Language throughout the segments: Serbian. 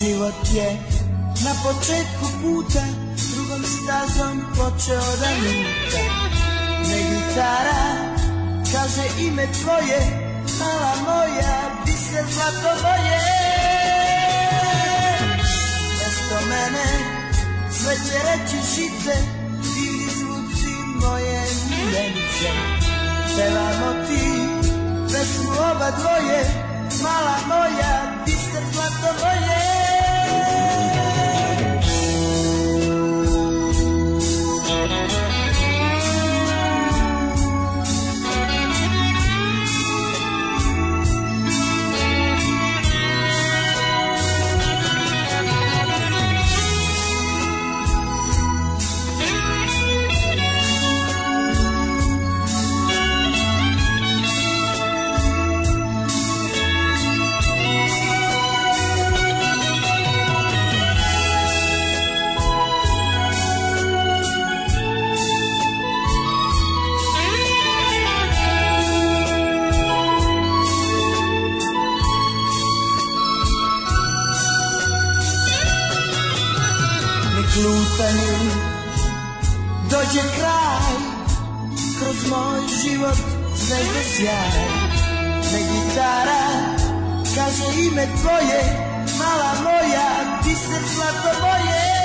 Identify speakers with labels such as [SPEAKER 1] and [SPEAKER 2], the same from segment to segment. [SPEAKER 1] život je na početku puta Drugom stazom počeo da luta Ne gitara, kaže ime tvoje Mala moja, di se zlato boje Mesto mene, sve će reći žice Ili zvuci moje miljenice Pevamo ti, pesmu oba dvoje Mala moja, di se zlato boje nek lutanje dođe kraj kroz moj život zvezde sjaj ne gitara kaže ime tvoje mala moja ti se zlato boje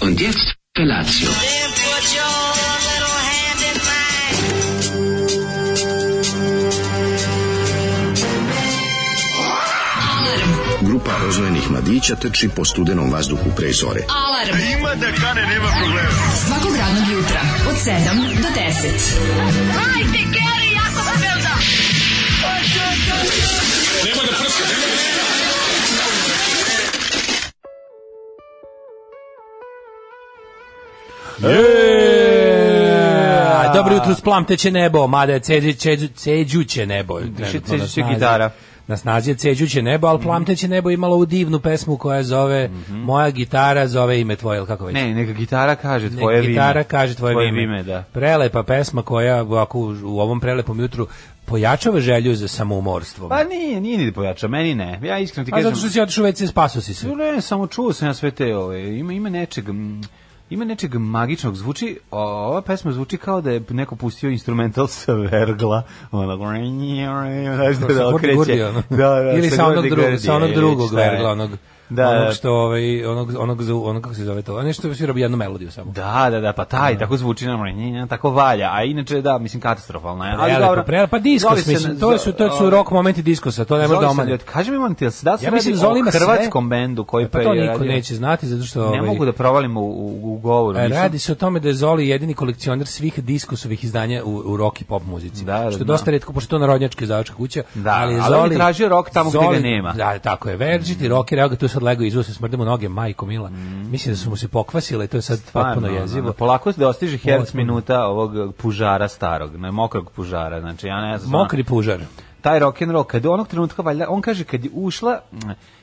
[SPEAKER 2] Und jetzt Felatio.
[SPEAKER 3] Then put your little hand in mine.
[SPEAKER 4] Grupa rozvojenih mladića trči po studenom vazduhu pre zore.
[SPEAKER 5] Alarm. A ima da kane, nema problema. Svakog radnog jutra, od 7 do 10. Hajde, Geri, jako se velda!
[SPEAKER 6] A, Dobro jutro splamteće nebo, mada je ceđu, ceđu, ceđuće nebo. trenutno na
[SPEAKER 7] ceđuće
[SPEAKER 6] snazi.
[SPEAKER 7] gitara. Mhm.
[SPEAKER 6] Na snazi je ceđuće nebo, ali plamteće nebo imalo ovu divnu pesmu koja zove Moja gitara zove ime tvoje, ili kako već?
[SPEAKER 7] Ne, neka gitara kaže
[SPEAKER 6] Nek
[SPEAKER 7] tvoje vime.
[SPEAKER 6] gitara kaže tvoje, vime.
[SPEAKER 7] da.
[SPEAKER 6] Prelepa pesma koja ovako u, u ovom prelepom jutru pojačava želju za samoumorstvom.
[SPEAKER 7] Pa nije, nije ni pojača, meni ne. Ja iskreno ti
[SPEAKER 6] A
[SPEAKER 7] kažem.
[SPEAKER 6] zato što si otišao u WC, spaso si se.
[SPEAKER 7] Ne, ne, samo čuo sam ja sve te ove. Ima, ima nečeg... mm, Ima nečeg magičnog zvuči, o, ova pesma zvuči kao da je neko pustio instrumental sa vergla, ono, znaš da, da
[SPEAKER 6] Gurdi,
[SPEAKER 7] okreće.
[SPEAKER 6] Gurdi, ono.
[SPEAKER 7] Da, da,
[SPEAKER 6] ili sa onog
[SPEAKER 7] Gurdi
[SPEAKER 6] drugog, sa onog
[SPEAKER 7] Gurdija,
[SPEAKER 6] drugog
[SPEAKER 7] šta je.
[SPEAKER 6] vergla, onog,
[SPEAKER 7] Da, da.
[SPEAKER 6] onog što, ovaj, onog, onog, za- onog, kako se zove to, nešto svira jednu melodiju samo.
[SPEAKER 7] Da, da, da, pa taj, tako zvuči, nam, njenja, tako valja, a inače, da, mislim, katastrofalna je. Ali,
[SPEAKER 6] Prelepo,
[SPEAKER 7] dobro,
[SPEAKER 6] prelepo. pa diskos,
[SPEAKER 7] zove se-
[SPEAKER 6] mislim, to su, to su
[SPEAKER 7] ove,
[SPEAKER 6] rock momenti diskosa, to nema
[SPEAKER 7] Zoli
[SPEAKER 6] da
[SPEAKER 7] sam
[SPEAKER 6] omanje.
[SPEAKER 7] ljut. Kaži mi, molim te, jel se da se
[SPEAKER 6] Ja
[SPEAKER 7] radi
[SPEAKER 6] mislim da Zoli ima
[SPEAKER 7] o
[SPEAKER 6] sve.
[SPEAKER 7] hrvatskom bendu koji
[SPEAKER 6] Pa
[SPEAKER 7] pa
[SPEAKER 6] to
[SPEAKER 7] je
[SPEAKER 6] niko
[SPEAKER 7] radio?
[SPEAKER 6] neće znati, zato što...
[SPEAKER 7] Ne
[SPEAKER 6] ovaj,
[SPEAKER 7] mogu da provalim u, u, u govoru.
[SPEAKER 6] E,
[SPEAKER 7] nisam-
[SPEAKER 6] Radi se o tome da je Zoli jedini kolekcioner svih diskusovih izdanja u, u rock i pop muzici.
[SPEAKER 7] Da, da,
[SPEAKER 6] što je
[SPEAKER 7] da.
[SPEAKER 6] dosta retko, pošto je to narodnjačka izdavačka kuća.
[SPEAKER 7] Da,
[SPEAKER 6] ali je
[SPEAKER 7] ali on je
[SPEAKER 6] Zoli,
[SPEAKER 7] tražio rock tamo gde ga nema.
[SPEAKER 6] Da, tako je. Verđit i rocker, evo ga tu sad lego izuo se smrdemo noge, majko mila. Mislim da su mu se pokvasile i to je sad
[SPEAKER 7] Mhm. Stvarno,
[SPEAKER 6] potpuno
[SPEAKER 7] ono,
[SPEAKER 6] jezivo.
[SPEAKER 7] Polako se dostiže herc
[SPEAKER 6] Potpuno.
[SPEAKER 7] minuta ovog pužara starog, ne, mokrog pužara. Znači, ja ne znam.
[SPEAKER 6] Mokri pužar.
[SPEAKER 7] taj rock and roll kad onog trenutka valjda on kaže kad je ušla mm,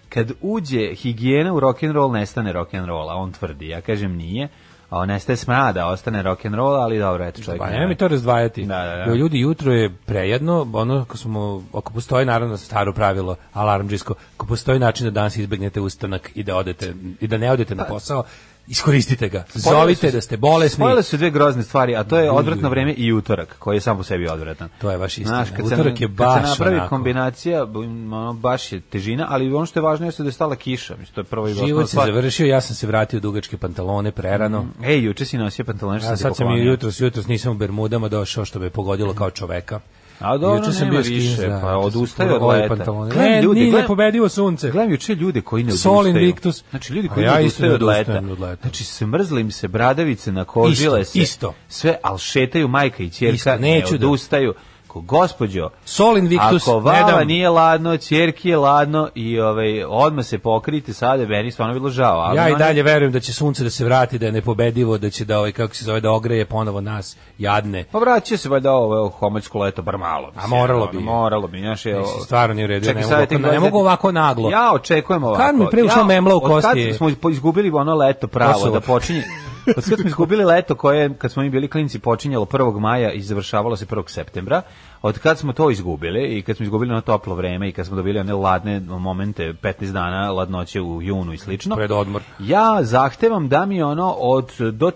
[SPEAKER 7] kad uđe higijena u rock and roll nestane rock and roll, a on tvrdi. Ja kažem nije. A on nestaje smrada, ostane rock and roll, ali dobro, eto čovjek.
[SPEAKER 6] Pa
[SPEAKER 7] ne-
[SPEAKER 6] nema mi to razdvajati.
[SPEAKER 7] Da, da, da.
[SPEAKER 6] Jo, Ljudi, jutro je prejedno, ono, ako, smo, ako postoji naravno staro pravilo, alarmđisko, ako postoji način da danas izbegnete ustanak i da, odete, i da ne odete na posao, iskoristite ga.
[SPEAKER 7] Spojile
[SPEAKER 6] Zovite
[SPEAKER 7] Pa, su-
[SPEAKER 6] da ste bolesni.
[SPEAKER 7] Spojile su dve grozne stvari, a to je odvratno vreme i utorak, koji je sam po sebi odvratan.
[SPEAKER 6] To je baš istina.
[SPEAKER 7] Znaš, kad se-
[SPEAKER 6] Utorak je
[SPEAKER 7] Kad
[SPEAKER 6] baš
[SPEAKER 7] se napravi
[SPEAKER 6] onako.
[SPEAKER 7] kombinacija, b- ono, baš je težina, ali ono što je važno jeste da je stala kiša. Mislim, to je prvo i osnovna
[SPEAKER 6] Život se
[SPEAKER 7] stvar.
[SPEAKER 6] završio, ja sam se vratio u dugačke pantalone prerano.
[SPEAKER 7] Ej, juče Mm, si nosio pantalone, što
[SPEAKER 6] A
[SPEAKER 7] ti
[SPEAKER 6] sad sam i
[SPEAKER 7] poklonio.
[SPEAKER 6] jutros, jutros nisam u Bermudama došao što me pogodilo kao čoveka.
[SPEAKER 7] A dobro,
[SPEAKER 6] Juče
[SPEAKER 7] nema
[SPEAKER 6] skinz,
[SPEAKER 7] više,
[SPEAKER 6] da,
[SPEAKER 7] pa
[SPEAKER 6] juče sam
[SPEAKER 7] odustaje
[SPEAKER 6] puro
[SPEAKER 7] od
[SPEAKER 6] gole
[SPEAKER 7] leta.
[SPEAKER 6] pantalone.
[SPEAKER 7] Gledam
[SPEAKER 6] Ne,
[SPEAKER 7] ljudi,
[SPEAKER 6] nije
[SPEAKER 7] gledam-
[SPEAKER 6] nepobedivo sunce.
[SPEAKER 7] Gledam juče ljude koji ne
[SPEAKER 6] Sol
[SPEAKER 7] odustaju.
[SPEAKER 6] Invictus.
[SPEAKER 7] Znači ljudi
[SPEAKER 6] A
[SPEAKER 7] koji
[SPEAKER 6] ja
[SPEAKER 7] ne
[SPEAKER 6] isto ne
[SPEAKER 7] odustaju od leta.
[SPEAKER 6] odustajem od leta.
[SPEAKER 7] Znači smrzli im se bradavice na kožile
[SPEAKER 6] Isto,
[SPEAKER 7] se.
[SPEAKER 6] isto.
[SPEAKER 7] Sve, al šetaju majka i
[SPEAKER 6] Isto,
[SPEAKER 7] ćerka, ne
[SPEAKER 6] neću da-
[SPEAKER 7] odustaju. Ko gospođo,
[SPEAKER 6] Sol Invictus,
[SPEAKER 7] ako
[SPEAKER 6] ne
[SPEAKER 7] vama
[SPEAKER 6] dam.
[SPEAKER 7] nije ladno, ćerki je ladno i ovaj odma se pokrijte sada, meni je stvarno bilo žao. Ali ono
[SPEAKER 6] Ja i
[SPEAKER 7] oni-
[SPEAKER 6] dalje verujem da će sunce da se vrati, da je nepobedivo, da će da ovaj kako se zove da ogreje ponovo nas jadne.
[SPEAKER 7] Pa vraća se valjda ovo homoljsko leto, bar malo. ono,
[SPEAKER 6] A moralo bi.
[SPEAKER 7] Moralo bi, znaš, evo.
[SPEAKER 6] Mislim, stvarno nije u redu, ja
[SPEAKER 7] Čekaj,
[SPEAKER 6] ne
[SPEAKER 7] sad
[SPEAKER 6] mogu
[SPEAKER 7] tek
[SPEAKER 6] ovako- ne
[SPEAKER 7] gledaj.
[SPEAKER 6] mogu ovako naglo.
[SPEAKER 7] Ja očekujem ovako.
[SPEAKER 6] Kad mi pre ušla
[SPEAKER 7] Ja,
[SPEAKER 6] memla u kosti
[SPEAKER 7] Od
[SPEAKER 6] je.
[SPEAKER 7] kad smo izgubili ono leto pravo,
[SPEAKER 6] Kosovo.
[SPEAKER 7] da počinje... Od kad smo izgubili leto koje, kad smo mi bili klinci, počinjalo 1. maja i završavalo se 1. septembra, od kad smo to izgubili i kad smo izgubili ono toplo vreme i kad smo dobili one ladne momente, 15 dana ladnoće u junu i slično,
[SPEAKER 6] Pred odmor.
[SPEAKER 7] ja zahtevam da mi ono od do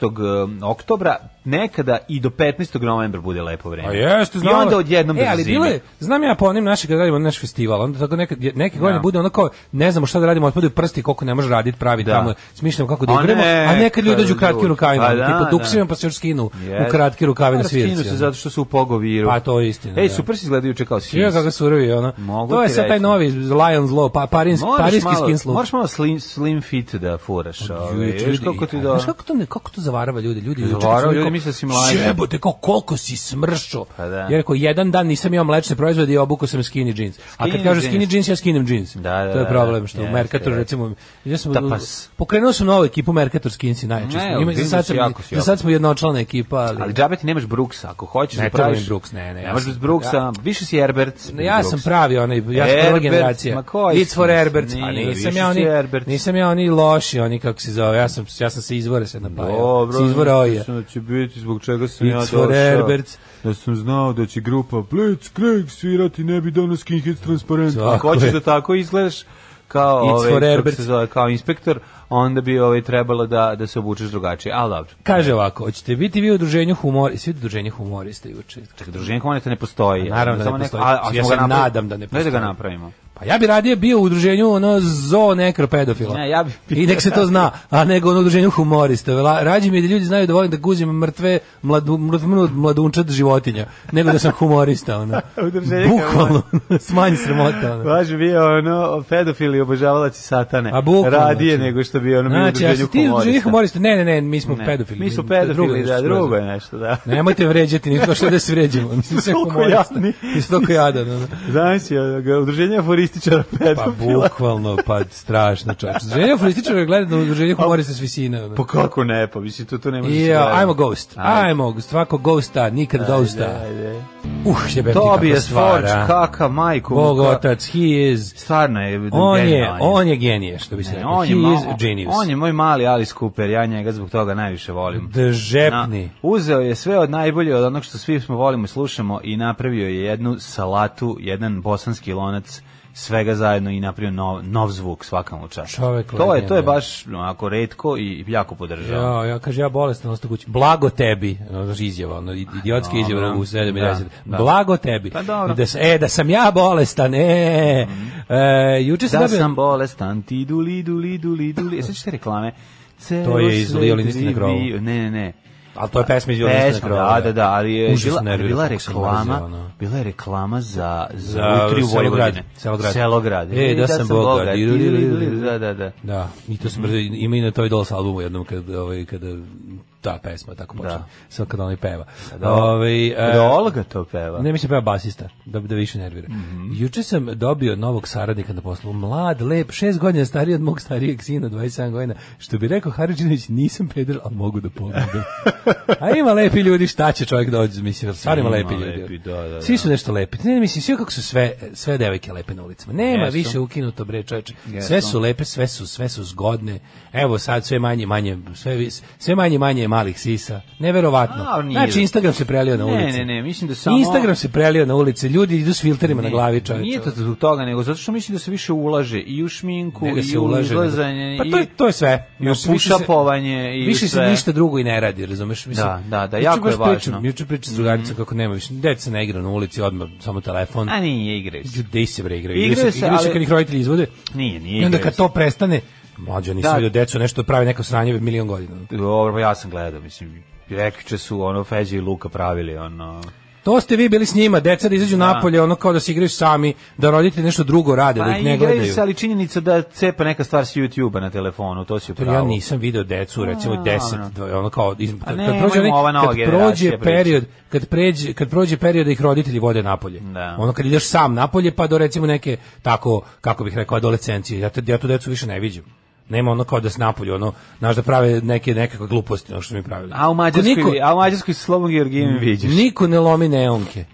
[SPEAKER 7] 30. oktobra nekada i do 15. novembra bude lepo vreme.
[SPEAKER 6] A Pa jeste,
[SPEAKER 7] I
[SPEAKER 6] znam.
[SPEAKER 7] onda odjednom
[SPEAKER 6] e,
[SPEAKER 7] bez
[SPEAKER 6] ali
[SPEAKER 7] zime.
[SPEAKER 6] bilo je, znam ja po onim našim kad radimo naš festival, onda tako neke neke godine
[SPEAKER 7] Da.
[SPEAKER 6] bude ono kao ne znamo šta da radimo, otpadaju prsti koliko ne može raditi pravi
[SPEAKER 7] Da.
[SPEAKER 6] tamo, smišljamo kako da
[SPEAKER 7] A
[SPEAKER 6] igramo, a nekad ljudi
[SPEAKER 7] nekad
[SPEAKER 6] dođu u kratkim
[SPEAKER 7] ljudi.
[SPEAKER 6] rukavima,
[SPEAKER 7] Pa
[SPEAKER 6] ono,
[SPEAKER 7] da,
[SPEAKER 6] tipa
[SPEAKER 7] da.
[SPEAKER 6] duksiramo pa se još skinu
[SPEAKER 7] Jeste.
[SPEAKER 6] u kratke rukave na
[SPEAKER 7] Pa, skinu
[SPEAKER 6] svirci.
[SPEAKER 7] se
[SPEAKER 6] ono.
[SPEAKER 7] zato što su u pogoviru.
[SPEAKER 6] Pa, to je istina,
[SPEAKER 7] Ej,
[SPEAKER 6] da.
[SPEAKER 7] super si izgledaju juče kao skins.
[SPEAKER 6] Čio kako surovi ono.
[SPEAKER 7] Mogu
[SPEAKER 6] to je
[SPEAKER 7] ti
[SPEAKER 6] sad taj
[SPEAKER 7] reći.
[SPEAKER 6] novi Lions Law, pa parins,
[SPEAKER 7] Moraš
[SPEAKER 6] parinski
[SPEAKER 7] malo-
[SPEAKER 6] skin slup.
[SPEAKER 7] Moraš malo slim, slim fit da furaš. ovaj,
[SPEAKER 6] Ljudi,
[SPEAKER 7] Viš kako ti
[SPEAKER 6] a
[SPEAKER 7] da...
[SPEAKER 6] Znaš kako to, ne, kako to zavarava ljudi? Ljudi, juče kad
[SPEAKER 7] Zavarava,
[SPEAKER 6] sam
[SPEAKER 7] ljudi
[SPEAKER 6] rekao,
[SPEAKER 7] misle da si mlađi.
[SPEAKER 6] Jebote, kao koliko si smršao.
[SPEAKER 7] Pa da.
[SPEAKER 6] Ja rekao, jedan dan nisam imao mlečne proizvode i obuku sam skinny jeans. A kad
[SPEAKER 7] Skinny
[SPEAKER 6] kažu
[SPEAKER 7] jeans.
[SPEAKER 6] skinny jeans, ja skinem jeans.
[SPEAKER 7] Da, da,
[SPEAKER 6] to je
[SPEAKER 7] da,
[SPEAKER 6] problem
[SPEAKER 7] da.
[SPEAKER 6] što u
[SPEAKER 7] Jeste,
[SPEAKER 6] Mercatoru,
[SPEAKER 7] da.
[SPEAKER 6] recimo, ja sam,
[SPEAKER 7] Tapas.
[SPEAKER 6] pokrenuo sam novu ekipu Mercator skinci najčešće.
[SPEAKER 7] Ne,
[SPEAKER 6] Ima, za,
[SPEAKER 7] vidim
[SPEAKER 6] sad
[SPEAKER 7] si
[SPEAKER 6] sam,
[SPEAKER 7] jako si
[SPEAKER 6] za
[SPEAKER 7] jako.
[SPEAKER 6] sad smo jednočlana ekipa, ali...
[SPEAKER 7] Ali džabe ti nemaš Brooksa, ako hoćeš
[SPEAKER 6] Ne
[SPEAKER 7] da
[SPEAKER 6] treba
[SPEAKER 7] praviš...
[SPEAKER 6] im Brooks, ne, ne, ja
[SPEAKER 7] Nemaš
[SPEAKER 6] sam-
[SPEAKER 7] Brooksa, više si Herbert.
[SPEAKER 6] ja sam pravi onaj, ja sam prva
[SPEAKER 7] Herbert,
[SPEAKER 6] generacija.
[SPEAKER 7] ma koji
[SPEAKER 6] It's for
[SPEAKER 7] si?
[SPEAKER 6] Herbert. A
[SPEAKER 7] Nije,
[SPEAKER 6] nisam
[SPEAKER 7] više
[SPEAKER 6] ja oni,
[SPEAKER 7] si Herbert.
[SPEAKER 6] nisam ja oni loši, oni kako se zove. Ja sam, ja sam se izvore se napajao.
[SPEAKER 7] Dobro,
[SPEAKER 6] se izvora oje.
[SPEAKER 7] mislim da će biti zbog čega sam ja
[SPEAKER 6] It's for
[SPEAKER 7] došao.
[SPEAKER 6] Herbert.
[SPEAKER 7] Da sam znao da će grupa Blitzkrieg svirati, ne bi donao skinhead transparent.
[SPEAKER 6] Tako
[SPEAKER 7] Ako hoćeš
[SPEAKER 6] je.
[SPEAKER 7] da tako izgledaš, kao,
[SPEAKER 6] It's for
[SPEAKER 7] ovaj, kako
[SPEAKER 6] Herbert.
[SPEAKER 7] se zove, kao inspektor, onda bi ovaj, trebalo da, da se obučeš drugačije. Ali dobro.
[SPEAKER 6] Kaže ovako, hoćete biti vi u druženju humorista, svi u druženju humorista juče.
[SPEAKER 7] Čekaj, druženje komandata ne postoji.
[SPEAKER 6] A naravno da ne
[SPEAKER 7] Samo neko-
[SPEAKER 6] postoji.
[SPEAKER 7] A, a
[SPEAKER 6] Ja
[SPEAKER 7] smo
[SPEAKER 6] se
[SPEAKER 7] ga napravili.
[SPEAKER 6] nadam da ne
[SPEAKER 7] Daj da
[SPEAKER 6] postoji.
[SPEAKER 7] ga napravimo.
[SPEAKER 6] Pa ja bi radije bio u druženju ono zo nekropedofila.
[SPEAKER 7] Ne, ja bi-
[SPEAKER 6] I nek se to zna, a nego ono u druženju humorista. Vela- Rađe mi je da ljudi znaju da volim da guzim mrtve mladu, mrtvu- mladunčad životinja, nego da sam humorista. Ono.
[SPEAKER 7] U druženju
[SPEAKER 6] Bukvalno, smanji sramota. Ono.
[SPEAKER 7] Baš bio ono pedofili obožavalac satane.
[SPEAKER 6] A bukvalno,
[SPEAKER 7] Radije
[SPEAKER 6] znači.
[SPEAKER 7] nego što bi ono bio u
[SPEAKER 6] Znači, a
[SPEAKER 7] druženju
[SPEAKER 6] si ti u druženju
[SPEAKER 7] humorista.
[SPEAKER 6] humorista? Ne, ne, ne, mi smo
[SPEAKER 7] Ne.
[SPEAKER 6] pedofili.
[SPEAKER 7] Mi smo
[SPEAKER 6] to je drugo
[SPEAKER 7] pedofili,
[SPEAKER 6] nešto
[SPEAKER 7] da,
[SPEAKER 6] skroz.
[SPEAKER 7] drugo je nešto, da.
[SPEAKER 6] Nemojte vređati, nismo došli da se vređamo. Mislim, sve
[SPEAKER 7] Toliko
[SPEAKER 6] humorista.
[SPEAKER 7] jadni.
[SPEAKER 6] Mi smo toliko jadan. ono.
[SPEAKER 7] Znači, udruženje aforističara
[SPEAKER 6] Pa
[SPEAKER 7] pedofila.
[SPEAKER 6] bukvalno, pa strašno čovječ. Ženja Furističara je gledano u druženju humorista s visine. ono.
[SPEAKER 7] Pa kako ne, pa mislim, to, to ne može
[SPEAKER 6] I,
[SPEAKER 7] se
[SPEAKER 6] uh,
[SPEAKER 7] gledati.
[SPEAKER 6] I'm a ghost.
[SPEAKER 7] Ajde.
[SPEAKER 6] I'm a svako ghosta, nikad ghosta.
[SPEAKER 7] Ajde.
[SPEAKER 6] Uh, jebem ti kako
[SPEAKER 7] Tobias
[SPEAKER 6] stvar,
[SPEAKER 7] Forge,
[SPEAKER 6] a.
[SPEAKER 7] kaka, majko.
[SPEAKER 6] Bog
[SPEAKER 7] ka-
[SPEAKER 6] otac, he is...
[SPEAKER 7] Stvarno je
[SPEAKER 6] On je,
[SPEAKER 7] genijalan
[SPEAKER 6] on je genije, što bi se
[SPEAKER 7] Ne,
[SPEAKER 6] rekao.
[SPEAKER 7] on
[SPEAKER 6] He
[SPEAKER 7] je,
[SPEAKER 6] is
[SPEAKER 7] ma-
[SPEAKER 6] genius.
[SPEAKER 7] on je moj mali Alice Cooper, ja njega zbog toga najviše volim.
[SPEAKER 6] Držepni.
[SPEAKER 7] Na- uzeo je sve od najbolje, od onog što svi smo volimo i slušamo i napravio je jednu salatu, jedan bosanski lonac svega zajedno i napravio nov, nov zvuk svakam u čast.
[SPEAKER 6] Čovek
[SPEAKER 7] to je, to je
[SPEAKER 6] legenda.
[SPEAKER 7] baš onako redko i jako podržavam.
[SPEAKER 6] Ja, ja kaže ja bolestan ostao kući. Blago tebi, ono, znaš, izjava, ono, i- idiotska
[SPEAKER 7] Dobro.
[SPEAKER 6] izjava u 7 i
[SPEAKER 7] Da,
[SPEAKER 6] 10.
[SPEAKER 7] da.
[SPEAKER 6] Blago tebi.
[SPEAKER 7] Pa dobro. Mhm.
[SPEAKER 6] I da, s- e, da sam ja bolestan, e. e juče sam
[SPEAKER 7] Da
[SPEAKER 6] dobio...
[SPEAKER 7] sam bolestan, ti duli, duli, duli, duli. E, sećaš te reklame? Ceo
[SPEAKER 6] je iz
[SPEAKER 7] svet
[SPEAKER 6] Violinisti na krovu.
[SPEAKER 7] živi- Ne, ne, ne.
[SPEAKER 6] Ali to je pesma iz Violinisti na
[SPEAKER 7] Pesma,
[SPEAKER 6] krovu, da.
[SPEAKER 7] da, da, da, ali je
[SPEAKER 6] Užasno
[SPEAKER 7] bila,
[SPEAKER 6] nervira
[SPEAKER 7] bila
[SPEAKER 6] kako sam mrzeo,
[SPEAKER 7] reklama,
[SPEAKER 6] ono.
[SPEAKER 7] bila je reklama za, za,
[SPEAKER 6] Za
[SPEAKER 7] utriju
[SPEAKER 6] Selograd,
[SPEAKER 7] Vojvodine.
[SPEAKER 6] Selograd.
[SPEAKER 7] Selograd.
[SPEAKER 6] E, da sam bogat.
[SPEAKER 7] Ti, li, li, li, Da, da, da.
[SPEAKER 6] E, Da, i to sam brzo, ima i na toj Dolls albumu jednom kad, ovaj, kada ta pesma tako počne.
[SPEAKER 7] Da.
[SPEAKER 6] Samo kad on i peva.
[SPEAKER 7] da.
[SPEAKER 6] Ovaj, e,
[SPEAKER 7] Da Olga to peva. Mhm.
[SPEAKER 6] ne, mislim peva basista, da, da više nervira. Juče sam dobio novog saradnika na poslu. Mlad, lep, šest godina stariji od mog starijeg sina, 27 godina. Što bi rekao Haradžinović, nisam peder, ali mogu da pogledam. A ima lepi ljudi, šta će čovjek dođe, mislim, stvarno ima
[SPEAKER 7] Ima
[SPEAKER 6] lepi ljudi.
[SPEAKER 7] lepi, da, da, da.
[SPEAKER 6] Svi su nešto lepi. Ne, mislim, sve kako su sve, sve devojke lepe na ulicama. Nema
[SPEAKER 7] Jesu.
[SPEAKER 6] više ukinuto, bre, čovječe. Sve
[SPEAKER 7] Jesu.
[SPEAKER 6] su lepe, sve su, sve su zgodne. Evo sad sve manje, manje, sve, vis- sve manje, manje je malih sisa. Neverovatno.
[SPEAKER 7] A, nije.
[SPEAKER 6] znači, Instagram se prelio na
[SPEAKER 7] Ne,
[SPEAKER 6] ulice.
[SPEAKER 7] ne, ne, mislim da samo-
[SPEAKER 6] Instagram se prelio na ulice, ljudi idu s filterima na glavi čoveče. ono,
[SPEAKER 7] Nije to zbog toga, nego zato što mislim da se više ulaže i u šminku,
[SPEAKER 6] Ne da
[SPEAKER 7] i
[SPEAKER 6] se
[SPEAKER 7] u
[SPEAKER 6] ulaže, nego-
[SPEAKER 7] izlazanje,
[SPEAKER 6] pa to je,
[SPEAKER 7] i...
[SPEAKER 6] to je sve. Još više se-
[SPEAKER 7] push-upovanje i
[SPEAKER 6] Više se
[SPEAKER 7] sve.
[SPEAKER 6] ništa drugo i ne radi, razumeš? Mislim,
[SPEAKER 7] Da, da, da,
[SPEAKER 6] juče
[SPEAKER 7] jako
[SPEAKER 6] baš
[SPEAKER 7] je važno. Mhm.
[SPEAKER 6] Pričam, juče pričam s drugaricom kako nema više. Deca ne igra na ulici, odmah samo telefon.
[SPEAKER 7] A nije, igraju se.
[SPEAKER 6] Gde se bre igraju?
[SPEAKER 7] Igraju
[SPEAKER 6] Igraju
[SPEAKER 7] se,
[SPEAKER 6] se, igraju se
[SPEAKER 7] ali-
[SPEAKER 6] kad ih roditelji izvode.
[SPEAKER 7] Nije, nije
[SPEAKER 6] I onda
[SPEAKER 7] igraju
[SPEAKER 6] kad
[SPEAKER 7] se.
[SPEAKER 6] to prestane, mlađani
[SPEAKER 7] Da.
[SPEAKER 6] nisam vidio decu nešto pravi neko sranje milion godina.
[SPEAKER 7] Dobro, pa ja sam gledao, mislim, rekče su ono Feđa i Luka pravili, ono...
[SPEAKER 6] To ste vi bili s njima, deca da izađu napolje, ono kao da se igraju sami, da roditelji nešto drugo rade, da ih ne
[SPEAKER 7] Pa igraju
[SPEAKER 6] gledaju.
[SPEAKER 7] se, ali činjenica da cepa neka stvar s YouTube-a na telefonu, to si
[SPEAKER 6] To
[SPEAKER 7] upravo.
[SPEAKER 6] ja nisam video decu recimo
[SPEAKER 7] A,
[SPEAKER 6] 10
[SPEAKER 7] ono.
[SPEAKER 6] dvo- ono kao iz, kad,
[SPEAKER 7] ne,
[SPEAKER 6] kad prođe
[SPEAKER 7] imamo ova
[SPEAKER 6] onaj,
[SPEAKER 7] nova
[SPEAKER 6] kad
[SPEAKER 7] generacija
[SPEAKER 6] prođe
[SPEAKER 7] priča.
[SPEAKER 6] period kad pređe kad prođe period da ih roditelji vode napolje.
[SPEAKER 7] Da.
[SPEAKER 6] Ono kad ideš sam napolje pa do recimo neke tako kako bih rekao adolescencije. Ja te, ja tu decu više ne viđam. Nema ono kao da se napolje, ono, znaš da prave neke nekakve gluposti, ono što su mi pravili.
[SPEAKER 7] A u Mađarskoj, a u Mađarskoj Slobom Georgijem vidiš.
[SPEAKER 6] Niko ne lomi neonke.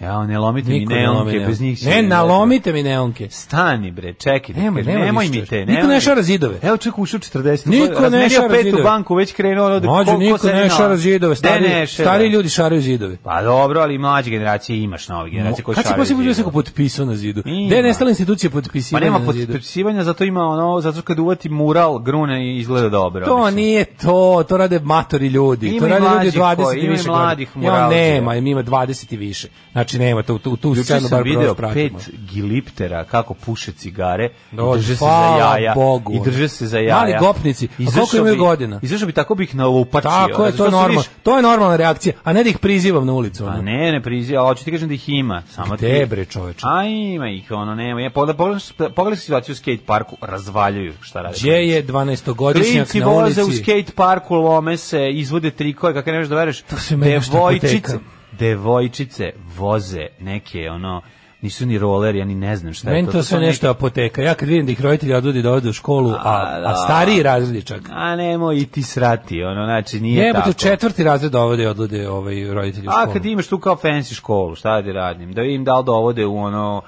[SPEAKER 7] Ja, ne lomite mi
[SPEAKER 6] Niko ne lomi
[SPEAKER 7] neonke,
[SPEAKER 6] neonke.
[SPEAKER 7] bez pa njih si-
[SPEAKER 6] ne, nalomite mi neonke.
[SPEAKER 7] Stani bre, čekaj,
[SPEAKER 6] Nemoj,
[SPEAKER 7] nemoj,
[SPEAKER 6] nemoj
[SPEAKER 7] nemoj
[SPEAKER 6] ništa.
[SPEAKER 7] mi te.
[SPEAKER 6] Niko
[SPEAKER 7] nemoj
[SPEAKER 6] ne
[SPEAKER 7] mi.
[SPEAKER 6] šara zidove.
[SPEAKER 7] Evo čovjek ušao u 40.
[SPEAKER 6] Niko ne
[SPEAKER 7] razmenio
[SPEAKER 6] šara
[SPEAKER 7] petu
[SPEAKER 6] zidove.
[SPEAKER 7] banku, već krenuo ono da
[SPEAKER 6] Mađo, niko ne šara zidove,
[SPEAKER 7] stari,
[SPEAKER 6] stari, stari ljudi šaraju zidove.
[SPEAKER 7] Pa dobro, ali i mlađe generacije imaš nove generacije koje
[SPEAKER 6] Kad
[SPEAKER 7] šaraju.
[SPEAKER 6] se poslije
[SPEAKER 7] zidove.
[SPEAKER 6] put neko potpisao na zidu?
[SPEAKER 7] Ima.
[SPEAKER 6] Gde je nestala institucija
[SPEAKER 7] Pa
[SPEAKER 6] potpisivanja
[SPEAKER 7] nema
[SPEAKER 6] na zidu?
[SPEAKER 7] potpisivanja, zato ima ono, zato kad uvati mural, grune i izgleda dobro.
[SPEAKER 6] To
[SPEAKER 7] mislim.
[SPEAKER 6] nije to, to rade matori ljudi.
[SPEAKER 7] Ima
[SPEAKER 6] to
[SPEAKER 7] i
[SPEAKER 6] rade ljudi
[SPEAKER 7] mlađih
[SPEAKER 6] 20
[SPEAKER 7] koji-
[SPEAKER 6] i
[SPEAKER 7] ima i
[SPEAKER 6] više.
[SPEAKER 7] mlađih
[SPEAKER 6] godina.
[SPEAKER 7] muralđija.
[SPEAKER 6] Ja, nema, ima 20 i više. Znači nema tu tu tu
[SPEAKER 7] Juče
[SPEAKER 6] scenu
[SPEAKER 7] sam
[SPEAKER 6] bar
[SPEAKER 7] video
[SPEAKER 6] video
[SPEAKER 7] pet giliptera kako puše cigare i
[SPEAKER 6] Dođe,
[SPEAKER 7] drže se za
[SPEAKER 6] hvala
[SPEAKER 7] jaja.
[SPEAKER 6] Bogu.
[SPEAKER 7] I drže se za jaja.
[SPEAKER 6] Mali gopnici. A
[SPEAKER 7] Izašao
[SPEAKER 6] koliko imaju
[SPEAKER 7] bi-
[SPEAKER 6] godina?
[SPEAKER 7] Izašao bi tako bih nalupačio.
[SPEAKER 6] Tako je to
[SPEAKER 7] Zato što se
[SPEAKER 6] normalno.
[SPEAKER 7] vidiš-
[SPEAKER 6] To je normalna reakcija, a ne da ih prizivam na ulicu.
[SPEAKER 7] A
[SPEAKER 6] ono.
[SPEAKER 7] ne, ne prizi, ali hoću ti kažem da ih ima. Samo
[SPEAKER 6] Gde
[SPEAKER 7] ti-
[SPEAKER 6] bre čoveče?
[SPEAKER 7] A ima ih, ono nema. Ja pogledaj, pogledaj, pogledaj situaciju u skate parku, razvaljuju šta rade.
[SPEAKER 6] Gdje je 12-godišnjak
[SPEAKER 7] Klinci
[SPEAKER 6] na ulici?
[SPEAKER 7] voze u skate parku, lome se, izvode trikove, kako ne možeš da veruješ.
[SPEAKER 6] To su meni baš
[SPEAKER 7] Devojčice,
[SPEAKER 6] tako
[SPEAKER 7] devojčice voze neke, ono, nisu ni roleri, ja ni ne znam šta je
[SPEAKER 6] Meni
[SPEAKER 7] to.
[SPEAKER 6] to sve
[SPEAKER 7] su
[SPEAKER 6] nešto apoteka. Ja kad vidim da ih roditelji odvodi da ode u školu, a, a stariji razredi čak.
[SPEAKER 7] A nemoj i ti srati, ono, znači nije
[SPEAKER 6] Jebote,
[SPEAKER 7] tako.
[SPEAKER 6] u četvrti razred ovde odvode ovaj roditelji u školu.
[SPEAKER 7] A kad imaš tu kao fancy školu, šta da radim? Da im da li dovode u ono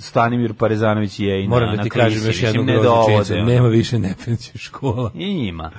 [SPEAKER 7] Stanimir Parezanović je i na,
[SPEAKER 6] Moram da ti
[SPEAKER 7] na
[SPEAKER 6] kažem
[SPEAKER 7] Klisi,
[SPEAKER 6] još
[SPEAKER 7] mislim,
[SPEAKER 6] jednu
[SPEAKER 7] ne
[SPEAKER 6] groznu činjenicu.
[SPEAKER 7] dovode. ono.
[SPEAKER 6] Nema više nefenci škola.
[SPEAKER 7] I Ima.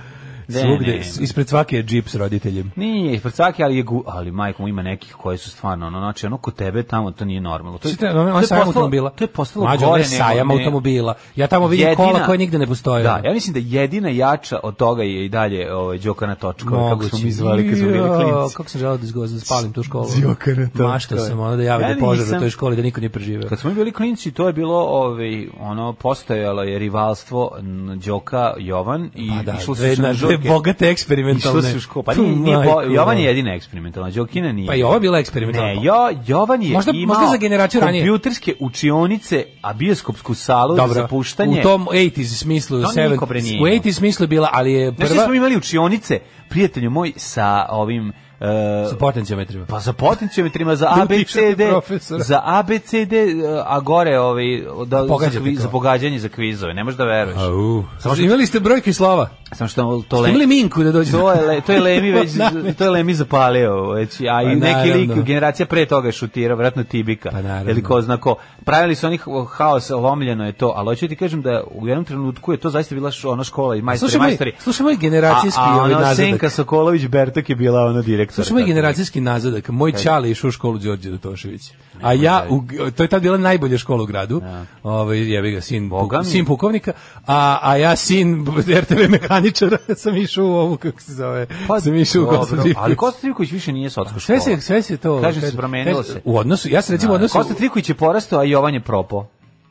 [SPEAKER 7] De,
[SPEAKER 6] Svugde,
[SPEAKER 7] nema.
[SPEAKER 6] ispred svake je džip s roditeljem.
[SPEAKER 7] Nije, ispred svake, ali je gu, ali majko mu ima nekih koje su stvarno ono, znači ono kod tebe tamo to nije normalno. To je,
[SPEAKER 6] Sjetite, on,
[SPEAKER 7] to
[SPEAKER 6] ono, on
[SPEAKER 7] je
[SPEAKER 6] sajam
[SPEAKER 7] postalo-
[SPEAKER 6] automobila.
[SPEAKER 7] To je postalo
[SPEAKER 6] Mlađe,
[SPEAKER 7] gore
[SPEAKER 6] on je sajam
[SPEAKER 7] nego- ne-
[SPEAKER 6] automobila. Ja tamo vidim
[SPEAKER 7] Jedina-
[SPEAKER 6] kola koja nigde ne postoje. ono.
[SPEAKER 7] Da, e, ja mislim da jedina jača od toga je i dalje ovaj Đokana Točko, kako smo mi zvali kad smo bili
[SPEAKER 6] Jao,
[SPEAKER 7] klinci.
[SPEAKER 6] Kako sam želao da izgozam, da spalim tu školu.
[SPEAKER 7] Đokana Točka.
[SPEAKER 6] Mašta sam ono da javi
[SPEAKER 7] Ja
[SPEAKER 6] da požar
[SPEAKER 7] nisam-
[SPEAKER 6] u toj školi da niko nije preživeo.
[SPEAKER 7] Kad smo mi bili klinci, to je bilo ovaj ono postojalo je rivalstvo n- Đoka Jovan i
[SPEAKER 6] Pa da,
[SPEAKER 7] išlo
[SPEAKER 6] dve-
[SPEAKER 7] se na
[SPEAKER 6] na-
[SPEAKER 7] žurke.
[SPEAKER 6] dve bogate eksperimentalne.
[SPEAKER 7] Išlo se u školu. Pa
[SPEAKER 6] Tu,
[SPEAKER 7] nije, nije bo,
[SPEAKER 6] majko,
[SPEAKER 7] Jovan
[SPEAKER 6] da.
[SPEAKER 7] je jedina eksperimentalna, Đokina nije.
[SPEAKER 6] Pa i ovo je bila eksperimentalna.
[SPEAKER 7] Ne, jo, Jovan je
[SPEAKER 6] Možda-
[SPEAKER 7] imao
[SPEAKER 6] možda za generaciju ranije.
[SPEAKER 7] kompjuterske učionice, a bioskopsku salu za zapuštanje.
[SPEAKER 6] U tom 80s smislu,
[SPEAKER 7] To
[SPEAKER 6] 7,
[SPEAKER 7] niko bre nije
[SPEAKER 6] u
[SPEAKER 7] imao.
[SPEAKER 6] 80s smislu je bila, ali je
[SPEAKER 7] Znaš šta
[SPEAKER 6] prva
[SPEAKER 7] smo imali učionice, prijatelju moj, sa ovim... e,
[SPEAKER 6] sa potencijometrima.
[SPEAKER 7] pa za potencijometrima, za
[SPEAKER 6] Da utišate
[SPEAKER 7] ABCD,
[SPEAKER 6] profesora.
[SPEAKER 7] za ABCD, e, a gore ovaj, da,
[SPEAKER 6] Pogađate
[SPEAKER 7] za, kvi-
[SPEAKER 6] to.
[SPEAKER 7] za pogađanje za kvizove, ne možeš da veruješ.
[SPEAKER 6] Au.
[SPEAKER 7] Samo što,
[SPEAKER 6] imali ste brojke i slova.
[SPEAKER 7] samo što to
[SPEAKER 6] Ste imali
[SPEAKER 7] le,
[SPEAKER 6] minku da dođe.
[SPEAKER 7] to je, le, to je Lemi već,
[SPEAKER 6] Namerno.
[SPEAKER 7] to je Lemi zapalio, već, a i
[SPEAKER 6] Pa
[SPEAKER 7] neki
[SPEAKER 6] naravno.
[SPEAKER 7] lik generacija pre toga je šutirao, vratno Tibika,
[SPEAKER 6] Pa naravno.
[SPEAKER 7] ili ko zna ko. Pravili su oni h- haos, lomljeno je to, ali hoću ti kažem da u jednom trenutku je to zaista bila š- ona škola i majstori,
[SPEAKER 6] Slušaj moj,
[SPEAKER 7] majstori.
[SPEAKER 6] slušaj moj generacijski
[SPEAKER 7] A, a
[SPEAKER 6] ovaj
[SPEAKER 7] ono, Senka
[SPEAKER 6] nazadak.
[SPEAKER 7] Sokolović Bertak je bila ona direktor.
[SPEAKER 6] Slušaj moj generacijski nazadak. Moj čale je išao u školu Đorđe Dotošević. A ja, u, to je tad bila najbolja škola u gradu. Ovaj, jebi ga, sin,
[SPEAKER 7] Boga
[SPEAKER 6] puk-
[SPEAKER 7] mi.
[SPEAKER 6] sin pukovnika. A, a ja, sin RTV mehaničara, sam išao u ovu, kako se zove. sam išao u
[SPEAKER 7] Pa, dobro,
[SPEAKER 6] Kosta Živković.
[SPEAKER 7] Ali Kosta Trivković više nije sotska škola.
[SPEAKER 6] Sve se, sve se to...
[SPEAKER 7] Kažem,
[SPEAKER 6] kaže-
[SPEAKER 7] se promenilo
[SPEAKER 6] kaže-
[SPEAKER 7] se.
[SPEAKER 6] U odnosu, ja se recimo u
[SPEAKER 7] Da,
[SPEAKER 6] odnosu...
[SPEAKER 7] Kosta Trivković je porastao, a Jovan je propo.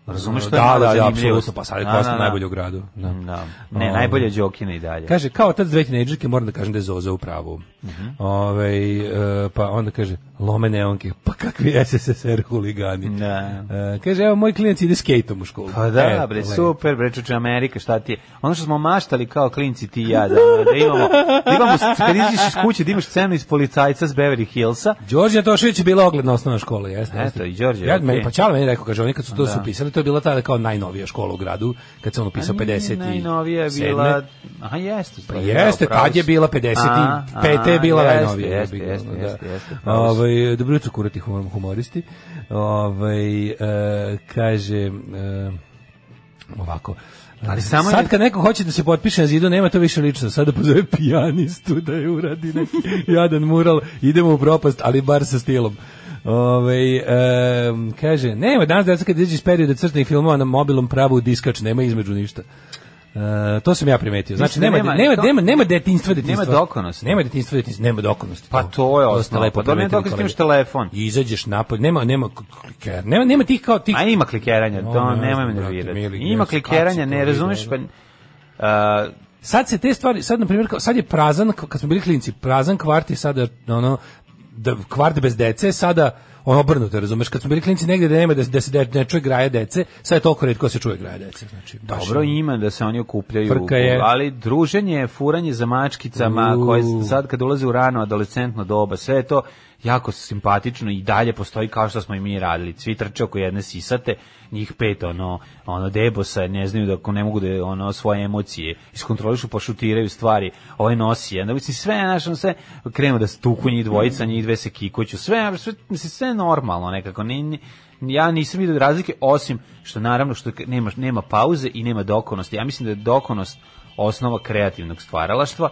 [SPEAKER 7] Razumeš što je
[SPEAKER 6] da,
[SPEAKER 7] malo
[SPEAKER 6] da, da,
[SPEAKER 7] zanimljivo?
[SPEAKER 6] apsolutno, pa sad je
[SPEAKER 7] Da,
[SPEAKER 6] Kosta
[SPEAKER 7] da, da.
[SPEAKER 6] najbolje u gradu. Da.
[SPEAKER 7] Da. Ne,
[SPEAKER 6] Ovaj.
[SPEAKER 7] najbolje je Đokina i dalje.
[SPEAKER 6] Kaže, kao tad dve tinejdžerke, moram da kažem da je Zoza u pravu. Ovaj, e, pa onda kaže, lome neonke, pa kakvi SSSR huligani.
[SPEAKER 7] Da.
[SPEAKER 6] E, kaže, evo, moj klinac ide skejtom u školu.
[SPEAKER 7] Pa da,
[SPEAKER 6] E,
[SPEAKER 7] bre,
[SPEAKER 6] lepo.
[SPEAKER 7] super, bre, čuče Amerika, šta ti je? Ono što smo maštali kao klinci ti i ja, da, da imamo, da imamo, kad iziš iz kuće, da imaš scenu iz policajca s Beverly Hillsa,
[SPEAKER 6] Đorđe Tošević je bila ogledna osnovna škola, jeste?
[SPEAKER 7] Eto,
[SPEAKER 6] jeste.
[SPEAKER 7] i Đorđe,
[SPEAKER 6] Ja,
[SPEAKER 7] okej.
[SPEAKER 6] meni, pa Čale meni rekao, kaže, oni kad su to
[SPEAKER 7] Da.
[SPEAKER 6] da. upisali, to je bila tada kao najnovija škola u gradu, kad se on upisao 50 i
[SPEAKER 7] Pa najnovija je bila, aha, jeste. u
[SPEAKER 6] Pa
[SPEAKER 7] stvari, da,
[SPEAKER 6] jeste,
[SPEAKER 7] upravo
[SPEAKER 6] tad je
[SPEAKER 7] si.
[SPEAKER 6] bila 50
[SPEAKER 7] A,
[SPEAKER 6] pete je bila
[SPEAKER 7] a, jeste,
[SPEAKER 6] najnovija.
[SPEAKER 7] Jeste,
[SPEAKER 6] jebi ga,
[SPEAKER 7] jeste,
[SPEAKER 6] da.
[SPEAKER 7] jeste, jeste, upravo si.
[SPEAKER 6] Ovaj dobro jutro kurati humor- humoristi. Ovaj e, kaže e, ovako
[SPEAKER 7] Ali samo je-
[SPEAKER 6] Sad kad neko hoće da se potpiše na zidu, nema to više lično. Sad da pozove pijanistu da je uradi neki jadan mural, idemo u propast, ali bar sa stilom. Ove, kaže, nema danas deca kad izađe iz perioda crtnih filmova na mobilom pravu u diskač, nema između ništa. E, to sam ja primetio. Znači,
[SPEAKER 7] Ništa
[SPEAKER 6] nema,
[SPEAKER 7] nema,
[SPEAKER 6] nema, nema,
[SPEAKER 7] to-
[SPEAKER 6] nema, detinjstva, detinjstva.
[SPEAKER 7] dokonosti.
[SPEAKER 6] Nema detinjstva, detinjstva, nema dokonosti.
[SPEAKER 7] Pa to je
[SPEAKER 6] ste
[SPEAKER 7] osnova.
[SPEAKER 6] lepo
[SPEAKER 7] Pa dobro, ne
[SPEAKER 6] primetili,
[SPEAKER 7] dokonosti imaš
[SPEAKER 6] kolega.
[SPEAKER 7] telefon.
[SPEAKER 6] I izađeš napolje, nema, nema kliker, nema, nema tih kao tih...
[SPEAKER 7] A ima klikeranja,
[SPEAKER 6] No,
[SPEAKER 7] to
[SPEAKER 6] ne
[SPEAKER 7] nemoj
[SPEAKER 6] znam,
[SPEAKER 7] me
[SPEAKER 6] Ono, brate,
[SPEAKER 7] nervirati.
[SPEAKER 6] mili,
[SPEAKER 7] Ima
[SPEAKER 6] ja sam
[SPEAKER 7] klikeranja, ne
[SPEAKER 6] apsolutno
[SPEAKER 7] razumeš, pa...
[SPEAKER 6] vidio,
[SPEAKER 7] a,
[SPEAKER 6] Sad se te stvari, sad na primjer, kao- sad je prazan, k- kad smo bili klinci, prazan kvart je sada, ono, da, kvart bez dece, je sada ono obrnuto, razumeš, kad smo bili klinci negdje da nema da, da se de, ne čuje graja dece, sad je toliko redko se čuje graja dece, znači, baš
[SPEAKER 7] pa Dobro
[SPEAKER 6] ono.
[SPEAKER 7] ima da se oni okupljaju,
[SPEAKER 6] Frka je.
[SPEAKER 7] ali druženje, furanje za mačkicama
[SPEAKER 6] Uuu.
[SPEAKER 7] koje sad kad ulaze u rano adolescentno doba, sve je to jako simpatično i dalje postoji kao što smo i mi radili. Svi trče oko jedne sisate, njih pet ono, ono debosa, ne znaju da ako ne mogu da ono svoje emocije iskontrolišu, pošutiraju stvari, ovaj nosi, onda mislim sve znaš, ono, sve krenu da stuku njih dvojica, njih dve se kikuću, sve ono, sve mislim, sve je normalno nekako. Ni, ni- ja nisam vidio razlike osim što naravno što nema, nema pauze i nema dokonosti. Ja mislim da je dokonost osnova kreativnog stvaralaštva,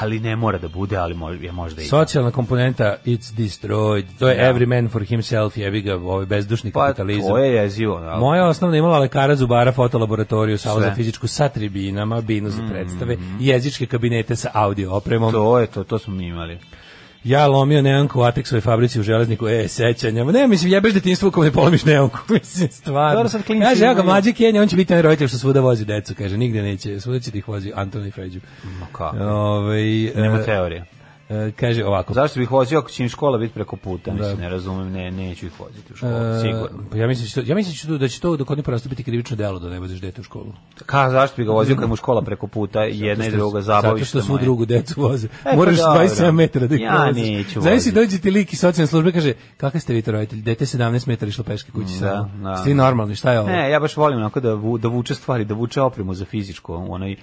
[SPEAKER 7] ali ne mora da bude, ali mo, je možda i.
[SPEAKER 6] Socijalna komponenta it's destroyed. To je
[SPEAKER 7] Da.
[SPEAKER 6] every man for himself, jebi ga, ovaj bezdušni
[SPEAKER 7] Pa
[SPEAKER 6] kapitalizam.
[SPEAKER 7] to je jezivo. ali-
[SPEAKER 6] Moja osnovna imala lekara zubara, fotolaboratoriju, salu
[SPEAKER 7] Pa- Sve. Mm.
[SPEAKER 6] za fizičku sa tribinama, binu za predstave, jezičke kabinete sa audio opremom.
[SPEAKER 7] To je to, to smo mi imali.
[SPEAKER 6] Ja lomio neonku u Atexovoj fabrici u železniku, e, sećanja. Ma Ne, mislim, jebeš detinstvo ako ne polomiš neonku, mislim, stvarno.
[SPEAKER 7] Dobro, sad klinci
[SPEAKER 6] Kaže, evo ga,
[SPEAKER 7] imaju-
[SPEAKER 6] mlađi Kenja, on će biti onaj roditelj što svuda vozi decu, kaže, nigde neće, svuda će da ih vozi Antoni Feđu.
[SPEAKER 7] Ma kako?
[SPEAKER 6] Ovaj,
[SPEAKER 7] Nema
[SPEAKER 6] e,
[SPEAKER 7] teorije.
[SPEAKER 6] e, kaže ovako,
[SPEAKER 7] Zašto bih vozio ako će im škola biti preko puta? Mislim, ne razumem, ne, neću ih voziti u školu,
[SPEAKER 6] E,
[SPEAKER 7] sigurno.
[SPEAKER 6] Pa ja mislim, da će to- ja mislim da će to- da će to dok oni prosto biti krivično delo da ne voziš dete u školu.
[SPEAKER 7] Ka, zašto bih ga vozio kad mu škola preko puta, jedna i druga
[SPEAKER 6] Zato
[SPEAKER 7] zabavište
[SPEAKER 6] što svu
[SPEAKER 7] moje.
[SPEAKER 6] drugu decu voze.
[SPEAKER 7] E, pa
[SPEAKER 6] Moraš
[SPEAKER 7] dobro.
[SPEAKER 6] 27 metara da ih
[SPEAKER 7] Ja
[SPEAKER 6] voziš.
[SPEAKER 7] neću
[SPEAKER 6] Znaš si
[SPEAKER 7] voziti.
[SPEAKER 6] dođe ti lik iz socijalne službe i kaže, kakve ste vi to roditelji? Dete 17 metara išlo peške kući
[SPEAKER 7] Da,
[SPEAKER 6] samo.
[SPEAKER 7] da.
[SPEAKER 6] Ste vi normalni, šta je ovo?
[SPEAKER 7] Ne, ja baš volim onako da, vu, da vuče stvari, da vuče opremu za fizičko, u onoj,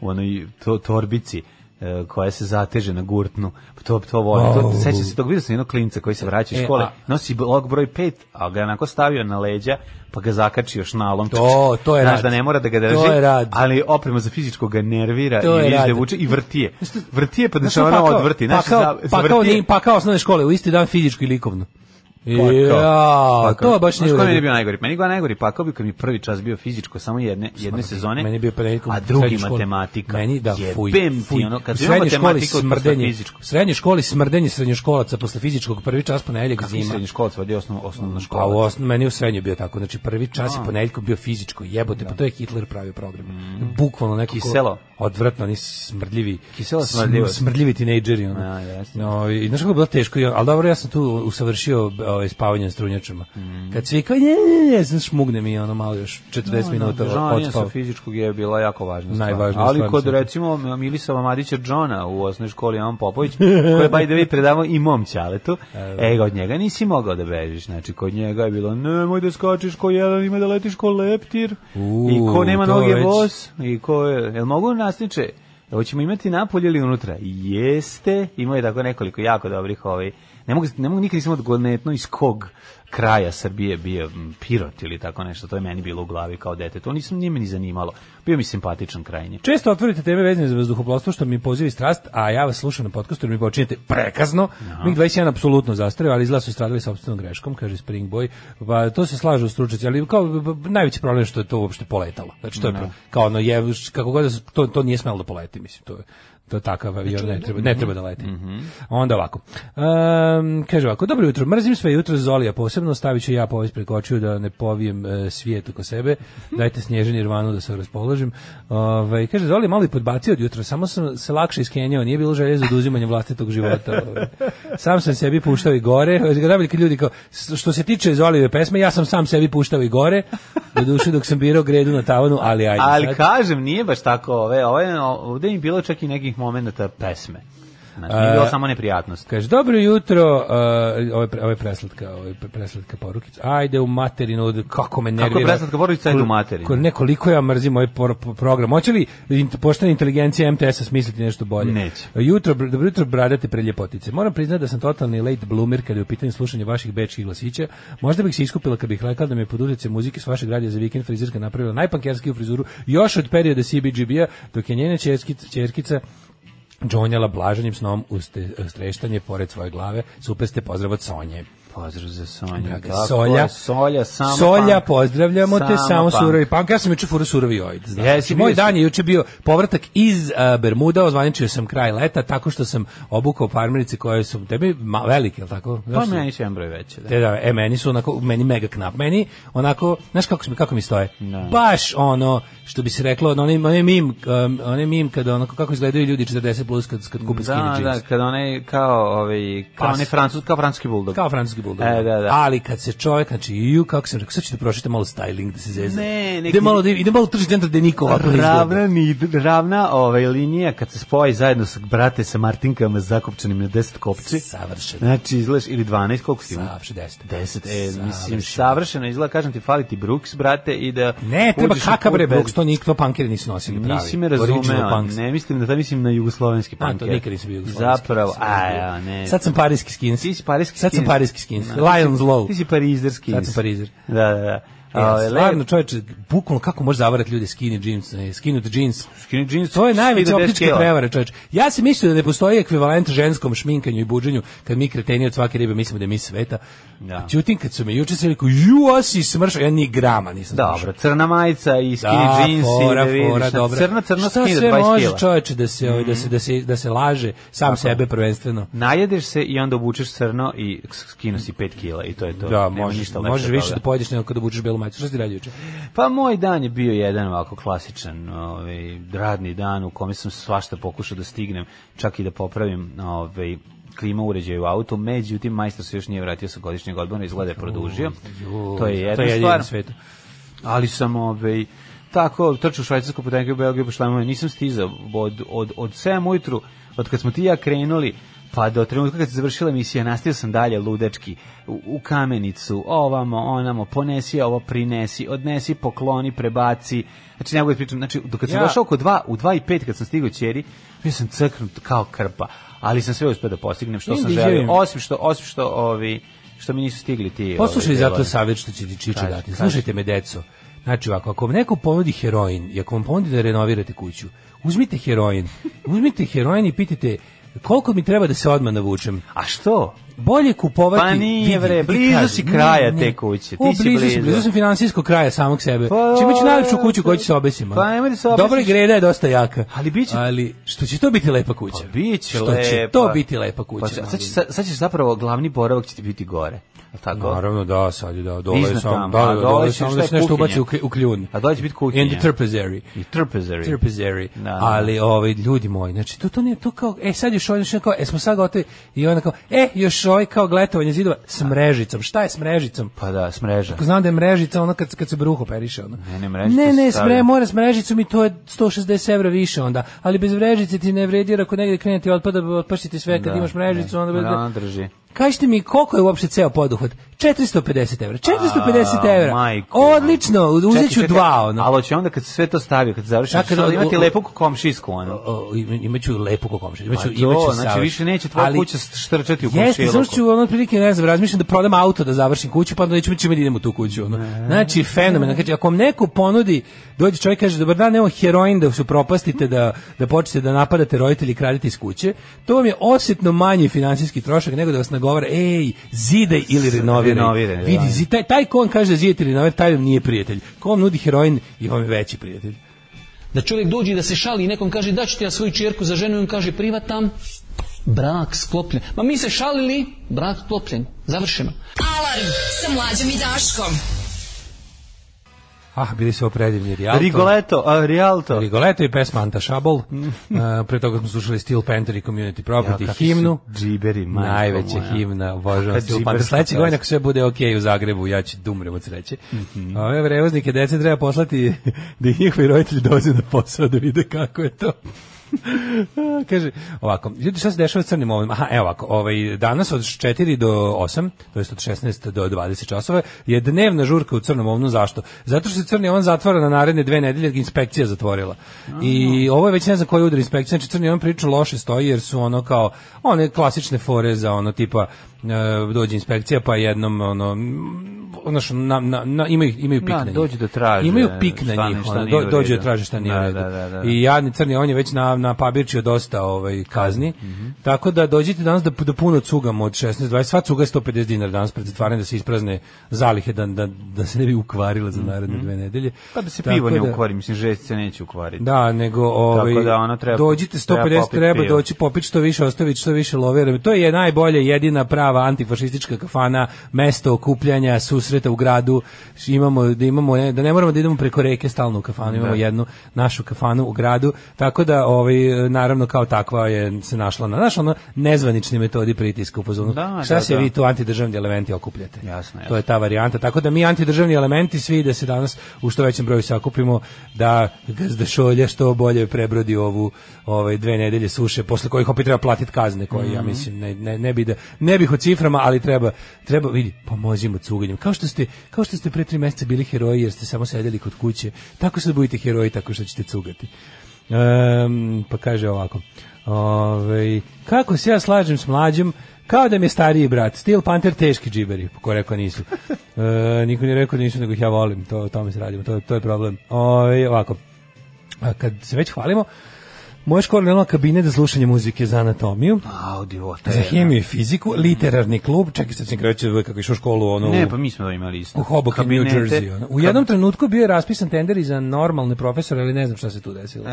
[SPEAKER 7] u onoj to, torbici e, koja se zateže na gurtnu. Pa To, to volim. To,
[SPEAKER 6] Au.
[SPEAKER 7] sećam se tog, vidio sam jednog klinca koji se vraća iz
[SPEAKER 6] E,
[SPEAKER 7] škole,
[SPEAKER 6] a-
[SPEAKER 7] nosi blok broj 5, a ga je onako stavio na leđa, pa ga zakači još nalom.
[SPEAKER 6] To- to je
[SPEAKER 7] Znaš
[SPEAKER 6] rad.
[SPEAKER 7] da ne mora da ga drži,
[SPEAKER 6] To je rad.
[SPEAKER 7] ali oprema za fizičko ga nervira
[SPEAKER 6] To
[SPEAKER 7] i
[SPEAKER 6] je
[SPEAKER 7] vidiš da je
[SPEAKER 6] rad.
[SPEAKER 7] vuče i vrtije. Vrtije pa da
[SPEAKER 6] Znaš ono
[SPEAKER 7] se
[SPEAKER 6] šta,
[SPEAKER 7] ona
[SPEAKER 6] pakao-
[SPEAKER 7] odvrti. Znaš,
[SPEAKER 6] pakao-
[SPEAKER 7] za-
[SPEAKER 6] pakao
[SPEAKER 7] zavrtije-
[SPEAKER 6] ni- pakao osnovne škole u isti dan fizičko i likovno.
[SPEAKER 7] Pa kao.
[SPEAKER 6] Ja,
[SPEAKER 7] Pa kao.
[SPEAKER 6] to baš nije
[SPEAKER 7] Znaš
[SPEAKER 6] u
[SPEAKER 7] ko meni je
[SPEAKER 6] redu.
[SPEAKER 7] bio najgori? Meni je bio najgori pakao bi kad mi prvi čas bio fizičko samo jedne, jedne sezone,
[SPEAKER 6] Meni je bio prilikom
[SPEAKER 7] a
[SPEAKER 6] u
[SPEAKER 7] drugi
[SPEAKER 6] srednjoj školi.
[SPEAKER 7] matematika.
[SPEAKER 6] Meni da fuj.
[SPEAKER 7] Jebem
[SPEAKER 6] fuj.
[SPEAKER 7] ti, ono,
[SPEAKER 6] u
[SPEAKER 7] kad imam
[SPEAKER 6] srednjoj školi
[SPEAKER 7] matematiku, smrdenje.
[SPEAKER 6] smrdenje.
[SPEAKER 7] fizičko.
[SPEAKER 6] U srednjoj školi smrdenje srednjoškolaca posle fizičkog prvi čas ponedeljak
[SPEAKER 7] Kako si
[SPEAKER 6] zima.
[SPEAKER 7] srednji školac vodio osnovno, osnovno
[SPEAKER 6] Pa u
[SPEAKER 7] škola?
[SPEAKER 6] osnovi, meni u srednjoj je bio tako, znači prvi čas je ponedeljkom bio fizičko, jebote, pa to je Hitler pravio program. Bukvalno neko ko-
[SPEAKER 7] Mm. Kiselo.
[SPEAKER 6] Odvratno, oni smrdljivi.
[SPEAKER 7] Kiselo
[SPEAKER 6] sm-
[SPEAKER 7] smrdljivost.
[SPEAKER 6] Smrdljivi tinejdžeri. Ono.
[SPEAKER 7] A, jeste.
[SPEAKER 6] no, i, znaš kako je bilo teško, i- ali dobro, ja sam tu usavršio ovaj, spavanje s trunjačama.
[SPEAKER 7] Mm.
[SPEAKER 6] Kad svi kao, ne, ne, ne, znaš, šmugne mi ono malo još 40 minuta
[SPEAKER 7] Žanje sa
[SPEAKER 6] odspav.
[SPEAKER 7] fizičkog je bila jako važna stvar.
[SPEAKER 6] Najvažnija
[SPEAKER 7] Ali
[SPEAKER 6] stvar
[SPEAKER 7] kod
[SPEAKER 6] sam-
[SPEAKER 7] recimo Milisava Madića Džona u osnovnoj školi Ivan Popović, koji je by the way predavao i mom ćaletu, e, ga od njega nisi mogao da bežiš. Znači, kod njega je bilo nemoj da skačeš ko jedan, ima da letiš ko leptir
[SPEAKER 6] U,
[SPEAKER 7] i ko nema
[SPEAKER 6] to
[SPEAKER 7] noge
[SPEAKER 6] već-
[SPEAKER 7] voz i ko je... Jel mogu nasniče? Hoćemo imati napolje ili unutra? Jeste. Imao je tako nekoliko jako dobrih ovaj. Ne mogu, ne mogu nikad nisam odgonetno iz kog kraja Srbije bio m, Pirot ili tako nešto. To je meni bilo u glavi kao dete. To nisam, nije me ni zanimalo. Bio mi simpatičan krajnje.
[SPEAKER 6] Često otvorite teme vezane za vazduhoplovstvo što mi pozivi strast, a ja vas slušam na podcastu jer mi počinjete prekazno. Mig 21 apsolutno zastareo, ali izgleda su stradali sopstvenom greškom, kaže Spring Boy. Pa to se slažu stručnjaci, ali kao b- b- najveći problem je što je to uopšte poletalo. Znači to je pro- kao ono je kako god da se- to to nije smelo da poleti, mislim, to je to takav avion ne treba, ne treba da leti. Onda ovako. Ehm, kaže ovako, dobro jutro, mrzim sve jutro Zolija posebno, stavit ću ja povijest preko očiju da ne povijem e, svijet oko sebe, dajte snježan Irvanu da se raspoložim. Ove, kaže, Zoli je malo i podbacio od jutra, samo sam se lakše iskenjao, nije bilo želje za oduzimanje vlastitog života. Ove. Sam sam sebi puštao i gore, zgrabili kad ljudi kao, "S- što se tiče Zolijeve pesme, ja sam sam sebi puštao i gore, do duše dok sam birao gredu na tavanu, ali ajde
[SPEAKER 7] Ali
[SPEAKER 6] sad.
[SPEAKER 7] kažem, nije baš tako ove, ove, ovde im bilo čak i nekih momenata pesme. Znači, nije
[SPEAKER 6] E,
[SPEAKER 7] bilo samo neprijatnost.
[SPEAKER 6] Kaže, dobro jutro, uh, ovo je, pre- ovo je preslatka, ovo je pre- preslatka porukica. Ajde u materinu, od- kako me nervira.
[SPEAKER 7] preslatka porukica, ajde u materinu.
[SPEAKER 6] Ko, ne, koliko ja mrzim ovaj por- po- program. Hoće li int- poštena inteligencija MTS-a smisliti nešto bolje?
[SPEAKER 7] Neće.
[SPEAKER 6] Jutro, br- dobro jutro, bradate preljepotice. Moram priznati da sam totalni late bloomer kada je u pitanju slušanja vaših bečkih glasića. Možda bih se iskupila kad bih rekla da me poduzece muzike s vašeg radija za vikend frizirka napravila najpankerskiju frizuru još od perioda CBGB-a, dok je njena čerkica, čerkica džonjala blaženim snom uz te- streštanje pored svoje glave. Super ste, pozdrav od Sonje.
[SPEAKER 7] Pozdrav za Sonju.
[SPEAKER 6] Draga
[SPEAKER 7] Tako
[SPEAKER 6] Solja.
[SPEAKER 7] je, Solja, samo
[SPEAKER 6] Solja,
[SPEAKER 7] punk.
[SPEAKER 6] pozdravljamo te, samo
[SPEAKER 7] punk.
[SPEAKER 6] surovi punk. Ja sam juče furo surovi jojd. znaš.
[SPEAKER 7] Jesi,
[SPEAKER 6] Znači,
[SPEAKER 7] bio
[SPEAKER 6] moj
[SPEAKER 7] si.
[SPEAKER 6] dan je juče bio povratak iz a, Bermuda, ozvaničio sam kraj leta tako što sam obukao parmerice koje su tebi ma, velike, jel tako?
[SPEAKER 7] Pa
[SPEAKER 6] Znaš,
[SPEAKER 7] meni su jedan broj veće. Da.
[SPEAKER 6] te da, e, meni su onako, meni mega knap. Meni, onako, znaš kako, su mi- kako mi stoje? Baš ono, što bi se reklo, ono, onaj onaj mim, um, onaj mim kada onako, kako izgledaju ljudi 40 plus kad, kad kupe skinny
[SPEAKER 7] Da,
[SPEAKER 6] jeans.
[SPEAKER 7] da, kad onaj, kao, ovaj, kao,
[SPEAKER 6] Pas.
[SPEAKER 7] onaj francus, kao francuski buldog.
[SPEAKER 6] Kao francuski buldog.
[SPEAKER 7] E, da, da.
[SPEAKER 6] Ali kad se čovjek, znači, ju, kako sam rekao, sad ću da prošite malo styling da se zezne.
[SPEAKER 7] Ne, neki-
[SPEAKER 6] Ide malo, da- ide malo u tržni centar gde niko ovako ne izgleda.
[SPEAKER 7] ravna ni ravna ovaj linija kad se spoji zajedno sa brate sa Martinkama zakopčanim na 10 kopci.
[SPEAKER 6] Savršeno.
[SPEAKER 7] Znači izgledaš ili 12 koliko si ima?
[SPEAKER 6] Savršeno, deset.
[SPEAKER 7] 10, e, mislim
[SPEAKER 6] Savršeno.
[SPEAKER 7] savršeno izgleda, kažem ti fali ti Brooks brate i da
[SPEAKER 6] Ne, treba
[SPEAKER 7] uđeš u
[SPEAKER 6] kaka
[SPEAKER 7] put
[SPEAKER 6] bre,
[SPEAKER 7] bez-
[SPEAKER 6] Brooks, to nikto pankeri nisu nosili pravi.
[SPEAKER 7] Nisi me
[SPEAKER 6] Original
[SPEAKER 7] razumeo,
[SPEAKER 6] punks.
[SPEAKER 7] ne mislim da to mislim na jugoslovenski
[SPEAKER 6] A,
[SPEAKER 7] punk.
[SPEAKER 6] to nikad nisam bio jugoslovenski.
[SPEAKER 7] Zapravo,
[SPEAKER 6] Nisam
[SPEAKER 7] a
[SPEAKER 6] bio.
[SPEAKER 7] ja, ne.
[SPEAKER 6] Sad sam parijski skins.
[SPEAKER 7] Ti si parijski
[SPEAKER 6] Sad sam
[SPEAKER 7] skins.
[SPEAKER 6] parijski skins.
[SPEAKER 7] Da, ti si-
[SPEAKER 6] Lions low.
[SPEAKER 7] Ti si parizerski.
[SPEAKER 6] Sad sam parizer.
[SPEAKER 7] Da, da, da.
[SPEAKER 6] Ja,
[SPEAKER 7] Ovaj, le-
[SPEAKER 6] stvarno, čovječe, bukvalno kako može zavarati ljude skinny jeans, ne, skinut jeans.
[SPEAKER 7] Skinny jeans,
[SPEAKER 6] To je najveća
[SPEAKER 7] 40
[SPEAKER 6] optička
[SPEAKER 7] kila.
[SPEAKER 6] prevara, čovječe. Ja se mislio da ne postoji ekvivalent ženskom šminkanju i buđenju, kad mi kreteni od svake ribe mislimo da je mi sveta.
[SPEAKER 7] Da.
[SPEAKER 6] Međutim, kad su me juče sve rekao, ju, a si smršao, ja ni grama nisam
[SPEAKER 7] Dobro,
[SPEAKER 6] smršao.
[SPEAKER 7] crna majica i skinny
[SPEAKER 6] Da,
[SPEAKER 7] jeans i
[SPEAKER 6] fora,
[SPEAKER 7] da vidiš,
[SPEAKER 6] fora,
[SPEAKER 7] znači,
[SPEAKER 6] dobra.
[SPEAKER 7] crna, crna
[SPEAKER 6] Šta
[SPEAKER 7] skinny,
[SPEAKER 6] sve
[SPEAKER 7] 20
[SPEAKER 6] može
[SPEAKER 7] kila. Mhm.
[SPEAKER 6] čovječe da se, ovaj, da se, da se, da se laže sam sebe prvenstveno?
[SPEAKER 7] Najedeš se i onda obučeš crno i skinu si 5 kila i to je to.
[SPEAKER 6] Da,
[SPEAKER 7] Nema
[SPEAKER 6] možeš,
[SPEAKER 7] ništa lepše
[SPEAKER 6] možeš
[SPEAKER 7] od
[SPEAKER 6] više
[SPEAKER 7] toga.
[SPEAKER 6] da pojedeš nego kad obučeš belu majicu. Šta si ti radio juče?
[SPEAKER 7] Pa moj dan je bio jedan ovako klasičan, ovaj radni dan u kome sam svašta pokušao da stignem, čak i da popravim ovaj klima uređaj u autu, međutim majstor se još nije vratio sa godišnjeg odmora, izgleda je produžio. To je jedna
[SPEAKER 6] jedino
[SPEAKER 7] stvar.
[SPEAKER 6] na svetu.
[SPEAKER 7] ali sam ovaj tako trčao u Švajcarsku po u Belgiju po šlemove, nisam stizao od, od, od 7 ujutru, od kad smo ti i ja krenuli, pa do trenutka kad se završila emisija, nastavio sam dalje ludečki u, u kamenicu, ovamo, onamo, ponesi ovo, prinesi, odnesi, pokloni, prebaci. Znači, ne mogu da pričam, znači, dok sam
[SPEAKER 6] Ja-
[SPEAKER 7] došao oko 2, u 2 i 5 kad sam stigao ćeri, bio sam crknut kao krpa, ali sam sve uspeo da postignem što
[SPEAKER 6] Vidim
[SPEAKER 7] sam
[SPEAKER 6] da
[SPEAKER 7] želio,
[SPEAKER 6] izjavim.
[SPEAKER 7] osim što, osim što ovi, što mi nisu stigli ti. ovi,
[SPEAKER 6] Poslušaj zato
[SPEAKER 7] delovi.
[SPEAKER 6] savjet što će ti Čiče
[SPEAKER 7] Kaži,
[SPEAKER 6] dati.
[SPEAKER 7] kaži.
[SPEAKER 6] Slušajte me, deco. Znači, ovako, ako vam neko ponudi heroin i ako vam ponudi da renovirate kuću, uzmite heroin. Uzmite heroin i pitajte koliko mi treba da se odmah navučem.
[SPEAKER 7] A što?
[SPEAKER 6] Bolje kupovati...
[SPEAKER 7] Pa
[SPEAKER 6] vidi,
[SPEAKER 7] nije, bre,
[SPEAKER 6] ti
[SPEAKER 7] blizu
[SPEAKER 6] kaži,
[SPEAKER 7] si kraja
[SPEAKER 6] ne,
[SPEAKER 7] te
[SPEAKER 6] ne.
[SPEAKER 7] kuće, ti
[SPEAKER 6] O,
[SPEAKER 7] si
[SPEAKER 6] blizu,
[SPEAKER 7] blizu.
[SPEAKER 6] blizu sam finansijskog kraja samog sebe.
[SPEAKER 7] Pa,
[SPEAKER 6] Čime ću najlepšu kuću koju ću se obesimo.
[SPEAKER 7] Pa, nemoj da se
[SPEAKER 6] Dobra
[SPEAKER 7] obesiš.
[SPEAKER 6] greda je dosta jaka.
[SPEAKER 7] Ali bit će-
[SPEAKER 6] Ali, što će to biti lepa kuća?
[SPEAKER 7] Pa biće
[SPEAKER 6] što
[SPEAKER 7] lepa.
[SPEAKER 6] će to biti lepa kuća?
[SPEAKER 7] Pa, sad,
[SPEAKER 6] mali.
[SPEAKER 7] ćeš, sad, sad ćeš zapravo, glavni boravak će ti biti gore. Je li Tako?
[SPEAKER 6] Naravno da, sad je da, dole
[SPEAKER 7] Iznad
[SPEAKER 6] sam,
[SPEAKER 7] tamo,
[SPEAKER 6] da,
[SPEAKER 7] a
[SPEAKER 6] da,
[SPEAKER 7] dole
[SPEAKER 6] dole
[SPEAKER 7] će
[SPEAKER 6] sam
[SPEAKER 7] šta
[SPEAKER 6] da
[SPEAKER 7] je
[SPEAKER 6] se nešto
[SPEAKER 7] kuhinja?
[SPEAKER 6] ubaci u, kli- u kljun.
[SPEAKER 7] A dole će biti kuhinja.
[SPEAKER 6] In the trpezary.
[SPEAKER 7] I trpezari.
[SPEAKER 6] Trpezary.
[SPEAKER 7] Da, da.
[SPEAKER 6] Ali, ovaj, ljudi moji, znači, to, to nije to kao, e, sad još ovaj, još kao, e, smo sad gotovi, i onda kao, e, još ovaj kao gletovanje zidova s mrežicom. Šta je s mrežicom?
[SPEAKER 7] Pa da, smreža.
[SPEAKER 6] Ako znam da je mrežica ono kad, kad se bruho periše. Ono.
[SPEAKER 7] Ne, ne, mrežica
[SPEAKER 6] Ne,
[SPEAKER 7] se
[SPEAKER 6] ne,
[SPEAKER 7] stavlja.
[SPEAKER 6] smre, mora s mrežicom i to je 160 evra više onda. Ali bez mrežice ti ne vredi, jer ako negde krenete otpada, otpašće ti sve, kad
[SPEAKER 7] Da,
[SPEAKER 6] imaš mrežicu,
[SPEAKER 7] ne.
[SPEAKER 6] onda...
[SPEAKER 7] Da, ona drži.
[SPEAKER 6] Kažite mi koliko je uopšte ceo poduhvat? 450 evra. 450
[SPEAKER 7] A,
[SPEAKER 6] evra.
[SPEAKER 7] majko.
[SPEAKER 6] Odlično, uzet ću
[SPEAKER 7] Čekaj, čekaj,
[SPEAKER 6] dva ono.
[SPEAKER 7] Ali će onda kad se sve to stavi, kad završi,
[SPEAKER 6] Čekaj,
[SPEAKER 7] Čakaj, da,
[SPEAKER 6] da,
[SPEAKER 7] imati
[SPEAKER 6] u- u-
[SPEAKER 7] lepu komšijsku, ono.
[SPEAKER 6] O, ima- imaću lepu ko komšiju.
[SPEAKER 7] Pa
[SPEAKER 6] Imaću,
[SPEAKER 7] to,
[SPEAKER 6] imaću
[SPEAKER 7] znači,
[SPEAKER 6] savrš-
[SPEAKER 7] više neće tvoja kuća štrčati u
[SPEAKER 6] Jeste,
[SPEAKER 7] komšiluku.
[SPEAKER 6] samo što ću ono otprilike, ne znam, razmišljam da prodam auto da završim kuću, pa onda neću čime da idem u tu kuću. Ono. Znači, fenomen. Znači, ako vam neko ponudi, dođe čovjek i kaže, dobar dan, evo heroin da se propastite, da, da počnete da napadate roditelji i kradite iz kuće, to vam je osjetno manji finansijski trošak nego da vas nagovara, ej, zidaj ili renoviraj.
[SPEAKER 7] Renoviraj, da.
[SPEAKER 6] Vidi, zi, taj, taj ko vam kaže da zidite ili renoviraj, taj vam nije prijatelj. Ko vam nudi heroin, je vam je veći prijatelj.
[SPEAKER 8] Da čovjek dođe i da se šali i nekom kaže da ću ti ja svoju čerku za ženu i on kaže privatam, brak sklopljen. Ma mi se šalili, brak sklopljen, završeno.
[SPEAKER 5] Alarm sa mlađom i Daškom.
[SPEAKER 6] Ah, bili su ovo predivni Rialto.
[SPEAKER 7] Rigoletto, a Rialto.
[SPEAKER 6] Rigoletto i pesma Anta Šabol. Uh, pre toga smo slušali Steel Panther i Community Property
[SPEAKER 7] Mm. Ja, kakvi su
[SPEAKER 6] himnu.
[SPEAKER 7] džiberi, majko
[SPEAKER 6] Najveća
[SPEAKER 7] moja.
[SPEAKER 6] himna, obožavam
[SPEAKER 7] Kakav
[SPEAKER 6] Steel
[SPEAKER 7] džiber
[SPEAKER 6] Panther.
[SPEAKER 7] sam
[SPEAKER 6] Sledeće
[SPEAKER 7] čovjek.
[SPEAKER 6] godine ako sve bude ok u Zagrebu, ja ću da umrem od sreće. Ove prevoznike dece treba poslati da i njihovi roditelji dođu na posao da vide kako je to. Kaže, ovako, ljudi, šta se dešava s crnim ovim? Aha, evo ovako, ovaj, danas od 4 do 8, to jest od 16 do 20 časova, je dnevna žurka u crnom ovnu, zašto? Zato što se crni ovn zatvara na naredne dve nedelje, jer ga inspekcija zatvorila. I ovo je već ne znam koji udar inspekcija, znači crni ovn prilično loše stoji, jer su ono kao, one klasične fore za ono tipa, e, dođe inspekcija pa jednom ono mm, znaš, na, na, na, imaju, imaju pik
[SPEAKER 7] Da,
[SPEAKER 6] na njih.
[SPEAKER 7] dođu da traže
[SPEAKER 6] Imaju pik na
[SPEAKER 7] šta
[SPEAKER 6] njih,
[SPEAKER 7] ne- šta
[SPEAKER 6] ono,
[SPEAKER 7] nije u
[SPEAKER 6] do, dođu da
[SPEAKER 7] redu.
[SPEAKER 6] traže šta nije
[SPEAKER 7] Da,
[SPEAKER 6] u redu.
[SPEAKER 7] da, da, da.
[SPEAKER 6] I i jadni crni on je već na na pabirčio dosta ovaj kazni.
[SPEAKER 7] mhm.
[SPEAKER 6] Tako da dođite danas da da puno cugamo od 16 20 sva cuga je 150 dinara danas pred zatvaranje da se isprazne zalihe da da, da se ne bi ukvarila za naredne dve nedelje.
[SPEAKER 7] Mhm. Pa da se
[SPEAKER 6] Tako
[SPEAKER 7] pivo ne
[SPEAKER 6] da-
[SPEAKER 7] ukvari, mislim, žest se neće ukvariti.
[SPEAKER 6] Da, nego ovaj
[SPEAKER 7] da ono treba-
[SPEAKER 6] dođite 150
[SPEAKER 7] treba
[SPEAKER 6] treba,
[SPEAKER 7] popit piva.
[SPEAKER 6] doći popiti što više, ostaviti što više lovere. To je najbolje, jedina prava antifašistička kafana, mesto okupljanja, susreta u gradu. Imamo da imamo ne, da ne moramo da idemo preko reke stalno u kafanu, imamo jednu našu kafanu u gradu. Tako da ovaj naravno kao takva je se našla na naš ono nezvanični metodi pritiska u fazonu.
[SPEAKER 7] Da,
[SPEAKER 6] Šta
[SPEAKER 7] da,
[SPEAKER 6] se
[SPEAKER 7] da.
[SPEAKER 6] vi tu antidržavni elementi okupljate?
[SPEAKER 7] Jasno, jasno.
[SPEAKER 6] To je ta varijanta. Tako da mi antidržavni elementi svi da se danas u što većem broju sakupimo da gazda šolja što bolje prebrodi ovu ovaj dve nedelje suše posle kojih opet treba platiti kazne koje ja
[SPEAKER 7] Mhm.
[SPEAKER 6] mislim ne, ne, ne bi da ne bih o ciframa, ali treba treba vidi pomozimo cuganjem. Kao što ste kao što ste pre tri mjeseca bili heroji jer ste samo sedeli kod kuće, tako se budite heroji tako što ćete cugati. Ehm, pa kaže ovako. Ovaj, kako se ja slažem s mlađim, kao da mi je stariji brat. Steel Panther teški džiberi, ko rekao nisu. E, niko nije rekao da nisu, nego ih ja volim. To, o tome se radimo, to, to je problem. Ovaj, ovako, a kad se već hvalimo, moja škola je imala kabinet za slušanje muzike za anatomiju. Mm.
[SPEAKER 7] Audio,
[SPEAKER 6] Za hemiju i fiziku, literarni klub, čekaj sad sam kreću kako je išao u školu, ono,
[SPEAKER 7] Ne,
[SPEAKER 6] u-
[SPEAKER 7] pa mi smo imali isto.
[SPEAKER 6] u Hoboken, New
[SPEAKER 7] Kabinete.
[SPEAKER 6] Jersey. ono. U jednom trenutku bio je raspisan tender i za normalne profesore, ali ne znam šta se tu desilo.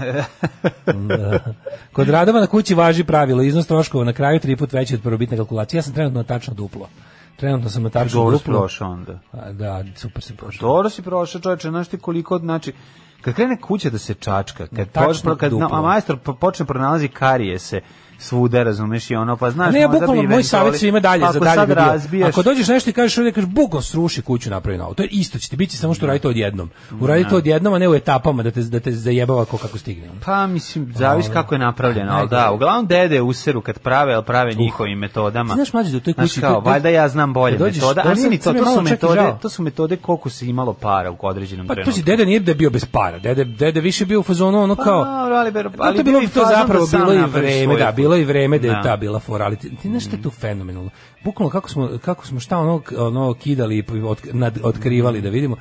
[SPEAKER 6] Da. Kod radova na kući važi pravilo, iznos troškova na kraju tri put veći od prvobitne kalkulacije. Ja sam trenutno na tačno duplo. Trenutno sam na tačno
[SPEAKER 7] Dobro si
[SPEAKER 6] duplo.
[SPEAKER 7] prošao onda.
[SPEAKER 6] A, da, super sam prošao.
[SPEAKER 7] Dobro si prošao, čovječe, znaš ti koliko, znači, kad krene kuća da se čačka, kad,
[SPEAKER 6] Tačno
[SPEAKER 7] počne, kad na-
[SPEAKER 6] duplo.
[SPEAKER 7] a majstor po- počne pronalazi karijese svuda, razumeš, i ono, pa znaš,
[SPEAKER 6] Ne, ja
[SPEAKER 7] možda bi
[SPEAKER 6] bukvalno moj
[SPEAKER 7] eventualno- Pa
[SPEAKER 6] savjet svima dalje
[SPEAKER 7] ako
[SPEAKER 6] za dalje
[SPEAKER 7] sad
[SPEAKER 6] bi bio,
[SPEAKER 7] razbijaš,
[SPEAKER 6] Ako dođeš nešto i kažeš ovdje, kažeš bukvalno sruši kuću napravi novu. To je isto će ti biti samo što radi to odjednom. Uradi to odjednom, a ne u etapama da te, da te zajebava ko kako stigne. ono.
[SPEAKER 7] Pa mislim, zavisi kako je napravljeno, ali da,
[SPEAKER 6] najgore.
[SPEAKER 7] uglavnom dede useru kad prave, ali prave njihovim metodama.
[SPEAKER 6] Uh. Znaš, mlađe, da u toj
[SPEAKER 7] Znaš
[SPEAKER 6] kući-
[SPEAKER 7] kao,
[SPEAKER 6] to- to-
[SPEAKER 7] valjda ja znam bolje
[SPEAKER 6] kad dođeš,
[SPEAKER 7] metode,
[SPEAKER 6] to
[SPEAKER 7] ali nije
[SPEAKER 6] sam-
[SPEAKER 7] ni to,
[SPEAKER 6] sam ja
[SPEAKER 7] to su
[SPEAKER 6] malo čak i
[SPEAKER 7] metode,
[SPEAKER 6] žao.
[SPEAKER 7] to su metode koliko se imalo para u određenom
[SPEAKER 6] Pa
[SPEAKER 7] trenutku.
[SPEAKER 6] pazi, dede nije da je bio bez para. Dede, dede više bio u fazonu ono kao...
[SPEAKER 7] Pa dobro, ali- ali
[SPEAKER 6] to je
[SPEAKER 7] bio
[SPEAKER 6] bilo,
[SPEAKER 7] je
[SPEAKER 6] to je
[SPEAKER 7] fazon
[SPEAKER 6] zapravo
[SPEAKER 7] da sam
[SPEAKER 6] bilo i
[SPEAKER 7] napraviš
[SPEAKER 6] vreme,
[SPEAKER 7] svoju
[SPEAKER 6] da,
[SPEAKER 7] kuću.
[SPEAKER 6] bilo je i vreme da je
[SPEAKER 7] Da. Mm.
[SPEAKER 6] ta bila fora, ali ti, ti znaš šta je tu fenomenalno. Bukvalno kako smo, kako smo šta ono, ono kidali i otk- nad- otkrivali da vidimo,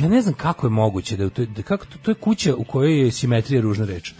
[SPEAKER 6] ja ne znam kako je moguće da, u toj- da kako to, to je kuća u kojoj je simetrija ružna reč.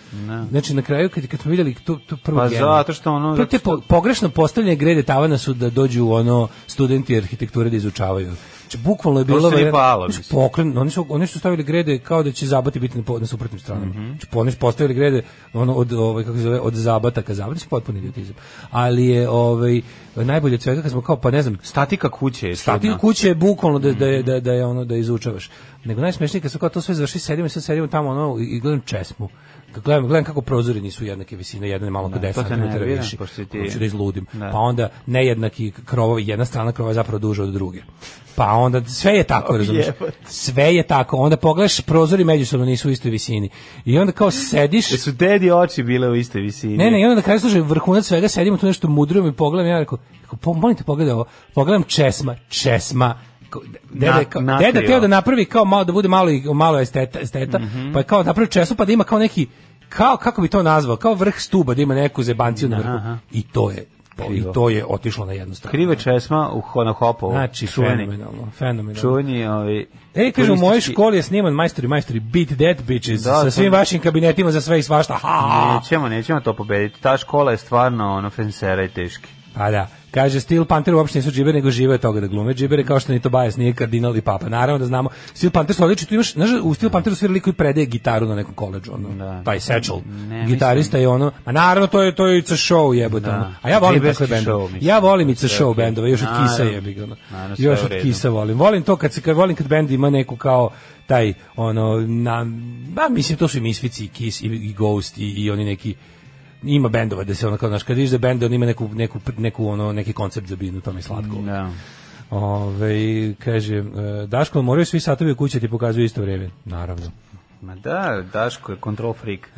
[SPEAKER 6] Znači na kraju kad kad smo vidjeli to to prvo
[SPEAKER 7] Pa
[SPEAKER 6] genijalno.
[SPEAKER 7] zato što ono-
[SPEAKER 6] Prvo te po- pogrešno postavljene grede tavana su da dođu ono studenti arhitekture da izučavaju. Znači bukvalno je bilo
[SPEAKER 7] se nije
[SPEAKER 6] varijanta-
[SPEAKER 7] palo,
[SPEAKER 6] Znači,
[SPEAKER 7] mislim.
[SPEAKER 6] pokren- oni su oni su stavili grede kao da će zabati biti na, po- na suprotnim stranama.
[SPEAKER 7] Mhm.
[SPEAKER 6] Znači po- oni su postavili grede ono od ovaj kako se zove od zabata ka zabati, Mislim, potpuni idiotizam. Ali je ovaj najbolje od svega kad smo kao pa ne znam
[SPEAKER 7] Statika kuće je
[SPEAKER 6] Stati
[SPEAKER 7] čudna.
[SPEAKER 6] u kuće je bukvalno da, da, je- da, da je ono da izučavaš. Nego najsmešnije kad su kao to sve završi, sedimo i sad sedimo tamo ono i i gledam česmu. Kad Gledam, gledam kako prozori nisu jednake visine, jedan je malo kod 10
[SPEAKER 7] to te
[SPEAKER 6] cm
[SPEAKER 7] nervira,
[SPEAKER 6] viši.
[SPEAKER 7] pošto si ti-
[SPEAKER 6] Hoću Ono da izludim.
[SPEAKER 7] Da.
[SPEAKER 6] Pa onda nejednaki krovovi, jedna strana krova je zapravo duža od druge. Pa onda sve je tako, razumiješ? Sve je tako. Onda pogledaš, prozori međusobno nisu u istoj visini. I onda kao sediš...
[SPEAKER 7] Jesu dedi oči bile u istoj visini.
[SPEAKER 6] Ne, ne, i onda na kraju slušaj, vrhunac svega, sedimo tu nešto mudrujemo i pogledam, ja rekao, rekao, po, molim te pogledaj ovo, pogledam česma, česma, Kao, dede,
[SPEAKER 7] Na-
[SPEAKER 6] kao,
[SPEAKER 7] nakrio.
[SPEAKER 6] deda teo da napravi kao malo, da bude malo, i- malo esteta, esteta
[SPEAKER 7] Mhm.
[SPEAKER 6] pa je kao napravi česmu, pa da ima kao neki, kao, kako bi to nazvao, kao vrh stuba, da ima neku zebanciju na vrhu, i to je, i to je otišlo na jednu stranu.
[SPEAKER 7] Krive česma u ho- na hopovu.
[SPEAKER 6] Znači,
[SPEAKER 7] čuveni.
[SPEAKER 6] fenomenalno, fenomenalno.
[SPEAKER 7] Čuveni, ovaj,
[SPEAKER 6] E, kaže, u mojoj
[SPEAKER 7] turistički-
[SPEAKER 6] školi je sniman majstori, majstori, beat that bitches,
[SPEAKER 7] Da,
[SPEAKER 6] sa
[SPEAKER 7] to-
[SPEAKER 6] svim vašim kabinetima, za sve i svašta, ha, ha, ha.
[SPEAKER 7] Nećemo, nećemo to pobediti. Ta škola je stvarno, ono, fensera i teški.
[SPEAKER 6] Pa da. Kaže, Steel Panther uopšte nisu džiberi, nego žive od toga da glume džibere, kao što ni Tobias nije kardinal i papa. Naravno da znamo, Steel Panther su odlični, tu imaš, znaš, u Steel Pantheru svira liko i predaje gitaru na nekom koleđu, ono, taj Satchel, gitarista je ono, a naravno to je, to je It's a show jebote, ono. a ja volim
[SPEAKER 7] Džiberski
[SPEAKER 6] takve bendove,
[SPEAKER 7] show, mislim.
[SPEAKER 6] ja volim It's a
[SPEAKER 7] Sve
[SPEAKER 6] show
[SPEAKER 7] okej.
[SPEAKER 6] bendove, još od Kisa
[SPEAKER 7] Naravno.
[SPEAKER 6] jebi ga, ono.
[SPEAKER 7] Naravno, sve
[SPEAKER 6] još
[SPEAKER 7] u
[SPEAKER 6] od
[SPEAKER 7] redu.
[SPEAKER 6] Kisa volim, volim to kad se, kad volim kad bend ima neku kao, taj ono na ba mislim to su i Misfici i Kiss i, i Ghost i, i oni neki ima bendova da se ono kao znaš kad vidiš da bend on ima neku, neku, neku ono neki koncept za binu to mi je slatko
[SPEAKER 7] Da.
[SPEAKER 6] Ove, kaže, e, Daško, moraju svi satovi u kući ti pokazuju isto vrijeme. Naravno.
[SPEAKER 7] Ma da, Daško je control freak.
[SPEAKER 6] E,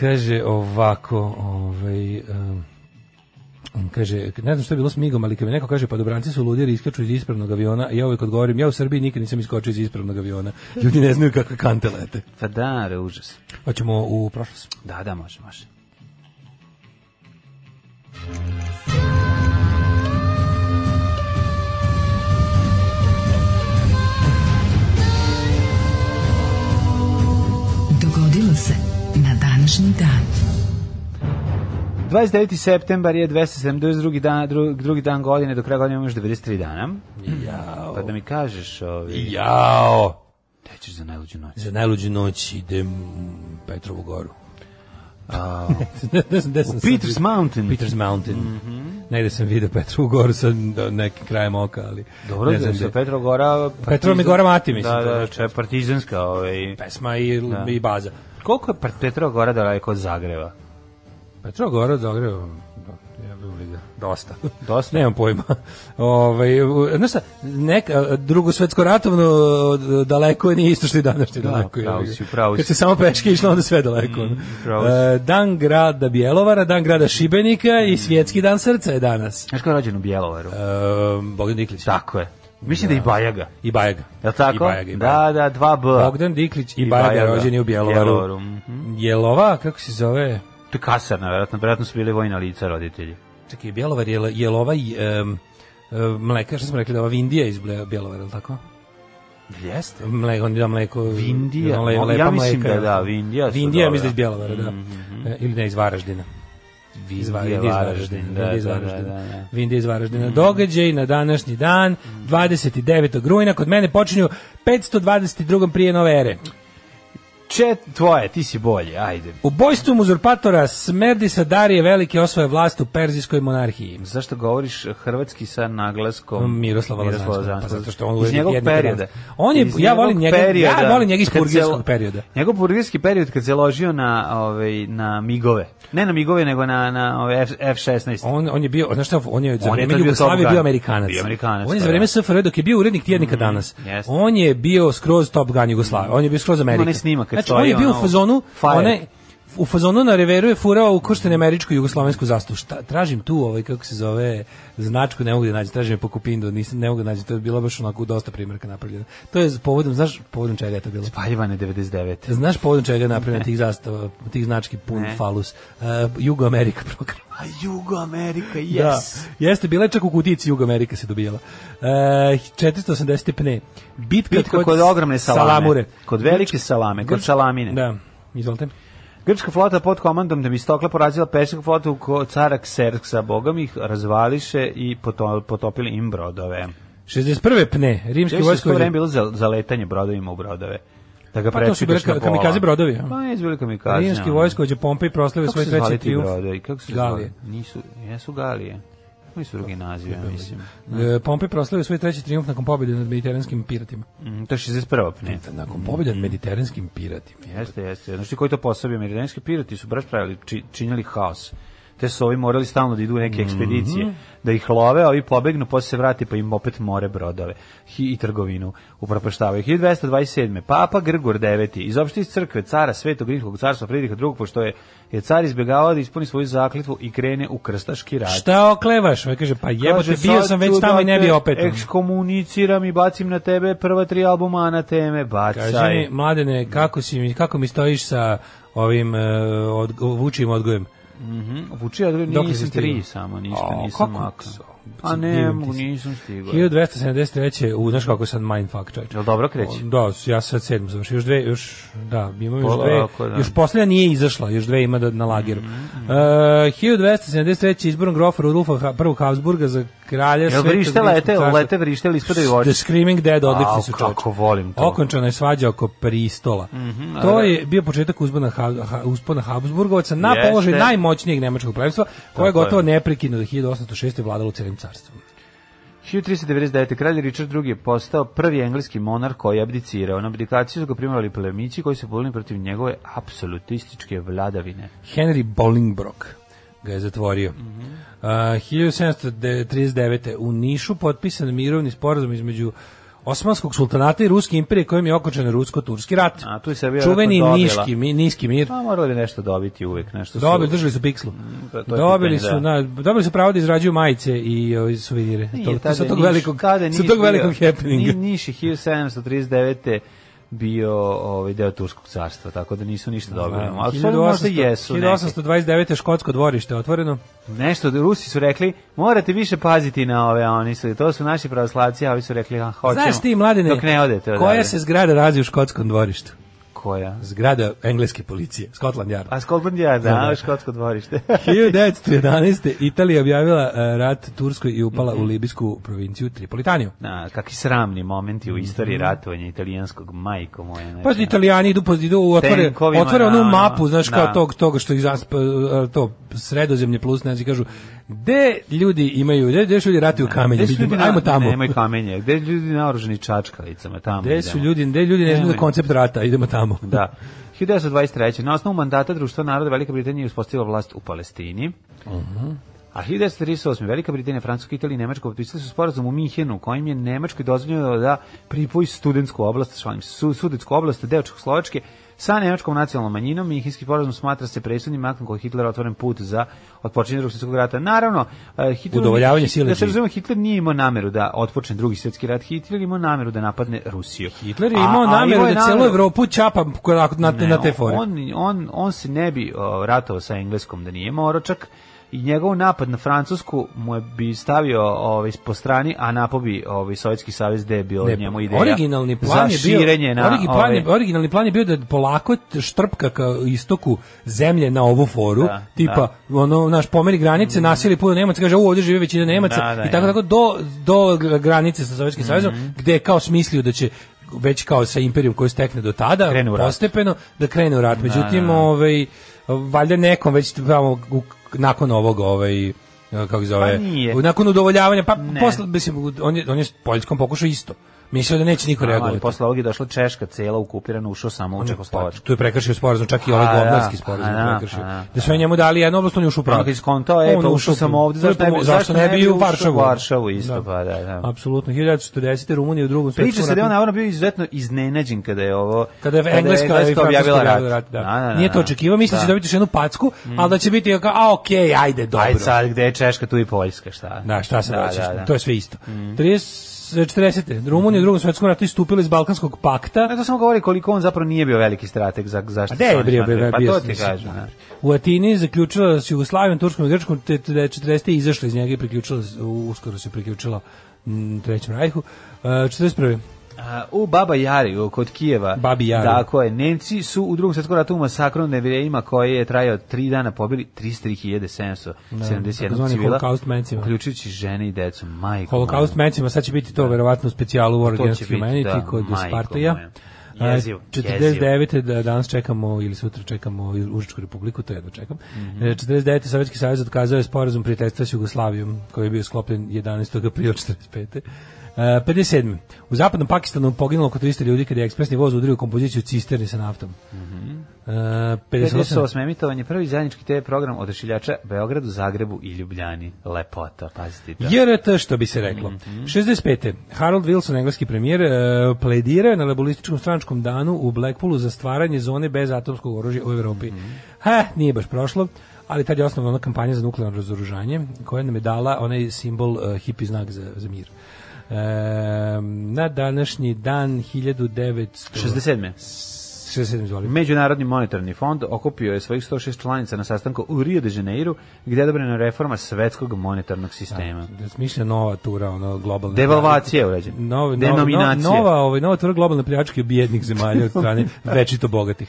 [SPEAKER 6] kaže ovako, ovaj, em, kaže, ne znam što je bilo s migom, ali kad mi neko kaže, pa dobranci su ludjeri, iskaču iz ispravnog aviona, ja uvijek odgovorim, ja u Srbiji nikad nisam iskočio iz ispravnog aviona. Ljudi ne znaju kakve kante lete.
[SPEAKER 7] Pa da, re, užas.
[SPEAKER 6] Hoćemo u prošlost.
[SPEAKER 7] Da, da, može, može.
[SPEAKER 5] Dogodilo se na današnji dan.
[SPEAKER 7] 29. septembar je 272. dan, drugi, drugi dan godine, do kraja godine imaš 93 dana.
[SPEAKER 6] Jao.
[SPEAKER 7] Pa da mi kažeš, ovaj, ovi,
[SPEAKER 6] Jao.
[SPEAKER 7] te ćeš za najluđu noć.
[SPEAKER 6] Za najluđu noć idem u Petrovu goru. ne, ne znam gde sam sad
[SPEAKER 7] Peters
[SPEAKER 6] vidio.
[SPEAKER 7] Mountain.
[SPEAKER 6] Peters Mountain. Mhm. Negde sam vidio Petrovu goru sa da, nekim krajem oka, ali
[SPEAKER 7] Dobro,
[SPEAKER 6] ne
[SPEAKER 7] da
[SPEAKER 6] znam
[SPEAKER 7] se
[SPEAKER 6] gde.
[SPEAKER 7] Petrogora...
[SPEAKER 6] Petrov mi
[SPEAKER 7] partizan-
[SPEAKER 6] Gora mati, mislim,
[SPEAKER 7] Da,
[SPEAKER 6] to je
[SPEAKER 7] da,
[SPEAKER 6] nešto.
[SPEAKER 7] če je partizanska, ovaj...
[SPEAKER 6] Pesma i, i baza.
[SPEAKER 7] Koliko je Pet- Petrogora daleko od Zagreba?
[SPEAKER 6] Petrova gora od Zagreba, da, ja bih vidio. Dosta.
[SPEAKER 7] Dosta.
[SPEAKER 6] Nemam pojma. Ovaj, u- znaš šta, neka, drugosvetsko ratovno e, daleko je nije isto što i današnje
[SPEAKER 7] Da,
[SPEAKER 6] daleko.
[SPEAKER 7] pravo
[SPEAKER 6] jebi ga.
[SPEAKER 7] si, pravo
[SPEAKER 6] Kad
[SPEAKER 7] si. Mm,
[SPEAKER 6] se samo peške išlo, onda sve daleko. ono.
[SPEAKER 7] pravo si.
[SPEAKER 6] E, dan grada Bjelovara, dan grada Šibenika
[SPEAKER 7] Mm.
[SPEAKER 6] i svjetski dan srca je danas.
[SPEAKER 7] Znaš ko je rođen u Bjelovaru?
[SPEAKER 6] E, Bogdan Diklić.
[SPEAKER 7] Tako je. Mislim da i Bajaga.
[SPEAKER 6] I Bajaga.
[SPEAKER 7] Je li tako?
[SPEAKER 6] I Bajaga, i Bajaga.
[SPEAKER 7] Da, da, dva B.
[SPEAKER 6] Bogdan Diklić i, Bajaga, rođeni u Bjelovaru.
[SPEAKER 7] Bjelovaru, mhm.
[SPEAKER 6] Jelova, kako se zove?
[SPEAKER 7] To je kasarna, verovatno, verovatno su bili vojna lica roditelji.
[SPEAKER 6] Čekaj, Bjelovar je, je li ovaj um, mleka, što smo rekli da je ova Vindija iz Ble- Bjelovara, je li tako?
[SPEAKER 7] Jeste.
[SPEAKER 6] Mleko, on da mleko...
[SPEAKER 7] Vindija?
[SPEAKER 6] ono le-
[SPEAKER 7] Ja
[SPEAKER 6] lepa
[SPEAKER 7] mislim
[SPEAKER 6] mleka,
[SPEAKER 7] da da,
[SPEAKER 6] je li?
[SPEAKER 7] Vindija su
[SPEAKER 6] Vindija,
[SPEAKER 7] dobra. Mhm,
[SPEAKER 6] mislim da iz Bjelovara, da. E, Ili ne, iz Varaždina. Iz Va- Vindija iz Varaždina.
[SPEAKER 7] Da,
[SPEAKER 6] Vindija iz
[SPEAKER 7] da, da,
[SPEAKER 6] Varaždina.
[SPEAKER 7] da, da. Mhm.
[SPEAKER 6] Vindija iz Varaždina. Događaj na današnji dan, 29. rujna, kod mene počinju 522. prije nove ere.
[SPEAKER 7] Čet, tvoje, ti si bolji, ajde.
[SPEAKER 6] Ubojstvom uzurpatora Smerdisa Darije Velike osvoje vlast u Perzijskoj monarhiji.
[SPEAKER 7] Zašto govoriš hrvatski sa naglaskom
[SPEAKER 6] Mm, Miroslava Lazanskog,
[SPEAKER 7] Lazanskog?
[SPEAKER 6] pa zato što on
[SPEAKER 7] iz
[SPEAKER 6] uvijek
[SPEAKER 7] njegovog
[SPEAKER 6] jedne
[SPEAKER 7] perioda.
[SPEAKER 6] kralje. On je-
[SPEAKER 7] Iz
[SPEAKER 6] ja volim
[SPEAKER 7] njegovog
[SPEAKER 6] njega- ja volim njega iz
[SPEAKER 7] kad se-
[SPEAKER 6] purgirskog perioda.
[SPEAKER 7] Njegov purgirski period kad se ložio na ovaj na migove. Ne na migove nego na na ove F, F16.
[SPEAKER 6] On, on je bio, znaš šta, on je za
[SPEAKER 7] On je
[SPEAKER 6] vreme
[SPEAKER 7] tad bio
[SPEAKER 6] Jugoslavije
[SPEAKER 7] Top Gun.
[SPEAKER 6] bio Amerikanac.
[SPEAKER 7] Bio Amerikanac,
[SPEAKER 6] on je za
[SPEAKER 7] pa
[SPEAKER 6] vreme
[SPEAKER 7] da. Mm,
[SPEAKER 6] SFRJ dok je bio urednik tjednika danas.
[SPEAKER 7] jeste.
[SPEAKER 6] On je bio skroz Top Gun Jugoslavije. On je bio skroz Amerika.
[SPEAKER 7] onaj snimak kad
[SPEAKER 6] znači,
[SPEAKER 7] stoji
[SPEAKER 6] on je bio
[SPEAKER 7] ono,
[SPEAKER 6] u fazonu,
[SPEAKER 7] Fire.
[SPEAKER 6] onaj, u fazonu na reveru je furao ukrštene američku i jugoslovensku zastavu. Šta, tražim tu, ovaj, kako se zove, značku, ne mogu da nađe, tražim je po kupindu, nisam, ne mogu da nađe, to je bilo baš onako dosta primjerka napravljeno. To je povodom, znaš povodom čega je to bilo?
[SPEAKER 7] Paljevane 99.
[SPEAKER 6] Znaš povodom čega je napravljena tih zastava, tih znački pun falus? Uh, Jugo Amerika program.
[SPEAKER 7] A Jugo Amerika,
[SPEAKER 6] Da,
[SPEAKER 7] yes.
[SPEAKER 6] jeste, bila je čak u kutici Jug Amerika se dobijala. E, 480 pne. Bitka,
[SPEAKER 7] Bitka kod ogromne salame.
[SPEAKER 6] salamure.
[SPEAKER 7] Kod velike salame, kod
[SPEAKER 6] Grč-
[SPEAKER 7] salamine.
[SPEAKER 6] Da, izvolite.
[SPEAKER 7] Grčka flota pod komandom Demistokla porazila persijsku flotu ko cara Kserksa, bogom ih razvališe i poto- potopili im brodove.
[SPEAKER 6] 61. pne, rimski
[SPEAKER 7] Sve što
[SPEAKER 6] vojsko.
[SPEAKER 7] vreme bilo za, za letanje brodovima u brodove. Da ga
[SPEAKER 6] Pa to su bile
[SPEAKER 7] prečitaš na
[SPEAKER 6] ka,
[SPEAKER 7] pola.
[SPEAKER 6] kamikaze brodovi. a?
[SPEAKER 7] Pa ne izbili kamikaze.
[SPEAKER 6] Rimski
[SPEAKER 7] ono.
[SPEAKER 6] vojskovođe Pompej proslave
[SPEAKER 7] Kako
[SPEAKER 6] svoj
[SPEAKER 7] se zvali
[SPEAKER 6] treći
[SPEAKER 7] ti
[SPEAKER 6] trijumf.
[SPEAKER 7] brodovi? Kako se
[SPEAKER 6] Galije.
[SPEAKER 7] zvali? Nisu, jesu Galije. Koji su drugi nazivi, ja mislim.
[SPEAKER 6] E, Pompej proslavio svoj treći trijumf nakon pobjede nad mediteranskim piratima.
[SPEAKER 7] Mm, to je 61. pne.
[SPEAKER 6] Nakon pobjede nad mediteranskim piratima.
[SPEAKER 7] Jeste, jeste. Znači koji to posabio meridijanski pirati su baš pravili, či, činili haos. Te su ovi morali stalno da idu u
[SPEAKER 6] Mhm.
[SPEAKER 7] neke ekspedicije, da ih love, a ovi pobegnu, posle se vrati pa im opet more brodove hi, i trgovinu upropaštavaju. 1227. Papa Grgur IX. Izopšti iz crkve cara Svetog Rimskog carstva Fridrika II. pošto je, je car izbjegavao da ispuni svoju zaklitvu i krene u krstaški rad.
[SPEAKER 6] Šta oklevaš? Ovaj kaže, pa jebote, bio sam već tamo i ne bi opet.
[SPEAKER 7] dakle Ekskomuniciram i bacim na tebe prva tri albuma na teme, bacaj.
[SPEAKER 6] Kaži mi, mladene, kako, si, mi- kako mi stojiš sa ovim uh, od, vučim odgojem?
[SPEAKER 7] Vučija,
[SPEAKER 6] Dokle si
[SPEAKER 7] nisam
[SPEAKER 6] stigao?
[SPEAKER 7] tri samo, ništa
[SPEAKER 6] A,
[SPEAKER 7] nisam
[SPEAKER 6] kako
[SPEAKER 7] makao.
[SPEAKER 6] s-
[SPEAKER 7] A ne,
[SPEAKER 6] divim ti
[SPEAKER 7] mogu,
[SPEAKER 6] se.
[SPEAKER 7] nisam stigao.
[SPEAKER 6] 1273. U, znaš kako je sad mindfuck, čovječ.
[SPEAKER 7] Jel dobro kreće?
[SPEAKER 6] Da, ja sad sedmu završio, još dve, još, da, imam još
[SPEAKER 7] Polako,
[SPEAKER 6] dve,
[SPEAKER 7] da. Mhm,
[SPEAKER 6] još posljednja nije izašla, još dve ima da, na lageru. Uh, 1273. izborom grofa Rudolfa Ha- prvog Habsburga za kralja
[SPEAKER 7] Jel
[SPEAKER 6] Svetog
[SPEAKER 7] vrište
[SPEAKER 6] Rimskog
[SPEAKER 7] lete,
[SPEAKER 6] carstva.
[SPEAKER 7] lete vrište ili ispadaju oči?
[SPEAKER 6] The Screaming Dead odlični
[SPEAKER 7] Au,
[SPEAKER 6] su čovječe.
[SPEAKER 7] kako volim to. Mhm,
[SPEAKER 6] Okončana je svađa oko pristola. to je bio početak uzbona, Ha- Ha- uspona Habsburgovaca na
[SPEAKER 7] Jeste.
[SPEAKER 6] položaj najmoćnijeg nemačkog plemstva, koje je
[SPEAKER 7] Tako je.
[SPEAKER 6] gotovo neprekidno do 1806. vladalo celim carstvom.
[SPEAKER 7] 1399. kralj Richard II je postao prvi engleski monarh koji je abdicirao. Na abdikaciju su ga primali plemići koji su bolili protiv njegove apsolutističke vladavine.
[SPEAKER 6] Henry Bolingbroke ga je zatvorio.
[SPEAKER 7] Mhm.
[SPEAKER 6] Uh, 1739. u Nišu potpisan mirovni sporazum između Osmanskog sultanata i Ruske imperije kojim je okončan rusko-turski rat.
[SPEAKER 7] A, tu je Srbija
[SPEAKER 6] Čuveni
[SPEAKER 7] vjerojatno dobila.
[SPEAKER 6] niški, mi, niski mir.
[SPEAKER 7] A Pa morali bi nešto dobiti uvek, nešto su... Mm,
[SPEAKER 6] Dobili, držali su pikslu.
[SPEAKER 7] to je pitanje,
[SPEAKER 6] Dobili su,
[SPEAKER 7] da.
[SPEAKER 6] na, dobili su pravo da izrađuju majice i ovi suvenire.
[SPEAKER 7] Nije,
[SPEAKER 6] To,
[SPEAKER 7] tada
[SPEAKER 6] sa
[SPEAKER 7] je
[SPEAKER 6] tog
[SPEAKER 7] Niš-
[SPEAKER 6] velikog,
[SPEAKER 7] tada je
[SPEAKER 6] sa
[SPEAKER 7] Niš
[SPEAKER 6] tog
[SPEAKER 7] bio-
[SPEAKER 6] velikog happeninga.
[SPEAKER 7] Ni- Niš je 1739. bio ovaj deo Turskog carstva, tako da nisu ništa dobili. Ali sve možda
[SPEAKER 6] 1800
[SPEAKER 7] jesu. neke.
[SPEAKER 6] 1829. škotsko dvorište otvoreno.
[SPEAKER 7] Nešto, Rusi su rekli, morate više paziti na ove, a oni su, to su naši pravoslavci, a ovi su rekli, a, hoćemo.
[SPEAKER 6] Znaš ti, mladine,
[SPEAKER 7] Dok ne odete.
[SPEAKER 6] koja
[SPEAKER 7] odavde.
[SPEAKER 6] se zgrada razi u škotskom dvorištu?
[SPEAKER 7] Koja?
[SPEAKER 6] Zgrada engleske policije, Scotland Yard.
[SPEAKER 7] A Scotland Yard, da,
[SPEAKER 6] Da, da.
[SPEAKER 7] škotsko dvorište.
[SPEAKER 6] 1911. Italija objavila e, rat Turskoj i upala
[SPEAKER 7] Mhm.
[SPEAKER 6] u libijsku provinciju Tripolitaniju.
[SPEAKER 7] Na, kakvi sramni momenti u istoriji ratovanja italijanskog, majko moje. znači,
[SPEAKER 6] Mhm. Pa italijani idu po idu u otvore
[SPEAKER 7] Tenkovima,
[SPEAKER 6] otvore onu
[SPEAKER 7] da, ono,
[SPEAKER 6] mapu, znaš
[SPEAKER 7] da.
[SPEAKER 6] kao tog toga što ih zasp, e, to sredozemlje plus ne znam kažu gde ljudi imaju gde, gde su ljudi ratuju kamenjem.
[SPEAKER 7] Gde su ljudi na-
[SPEAKER 6] Ajmo tamo.
[SPEAKER 7] Nemoj kamenje. Gde ljudi naoruženi čačkavicama tamo?
[SPEAKER 6] Gde su
[SPEAKER 7] idemo.
[SPEAKER 6] ljudi, gde ljudi ne znaju
[SPEAKER 7] Nemoj.
[SPEAKER 6] za koncept rata, idemo tamo.
[SPEAKER 7] Da. 1923. Na osnovu mandata Društva naroda Velika Britanija je uspostavila vlast u Palestini.
[SPEAKER 6] Mhm.
[SPEAKER 7] A 1938. Velika Britanija, Francuska, Italija i Nemačka potpisali su sporazum u Minhenu kojim je Nemačkoj dozvoljeno da pripoji studentsku oblast, šalim, se, su, sudetsku oblast deo Čehoslovačke sa nemačkom nacionalnom manjinom. Minhenski sporazum smatra se presudnim aktom koji je Hitler otvoren put za otpočinje drugog svjetskog rata. Naravno, eh, Hitler,
[SPEAKER 6] Udovoljavanje
[SPEAKER 7] da se
[SPEAKER 6] sileđi.
[SPEAKER 7] razumemo, Hitler nije imao nameru da otpočne drugi svjetski rat. Hitler je imao nameru da napadne Rusiju.
[SPEAKER 6] Hitler je
[SPEAKER 7] A-
[SPEAKER 6] imao
[SPEAKER 7] a
[SPEAKER 6] nameru
[SPEAKER 7] imao je
[SPEAKER 6] da celu
[SPEAKER 7] nameru-
[SPEAKER 6] Evropu ćapa onako na, na te fore.
[SPEAKER 7] on, on, on se ne bi o, ratovao sa engleskom da nije morao čak i njegov napad na Francusku mu je bi stavio ovaj po strani, a napao bi ovaj Sovjetski savez gde je bio
[SPEAKER 6] Ne,
[SPEAKER 7] njemu ideja.
[SPEAKER 6] Originalni plan
[SPEAKER 7] za
[SPEAKER 6] je bio
[SPEAKER 7] širenje na ovaj,
[SPEAKER 6] origi- plan je-
[SPEAKER 7] ove-
[SPEAKER 6] originalni plan je bio da polako t- štrpka ka istoku zemlje na ovu foru,
[SPEAKER 7] Da, Mm.
[SPEAKER 6] tipa ono naš pomeri granice, nasili puno Nemaca, kaže "U, ovdje živi većina Nemaca"
[SPEAKER 7] Da, da,
[SPEAKER 6] i tako
[SPEAKER 7] ja. Mhm.
[SPEAKER 6] tako do do granice sa Sovjetskim savezom, gde je kao smislio da će već kao sa imperijom koju stekne do tada
[SPEAKER 7] Krene u rat.
[SPEAKER 6] postepeno da krene u rat. Međutim, ovaj valjda nekom već tamo u- nakon ovog ovaj kako se zove,
[SPEAKER 7] Pa nije.
[SPEAKER 6] nakon udovoljavanja, pa
[SPEAKER 7] Ne.
[SPEAKER 6] posle, mislim, on je, on je s Poljskom pokušao isto. Mislio da neće niko
[SPEAKER 7] Ali
[SPEAKER 6] reagovati. Pa,
[SPEAKER 7] posle ovog je došla Češka cela okupirana, ušao samo u Čehoslovačku.
[SPEAKER 6] Tu je prekršio sporazum, čak i ovaj
[SPEAKER 7] A,
[SPEAKER 6] goblarski
[SPEAKER 7] da,
[SPEAKER 6] sporazum
[SPEAKER 7] a, da,
[SPEAKER 6] je prekršio.
[SPEAKER 7] a, da.
[SPEAKER 6] Da su oni njemu dali jednu oblast, on je ušao u
[SPEAKER 7] Ono
[SPEAKER 6] pravu.
[SPEAKER 7] kad je skontao, e, pa
[SPEAKER 6] On je
[SPEAKER 7] ušao sam
[SPEAKER 6] u-
[SPEAKER 7] ovde, zašto ne bi-
[SPEAKER 6] zašto ne bi u
[SPEAKER 7] ušao u
[SPEAKER 6] Varšavu?
[SPEAKER 7] Varšavu isto, pa da, da.
[SPEAKER 6] Apsolutno, 1940. Rumunija u drugom
[SPEAKER 7] Priča
[SPEAKER 6] svjetskom
[SPEAKER 7] se da je on
[SPEAKER 6] ratu.
[SPEAKER 7] naravno bio izuzetno iznenađen kada je ovo...
[SPEAKER 6] Kada je Engleska, i Francuska objavila rat. da.
[SPEAKER 7] Da, da, da,
[SPEAKER 6] Nije to
[SPEAKER 7] da. Mm.
[SPEAKER 6] očekivao, misli da će dobiti još jednu packu, ali da će biti kao, a okej, ajde, dobro.
[SPEAKER 7] Ajde sad, gde je Češka, tu i Poljska, šta?
[SPEAKER 6] Da, šta se
[SPEAKER 7] Da,
[SPEAKER 6] vraćaš?
[SPEAKER 7] da, Mm. da.
[SPEAKER 6] To je sve isto. 30, 40. Rumunija u drugom svjetskom ratu istupila iz Balkanskog pakta.
[SPEAKER 7] Pa Ne, to samo govori koliko on zapravo nije bio veliki strateg za zašto.
[SPEAKER 6] A gde je bio bio
[SPEAKER 7] Pa
[SPEAKER 6] bio-
[SPEAKER 7] to ti
[SPEAKER 6] mislim,
[SPEAKER 7] kažem.
[SPEAKER 6] da.
[SPEAKER 7] da.
[SPEAKER 6] U Atini zaključila s Jugoslavijom, Turskom i Grčkom, te te da je 40. izašla iz njega i priključila, s- uskoro se priključila m, Trećem rajhu. E, 41.
[SPEAKER 7] A, U Baba Jariju kod Kijeva.
[SPEAKER 6] Babi Jaru.
[SPEAKER 7] Tako je. Nemci su u drugom svjetskom ratu u masakrom nevirejima koji je trajao tri dana pobili 33.771
[SPEAKER 6] takozvani
[SPEAKER 7] civila.
[SPEAKER 6] holokaust mencima.
[SPEAKER 7] Uključujući žene i decu. Majko.
[SPEAKER 6] Holokaust
[SPEAKER 7] moja.
[SPEAKER 6] mecima, sad će biti to verovatno u specijalu War
[SPEAKER 7] će
[SPEAKER 6] Against
[SPEAKER 7] biti,
[SPEAKER 6] Humanity
[SPEAKER 7] da,
[SPEAKER 6] kod
[SPEAKER 7] majko
[SPEAKER 6] Spartaja.
[SPEAKER 7] moja.
[SPEAKER 6] E,
[SPEAKER 7] Jezivo,
[SPEAKER 6] 49. da danas čekamo ili sutra čekamo Užičku republiku, to jedno čekam.
[SPEAKER 7] Mhm.
[SPEAKER 6] E, 49. Sovjetski savez otkazao je sporazum prijateljstva s Jugoslavijom koji je bio sklopljen 11. aprila 45. E, 57. U zapadnom Pakistanu poginulo oko 300 ljudi kada je ekspresni voz udario u kompoziciju cisterni sa naftom.
[SPEAKER 7] Mhm.
[SPEAKER 6] E, 58.
[SPEAKER 7] 58. emitovanje prvi zajednički TV program od ošiljača Beogradu, Zagrebu i Ljubljani. Lepota, pazite. Da. Mhm.
[SPEAKER 6] JRT što bi se reklo. 65. Harold Wilson, engleski premijer, e, pledirao je na laborističkom stranačkom danu u Blackpoolu za stvaranje zone bez atomskog oružja u Evropi.
[SPEAKER 7] Mhm.
[SPEAKER 6] Ha, nije baš prošlo, ali tad je osnovna ona kampanja za nuklearno razoružanje koja nam je dala onaj simbol e, hipi znak za, za mir. E, na današnji dan 1967.
[SPEAKER 7] 67.
[SPEAKER 6] 67, izvoli.
[SPEAKER 7] Međunarodni monetarni fond okupio je svojih 106 članica na sastanku u Rio de Janeiru, gdje je odobrena reforma svetskog monetarnog sistema.
[SPEAKER 6] Da smišlja nova tura, ono, globalna.
[SPEAKER 7] Devalvacija je urađena.
[SPEAKER 6] Nova, nova, nova,
[SPEAKER 7] Denominacija.
[SPEAKER 6] nova, ovaj, nova tura globalne pljačke bijednih zemalja od strane večito bogatih.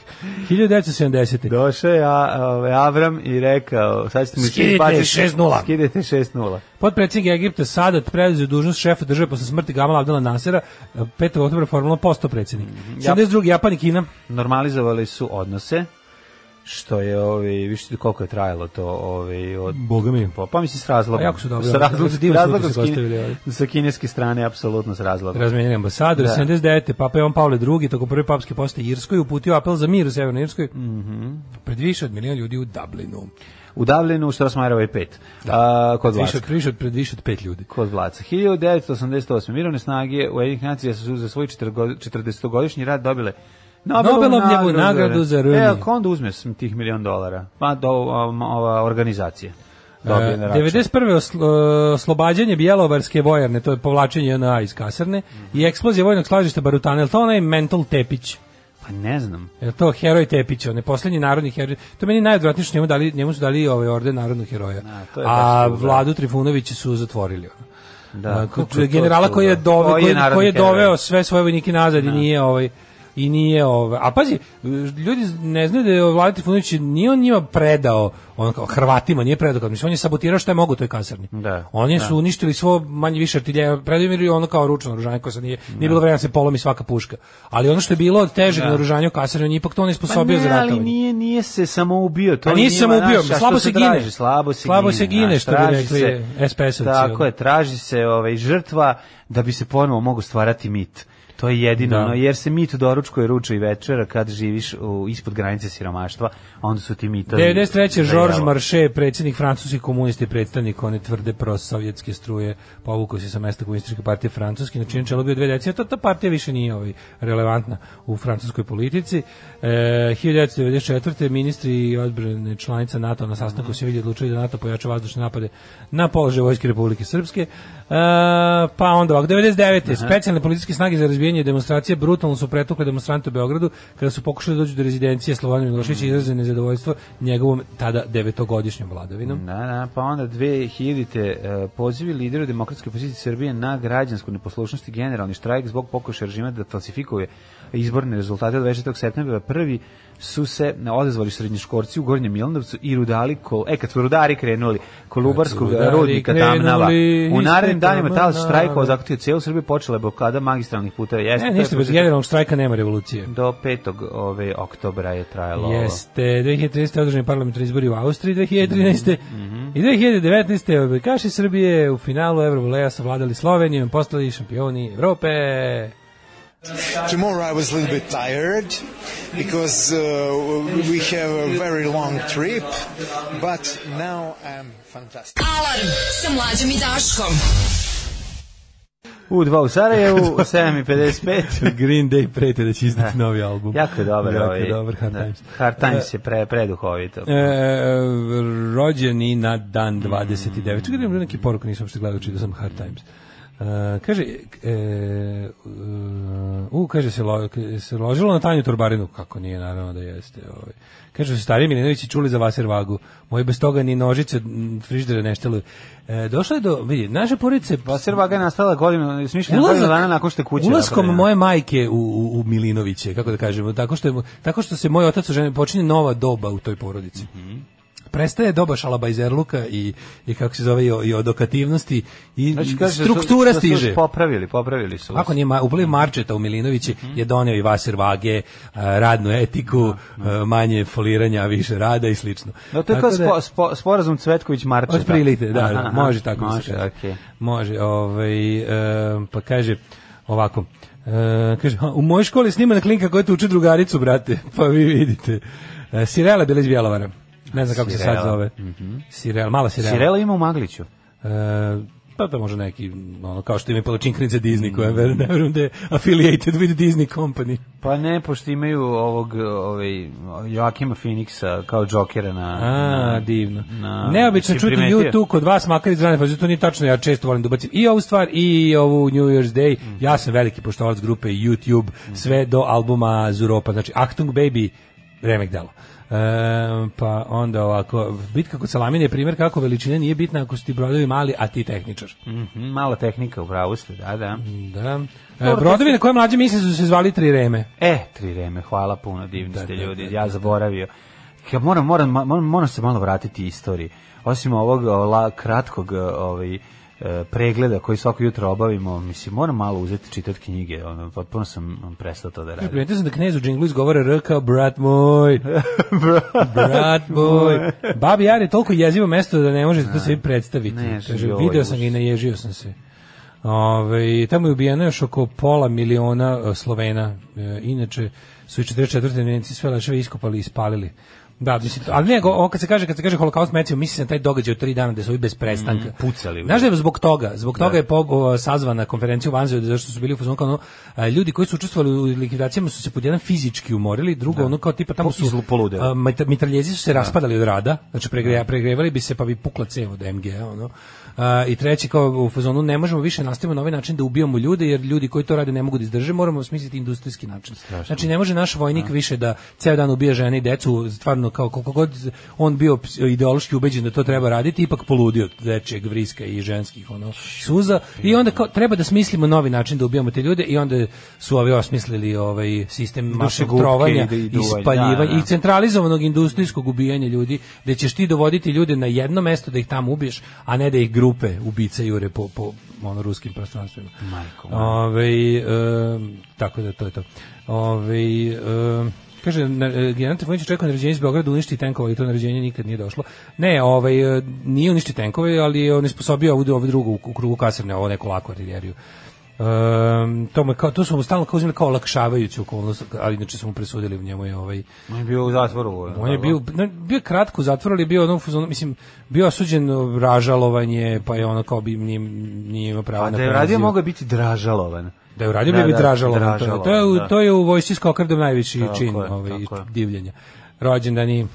[SPEAKER 6] 1970.
[SPEAKER 7] Došao je a, ovaj, Avram i rekao, sad ćete mi
[SPEAKER 6] Skidite
[SPEAKER 7] svi baciti-
[SPEAKER 6] 6:0.
[SPEAKER 7] Skidite 6-0.
[SPEAKER 6] Potpredsjednik Egipta Sadat preuzeo dužnost šefa države posle smrti Gamala Abdela Nasera, 5. oktobra formalno postao predsjednik. 72. Japan i Kina.
[SPEAKER 7] Normalizovali su odnose, što je, ovaj, više koliko je trajalo to, ovaj, od
[SPEAKER 6] Boga mi.
[SPEAKER 7] Pa, pa mislim s razlogom.
[SPEAKER 6] A jako su dobri,
[SPEAKER 7] S razlogom,
[SPEAKER 6] jako su divni
[SPEAKER 7] s razlogom
[SPEAKER 6] slike su
[SPEAKER 7] s kine-
[SPEAKER 6] postavili, ali.
[SPEAKER 7] sa kineske strane, apsolutno s razlogom.
[SPEAKER 6] Razmenjen ambasador,
[SPEAKER 7] Da.
[SPEAKER 6] 79. Papa Jovan Pavle II. tokom prve papske poste Irskoj uputio apel za mir u Severnoj Irskoj. Mm Pred više od miliona ljudi u Dublinu.
[SPEAKER 7] U Davlinu, Štrosmajerova je pet. A, kod
[SPEAKER 6] Više
[SPEAKER 7] Vlacka.
[SPEAKER 6] od, više od, pred više od pet ljudi.
[SPEAKER 7] Kod Vlaca. 1988. Mirovne snage u Jedinih nacija su za svoj 40-godišnji rad dobile Nobelovu
[SPEAKER 6] Nobelovljevu nagradu za Rumi.
[SPEAKER 7] E, ako onda uzme sam tih milion dolara? Pa do um, ova organizacija. Dobije
[SPEAKER 6] E,
[SPEAKER 7] na račun.
[SPEAKER 6] 91. oslo- e, oslobađanje Bjelovarske vojarne, to je povlačenje JNA iz kasarne, i eksplozija vojnog slažišta Barutana, je li to onaj mental tepić?
[SPEAKER 7] Pa ne znam.
[SPEAKER 6] Je li to heroj Tepić, on je poslednji narodni heroj. To je meni najodvratnije što njemu, dali, njemu su dali ovaj orden narodnog heroja.
[SPEAKER 7] A,
[SPEAKER 6] A,
[SPEAKER 7] to je baš tužno.
[SPEAKER 6] Vladu Trifunovića su zatvorili. ono.
[SPEAKER 7] Da,
[SPEAKER 6] A,
[SPEAKER 7] kako
[SPEAKER 6] ko-
[SPEAKER 7] je to
[SPEAKER 6] generala
[SPEAKER 7] tužno.
[SPEAKER 6] koji je, dove,
[SPEAKER 7] Koji
[SPEAKER 6] koji je,
[SPEAKER 7] je narodni
[SPEAKER 6] koji je
[SPEAKER 7] heroj.
[SPEAKER 6] doveo sve svoje vojnike nazad i nije ovaj i nije ovaj. A pazi, ljudi ne znaju da je Vlada Trifunović nije on njima predao, on kao Hrvatima nije predao, kao, mislim on je sabotirao šta je mogu u toj kasarni.
[SPEAKER 7] Da,
[SPEAKER 6] Oni
[SPEAKER 7] da.
[SPEAKER 6] su uništili svo manje više artiljerije, predao i ono kao ručno naoružanje koje se nije, nije bilo vremena da se polomi svaka puška. Ali ono što je bilo od težeg
[SPEAKER 7] Da.
[SPEAKER 6] naoružanja u kasarni, on je ipak to ne
[SPEAKER 7] Pa
[SPEAKER 6] sposobio za
[SPEAKER 7] ne, ali
[SPEAKER 6] ratovanje.
[SPEAKER 7] nije, nije se samo ubio. To
[SPEAKER 6] Pa nije
[SPEAKER 7] je
[SPEAKER 6] se
[SPEAKER 7] njima,
[SPEAKER 6] samo ubio,
[SPEAKER 7] znaš, a
[SPEAKER 6] slabo
[SPEAKER 7] što
[SPEAKER 6] se gine.
[SPEAKER 7] traži? Slabo se
[SPEAKER 6] Slabo se
[SPEAKER 7] gine,
[SPEAKER 6] gine,
[SPEAKER 7] znaš,
[SPEAKER 6] što bi
[SPEAKER 7] traži
[SPEAKER 6] rekli
[SPEAKER 7] se-
[SPEAKER 6] SPS-ovci,
[SPEAKER 7] Tako
[SPEAKER 6] ono.
[SPEAKER 7] je, traži se ovaj, žrtva da bi se ponovo mogu stvarati mit. To je jedino,
[SPEAKER 6] Da.
[SPEAKER 7] ono, jer se mit doručkuje ruča i večera kad živiš u, ispod granice siromaštva, a onda su ti mitovi...
[SPEAKER 6] 93.
[SPEAKER 7] za
[SPEAKER 6] Georges
[SPEAKER 7] jelo.
[SPEAKER 6] Marché, predsjednik francuskih komunista i predstavnik one tvrde prosovjetske struje, povukao se sa mesta komunističke partije Francuske, na čijem čelu bio dve decenije, ta, ta partija više nije ovaj, relevantna u francuskoj politici. E, 1994. ministri i odbrane članica NATO na sastanku se vidi odlučili da NATO pojača vazdušne napade na položaj Vojske Republike Srpske. E, pa onda ovako, 99. Specijalne policijske snage za razbijanje demonstracije brutalno su pretukle demonstrante u Beogradu kada su pokušali da dođu do rezidencije Slovana Miloševića
[SPEAKER 7] Mhm.
[SPEAKER 6] i izraze nezadovoljstvo njegovom tada devetogodišnjom vladavinom.
[SPEAKER 7] Da, da, pa onda 2000. Uh, pozivi lidera demokratske opozicije Srbije na građansku neposlušnost i generalni štrajk zbog pokušaja režima da falsifikuje izborne rezultate od 26. septembra. Prvi su se odazvali srednjoškorci u Gornjem Milanovcu i rudali, kol, e, kad su rudari krenuli, Kolubarskog
[SPEAKER 6] Kad su rudari
[SPEAKER 7] rudnika
[SPEAKER 6] krenuli
[SPEAKER 7] Tamnava. U
[SPEAKER 6] ispred
[SPEAKER 7] narednim danima tal
[SPEAKER 6] Tamnava.
[SPEAKER 7] štrajkova zahtio cijelu Srbiju počela je blokada magistralnih puteva. Jeste,
[SPEAKER 6] Ne,
[SPEAKER 7] to je
[SPEAKER 6] E, ništa, bez
[SPEAKER 7] početak-
[SPEAKER 6] generalnog štrajka nema revolucije.
[SPEAKER 7] Do 5. ove oktobra je trajalo ovo.
[SPEAKER 6] Jeste, 2013. održani parlamentarni izbori u Austriji 2013.
[SPEAKER 7] Mhm.
[SPEAKER 6] I 2019. odbojkaši Srbije u finalu Eurovoleja savladali Slovenijom, postali šampioni Evrope.
[SPEAKER 9] Tomorrow I was a little bit tired because uh, we have a very long trip, but now I'm fantastic.
[SPEAKER 5] Alarm sa mlađom i Daškom.
[SPEAKER 7] U 2 u Sarajevu, 7.55.
[SPEAKER 6] Green Day prete da će izdati novi album.
[SPEAKER 7] Jako je dobar
[SPEAKER 6] Jako
[SPEAKER 7] ovaj.
[SPEAKER 6] je dobar Hard
[SPEAKER 7] da,
[SPEAKER 6] Times.
[SPEAKER 7] Hard Times je pre, preduhovito.
[SPEAKER 6] E, rođeni na
[SPEAKER 7] Mm.
[SPEAKER 6] dan 29. Čekaj da imam neki poruk, nisam uopšte gledao, čitao sam Hard Times. E, kaže, e, e, u, kaže, se, lo, se ložilo na Tanju Torbarinu, kako nije, naravno da jeste. Ovaj. Kaže, su stari Milinovići čuli za Vaser Vagu, moji bez toga ni nožice m, frižidera ne šteluju. E, došlo je do, vidi, naše porodice...
[SPEAKER 7] Vaservaga je nastala godinu, smišljena godinu dana nakon što je kuća.
[SPEAKER 6] Ulaskom
[SPEAKER 7] napravljena.
[SPEAKER 6] moje majke u, u, u Milinoviće, kako da kažemo, tako što, je, mu- tako što se moj otac oženio, počinje nova doba u toj porodici.
[SPEAKER 7] Mhm.
[SPEAKER 6] Prestaje doba šalabajzerluka i, i kako se zove, i, o- i odokativnosti i
[SPEAKER 7] Znači, kaže,
[SPEAKER 6] struktura
[SPEAKER 7] su, Mhm. Su
[SPEAKER 6] stiže.
[SPEAKER 7] popravili, popravili su.
[SPEAKER 6] Ako nije ma- upliv Marčeta u Milinovići
[SPEAKER 7] Mhm.
[SPEAKER 6] je doneo i Vaser Vage, a, radnu etiku, a, manje foliranja, a više rada i slično.
[SPEAKER 7] Da, to
[SPEAKER 6] Tako
[SPEAKER 7] je kao spo, spo, sporazum Cvetković-Marčeta.
[SPEAKER 6] Pa Otprilike, da, da, može tako da se
[SPEAKER 7] može,
[SPEAKER 6] kaže.
[SPEAKER 7] okej.
[SPEAKER 6] Može, ovaj, e, pa kaže ovako, e, kaže, "Ha, u mojoj školi snima na klinka koja tuče drugaricu, brate, pa vi vidite. E, Sirela je bila iz Bjelovara. Ne znam kako se sad
[SPEAKER 7] Sirela.
[SPEAKER 6] zove. Sirela, mala Sirela.
[SPEAKER 7] Sirela ima u Magliću.
[SPEAKER 6] E, Pa to može neki, ono, kao što ima palačinkrinica Disney, koja ver, ne verujem da je affiliated with Disney company.
[SPEAKER 7] Pa ne, pošto imaju ovog ovaj, Joakima Phoenixa kao džokera na...
[SPEAKER 6] A,
[SPEAKER 7] na-
[SPEAKER 6] divno.
[SPEAKER 7] na-
[SPEAKER 6] Neobično
[SPEAKER 7] si
[SPEAKER 6] čuti
[SPEAKER 7] primetio?
[SPEAKER 6] nju tu kod vas, makar iz rane faze, to nije tačno, ja često volim da ubacim i ovu stvar i ovu New Year's Day.
[SPEAKER 7] Mhm.
[SPEAKER 6] Ja sam veliki poštovalac grupe YouTube, sve do albuma Zuropa, znači Achtung Baby, remek delo. E, pa onda ovako, bitka kod salamine je primjer kako veličina nije bitna ako su ti brodovi mali, a ti tehničar.
[SPEAKER 7] Mhm, mala tehnika, u pravu ste, da, da.
[SPEAKER 6] Da. E, brodovi na koje mlađe misle su se zvali tri reme.
[SPEAKER 7] E, tri reme, hvala puno, divni ste ljudi, ja zaboravio. Ja moram, moram, ma- moram, moram se malo vratiti istoriji. Osim ovog o, la, kratkog e, ovaj, e, pregleda koji svako jutro obavimo, mislim, moram malo uzeti čitati knjige, ono, potpuno sam prestao to da radim.
[SPEAKER 6] Primetio sam da knez u džinglu izgovara R kao brat moj, brat moj. Babi Jar je toliko jezivo mesto da ne možete to sebi predstaviti.
[SPEAKER 7] Ne,
[SPEAKER 6] Kaže,
[SPEAKER 7] joj,
[SPEAKER 6] video sam ga i
[SPEAKER 7] užas.
[SPEAKER 6] naježio sam se. Ove, tamo je ubijeno još oko pola miliona e, Slovena. E, inače su i 44. nemci sve leševe iskopali i ispalili. Da, mislim, to- ali ne, go- ovo kad se kaže, kad se kaže holokaust meciju, misli se na taj događaj od tri dana gde su ovi bez prestanka.
[SPEAKER 7] pucali.
[SPEAKER 6] Znaš da je zbog toga, zbog toga je po- o, sazvana konferencija u Vanzeu, zašto su bili u fazonu kao ono, a, ljudi koji su učestvovali u likvidacijama su se pod jedan fizički umorili, drugo ono kao tipa tamo
[SPEAKER 7] Po-
[SPEAKER 6] su e,
[SPEAKER 7] izlu- poludeli.
[SPEAKER 6] a, mita- mitraljezi su se raspadali od rada, znači pregreja, pregrevali bi se pa bi pukla cev od MG, ono. A, I treći kao u fazonu ne možemo više nastavimo na ovaj način da ubijamo ljude jer ljudi koji to rade ne mogu da izdrže, moramo smisliti industrijski način. Znači ne može naš vojnik više da ceo dan ubija žene i decu, stvarno kao koliko god on bio ps- ideološki ubeđen da to treba raditi, ipak poludio od dečijeg vriska i ženskih ono suza i onda kao, treba da smislimo novi način da ubijamo te ljude i onda su ovi osmislili ovaj sistem masnog
[SPEAKER 7] Dušegupke
[SPEAKER 6] trovanja
[SPEAKER 7] i da- i
[SPEAKER 6] i
[SPEAKER 7] duvanja,
[SPEAKER 6] spaljivanja
[SPEAKER 7] da, da.
[SPEAKER 6] i centralizovanog industrijskog ubijanja ljudi, gde ćeš ti dovoditi ljude na jedno mesto da ih tamo ubiješ, a ne da ih grupe ubica jure po, po ono, ruskim prostranstvima.
[SPEAKER 7] Majko moja.
[SPEAKER 6] Ove, em, tako da to je to. Ove, em, kaže, na- e, general Trifonić očekuje naređenje iz Beograda uništi tenkova i to naređenje nikad nije došlo. Ne, ovaj, e, nije uništi tenkove, ali je on isposobio ovu, ovu drugu u, u krugu kasarne, ovo neku laku artiljeriju. Em, to, mu je kao, to su mu stalno kao uzimali kao olakšavajuću okolnost, ali inače su mu presudili u njemu je ovaj,
[SPEAKER 7] On je bio u zatvoru. ono,
[SPEAKER 6] on je bio, ne, bio je kratko u zatvoru, ali je bio ono, u fazonu, mislim, bio osuđen ražalovanje, pa je ono kao bi nije, nije imao pravo
[SPEAKER 7] A
[SPEAKER 6] na
[SPEAKER 7] da je
[SPEAKER 6] penaziju.
[SPEAKER 7] radio, mogao je biti dražalovan.
[SPEAKER 6] Da je uradio
[SPEAKER 7] Da,
[SPEAKER 6] bi
[SPEAKER 7] da,
[SPEAKER 6] dražalo. to,
[SPEAKER 7] dražalovan,
[SPEAKER 6] to, je, u-
[SPEAKER 7] da.
[SPEAKER 6] to je u vojsci s kokardom najveći
[SPEAKER 7] Tako
[SPEAKER 6] čin
[SPEAKER 7] je,
[SPEAKER 6] ovaj,
[SPEAKER 7] tako je.
[SPEAKER 6] divljenja. Rođendani,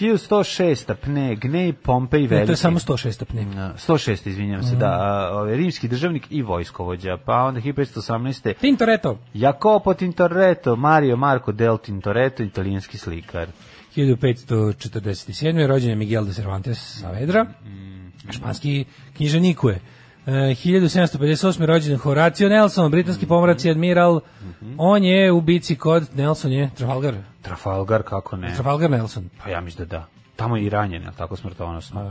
[SPEAKER 7] 1106. Pne, Gnej, Pompej, Veliki.
[SPEAKER 6] ne, to je samo Mm. 106 apne.
[SPEAKER 7] Na, 106, izvinjam se, da, a, ovaj, rimski državnik i vojskovođa, pa onda 1518.
[SPEAKER 6] Tintoretto,
[SPEAKER 7] Jacopo Tintoretto, Mario Marco del Tintoretto, italijanski slikar.
[SPEAKER 6] 1547. rođen je Miguel de Cervantes Saavedra,
[SPEAKER 7] Mhm.
[SPEAKER 6] španski knjiženikuje. E, 1758. rođen je Horacio Nelson, britanski
[SPEAKER 7] Mhm.
[SPEAKER 6] pomorac i admiral. On je u bici kod Nelson je Trafalgar.
[SPEAKER 7] Trafalgar, kako ne?
[SPEAKER 6] Trafalgar Nelson.
[SPEAKER 7] Pa ja mislim da da. Tamo je i ranjen, je li tako smrtonosno?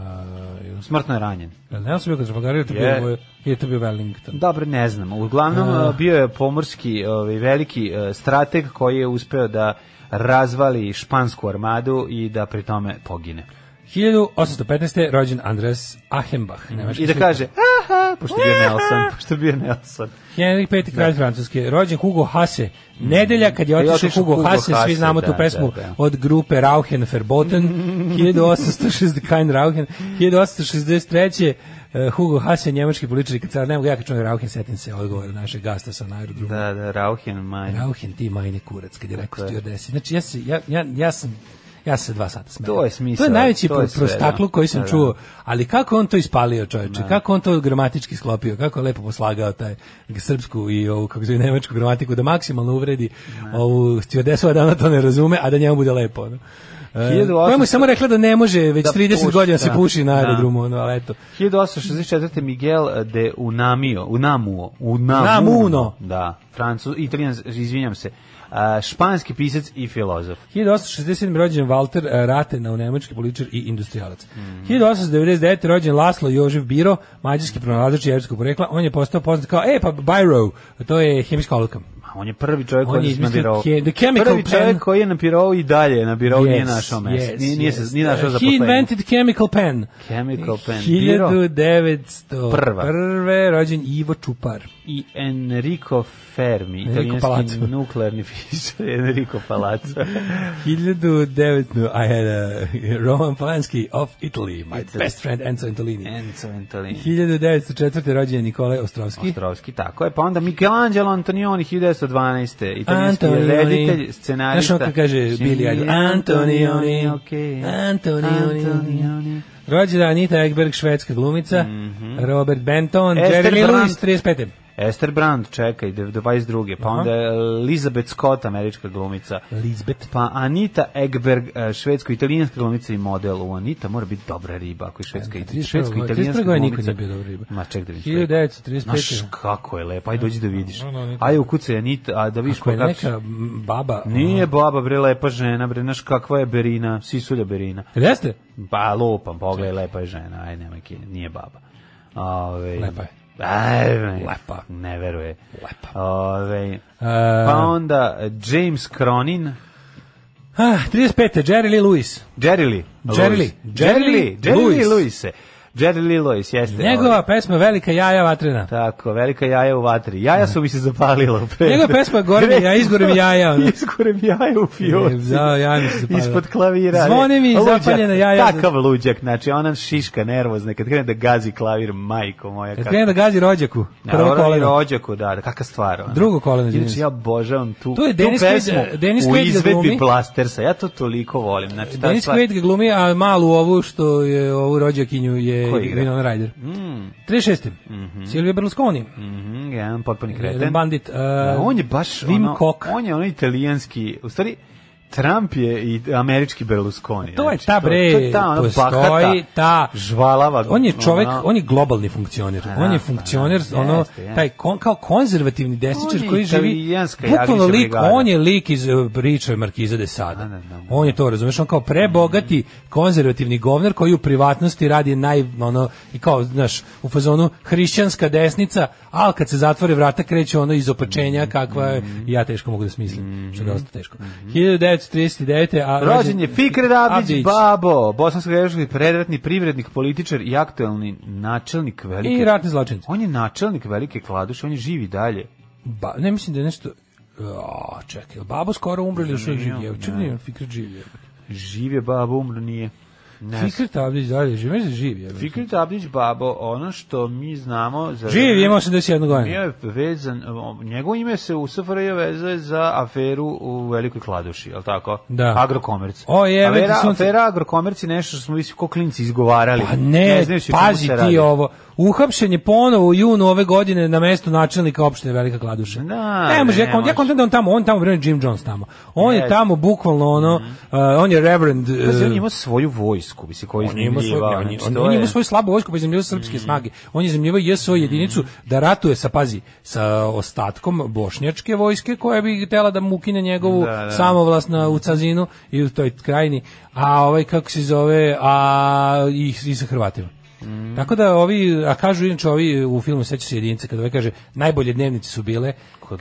[SPEAKER 6] Uh,
[SPEAKER 7] Smrtno je ranjen.
[SPEAKER 6] Nelson bio kod Trafalgara, je to
[SPEAKER 7] Je.
[SPEAKER 6] bio, je to bio Wellington.
[SPEAKER 7] Dobro, ne znam. Uglavnom, a, bio je pomorski ovaj, veliki e, strateg koji je uspeo da razvali špansku armadu i da pri tome pogine.
[SPEAKER 6] 1815. rođen Andres Achenbach. nemački
[SPEAKER 7] Mhm. I da
[SPEAKER 6] slikar.
[SPEAKER 7] kaže, aha, pošto je bio Nelson, pošto je bio Nelson.
[SPEAKER 6] Henrik V. kralj Francuske, rođen Hugo Hase. Nedelja kad je
[SPEAKER 7] Mm. Kad je
[SPEAKER 6] otišao
[SPEAKER 7] otišao
[SPEAKER 6] Hugo,
[SPEAKER 7] Hugo
[SPEAKER 6] Hase, svi
[SPEAKER 7] Hase,
[SPEAKER 6] znamo tu
[SPEAKER 7] da,
[SPEAKER 6] pesmu
[SPEAKER 7] da, da.
[SPEAKER 6] od grupe Rauhen Verboten, 1860 Kein Rauhen, 1863. eh, Hugo Hase, njemački političar i kancelar, nema ga ja kad čujem Rauhen, setim se odgovora našeg gasta sa aerodromu.
[SPEAKER 7] Da, da, Rauhen, maj.
[SPEAKER 6] Rauhen, ti majne kurac, kad je rekao stewardesi. Znači, ja, se, ja, ja, ja sam ja se dva sata smejem.
[SPEAKER 7] To je smisao,
[SPEAKER 6] To je najveći
[SPEAKER 7] to je sve,
[SPEAKER 6] prostaklu
[SPEAKER 7] da.
[SPEAKER 6] koji sam
[SPEAKER 7] Da, da.
[SPEAKER 6] čuo. Ali kako je on to ispalio, čoveče? Kako on to gramatički sklopio? Kako je lepo poslagao taj srpsku i ovu kako se zove nemačku gramatiku da maksimalno uvredi ovu stewardesova da ona to ne razume, a da njemu bude lepo. Ono. E,
[SPEAKER 7] 1800
[SPEAKER 6] koja mu je samo rekla da ne može već
[SPEAKER 7] Da
[SPEAKER 6] 30
[SPEAKER 7] puši,
[SPEAKER 6] godina se
[SPEAKER 7] da.
[SPEAKER 6] puši na
[SPEAKER 7] Da.
[SPEAKER 6] aerodromu, ono, ali eto.
[SPEAKER 7] 1864. Miguel de Unamio, Unamuo, Unamuno,
[SPEAKER 6] Unamuno.
[SPEAKER 7] da, francuz, italijan, izvinjam se, a, španski pisac i filozof.
[SPEAKER 6] 1867. rođen Walter Rathenau, nemački političar i industrijalac.
[SPEAKER 7] Mhm.
[SPEAKER 6] 1899. rođen Laslo Jožef Biro, mađarski pronalazač jevrskog porekla. On je postao poznat kao, e, pa Biro, to je hemijska oluka.
[SPEAKER 7] Ma, on je prvi čovjek
[SPEAKER 6] On
[SPEAKER 7] koji
[SPEAKER 6] je
[SPEAKER 7] je
[SPEAKER 6] izmislio
[SPEAKER 7] napirovao.
[SPEAKER 6] ke- the chemical
[SPEAKER 7] prvi čovjek
[SPEAKER 6] pen.
[SPEAKER 7] koji je napirovao i dalje napirovao nije
[SPEAKER 6] Yes,
[SPEAKER 7] našao mesto.
[SPEAKER 6] yes,
[SPEAKER 7] nije, nije,
[SPEAKER 6] yes.
[SPEAKER 7] se, nije našao
[SPEAKER 6] Uh,
[SPEAKER 7] za
[SPEAKER 6] He invented chemical pen.
[SPEAKER 7] Chemical pen. Biro
[SPEAKER 6] 1901.
[SPEAKER 7] Prva.
[SPEAKER 6] rođen Ivo Čupar.
[SPEAKER 7] i Enrico Fermi,
[SPEAKER 6] Enrico
[SPEAKER 7] italijanski
[SPEAKER 6] Palazzo.
[SPEAKER 7] nuklearni fizičar Enrico Palazzo.
[SPEAKER 6] 1900, no, I had a Roman Polanski of Italy, my
[SPEAKER 7] Italy.
[SPEAKER 6] best friend Enzo Antolini.
[SPEAKER 7] Enzo Antolini.
[SPEAKER 6] 1904. rođen je Nikolaj Ostrovski.
[SPEAKER 7] Ostrovski, tako je. Pa onda Michelangelo Antonioni 1912. Italijanski
[SPEAKER 6] Antonioni.
[SPEAKER 7] reditelj, scenarista.
[SPEAKER 6] Znaš on kako kaže Billy Idol? Antonioni.
[SPEAKER 7] okej.
[SPEAKER 6] Antonioni.
[SPEAKER 7] Antonioni.
[SPEAKER 6] Rođena Anita Ekberg, švedska glumica.
[SPEAKER 7] Mhm.
[SPEAKER 6] Robert Benton,
[SPEAKER 7] Esther
[SPEAKER 6] Jerry Lee
[SPEAKER 7] Brandt.
[SPEAKER 6] Lewis, 35.
[SPEAKER 7] Esther Brand, čekaj, dev- 22. Pa
[SPEAKER 6] Aha.
[SPEAKER 7] onda Elizabeth Scott, američka glumica.
[SPEAKER 6] Lisbeth.
[SPEAKER 7] Pa Anita Egberg, eh, švedsko-italijanska glumica i model. U Anita mora biti dobra riba, ako je švedska,
[SPEAKER 6] Da, 31
[SPEAKER 7] švedsko-italijanska
[SPEAKER 6] 31 godine niko
[SPEAKER 7] glumica.
[SPEAKER 6] nije bio dobra riba.
[SPEAKER 7] Ma ček da vidim.
[SPEAKER 6] 1935.
[SPEAKER 7] Znaš kako je lepa, aj dođi da vidiš.
[SPEAKER 6] No, no, no,
[SPEAKER 7] Aj ukucaj Anita, a da vidiš
[SPEAKER 6] Ako ono, je
[SPEAKER 7] kako-
[SPEAKER 6] neka m, baba... ono.
[SPEAKER 7] Nije baba, bre, lepa žena, bre, znaš kakva je Berina, sisulja Berina.
[SPEAKER 6] Jel Jeste?
[SPEAKER 7] Ba, lupam, pogledaj, lepa je žena, aj nemoj ki, nije baba. Ove,
[SPEAKER 6] Lepa je.
[SPEAKER 7] Aj, ne,
[SPEAKER 6] Lepa.
[SPEAKER 7] Ne veruje.
[SPEAKER 6] Lepa.
[SPEAKER 7] Ove,
[SPEAKER 6] Uh,
[SPEAKER 7] pa onda eh, James Cronin,
[SPEAKER 6] ah, 35. Jerry Lee Lewis.
[SPEAKER 7] Jerry Lee.
[SPEAKER 6] Jerry
[SPEAKER 7] Lewis.
[SPEAKER 6] Lee.
[SPEAKER 7] Jerry Lee. Jerry Lee
[SPEAKER 6] Lewis.
[SPEAKER 7] Lewis. e. Jerry Lee Lewis, jeste.
[SPEAKER 6] Njegova
[SPEAKER 7] ovaj.
[SPEAKER 6] pesma Velika jaja vatrena.
[SPEAKER 7] Tako, velika jaja u vatri. Jaja su mi se zapalila. Pre.
[SPEAKER 6] Njegova pesma Gore mi jaja, izgore mi jaja, ono. E,
[SPEAKER 7] izgore mi jaja u fioci.
[SPEAKER 6] Da, jaja mi se zapalila.
[SPEAKER 7] Ispod klavira.
[SPEAKER 6] Zvone mi
[SPEAKER 7] Luđak,
[SPEAKER 6] zapaljena jaja.
[SPEAKER 7] Takav luđak, znači ona šiška nervozna kad krene da gazi klavir, majko moja.
[SPEAKER 6] Kad
[SPEAKER 7] kako-
[SPEAKER 6] krene da gazi rođaku, prvo
[SPEAKER 7] Naravno, i
[SPEAKER 6] koleno.
[SPEAKER 7] rođaku, da, da, kakva stvar. Ona.
[SPEAKER 6] Drugo koleno, izvinjam
[SPEAKER 7] Inače,
[SPEAKER 6] se.
[SPEAKER 7] ja obožavam tu,
[SPEAKER 6] To je
[SPEAKER 7] tu
[SPEAKER 6] Dennis Quaid-
[SPEAKER 7] pesmu
[SPEAKER 6] Dennis
[SPEAKER 7] u
[SPEAKER 6] Quaid ga
[SPEAKER 7] izvedbi
[SPEAKER 6] glumi.
[SPEAKER 7] Blastersa. Ja to toliko volim. Znači, ta
[SPEAKER 6] Dennis
[SPEAKER 7] stvar-
[SPEAKER 6] Quaid ga glumi, a malu ovu što je ovu rođakinju je
[SPEAKER 7] Ko igra? Mm.
[SPEAKER 6] Winona Ryder. 36. Silvio Berlusconi.
[SPEAKER 7] Mhm, jedan potpuni
[SPEAKER 6] Jedan
[SPEAKER 7] kreten.
[SPEAKER 6] bandit.
[SPEAKER 7] Da,
[SPEAKER 6] Uh,
[SPEAKER 7] on je baš
[SPEAKER 6] Wim
[SPEAKER 7] ono,
[SPEAKER 6] Kok.
[SPEAKER 7] on je ono italijanski, u stvari Trump je i američki Berlusconi.
[SPEAKER 6] To je
[SPEAKER 7] znači,
[SPEAKER 6] ta, bre,
[SPEAKER 7] to je ta ono
[SPEAKER 6] postoji
[SPEAKER 7] bahata,
[SPEAKER 6] ta-
[SPEAKER 7] žvalava.
[SPEAKER 6] On je čovek,
[SPEAKER 7] ono-
[SPEAKER 6] on je globalni funkcioner.
[SPEAKER 7] A,
[SPEAKER 6] on
[SPEAKER 7] da,
[SPEAKER 6] je funkcioner,
[SPEAKER 7] da,
[SPEAKER 6] ono
[SPEAKER 7] jeste, jeste.
[SPEAKER 6] taj kon, kao konzervativni
[SPEAKER 7] On
[SPEAKER 6] desničar
[SPEAKER 7] je
[SPEAKER 6] koji živi
[SPEAKER 7] italijanska
[SPEAKER 6] bukvalno
[SPEAKER 7] Jagnića
[SPEAKER 6] lik,
[SPEAKER 7] brigada.
[SPEAKER 6] on je lik iz uh, priče Markiza de Sada.
[SPEAKER 7] da, da, da.
[SPEAKER 6] On je to, razumeš, on kao prebogati konzervativni govnar koji u privatnosti radi naj ono i kao, znaš, u fazonu hrišćanska desnica, ali kad se zatvore vrata kreće ono iz opačenja kakva je,
[SPEAKER 7] Mhm.
[SPEAKER 6] i ja teško mogu da smislim, što je dosta teško. 1939. a
[SPEAKER 7] Rođen je Fikret Abdić,
[SPEAKER 6] Abdić.
[SPEAKER 7] Babo, bosansko-hercegovački predratni privrednik, političar i aktuelni načelnik velike...
[SPEAKER 6] i ratni zločinci.
[SPEAKER 7] On je načelnik velike kladuše, on je živi dalje.
[SPEAKER 6] Ba, ne mislim da je nešto O, čekaj, jel babo skoro umre ili još uvijek živ je? Čekaj, nije, Fikret živ je.
[SPEAKER 7] Živ je Babo, umro nije. Ne znam.
[SPEAKER 6] Fikret Abdić dalje živ, mislim da živ je.
[SPEAKER 7] Fikret Abdić Babo, ono što mi znamo... Za
[SPEAKER 6] Živ je, imao 81
[SPEAKER 7] Bio
[SPEAKER 6] godina.
[SPEAKER 7] je vezan, njegovo ime se u SFRJ vezuje za aferu u Velikoj Kladuši, je li tako?
[SPEAKER 6] Da.
[SPEAKER 7] Agrokomerc.
[SPEAKER 6] O, je,
[SPEAKER 7] afera,
[SPEAKER 6] vidi sunce.
[SPEAKER 7] afera Agrokomerc je nešto što smo visi ko klinci izgovarali.
[SPEAKER 6] Pa ne,
[SPEAKER 7] znajući o čemu
[SPEAKER 6] pazi
[SPEAKER 7] se
[SPEAKER 6] ti
[SPEAKER 7] radi.
[SPEAKER 6] ovo. Uhapšen je ponovo u junu ove godine na mestu načelnika opštine Velika Kladuša.
[SPEAKER 7] Da,
[SPEAKER 6] ne može,
[SPEAKER 7] ne
[SPEAKER 6] ja, kon,
[SPEAKER 7] može.
[SPEAKER 6] ja kontam da on tamo, on tamo, bre, Jim Jones tamo. On je
[SPEAKER 7] Jeste.
[SPEAKER 6] tamo bukvalno ono, uh, on je reverend...
[SPEAKER 7] Pa
[SPEAKER 6] uh,
[SPEAKER 7] on je imao svoju vojsku, mislim, koju
[SPEAKER 6] On je imao svoj,
[SPEAKER 7] iznajmljivao,
[SPEAKER 6] on, je-
[SPEAKER 7] znači,
[SPEAKER 6] on,
[SPEAKER 7] to
[SPEAKER 6] on je
[SPEAKER 7] je-
[SPEAKER 6] imao svoju slabu vojsku, pa izemljivao srpske snage. On je izemljivao JSO jedinicu da ratuje sa, pazi, sa ostatkom bošnjačke vojske koja bi htjela da mu ukine njegovu
[SPEAKER 7] Da, da.
[SPEAKER 6] samovlast na, u Cazinu i u toj krajini, a ovaj, kako se zove, a i, i sa Hrvatima. Tako da ovi, a kažu inače ovi u filmu Seća se jedinice, kada ovaj kaže najbolje dnevnice su bile,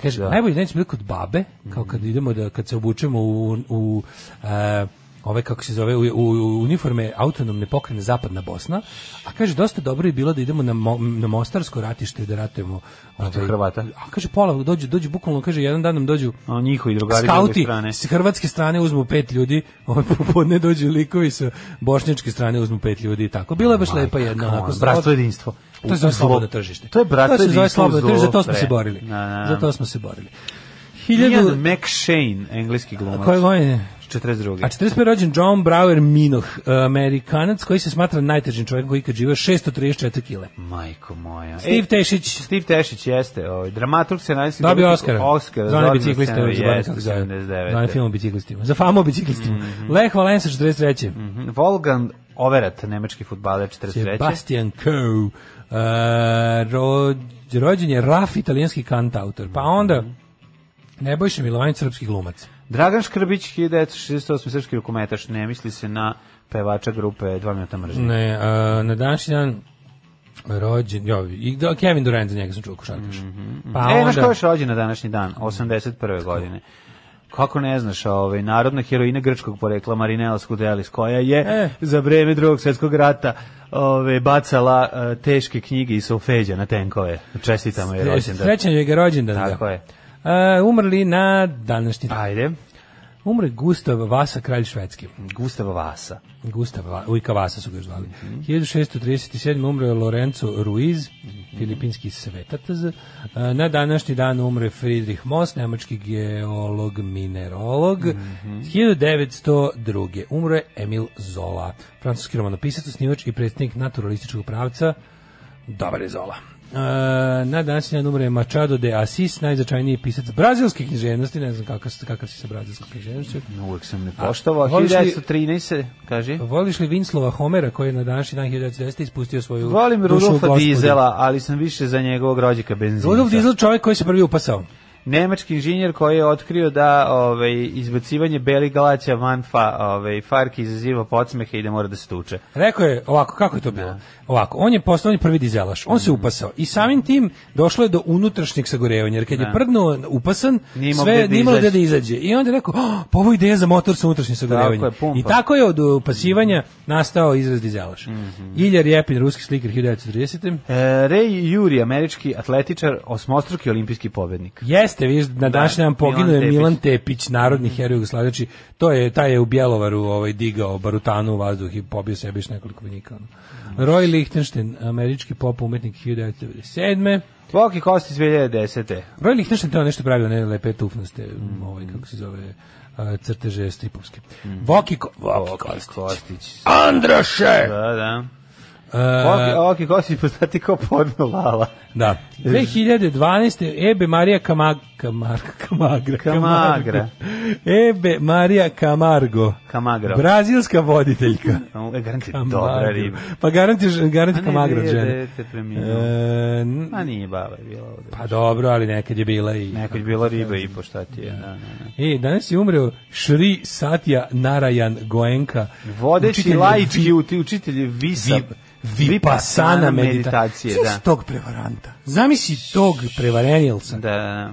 [SPEAKER 6] kaže,
[SPEAKER 7] da.
[SPEAKER 6] najbolje dnevnice su bile kod babe, kao kad
[SPEAKER 7] Mhm.
[SPEAKER 6] idemo da, kad se obučemo u, u e, ove kako se zove u, u u uniforme autonomne pokrajine Zapadna Bosna, a kaže dosta dobro je bilo da idemo na, mo, na Mostarsko ratište da ratujemo ovaj,
[SPEAKER 7] Hrvata.
[SPEAKER 6] A kaže pola dođu dođu bukvalno kaže jedan dan nam dođu
[SPEAKER 7] A njihovi drugari s druge
[SPEAKER 6] skauti
[SPEAKER 7] strane.
[SPEAKER 6] s hrvatske strane uzmu pet ljudi, ovaj popodne dođu likovi sa bošnjačke strane uzmu pet ljudi i tako. Bilo je baš lepa jedna
[SPEAKER 7] come
[SPEAKER 6] onako
[SPEAKER 7] on,
[SPEAKER 6] sloboda.
[SPEAKER 7] ono? bratstvo i jedinstvo.
[SPEAKER 6] To je zove
[SPEAKER 7] U zlo-
[SPEAKER 6] slobodno tržište.
[SPEAKER 7] To je bratstvo
[SPEAKER 6] To se
[SPEAKER 7] i
[SPEAKER 6] zove
[SPEAKER 7] jedinstvo u
[SPEAKER 6] slobodno tržište,
[SPEAKER 7] zlo,
[SPEAKER 6] zato smo se
[SPEAKER 7] bre.
[SPEAKER 6] borili.
[SPEAKER 7] Na, na, na.
[SPEAKER 6] Zato smo se borili.
[SPEAKER 7] Ian
[SPEAKER 6] 1000
[SPEAKER 7] McShane, engleski glumac.
[SPEAKER 6] koje godine?
[SPEAKER 7] 42.
[SPEAKER 6] A 45 rođen John Brower Minoh, e, Amerikanac koji se smatra najtežim čovjekom koji ikad živio 634 kile.
[SPEAKER 7] Majko moja.
[SPEAKER 6] Steve
[SPEAKER 7] E,
[SPEAKER 6] Tešić,
[SPEAKER 7] Steve Tešić jeste, ovaj dramaturg scenarist.
[SPEAKER 6] Dobio Oscara.
[SPEAKER 7] Oscar
[SPEAKER 6] za one bicikliste.
[SPEAKER 7] za
[SPEAKER 6] zaboravim
[SPEAKER 7] jeste,
[SPEAKER 6] kako se zove. Za onaj
[SPEAKER 7] 79.
[SPEAKER 6] film o biciklistima. Za famu o biciklistima. Lech Valensa, 43.
[SPEAKER 7] Mhm. Volgan Overet, nemački futbaler, 43.
[SPEAKER 6] Sebastian Coe. Uh, rođ, rođen je Raf, italijanski kantautor. Pa onda... Nebojša Milovanić, srpski glumac.
[SPEAKER 7] Dragan Škrbić, 1968. srpski rukometaš, ne misli se na pevača grupe Dva minuta mržnje.
[SPEAKER 6] Ne, a, na današnji dan Rođen, jo, i da, Kevin Durant za njega sam čuo košarkaš. Pa
[SPEAKER 7] e,
[SPEAKER 6] onda,
[SPEAKER 7] znaš ko je još rođen na današnji dan? 81. godine. Kako ne znaš, ovaj, narodna heroina grčkog porekla Marinela Skudelis, koja je
[SPEAKER 6] E.
[SPEAKER 7] za vreme drugog svjetskog rata ove, bacala eh, teške knjige i solfeđa na tenkove. Čestitamo je rođendan.
[SPEAKER 6] Srećan je ga rođendan. da.
[SPEAKER 7] Tako je.
[SPEAKER 6] E, umrli na današnji dan.
[SPEAKER 7] Ajde,
[SPEAKER 6] Umre Gustav Vasa, kralj švedski.
[SPEAKER 7] Gustav Vasa.
[SPEAKER 6] Gustav, Va- ujka Vasa su ga zvali. 1637. umre Lorenzo Ruiz, filipinski svetatac. E, Na današnji dan umre Friedrich Moss, nemački geolog, minerolog. 1902. umre Emil Zola, francuski romanopisac, osnivač i predsjednik naturalističkog pravca. Dobar je Zola. E, na današnji dan umre Machado de Assis, najznačajniji pisac brazilske književnosti, ne znam kakav, kakav si sa brazilskom književnošću.
[SPEAKER 7] Uvijek sam ne poštovao.
[SPEAKER 6] voliš li-
[SPEAKER 7] 1913. Kaži.
[SPEAKER 6] Pa Voliš li Vinslova Homera koji je na današnji dan 1910. ispustio svoju
[SPEAKER 7] Volim
[SPEAKER 6] dušu u
[SPEAKER 7] Rudolfa
[SPEAKER 6] gospodi?
[SPEAKER 7] Dizela, ali sam više za njegovog rođaka benzinca.
[SPEAKER 6] Rudolf Dizel čovjek koji se prvi upasao.
[SPEAKER 7] Nemački inženjer koji je otkrio da ovaj izbacivanje belih glaća van fa, ovaj farki izaziva podsmehe i da mora da se tuče.
[SPEAKER 6] Rekao je ovako, kako je to bilo? Ovako, on je postao on je prvi dizelaš, on se
[SPEAKER 7] Mhm.
[SPEAKER 6] upasao i samim tim došlo je do unutrašnjeg sagorevanja, jer kad je prdno upasan,
[SPEAKER 7] Nije imao gde
[SPEAKER 6] sve
[SPEAKER 7] da
[SPEAKER 6] nije imalo gde
[SPEAKER 7] izađe.
[SPEAKER 6] da izađe. I onda je rekao, "Oh, pa ovo je ideja za motor sa unutrašnjim sagorevanjem.
[SPEAKER 7] Tako je, pumpa.
[SPEAKER 6] I tako je od upasivanja nastao izraz dizelaš.
[SPEAKER 7] Mhm.
[SPEAKER 6] Ilja Rjepin, ruski slikar 1930.
[SPEAKER 7] E, Ray Juri, američki atletičar, osmostruki olimpijski pobednik.
[SPEAKER 6] Jeste, vidiš, na današnji dan poginuo je
[SPEAKER 7] Milan Tepić.
[SPEAKER 6] Milan Tepić, narodni heroj Jugoslavije. To je taj je u Bjelovaru ovaj digao barutanu u vazduh i pobio sebi još nekoliko vojnika. ono. Roy Lichtenstein, američki pop umetnik 1997.
[SPEAKER 7] Boki Kosti 2010.
[SPEAKER 6] Roy Lichtenstein to nešto pravio, ne lepe tufnaste, ovaj kako se zove a, crteže stripovske. Voki, Ko- Mm. Voki Kostić.
[SPEAKER 7] Kostić.
[SPEAKER 6] Andraše!
[SPEAKER 7] Da, da.
[SPEAKER 6] E,
[SPEAKER 7] Boki, Boki Kostić poznati kao podnovala.
[SPEAKER 6] Da. 2012. Ebe Marija Kamag, Kamar, Kamagra.
[SPEAKER 7] Kamagra.
[SPEAKER 6] Ebe Marija Camargo.
[SPEAKER 7] Kamagro.
[SPEAKER 6] Brazilska voditeljka.
[SPEAKER 7] E, Garanti,
[SPEAKER 6] Camargo.
[SPEAKER 7] dobra riba.
[SPEAKER 6] Pa garanti, garanti
[SPEAKER 7] A ne,
[SPEAKER 6] Kamagra od
[SPEAKER 7] dvije
[SPEAKER 6] žene.
[SPEAKER 7] dete preminulo.
[SPEAKER 6] E, n-
[SPEAKER 7] Pa nije baba je bila ovde.
[SPEAKER 6] pa dobro, ali nekad je bila i...
[SPEAKER 7] Nekad je bila riba i po šta ti je. Da, da, da.
[SPEAKER 6] E, danas je umreo Shri Satya Narayan Goenka.
[SPEAKER 7] Vodeći
[SPEAKER 6] učitelj
[SPEAKER 7] laički uti- učitelj Visa.
[SPEAKER 6] vi, vipassana meditacije.
[SPEAKER 7] da.
[SPEAKER 6] Znaš tog prevaranta. Zamisli tog prevarenjelca.
[SPEAKER 7] Da, da, da.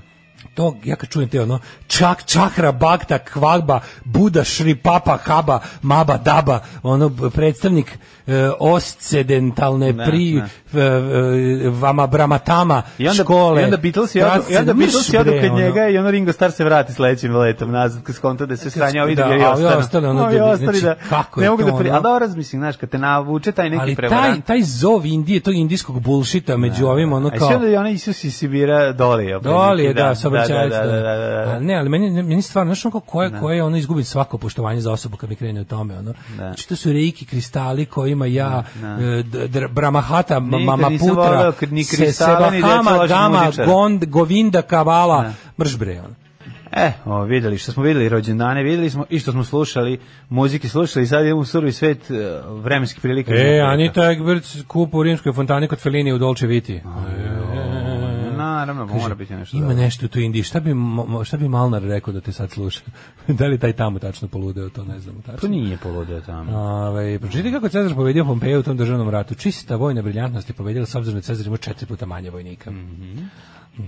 [SPEAKER 6] to ja kad čujem te ono čak čakra bakta kvagba buda šri papa haba maba daba ono b- predstavnik e, oscedentalne
[SPEAKER 7] Da,
[SPEAKER 6] pri e, e, vama bramatama
[SPEAKER 7] I onda,
[SPEAKER 6] škole
[SPEAKER 7] I onda Beatles je odu,
[SPEAKER 6] traci-
[SPEAKER 7] i onda Beatles je odu
[SPEAKER 6] mrš, bre,
[SPEAKER 7] kod
[SPEAKER 6] ono.
[SPEAKER 7] njega i onda Ringo Starr se vrati sledećim letom nazad kad skonta da se sranja ovi
[SPEAKER 6] da,
[SPEAKER 7] drugi
[SPEAKER 6] a
[SPEAKER 7] ostane.
[SPEAKER 6] ovi ostane, ono,
[SPEAKER 7] ovi
[SPEAKER 6] da-
[SPEAKER 7] ostali
[SPEAKER 6] znači,
[SPEAKER 7] da,
[SPEAKER 6] kako je
[SPEAKER 7] ne mogu
[SPEAKER 6] to,
[SPEAKER 7] da pri...
[SPEAKER 6] ono?
[SPEAKER 7] A da razmislim, znaš, kad te navuče taj neki
[SPEAKER 6] ali
[SPEAKER 7] prevarant.
[SPEAKER 6] taj, taj zov Indije, tog indijskog bulšita među ovim ono
[SPEAKER 7] A
[SPEAKER 6] kao
[SPEAKER 7] sve onda je onaj Isus iz Sibira doli.
[SPEAKER 6] Doli je, da, Pa da
[SPEAKER 7] saobraćajac. Znači, Da, da, da, da, da.
[SPEAKER 6] A ne, ali meni, meni stvarno, znaš ono koje, koje ono izgubim svako poštovanje za osobu kad mi krene o tome, ono. Znači, to su reiki kristali kojima ja, e, d- dr- Bramahata, ma-
[SPEAKER 7] Nikad nisam voleo
[SPEAKER 6] Mamaputra,
[SPEAKER 7] k- ni
[SPEAKER 6] se,
[SPEAKER 7] kristale, ni djecu
[SPEAKER 6] Sebahama,
[SPEAKER 7] loših
[SPEAKER 6] Gama,
[SPEAKER 7] muzičara.
[SPEAKER 6] Gond, Govinda, Kavala, mržbre, ono.
[SPEAKER 7] E, o, videli što smo videli rođendane, videli smo i što smo slušali, muzike slušali, sad idemo u survi svet e, vremenskih prilika.
[SPEAKER 6] E, Anita Egbert kupa u rimskoj fontani kod Fellini u Dolce Viti.
[SPEAKER 7] Naravno, mora biti nešto.
[SPEAKER 6] Ima
[SPEAKER 7] dobro.
[SPEAKER 6] nešto tu Indiji. Šta bi, mo- mo- šta bi Malnar rekao da te sad sluša? da li taj tamo tačno poludeo, to ne znamo tačno.
[SPEAKER 7] To nije poludeo tamo.
[SPEAKER 6] Ove, pročitajte kako je Cezar pobedio Pompeju u tom državnom ratu. Čista vojna briljantnost je pobedila s obzirom da je Cezar imao četiri puta manje vojnika.
[SPEAKER 7] Mhm.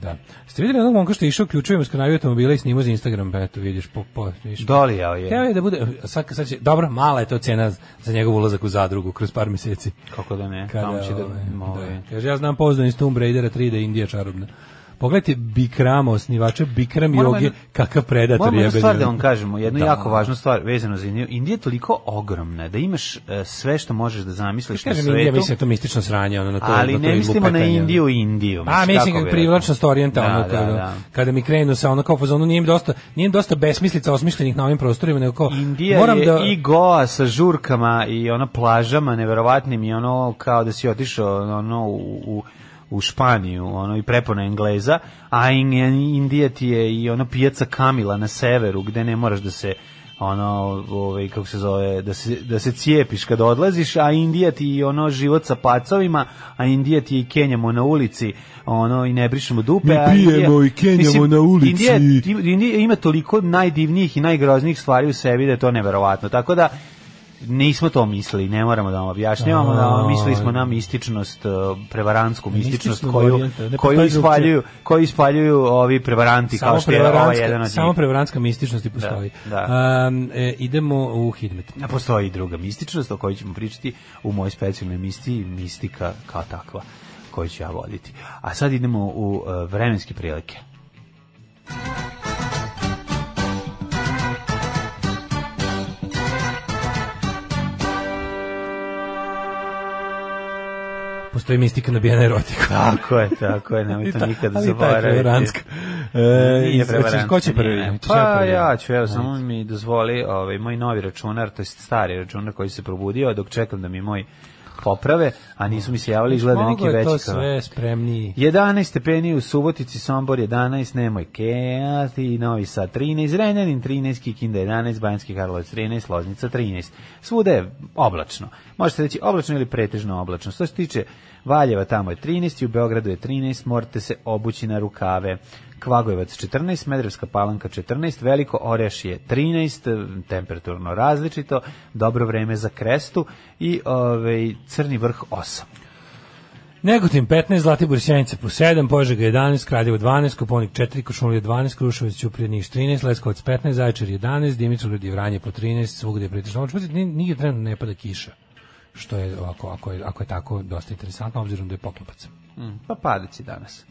[SPEAKER 6] Da. Ste vidjeli onog momka što je išao ključevima s kanaviju automobila i snimao za Instagram, pa eto vidiš, po, po, vidiš.
[SPEAKER 7] Dolijao je.
[SPEAKER 6] Hteo je da bude, sad, sad će, dobro, mala je to cena za njegov ulazak u zadrugu kroz par mjeseci.
[SPEAKER 7] Kako da ne,
[SPEAKER 6] Kada,
[SPEAKER 7] tamo će da...
[SPEAKER 6] ovaj,
[SPEAKER 7] ovaj,
[SPEAKER 6] da. Kaže, ja znam pouzdan iz Tomb Raidera 3 da je Indija čarobna. Pogledajte Bikrama, osnivača Bikram
[SPEAKER 7] Moramo
[SPEAKER 6] joge,
[SPEAKER 7] jednu-
[SPEAKER 6] kakav predator
[SPEAKER 7] Moramo jednu
[SPEAKER 6] jebeni.
[SPEAKER 7] stvar da vam kažemo, jednu jako važnu stvar vezano za Indiju. Indija je toliko ogromna da imaš e, sve što možeš da zamisliš na
[SPEAKER 6] Kažem, Indija,
[SPEAKER 7] svetu,
[SPEAKER 6] mislim, da je to mistično sranje, ono, na to,
[SPEAKER 7] ali
[SPEAKER 6] na to
[SPEAKER 7] ne
[SPEAKER 6] i
[SPEAKER 7] mislimo na
[SPEAKER 6] lupetanje, ono.
[SPEAKER 7] Indiju i Indiju.
[SPEAKER 6] A mislim
[SPEAKER 7] kako
[SPEAKER 6] kako
[SPEAKER 7] bi
[SPEAKER 6] privlačnost
[SPEAKER 7] rekao.
[SPEAKER 6] orijenta
[SPEAKER 7] Da,
[SPEAKER 6] ono
[SPEAKER 7] da,
[SPEAKER 6] kada,
[SPEAKER 7] da.
[SPEAKER 6] kada mi krenu sa ono kao fazonu nije im dosta nije im dosta besmislica osmišljenih na ovim prostorima nego kao
[SPEAKER 7] Indija
[SPEAKER 6] moram
[SPEAKER 7] je
[SPEAKER 6] da
[SPEAKER 7] i Goa sa žurkama i ono plažama neverovatnim i ono kao da si otišao ono u, u u Španiju, ono i prepona Engleza, a In- In- Indija ti je i ono pijaca Kamila na severu gde ne moraš da se ono ovaj kako se zove da se da se cijepiš kad odlaziš, a Indija ti je ono život sa pacovima, a Indija ti je i kenjamo na ulici, ono i ne brišemo dupe,
[SPEAKER 6] Mi
[SPEAKER 7] a Indija-
[SPEAKER 6] pijemo i kenjamo
[SPEAKER 7] Mislim,
[SPEAKER 6] na ulici.
[SPEAKER 7] Indija je Indija ima toliko najdivnijih i najgroznijih stvari u sebi da je to neverovatno. Tako da Nismo to mislili, ne moramo da vam objašnjavamo, da vam mislili smo na mističnost, eh, prevaransku mističnost
[SPEAKER 6] Mističnog
[SPEAKER 7] koju,
[SPEAKER 6] orijenta, ne postoji
[SPEAKER 7] koju,
[SPEAKER 6] drugčije.
[SPEAKER 7] ispaljuju, koju ispaljuju ovi prevaranti kao
[SPEAKER 6] Samo
[SPEAKER 7] što je ovaj jedan
[SPEAKER 6] prevarantska,
[SPEAKER 7] od njih.
[SPEAKER 6] samo prevarantska mističnost i postoji.
[SPEAKER 7] Da,
[SPEAKER 6] Um, e, idemo u Hidmet.
[SPEAKER 7] A postoji i druga mističnost o kojoj ćemo pričati u mojoj specijalnoj mistiji, mistika kao takva koju ću ja voditi. A sad idemo u eh, vremenske prilike.
[SPEAKER 6] Postoji mistika nabijena erotika.
[SPEAKER 7] Tako je, tako je, nemoj to nikada
[SPEAKER 6] Ali i ta je prevarantska.
[SPEAKER 7] zaboraviti.
[SPEAKER 6] E, iz-
[SPEAKER 7] Nije
[SPEAKER 6] hoćeš-
[SPEAKER 7] prevarantska,
[SPEAKER 6] Ko će prvi?
[SPEAKER 7] nije.
[SPEAKER 6] Hoćeš
[SPEAKER 7] Pa
[SPEAKER 6] prvi?
[SPEAKER 7] ja ću, evo, samo mi dozvoli ovaj, moj novi računar, to je stari računar koji se probudio, dok čekam da mi moj poprave, a nisu mi se javili, izgleda neki
[SPEAKER 6] Mnogo je
[SPEAKER 7] veći
[SPEAKER 6] to
[SPEAKER 7] kao.
[SPEAKER 6] sve spremniji.
[SPEAKER 7] 11 stepeni u Subotici, Sombor 11, Nemoj Keati, Novi Sad 13, Renjanin 13, Kikinda 11, Bajanski Karlovac 13, Loznica 13. Svuda je oblačno. Možete reći oblačno ili pretežno oblačno. Što se tiče Valjeva tamo je 13 i u Beogradu je 13, morate se obući na rukave. Kvagojevac 14, Medrevska palanka 14, Veliko Oreš je 13, temperaturno različito, dobro vreme za krestu i ovaj, Crni vrh 8.
[SPEAKER 6] Negotin 15, Zlatibor Sjenica po 7, Požega 11, Kraljevo 12, Koponik 4, Košumlija 12, Kruševac Ćuprije Niš 13, Leskovac 15, Zaječar 11, Dimitrovgrad i Vranje po 13, svugde je pretežno oblačno. Pazite, ni- nigde trenutno ne pada kiša što je ovako, ako je, ako je tako dosta interesantno, obzirom da je poklopac.
[SPEAKER 7] Pa padat će danas.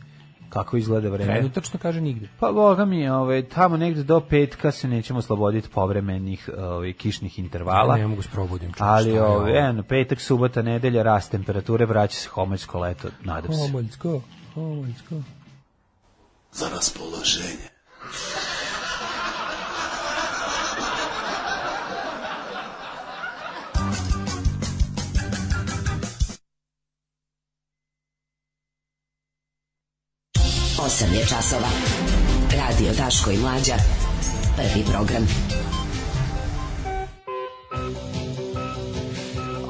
[SPEAKER 7] Kako izgleda vreme?
[SPEAKER 6] Trenutačno kaže nigde.
[SPEAKER 7] Pa boga mi, ovaj, tamo negde do petka se nećemo sloboditi povremenih ovaj, kišnih intervala.
[SPEAKER 6] Ne, ne mogu s probudim, čovječe, šta
[SPEAKER 7] Ali
[SPEAKER 6] je ovo?
[SPEAKER 7] ovaj, eno, petak, subota, nedelja, rast temperature, vraća se homoljsko leto, nadam se.
[SPEAKER 6] Omoljsko, omoljsko.
[SPEAKER 10] za raspoloženje.
[SPEAKER 5] Osam je časova. Radio Daško i Mlađa. Prvi program.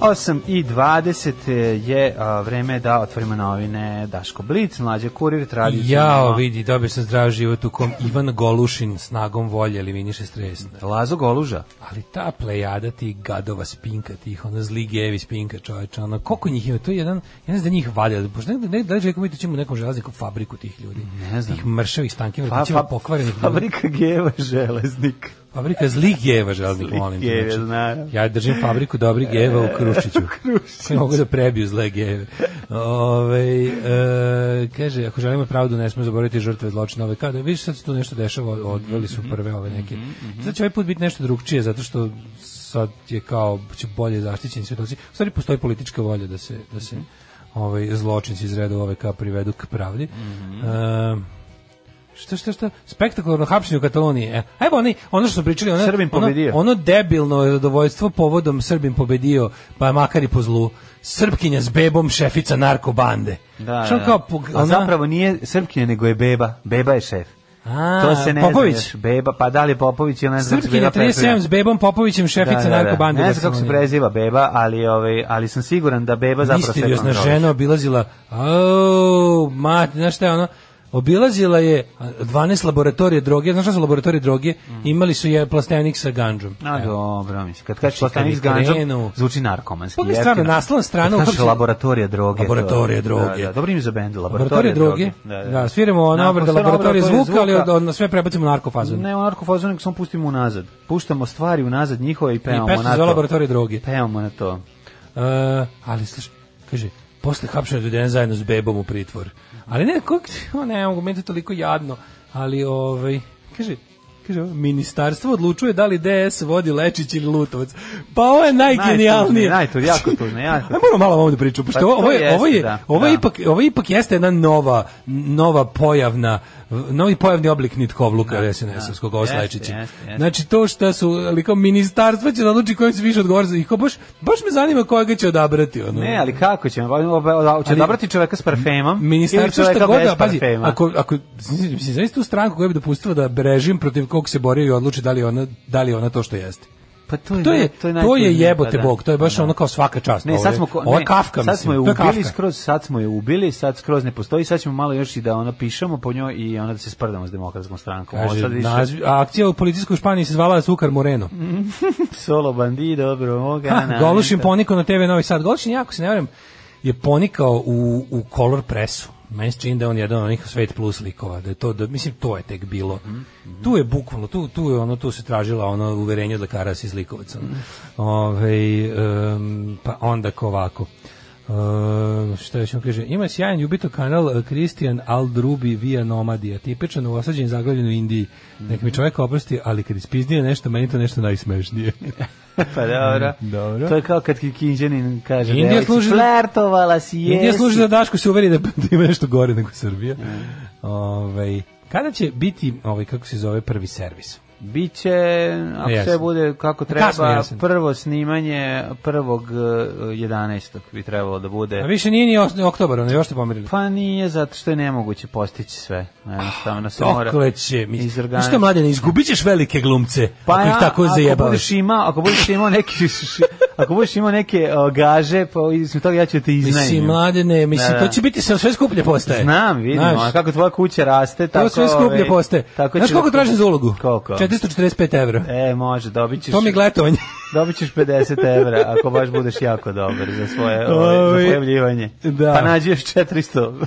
[SPEAKER 7] 8 i 20 je a, vreme da otvorimo novine Daško Blic, mlađe kurir, tradicionalno.
[SPEAKER 6] Jao, vidi, dobio sam zdrav život u kom Ivan Golušin snagom volje eliminiše stres.
[SPEAKER 7] Lazo Goluža.
[SPEAKER 6] Ali ta plejada tih gadova spinka, tih ono zli gevi spinka čoveča, ono, koliko njih ima, to je jedan, jedan za njih valja, pošto negde, negde, da li željko mi to ćemo u nekom železniku fabriku tih ljudi,
[SPEAKER 7] Ne znam.
[SPEAKER 6] tih mršavih stankim vrtićima
[SPEAKER 7] fa-
[SPEAKER 6] pokvarenih ljudi.
[SPEAKER 7] Pa, Fabrika Geva Železnik.
[SPEAKER 6] Fabrika zlih geva, železnik,
[SPEAKER 7] Zlih
[SPEAKER 6] molim
[SPEAKER 7] geva,
[SPEAKER 6] te. znači.
[SPEAKER 7] znam.
[SPEAKER 6] ja držim fabriku dobrih geva u Krušiću. Krušiću. Mogu da prebiju zle geve. Ove, e, kaže, ako želimo pravdu, ne smemo zaboraviti žrtve zločina ove kada. Vidiš, sad se tu nešto dešava, odvrli su prve ove neke. Sad će ovaj put biti nešto drugčije, zato što sad je kao, će bolje zaštićeni svjedoci. U stvari, postoji politička volja da se, da se ovaj, zločinci iz reda ove privedu k pravdi. E, Šta, šta, šta? Spektakularno hapšenje u Kataloniji. E, ajmo oni, ono što smo pričali, ono,
[SPEAKER 7] Srbin
[SPEAKER 6] ono,
[SPEAKER 7] pobedio.
[SPEAKER 6] ono debilno zadovoljstvo povodom Srbin pobedio, pa makar i po zlu. Srpkinja s bebom, šefica narkobande.
[SPEAKER 7] Da,
[SPEAKER 6] Što
[SPEAKER 7] da.
[SPEAKER 6] kao, ono- pog-
[SPEAKER 7] A
[SPEAKER 6] ona-
[SPEAKER 7] zapravo nije Srpkinja, nego je Beba. Beba je šef.
[SPEAKER 6] A,
[SPEAKER 7] to se ne
[SPEAKER 6] Popović.
[SPEAKER 7] zna još. Beba, pa da li je Popović ili ne znam. kako se
[SPEAKER 6] Srpkinja
[SPEAKER 7] Beba preziva.
[SPEAKER 6] 37 s bebom, Popovićem, šefica narkobande.
[SPEAKER 7] Ne znam kako se preziva Beba, ali, ovaj, ali sam siguran da Beba zapravo sve
[SPEAKER 6] Misteriozna
[SPEAKER 7] kontroliše.
[SPEAKER 6] žena obilazila, au, mat, znaš šta je ono, obilazila je a, 12 laboratorije droge, znaš šta su laboratorije droge, imali su je plastenik sa ganđom.
[SPEAKER 7] Mm. A
[SPEAKER 6] Evo.
[SPEAKER 7] dobro, mislim, kad
[SPEAKER 6] Znači,
[SPEAKER 7] kažeš plastanik s
[SPEAKER 6] kad je krenuo-
[SPEAKER 7] ganđom, zvuči narkomanski.
[SPEAKER 6] Pogledaj stvarno,
[SPEAKER 7] jeftino.
[SPEAKER 6] naslovna strana
[SPEAKER 7] Kad
[SPEAKER 6] u
[SPEAKER 7] kažeš
[SPEAKER 6] kom se-
[SPEAKER 7] laboratorija droge.
[SPEAKER 6] Laboratorija
[SPEAKER 7] to-
[SPEAKER 6] droge.
[SPEAKER 7] Da, da, dobro ime za bend,
[SPEAKER 6] Laboratorije
[SPEAKER 7] laboratorija
[SPEAKER 6] droge.
[SPEAKER 7] droge.
[SPEAKER 6] Da, sviramo ono
[SPEAKER 7] Nakon
[SPEAKER 6] obrada
[SPEAKER 7] sve
[SPEAKER 6] laboratorije
[SPEAKER 7] laboratorije
[SPEAKER 6] zvuka, ali od, od, sve prebacimo u narkofazu.
[SPEAKER 7] Ne, u narkofazu, nego samo pustimo unazad. Puštamo stvari unazad njihove i
[SPEAKER 6] I
[SPEAKER 7] pevamo
[SPEAKER 6] pesma
[SPEAKER 7] na
[SPEAKER 6] za
[SPEAKER 7] to.
[SPEAKER 6] laboratorije droge.
[SPEAKER 7] Pevamo na to.
[SPEAKER 6] E, ali slušaj, kaže, posle hapšenja odveden zajedno s bebom u pritvor. Ali ne, kako, o, ne mogu, meni to je toliko jadno. Ali, ovaj, kaže, kaže, ovo, ministarstvo odlučuje da li DS vodi Lečić ili Lutovac. Pa ovo je najgenijalnije. Znači,
[SPEAKER 7] Najtužnije, najtužnije, jako tužno, jako
[SPEAKER 6] Ajmo moramo malo o ovome da pričamo, pošto
[SPEAKER 7] Pa to
[SPEAKER 6] ovo je, ovo je,
[SPEAKER 7] jeste, da,
[SPEAKER 6] ovo je
[SPEAKER 7] da.
[SPEAKER 6] ipak, ovo ipak jeste jedna nova, nova pojavna, novi pojavni oblik nitkovluka da, SNS-ovskog, ovo s
[SPEAKER 7] jeste,
[SPEAKER 6] Lečićem.
[SPEAKER 7] jeste, jeste.
[SPEAKER 6] Znači to što su, ali kao ministarstvo će da odluči kojim se više odgovara za ih, kao baš, baš me zanima kojega će odabrati. Ono.
[SPEAKER 7] Ne, ali kako ćemo? Hoće
[SPEAKER 6] Ali-
[SPEAKER 7] odabrati čoveka s parfemom ili
[SPEAKER 6] Ministarstvo
[SPEAKER 7] čoveka
[SPEAKER 6] šta god,
[SPEAKER 7] bez
[SPEAKER 6] da, pazi,
[SPEAKER 7] parfema?
[SPEAKER 6] ako, ako, mislim, znaš tu stranku koja bi dopustila da režim protiv kog se borio i odluči da li je ona, da li je ona to što jeste.
[SPEAKER 7] Pa to je,
[SPEAKER 6] To je,
[SPEAKER 7] to je,
[SPEAKER 6] to je
[SPEAKER 7] najtužnije,
[SPEAKER 6] jebote
[SPEAKER 7] pa da.
[SPEAKER 6] bog, to je baš
[SPEAKER 7] Pa da.
[SPEAKER 6] ono kao svaka čast.
[SPEAKER 7] Ne,
[SPEAKER 6] ovo
[SPEAKER 7] sad
[SPEAKER 6] je-
[SPEAKER 7] smo, ko-
[SPEAKER 6] ovo je
[SPEAKER 7] ne,
[SPEAKER 6] Kafka,
[SPEAKER 7] sad smo je
[SPEAKER 6] mislim, to
[SPEAKER 7] ubili
[SPEAKER 6] Kafka.
[SPEAKER 7] skroz, sad smo je ubili, sad skroz ne postoji, sad ćemo malo još i da ona pišemo po njoj i onda da se sprdamo s demokratskom strankom. Ovo
[SPEAKER 6] Kaže,
[SPEAKER 7] sad više
[SPEAKER 6] nazvi- a akcija u policijskoj Španiji se zvala Sukar Moreno.
[SPEAKER 7] solo bandido, dobro, moga.
[SPEAKER 6] Ha, Golušin ponikao na TV Novi Sad. Golušin, jako se ne varam, je ponikao u, u color presu. Meni se čini da je on jedan od onih svet plus likova, da je to, da, mislim, to je tek bilo. Tu je bukvalno, tu, tu je ono, tu se tražila ono uverenje od lekara iz Likovaca. Ovaj, em, pa onda ko ovako. Em, šta još on kaže, ima sjajan ljubito kanal Kristijan Aldrubi via Nomadija, tipičan u osađenju zaglavljen u Indiji. Nek mi čovjek oprosti, ali kad ispizdije nešto, meni to nešto najsmešnije.
[SPEAKER 7] Pa dobro.
[SPEAKER 6] Dobro.
[SPEAKER 7] To je kao kad Kinđanin kaže
[SPEAKER 6] Indija
[SPEAKER 7] Indija
[SPEAKER 6] služi-
[SPEAKER 7] služi flertovala si jesi.
[SPEAKER 6] Indija služi da Daško se uveri da, da ima nešto gore nego Srbija. Ovaj, kada će biti, ovaj, kako se zove, prvi servis?
[SPEAKER 7] Biće, ako
[SPEAKER 6] Jesen.
[SPEAKER 7] sve bude kako treba,
[SPEAKER 6] E, Kasno jesen.
[SPEAKER 7] prvo snimanje prvog eh, 11. bi trebalo da bude.
[SPEAKER 6] A više nije ni os- oktobar, ono još ste pomerili.
[SPEAKER 7] E. Pa nije, zato što je nemoguće postići sve. Jednostavno se mora...
[SPEAKER 6] Dokle će, mi...
[SPEAKER 7] izorganiz-
[SPEAKER 6] Znaš šta, mladene, izgubit ćeš velike glumce, pa ako ih
[SPEAKER 7] ja,
[SPEAKER 6] tako
[SPEAKER 7] Ako
[SPEAKER 6] zajebavaš.
[SPEAKER 7] budeš imao, ako budeš imao neke, ako budeš imao neke o, gaže, pa iz toga ja ću te iznajmiti.
[SPEAKER 6] Mislim, mladene, mislim,
[SPEAKER 7] Da,
[SPEAKER 6] to
[SPEAKER 7] da.
[SPEAKER 6] će biti sve, sve skuplje postaje.
[SPEAKER 7] Znam, vidim,
[SPEAKER 6] Znaš,
[SPEAKER 7] a kako tvoja kuća raste,
[SPEAKER 6] To
[SPEAKER 7] tako...
[SPEAKER 6] sve skuplje
[SPEAKER 7] ovaj,
[SPEAKER 6] postaje.
[SPEAKER 7] Tako
[SPEAKER 6] Znaš
[SPEAKER 7] će
[SPEAKER 6] koliko
[SPEAKER 7] da-
[SPEAKER 6] tražim za ulogu?
[SPEAKER 7] Koliko?
[SPEAKER 6] 445 evra.
[SPEAKER 7] E, može, dobit ćeš,
[SPEAKER 6] To mi je gletovanje.
[SPEAKER 7] dobit ćeš 50 evra, ako baš budeš jako dobar za svoje ovaj,
[SPEAKER 6] Ovi,
[SPEAKER 7] za pojavljivanje.
[SPEAKER 6] da.
[SPEAKER 7] Pa nađi još 400,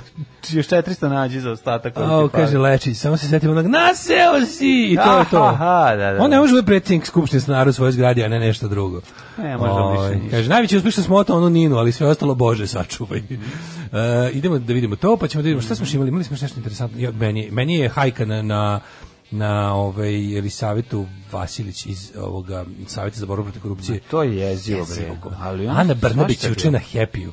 [SPEAKER 7] još 400 nađi za ostatak. koji ti
[SPEAKER 6] A,
[SPEAKER 7] fali.
[SPEAKER 6] kaže Lečić, samo se setim onog, naseo si! I to je to.
[SPEAKER 7] Aha, da, da.
[SPEAKER 6] On ne može biti predsjednik skupštine stanara u svojoj zgradi, a ne nešto drugo.
[SPEAKER 7] Ne, možda više
[SPEAKER 6] Ovaj,
[SPEAKER 7] ništa. Mhm.
[SPEAKER 6] Kaže, najveći uspješno smo otao onu Ninu, ali sve ostalo, Bože, sačuvaj. E, idemo da vidimo to, pa ćemo da vidimo šta smo još imali. Imali smo još nešto interesantno. Ja, meni, meni je hajka na, na na ovaj Elisavetu Vasilić iz ovoga Saveta za borbu protiv korupcije.
[SPEAKER 7] To je jezivo, bre. Ali on-
[SPEAKER 6] Ana Brnabić
[SPEAKER 7] svašta
[SPEAKER 6] je
[SPEAKER 7] je
[SPEAKER 6] juče
[SPEAKER 7] bilo.
[SPEAKER 6] na Happy-u.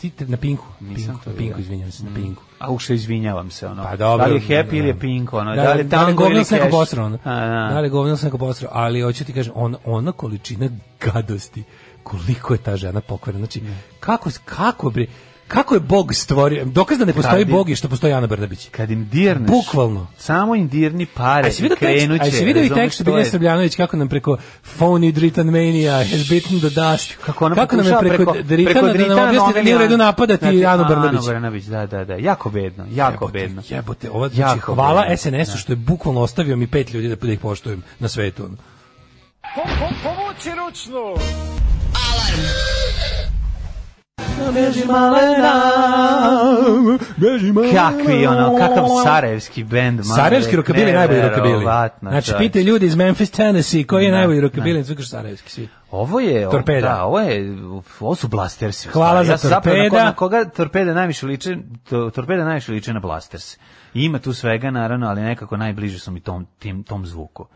[SPEAKER 6] Ti te- na Pinku,
[SPEAKER 7] Nisam
[SPEAKER 6] Pinku,
[SPEAKER 7] to
[SPEAKER 6] na Pinku,
[SPEAKER 7] vidio. Mhm.
[SPEAKER 6] izvinjavam se, na Pinku.
[SPEAKER 7] A uše izvinjavam se, ono.
[SPEAKER 6] Pa dobro.
[SPEAKER 7] Da li je happy
[SPEAKER 6] da.
[SPEAKER 7] ili je pink, ono.
[SPEAKER 6] Da,
[SPEAKER 7] Da, li je tango
[SPEAKER 6] govno
[SPEAKER 7] ili
[SPEAKER 6] s neko
[SPEAKER 7] cash.
[SPEAKER 6] posrao, ono.
[SPEAKER 7] A, da.
[SPEAKER 6] Da li je govno s neko posrao, ali hoću ti kažem, on, ona količina gadosti, koliko je ta žena pokvarena. Znači, kako, kako bre, kako je Bog stvorio, dokaz da ne postoji
[SPEAKER 7] Kad je-
[SPEAKER 6] Bog je što postoji Ana Brnabić.
[SPEAKER 7] Kad im dirneš.
[SPEAKER 6] Bukvalno.
[SPEAKER 7] Samo im dirni pare
[SPEAKER 6] A si vidio
[SPEAKER 7] i
[SPEAKER 6] tekst,
[SPEAKER 7] krenut će.
[SPEAKER 6] a si vidio i
[SPEAKER 7] razumeš,
[SPEAKER 6] tekst
[SPEAKER 7] to
[SPEAKER 6] Bilje
[SPEAKER 7] je-
[SPEAKER 6] Srbljanović kako nam preko phony Dritan Mania has beaten the dust.
[SPEAKER 7] Kako ona
[SPEAKER 6] nam je
[SPEAKER 7] pokušava
[SPEAKER 6] preko, Dritana, da nam objasni da nije u redu napadati Anu Brnabić.
[SPEAKER 7] Znači, Anu Brnabić, da, da, da. Jako bedno, jako
[SPEAKER 6] Jebote,
[SPEAKER 7] bedno.
[SPEAKER 6] Jebote, ovo znači,
[SPEAKER 7] Jako
[SPEAKER 6] hvala
[SPEAKER 7] bedno.
[SPEAKER 6] SNS-u što je bukvalno ostavio mi pet ljudi da, da ih poštujem na svetu. ono.
[SPEAKER 5] Alarm.
[SPEAKER 7] Kakvi ono, kakav sarajevski bend.
[SPEAKER 6] Sarajevski rokabili je najbolji rokabili. Znači,
[SPEAKER 7] Znači,
[SPEAKER 6] pite ljudi iz Memphis, Tennessee, koji je
[SPEAKER 7] Da,
[SPEAKER 6] najbolji
[SPEAKER 7] da.
[SPEAKER 6] rokabili, zvukaš sarajevski svi.
[SPEAKER 7] Ovo je, ovo-
[SPEAKER 6] Torpeda.
[SPEAKER 7] da, ovo je, ovo su blasters.
[SPEAKER 6] Hvala za
[SPEAKER 7] Na
[SPEAKER 6] Torpeda.
[SPEAKER 7] koga, na koga torpeda najviše liče, to, torpeda najviše liče na blasters. Ima tu svega, naravno, ali nekako najbliže su mi tom, tim, tom zvuku.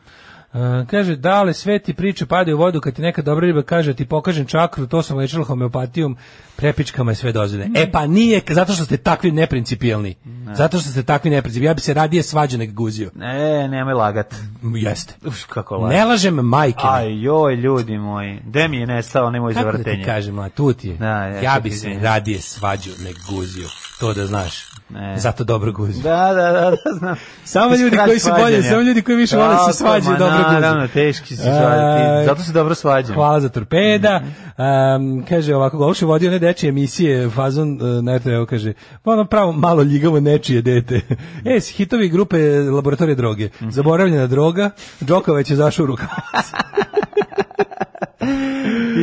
[SPEAKER 6] Uh, kaže, dale, sve ti priče padaju u vodu kad ti neka dobra riba kaže, ti pokažem čakru, to sam lečila homeopatijom, prepičkama je sve dozvoljeno. E pa nije, k- zato što ste takvi neprincipijelni. Zato što ste takvi neprincipijelni. Ja bi se radije svađa nek guzio.
[SPEAKER 7] E, nemoj lagat.
[SPEAKER 6] M, Jeste.
[SPEAKER 7] Uš, kako lagat.
[SPEAKER 6] Ne lažem majke. mi.
[SPEAKER 7] Aj, joj, ljudi moji. Gde mi je nestao onaj moj
[SPEAKER 6] Kako da ti
[SPEAKER 7] zavrtenje?
[SPEAKER 6] kažem, a tu ti je.
[SPEAKER 7] Da,
[SPEAKER 6] ja,
[SPEAKER 7] ja
[SPEAKER 6] ja
[SPEAKER 7] sad
[SPEAKER 6] bi
[SPEAKER 7] ti
[SPEAKER 6] se
[SPEAKER 7] znam.
[SPEAKER 6] radije svađao nek guzio. To da znaš.
[SPEAKER 7] Ne.
[SPEAKER 6] Zato dobro guzio.
[SPEAKER 7] Da, da, da, da, znam.
[SPEAKER 6] Samo ljudi
[SPEAKER 7] Strah
[SPEAKER 6] koji su bolje,
[SPEAKER 7] svađanja.
[SPEAKER 6] samo ljudi koji više vole se
[SPEAKER 7] Tako,
[SPEAKER 6] svađaju
[SPEAKER 7] ma
[SPEAKER 6] dobro guze.
[SPEAKER 7] Naravno, teški se
[SPEAKER 6] E,
[SPEAKER 7] svađati. Zato se dobro svađam.
[SPEAKER 6] Hvala za torpeda. Um, kaže ovako, Goluš je vodio one dečije emisije, fazon uh, na rtl kaže, pa ono pravo malo ljigavo nečije dete. e, s hitovi grupe laboratorije droge. Zaboravljena droga, Đoković je zašao u rukavicu.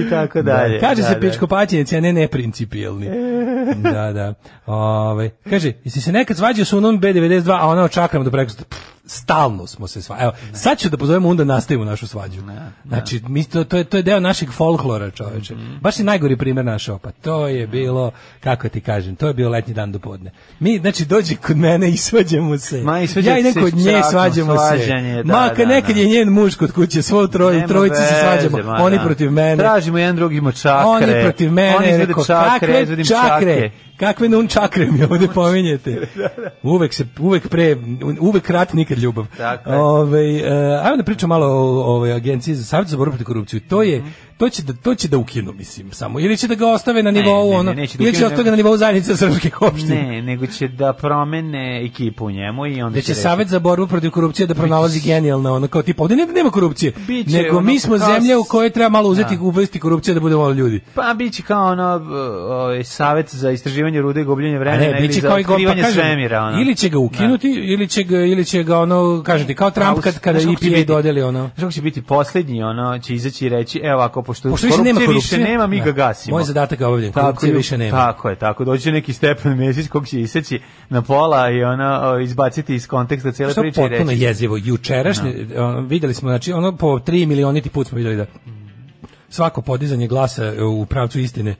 [SPEAKER 7] I tako dalje.
[SPEAKER 6] Kaže
[SPEAKER 7] da,
[SPEAKER 6] se
[SPEAKER 7] da.
[SPEAKER 6] pičko paćenici, a ne neprincipijelni. da, da. Ove, kaže, jesi se nekad svađao sa unom B92, a ona očakram do preko... Pff, stalno smo se svađali. Evo, sad ću da pozovemo onda nastavimo našu svađu. Znači, mi, to, to, je, to je deo našeg folklora, čoveče.
[SPEAKER 7] Mhm.
[SPEAKER 6] Baš je najgori primjer našao, pa to je bilo, kako ti kažem, to je bio letnji dan do podne. Mi, znači, dođi kod mene i svađamo se.
[SPEAKER 7] Ma, i svađate
[SPEAKER 6] ja idem
[SPEAKER 7] se
[SPEAKER 6] kod nje i
[SPEAKER 7] čakom,
[SPEAKER 6] svađamo se.
[SPEAKER 7] svađanje, da,
[SPEAKER 6] Makar
[SPEAKER 7] da,
[SPEAKER 6] nekad
[SPEAKER 7] da.
[SPEAKER 6] je njen muž kod kuće, svo troj,
[SPEAKER 7] Nema
[SPEAKER 6] trojici se
[SPEAKER 7] veze,
[SPEAKER 6] svađamo,
[SPEAKER 7] ma
[SPEAKER 6] oni
[SPEAKER 7] da.
[SPEAKER 6] protiv mene.
[SPEAKER 7] Tražimo jedan drugima čakre.
[SPEAKER 6] Oni protiv mene,
[SPEAKER 7] Oni izvede
[SPEAKER 6] rekao,
[SPEAKER 7] čakre,
[SPEAKER 6] kakve
[SPEAKER 7] izvedim
[SPEAKER 6] čakre?
[SPEAKER 7] čakre.
[SPEAKER 6] Kakve nun čakre mi ovde pominjete? Uvek se uvek pre uvek rat nikad ljubav.
[SPEAKER 7] Tako je.
[SPEAKER 6] Ovaj e, ajmo da pričamo malo o ovoj agenciji za savet za borbu protiv korupcije. To je
[SPEAKER 7] Mhm.
[SPEAKER 6] to će da to će da ukinu mislim samo ili će da ga ostave na nivou
[SPEAKER 7] ne, ne,
[SPEAKER 6] ono
[SPEAKER 7] neće da
[SPEAKER 6] ili će
[SPEAKER 7] ukinu,
[SPEAKER 6] da ostave ga na nivou zajednice srpskih opština.
[SPEAKER 7] Ne, nego će da promene ekipu u njemu i onda
[SPEAKER 6] da će
[SPEAKER 7] reći-
[SPEAKER 6] savet za borbu protiv korupcije da pronalazi genijalna ono kao tipa ovde ne- nema korupcije
[SPEAKER 7] Biće
[SPEAKER 6] nego
[SPEAKER 7] ono
[SPEAKER 6] mi smo
[SPEAKER 7] kao
[SPEAKER 6] zemlja u
[SPEAKER 7] s-
[SPEAKER 6] kojoj treba malo uzeti
[SPEAKER 7] Da.
[SPEAKER 6] uvesti korupcije da budemo malo ljudi
[SPEAKER 7] Pa biće kao ono o, savet za istraživanje rude i gubljenje
[SPEAKER 6] A
[SPEAKER 7] vremena ili
[SPEAKER 6] biće
[SPEAKER 7] za
[SPEAKER 6] kao i go-
[SPEAKER 7] otkrivanje
[SPEAKER 6] pa kažem,
[SPEAKER 7] svemira. Ono.
[SPEAKER 6] Ili će ga ukinuti, ili, će ga, ili će ga ono, kažete, kao Trump kad, kada
[SPEAKER 7] Znaš kako će
[SPEAKER 6] EPA
[SPEAKER 7] biti?
[SPEAKER 6] dodeli ono.
[SPEAKER 7] Znaš kako će biti posljednji, ono, će izaći i reći, evo ako, pošto,
[SPEAKER 6] Pošto više
[SPEAKER 7] korupcije
[SPEAKER 6] nema korupcije,
[SPEAKER 7] više nema, mi ga
[SPEAKER 6] da.
[SPEAKER 7] gasimo.
[SPEAKER 6] Moj zadatak je obavljen,
[SPEAKER 7] Tako
[SPEAKER 6] korupcije
[SPEAKER 7] je,
[SPEAKER 6] više nema.
[SPEAKER 7] Tako je, tako, doći će neki Stepan Mesić kog će iseći na pola i ono, o, izbaciti iz konteksta cijele
[SPEAKER 6] Što je
[SPEAKER 7] priče i
[SPEAKER 6] potpuno
[SPEAKER 7] reći.
[SPEAKER 6] jezivo. Jučerašnje, ono, vidjeli smo, znači, ono po 3 milioniti put smo vidjeli da svako podizanje glasa u pravcu istine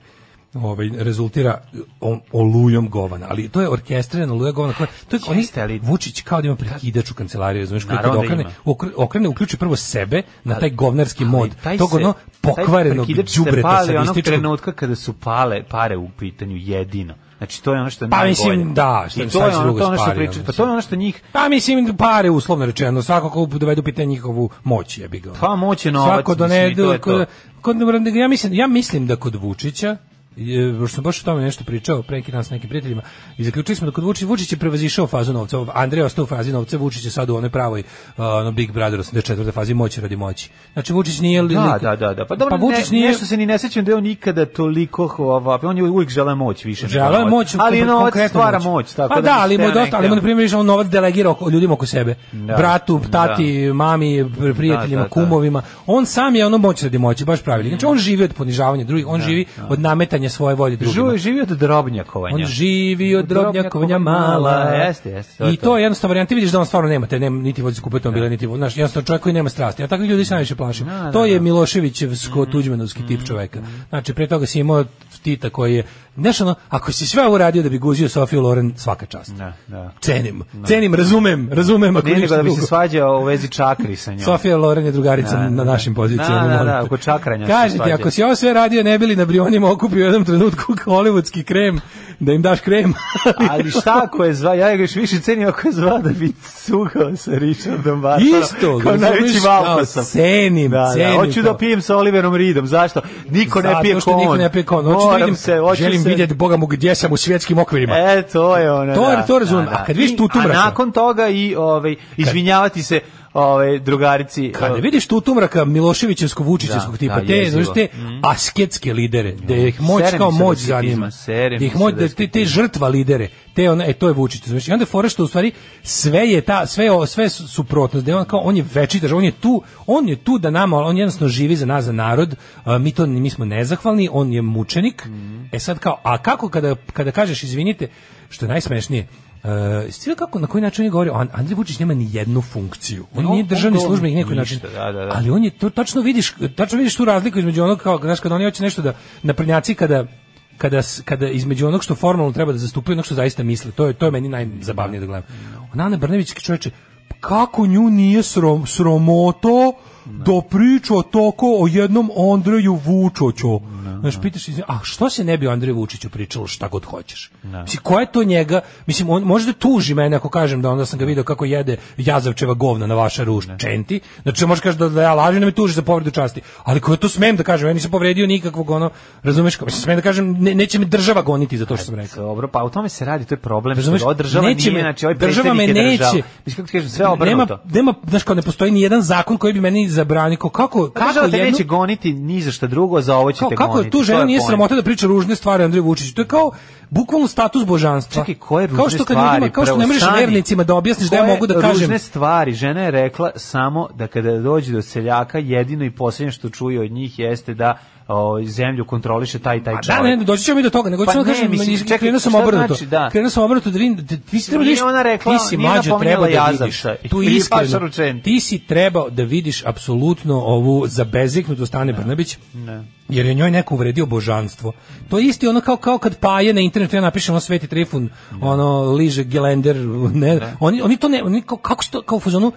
[SPEAKER 6] ovaj rezultira o- olujom govana, ali to je orkestrirana oluja govana. koja- To je oni
[SPEAKER 7] Jeste, ali-
[SPEAKER 6] Vučić kao da ima prekidač u kancelariju, razumeš, koji kad
[SPEAKER 7] Naravno da
[SPEAKER 6] okrene,
[SPEAKER 7] ima.
[SPEAKER 6] okre- okrene uključi prvo sebe na taj govnarski
[SPEAKER 7] Ali
[SPEAKER 6] mod,
[SPEAKER 7] taj
[SPEAKER 6] tog
[SPEAKER 7] se-
[SPEAKER 6] ono
[SPEAKER 7] taj
[SPEAKER 6] pokvarenog
[SPEAKER 7] prekidač se
[SPEAKER 6] đubreta
[SPEAKER 7] pali onog
[SPEAKER 6] sadističkog.
[SPEAKER 7] trenutka kada su pale pare u pitanju jedino. Znači to je ono što je
[SPEAKER 6] Pa
[SPEAKER 7] najbolje.
[SPEAKER 6] mislim, da, što
[SPEAKER 7] I
[SPEAKER 6] im
[SPEAKER 7] to
[SPEAKER 6] sad
[SPEAKER 7] je ono,
[SPEAKER 6] drugo
[SPEAKER 7] to je ono što
[SPEAKER 6] spari,
[SPEAKER 7] priča,
[SPEAKER 6] ono,
[SPEAKER 7] pa to je ono što njih
[SPEAKER 6] Pa mislim da pare uslovno rečeno, svako ko dovede u pitanje njihovu moć je bi ga.
[SPEAKER 7] Pa, moć je novac,
[SPEAKER 6] Svako
[SPEAKER 7] mislim, i to
[SPEAKER 6] donede
[SPEAKER 7] je
[SPEAKER 6] kod,
[SPEAKER 7] to.
[SPEAKER 6] kod ja mislim ja mislim da kod Vučića je, pošto sam baš o tome nešto pričao pre neki dan s nekim prijateljima i zaključili smo da kod Vučića Vučić je prevazišao fazu novca. Andrej je ostao u fazi novca, Vučić je sad u onoj pravoj uh, ono Big Brother 84. fazi moći radi moći. Znači Vučić nije li-
[SPEAKER 7] Da,
[SPEAKER 6] lik-
[SPEAKER 7] da, da, da. Pa dobro,
[SPEAKER 6] pa Vučić
[SPEAKER 7] ne,
[SPEAKER 6] nije
[SPEAKER 7] nešto se ni ne sećam da je on ikada toliko hovapi. On je uvijek žele moć više. nego
[SPEAKER 6] Žele
[SPEAKER 7] novac.
[SPEAKER 6] moć,
[SPEAKER 7] ali
[SPEAKER 6] kon-
[SPEAKER 7] novac
[SPEAKER 6] konkretno
[SPEAKER 7] stvara
[SPEAKER 6] moć.
[SPEAKER 7] moć. Tako
[SPEAKER 6] pa da, ali mu je
[SPEAKER 7] mislim, ja
[SPEAKER 6] dosta, ali
[SPEAKER 7] ne
[SPEAKER 6] mu na
[SPEAKER 7] htio.
[SPEAKER 6] primjer više on novac delegira oko, ljudima oko sebe.
[SPEAKER 7] Da.
[SPEAKER 6] Bratu, tati, mami, pr- prijateljima,
[SPEAKER 7] Da, da, da.
[SPEAKER 6] kumovima. On sam je ono moć radi moći, baš pravilno. Znači on živi od ponižavanja drugih, on živi od nametanja svoje volje drugima.
[SPEAKER 7] Živo- živi od drobnjakovanja.
[SPEAKER 6] On živi od
[SPEAKER 7] Od drobnjakovanja
[SPEAKER 6] drobnjakovanja mala.
[SPEAKER 7] mala, jeste, jeste, to je
[SPEAKER 6] I
[SPEAKER 7] to.
[SPEAKER 6] to je jednostavno varijanta. Ti vidiš da on stvarno nema, te nema niti vozi kupiti automobile, niti znaš, jednostavno čovjek koji nema strasti. A takvi ljudi se najviše plaše.
[SPEAKER 7] da,
[SPEAKER 6] To je
[SPEAKER 7] da. Mhm.
[SPEAKER 6] Miloševićevsko tuđmanovski tip čovjeka. Znači, pre toga si imao Tita koji je, znaš ono, ako si sve uradio da bi guzio Sofiju Loren, svaka čast.
[SPEAKER 7] Da, da.
[SPEAKER 6] Cenim, cenim, razumem, razumem ako
[SPEAKER 7] Ne, nego
[SPEAKER 6] ništa
[SPEAKER 7] da bi se
[SPEAKER 6] drugo.
[SPEAKER 7] svađao u vezi čakri sa njom.
[SPEAKER 6] Sofija Loren je drugarica
[SPEAKER 7] Da, da,
[SPEAKER 6] na
[SPEAKER 7] da.
[SPEAKER 6] našim pozicijama.
[SPEAKER 7] Da, da, da,
[SPEAKER 6] molim te.
[SPEAKER 7] oko čakranja se
[SPEAKER 6] Kaže ti,
[SPEAKER 7] svađaju.
[SPEAKER 6] ako si ovo sve radio, ne bili na brionima okupio u jednom trenutku hollywoodski krem, da im daš krem.
[SPEAKER 7] Ali šta ako je zva, ja ga još više cenim ako je zva da bi cugao sa Richardom Bartonom.
[SPEAKER 6] Isto,
[SPEAKER 7] kao
[SPEAKER 6] razumeš,
[SPEAKER 7] najveći
[SPEAKER 6] kao
[SPEAKER 7] valpa sam.
[SPEAKER 6] cenim,
[SPEAKER 7] da,
[SPEAKER 6] cenim
[SPEAKER 7] Da, hoću
[SPEAKER 6] to.
[SPEAKER 7] da pijem sa Oliverom Reedom, zašto? Niko ne pije
[SPEAKER 6] Zato
[SPEAKER 7] kon.
[SPEAKER 6] što niko ne pije kon. Hoću da
[SPEAKER 7] Moram
[SPEAKER 6] vidim,
[SPEAKER 7] se, hoću
[SPEAKER 6] želim
[SPEAKER 7] se-
[SPEAKER 6] vidjeti, boga mu, gdje sam u svjetskim okvirima.
[SPEAKER 7] E, to je ono,
[SPEAKER 6] To-
[SPEAKER 7] da.
[SPEAKER 6] to razumem. A kad vidiš
[SPEAKER 7] I-
[SPEAKER 6] Tutumraka-
[SPEAKER 7] A nakon toga i ovaj, izvinjavati se ovaj, drugarici.
[SPEAKER 6] Kada
[SPEAKER 7] ovaj,
[SPEAKER 6] vidiš tu tumraka Miloševićevskog Vučićevskog
[SPEAKER 7] Da,
[SPEAKER 6] tipa,
[SPEAKER 7] da,
[SPEAKER 6] te,
[SPEAKER 7] jezivo. Mm.
[SPEAKER 6] znaš, te asketske lidere, da ih moć
[SPEAKER 7] Sere mi
[SPEAKER 6] kao
[SPEAKER 7] se
[SPEAKER 6] moć
[SPEAKER 7] desketizma,
[SPEAKER 6] zanima.
[SPEAKER 7] sere
[SPEAKER 6] Da ih
[SPEAKER 7] mi
[SPEAKER 6] moć,
[SPEAKER 7] se
[SPEAKER 6] da te, te
[SPEAKER 7] desketizma.
[SPEAKER 6] žrtva lidere, te ona, e, to je Vučić, znaš, i onda je fora što u stvari sve je ta, sve, je ovo- sve je su- suprotnost, da je on kao, on je večita, on je tu, on je tu da nama, on jednostavno živi za nas, za narod, a, mi to, mi smo nezahvalni, on je mučenik, e sad kao, a kako kada, kada kažeš, izvinite, što je najsmešnije, Uh, kako, na koji način on je govorio, An- Andrej Vučić nema ni jednu funkciju. On
[SPEAKER 7] No,
[SPEAKER 6] nije državni
[SPEAKER 7] on to-
[SPEAKER 6] službenik na neki način.
[SPEAKER 7] ništa, da, da, da.
[SPEAKER 6] Ali on je to tačno vidiš, tačno vidiš tu razliku između onog kao znaš kada oni hoće nešto da naprednjaci kada kada s- kada između onog što formalno treba da zastupaju i onog što zaista misle. To je to je meni najzabavnije da gledam. Ona Ana Brnević čoveče kako nju nije srom, sromoto da priča toko o jednom Andreju Vučiću. Znaš, pitaš, izvin- a što se ne bi o Andreju Vučiću pričalo šta god hoćeš? Mislim, ko je to njega? Mislim, on može da tuži mene ako kažem da onda sam ga video kako jede Jazavčeva govna na vaša ruž čenti. Znači, može kaže da, da ja lažem da me tuži za povredu časti. Ali ko je to smem da kažem? Ja nisam povredio nikakvog ono, razumeš? kao- Mislim, smem da kažem, ne, neće me država goniti za to što sam rekao.
[SPEAKER 7] Dobro, pa u tome se radi, to je problem.
[SPEAKER 6] Razumeš,
[SPEAKER 7] Razumeš, ova država
[SPEAKER 6] neće
[SPEAKER 7] neće
[SPEAKER 6] me-
[SPEAKER 7] nije, znači ovaj
[SPEAKER 6] država
[SPEAKER 7] država
[SPEAKER 6] me
[SPEAKER 7] me
[SPEAKER 6] neće.
[SPEAKER 7] Država. Mislim, kako ti kažem, sve obrnuto.
[SPEAKER 6] Nema, nema, znaš kao ne postoji ni jedan zakon koji bi meni zabranio. Kao, Kako,
[SPEAKER 7] Pa
[SPEAKER 6] kako,
[SPEAKER 7] država te
[SPEAKER 6] jednu-
[SPEAKER 7] neće goniti ni za šta drugo, za ovo će
[SPEAKER 6] kao,
[SPEAKER 7] te
[SPEAKER 6] kako
[SPEAKER 7] goniti.
[SPEAKER 6] tu
[SPEAKER 7] to
[SPEAKER 6] ženu
[SPEAKER 7] je
[SPEAKER 6] nije
[SPEAKER 7] point.
[SPEAKER 6] sramota da priča ružne stvari Andreju Vučiću? To je kao bukvalno status božanstva.
[SPEAKER 7] Čekaj, koje ružne
[SPEAKER 6] kao što kad
[SPEAKER 7] stvari?
[SPEAKER 6] ljudima, kao što
[SPEAKER 7] Prvo,
[SPEAKER 6] ne možeš
[SPEAKER 7] stani.
[SPEAKER 6] vernicima da objasniš da ja
[SPEAKER 7] Koje
[SPEAKER 6] mogu da kažem.
[SPEAKER 7] Ružne stvari. Žena je rekla samo da kada dođe do seljaka, jedino i posljednje što čuje od njih jeste da o, zemlju kontroliše taj i taj
[SPEAKER 6] Pa da,
[SPEAKER 7] čovjek.
[SPEAKER 6] ne, ne, doći ćemo i do toga, nego
[SPEAKER 7] Pa
[SPEAKER 6] ćemo
[SPEAKER 7] ne,
[SPEAKER 6] kažem,
[SPEAKER 7] mislim,
[SPEAKER 6] iz-
[SPEAKER 7] čekaj,
[SPEAKER 6] krenuo sam
[SPEAKER 7] šta
[SPEAKER 6] obrnuto.
[SPEAKER 7] znači, da.
[SPEAKER 6] Krenuo sam obrnuto da vidim, da- ti si trebao da
[SPEAKER 7] Nije
[SPEAKER 6] vidiš,
[SPEAKER 7] ona rekla,
[SPEAKER 6] ti si
[SPEAKER 7] nije ona
[SPEAKER 6] mlađo
[SPEAKER 7] pominjala
[SPEAKER 6] trebao da
[SPEAKER 7] Jazavca
[SPEAKER 6] vidiš,
[SPEAKER 7] i
[SPEAKER 6] tu
[SPEAKER 7] Filipa
[SPEAKER 6] iskreno,
[SPEAKER 7] Šaručen.
[SPEAKER 6] ti si trebao da vidiš apsolutno ovu zabeziknutu Stane Brnabić, jer je njoj neko uvredio božanstvo. To je isti ono kao, kao kad paje na internetu, ja napišem ono Sveti Trifun, ono liže gelender, ne, oni, oni to ne, oni kao, kako se to, kao u fazonu,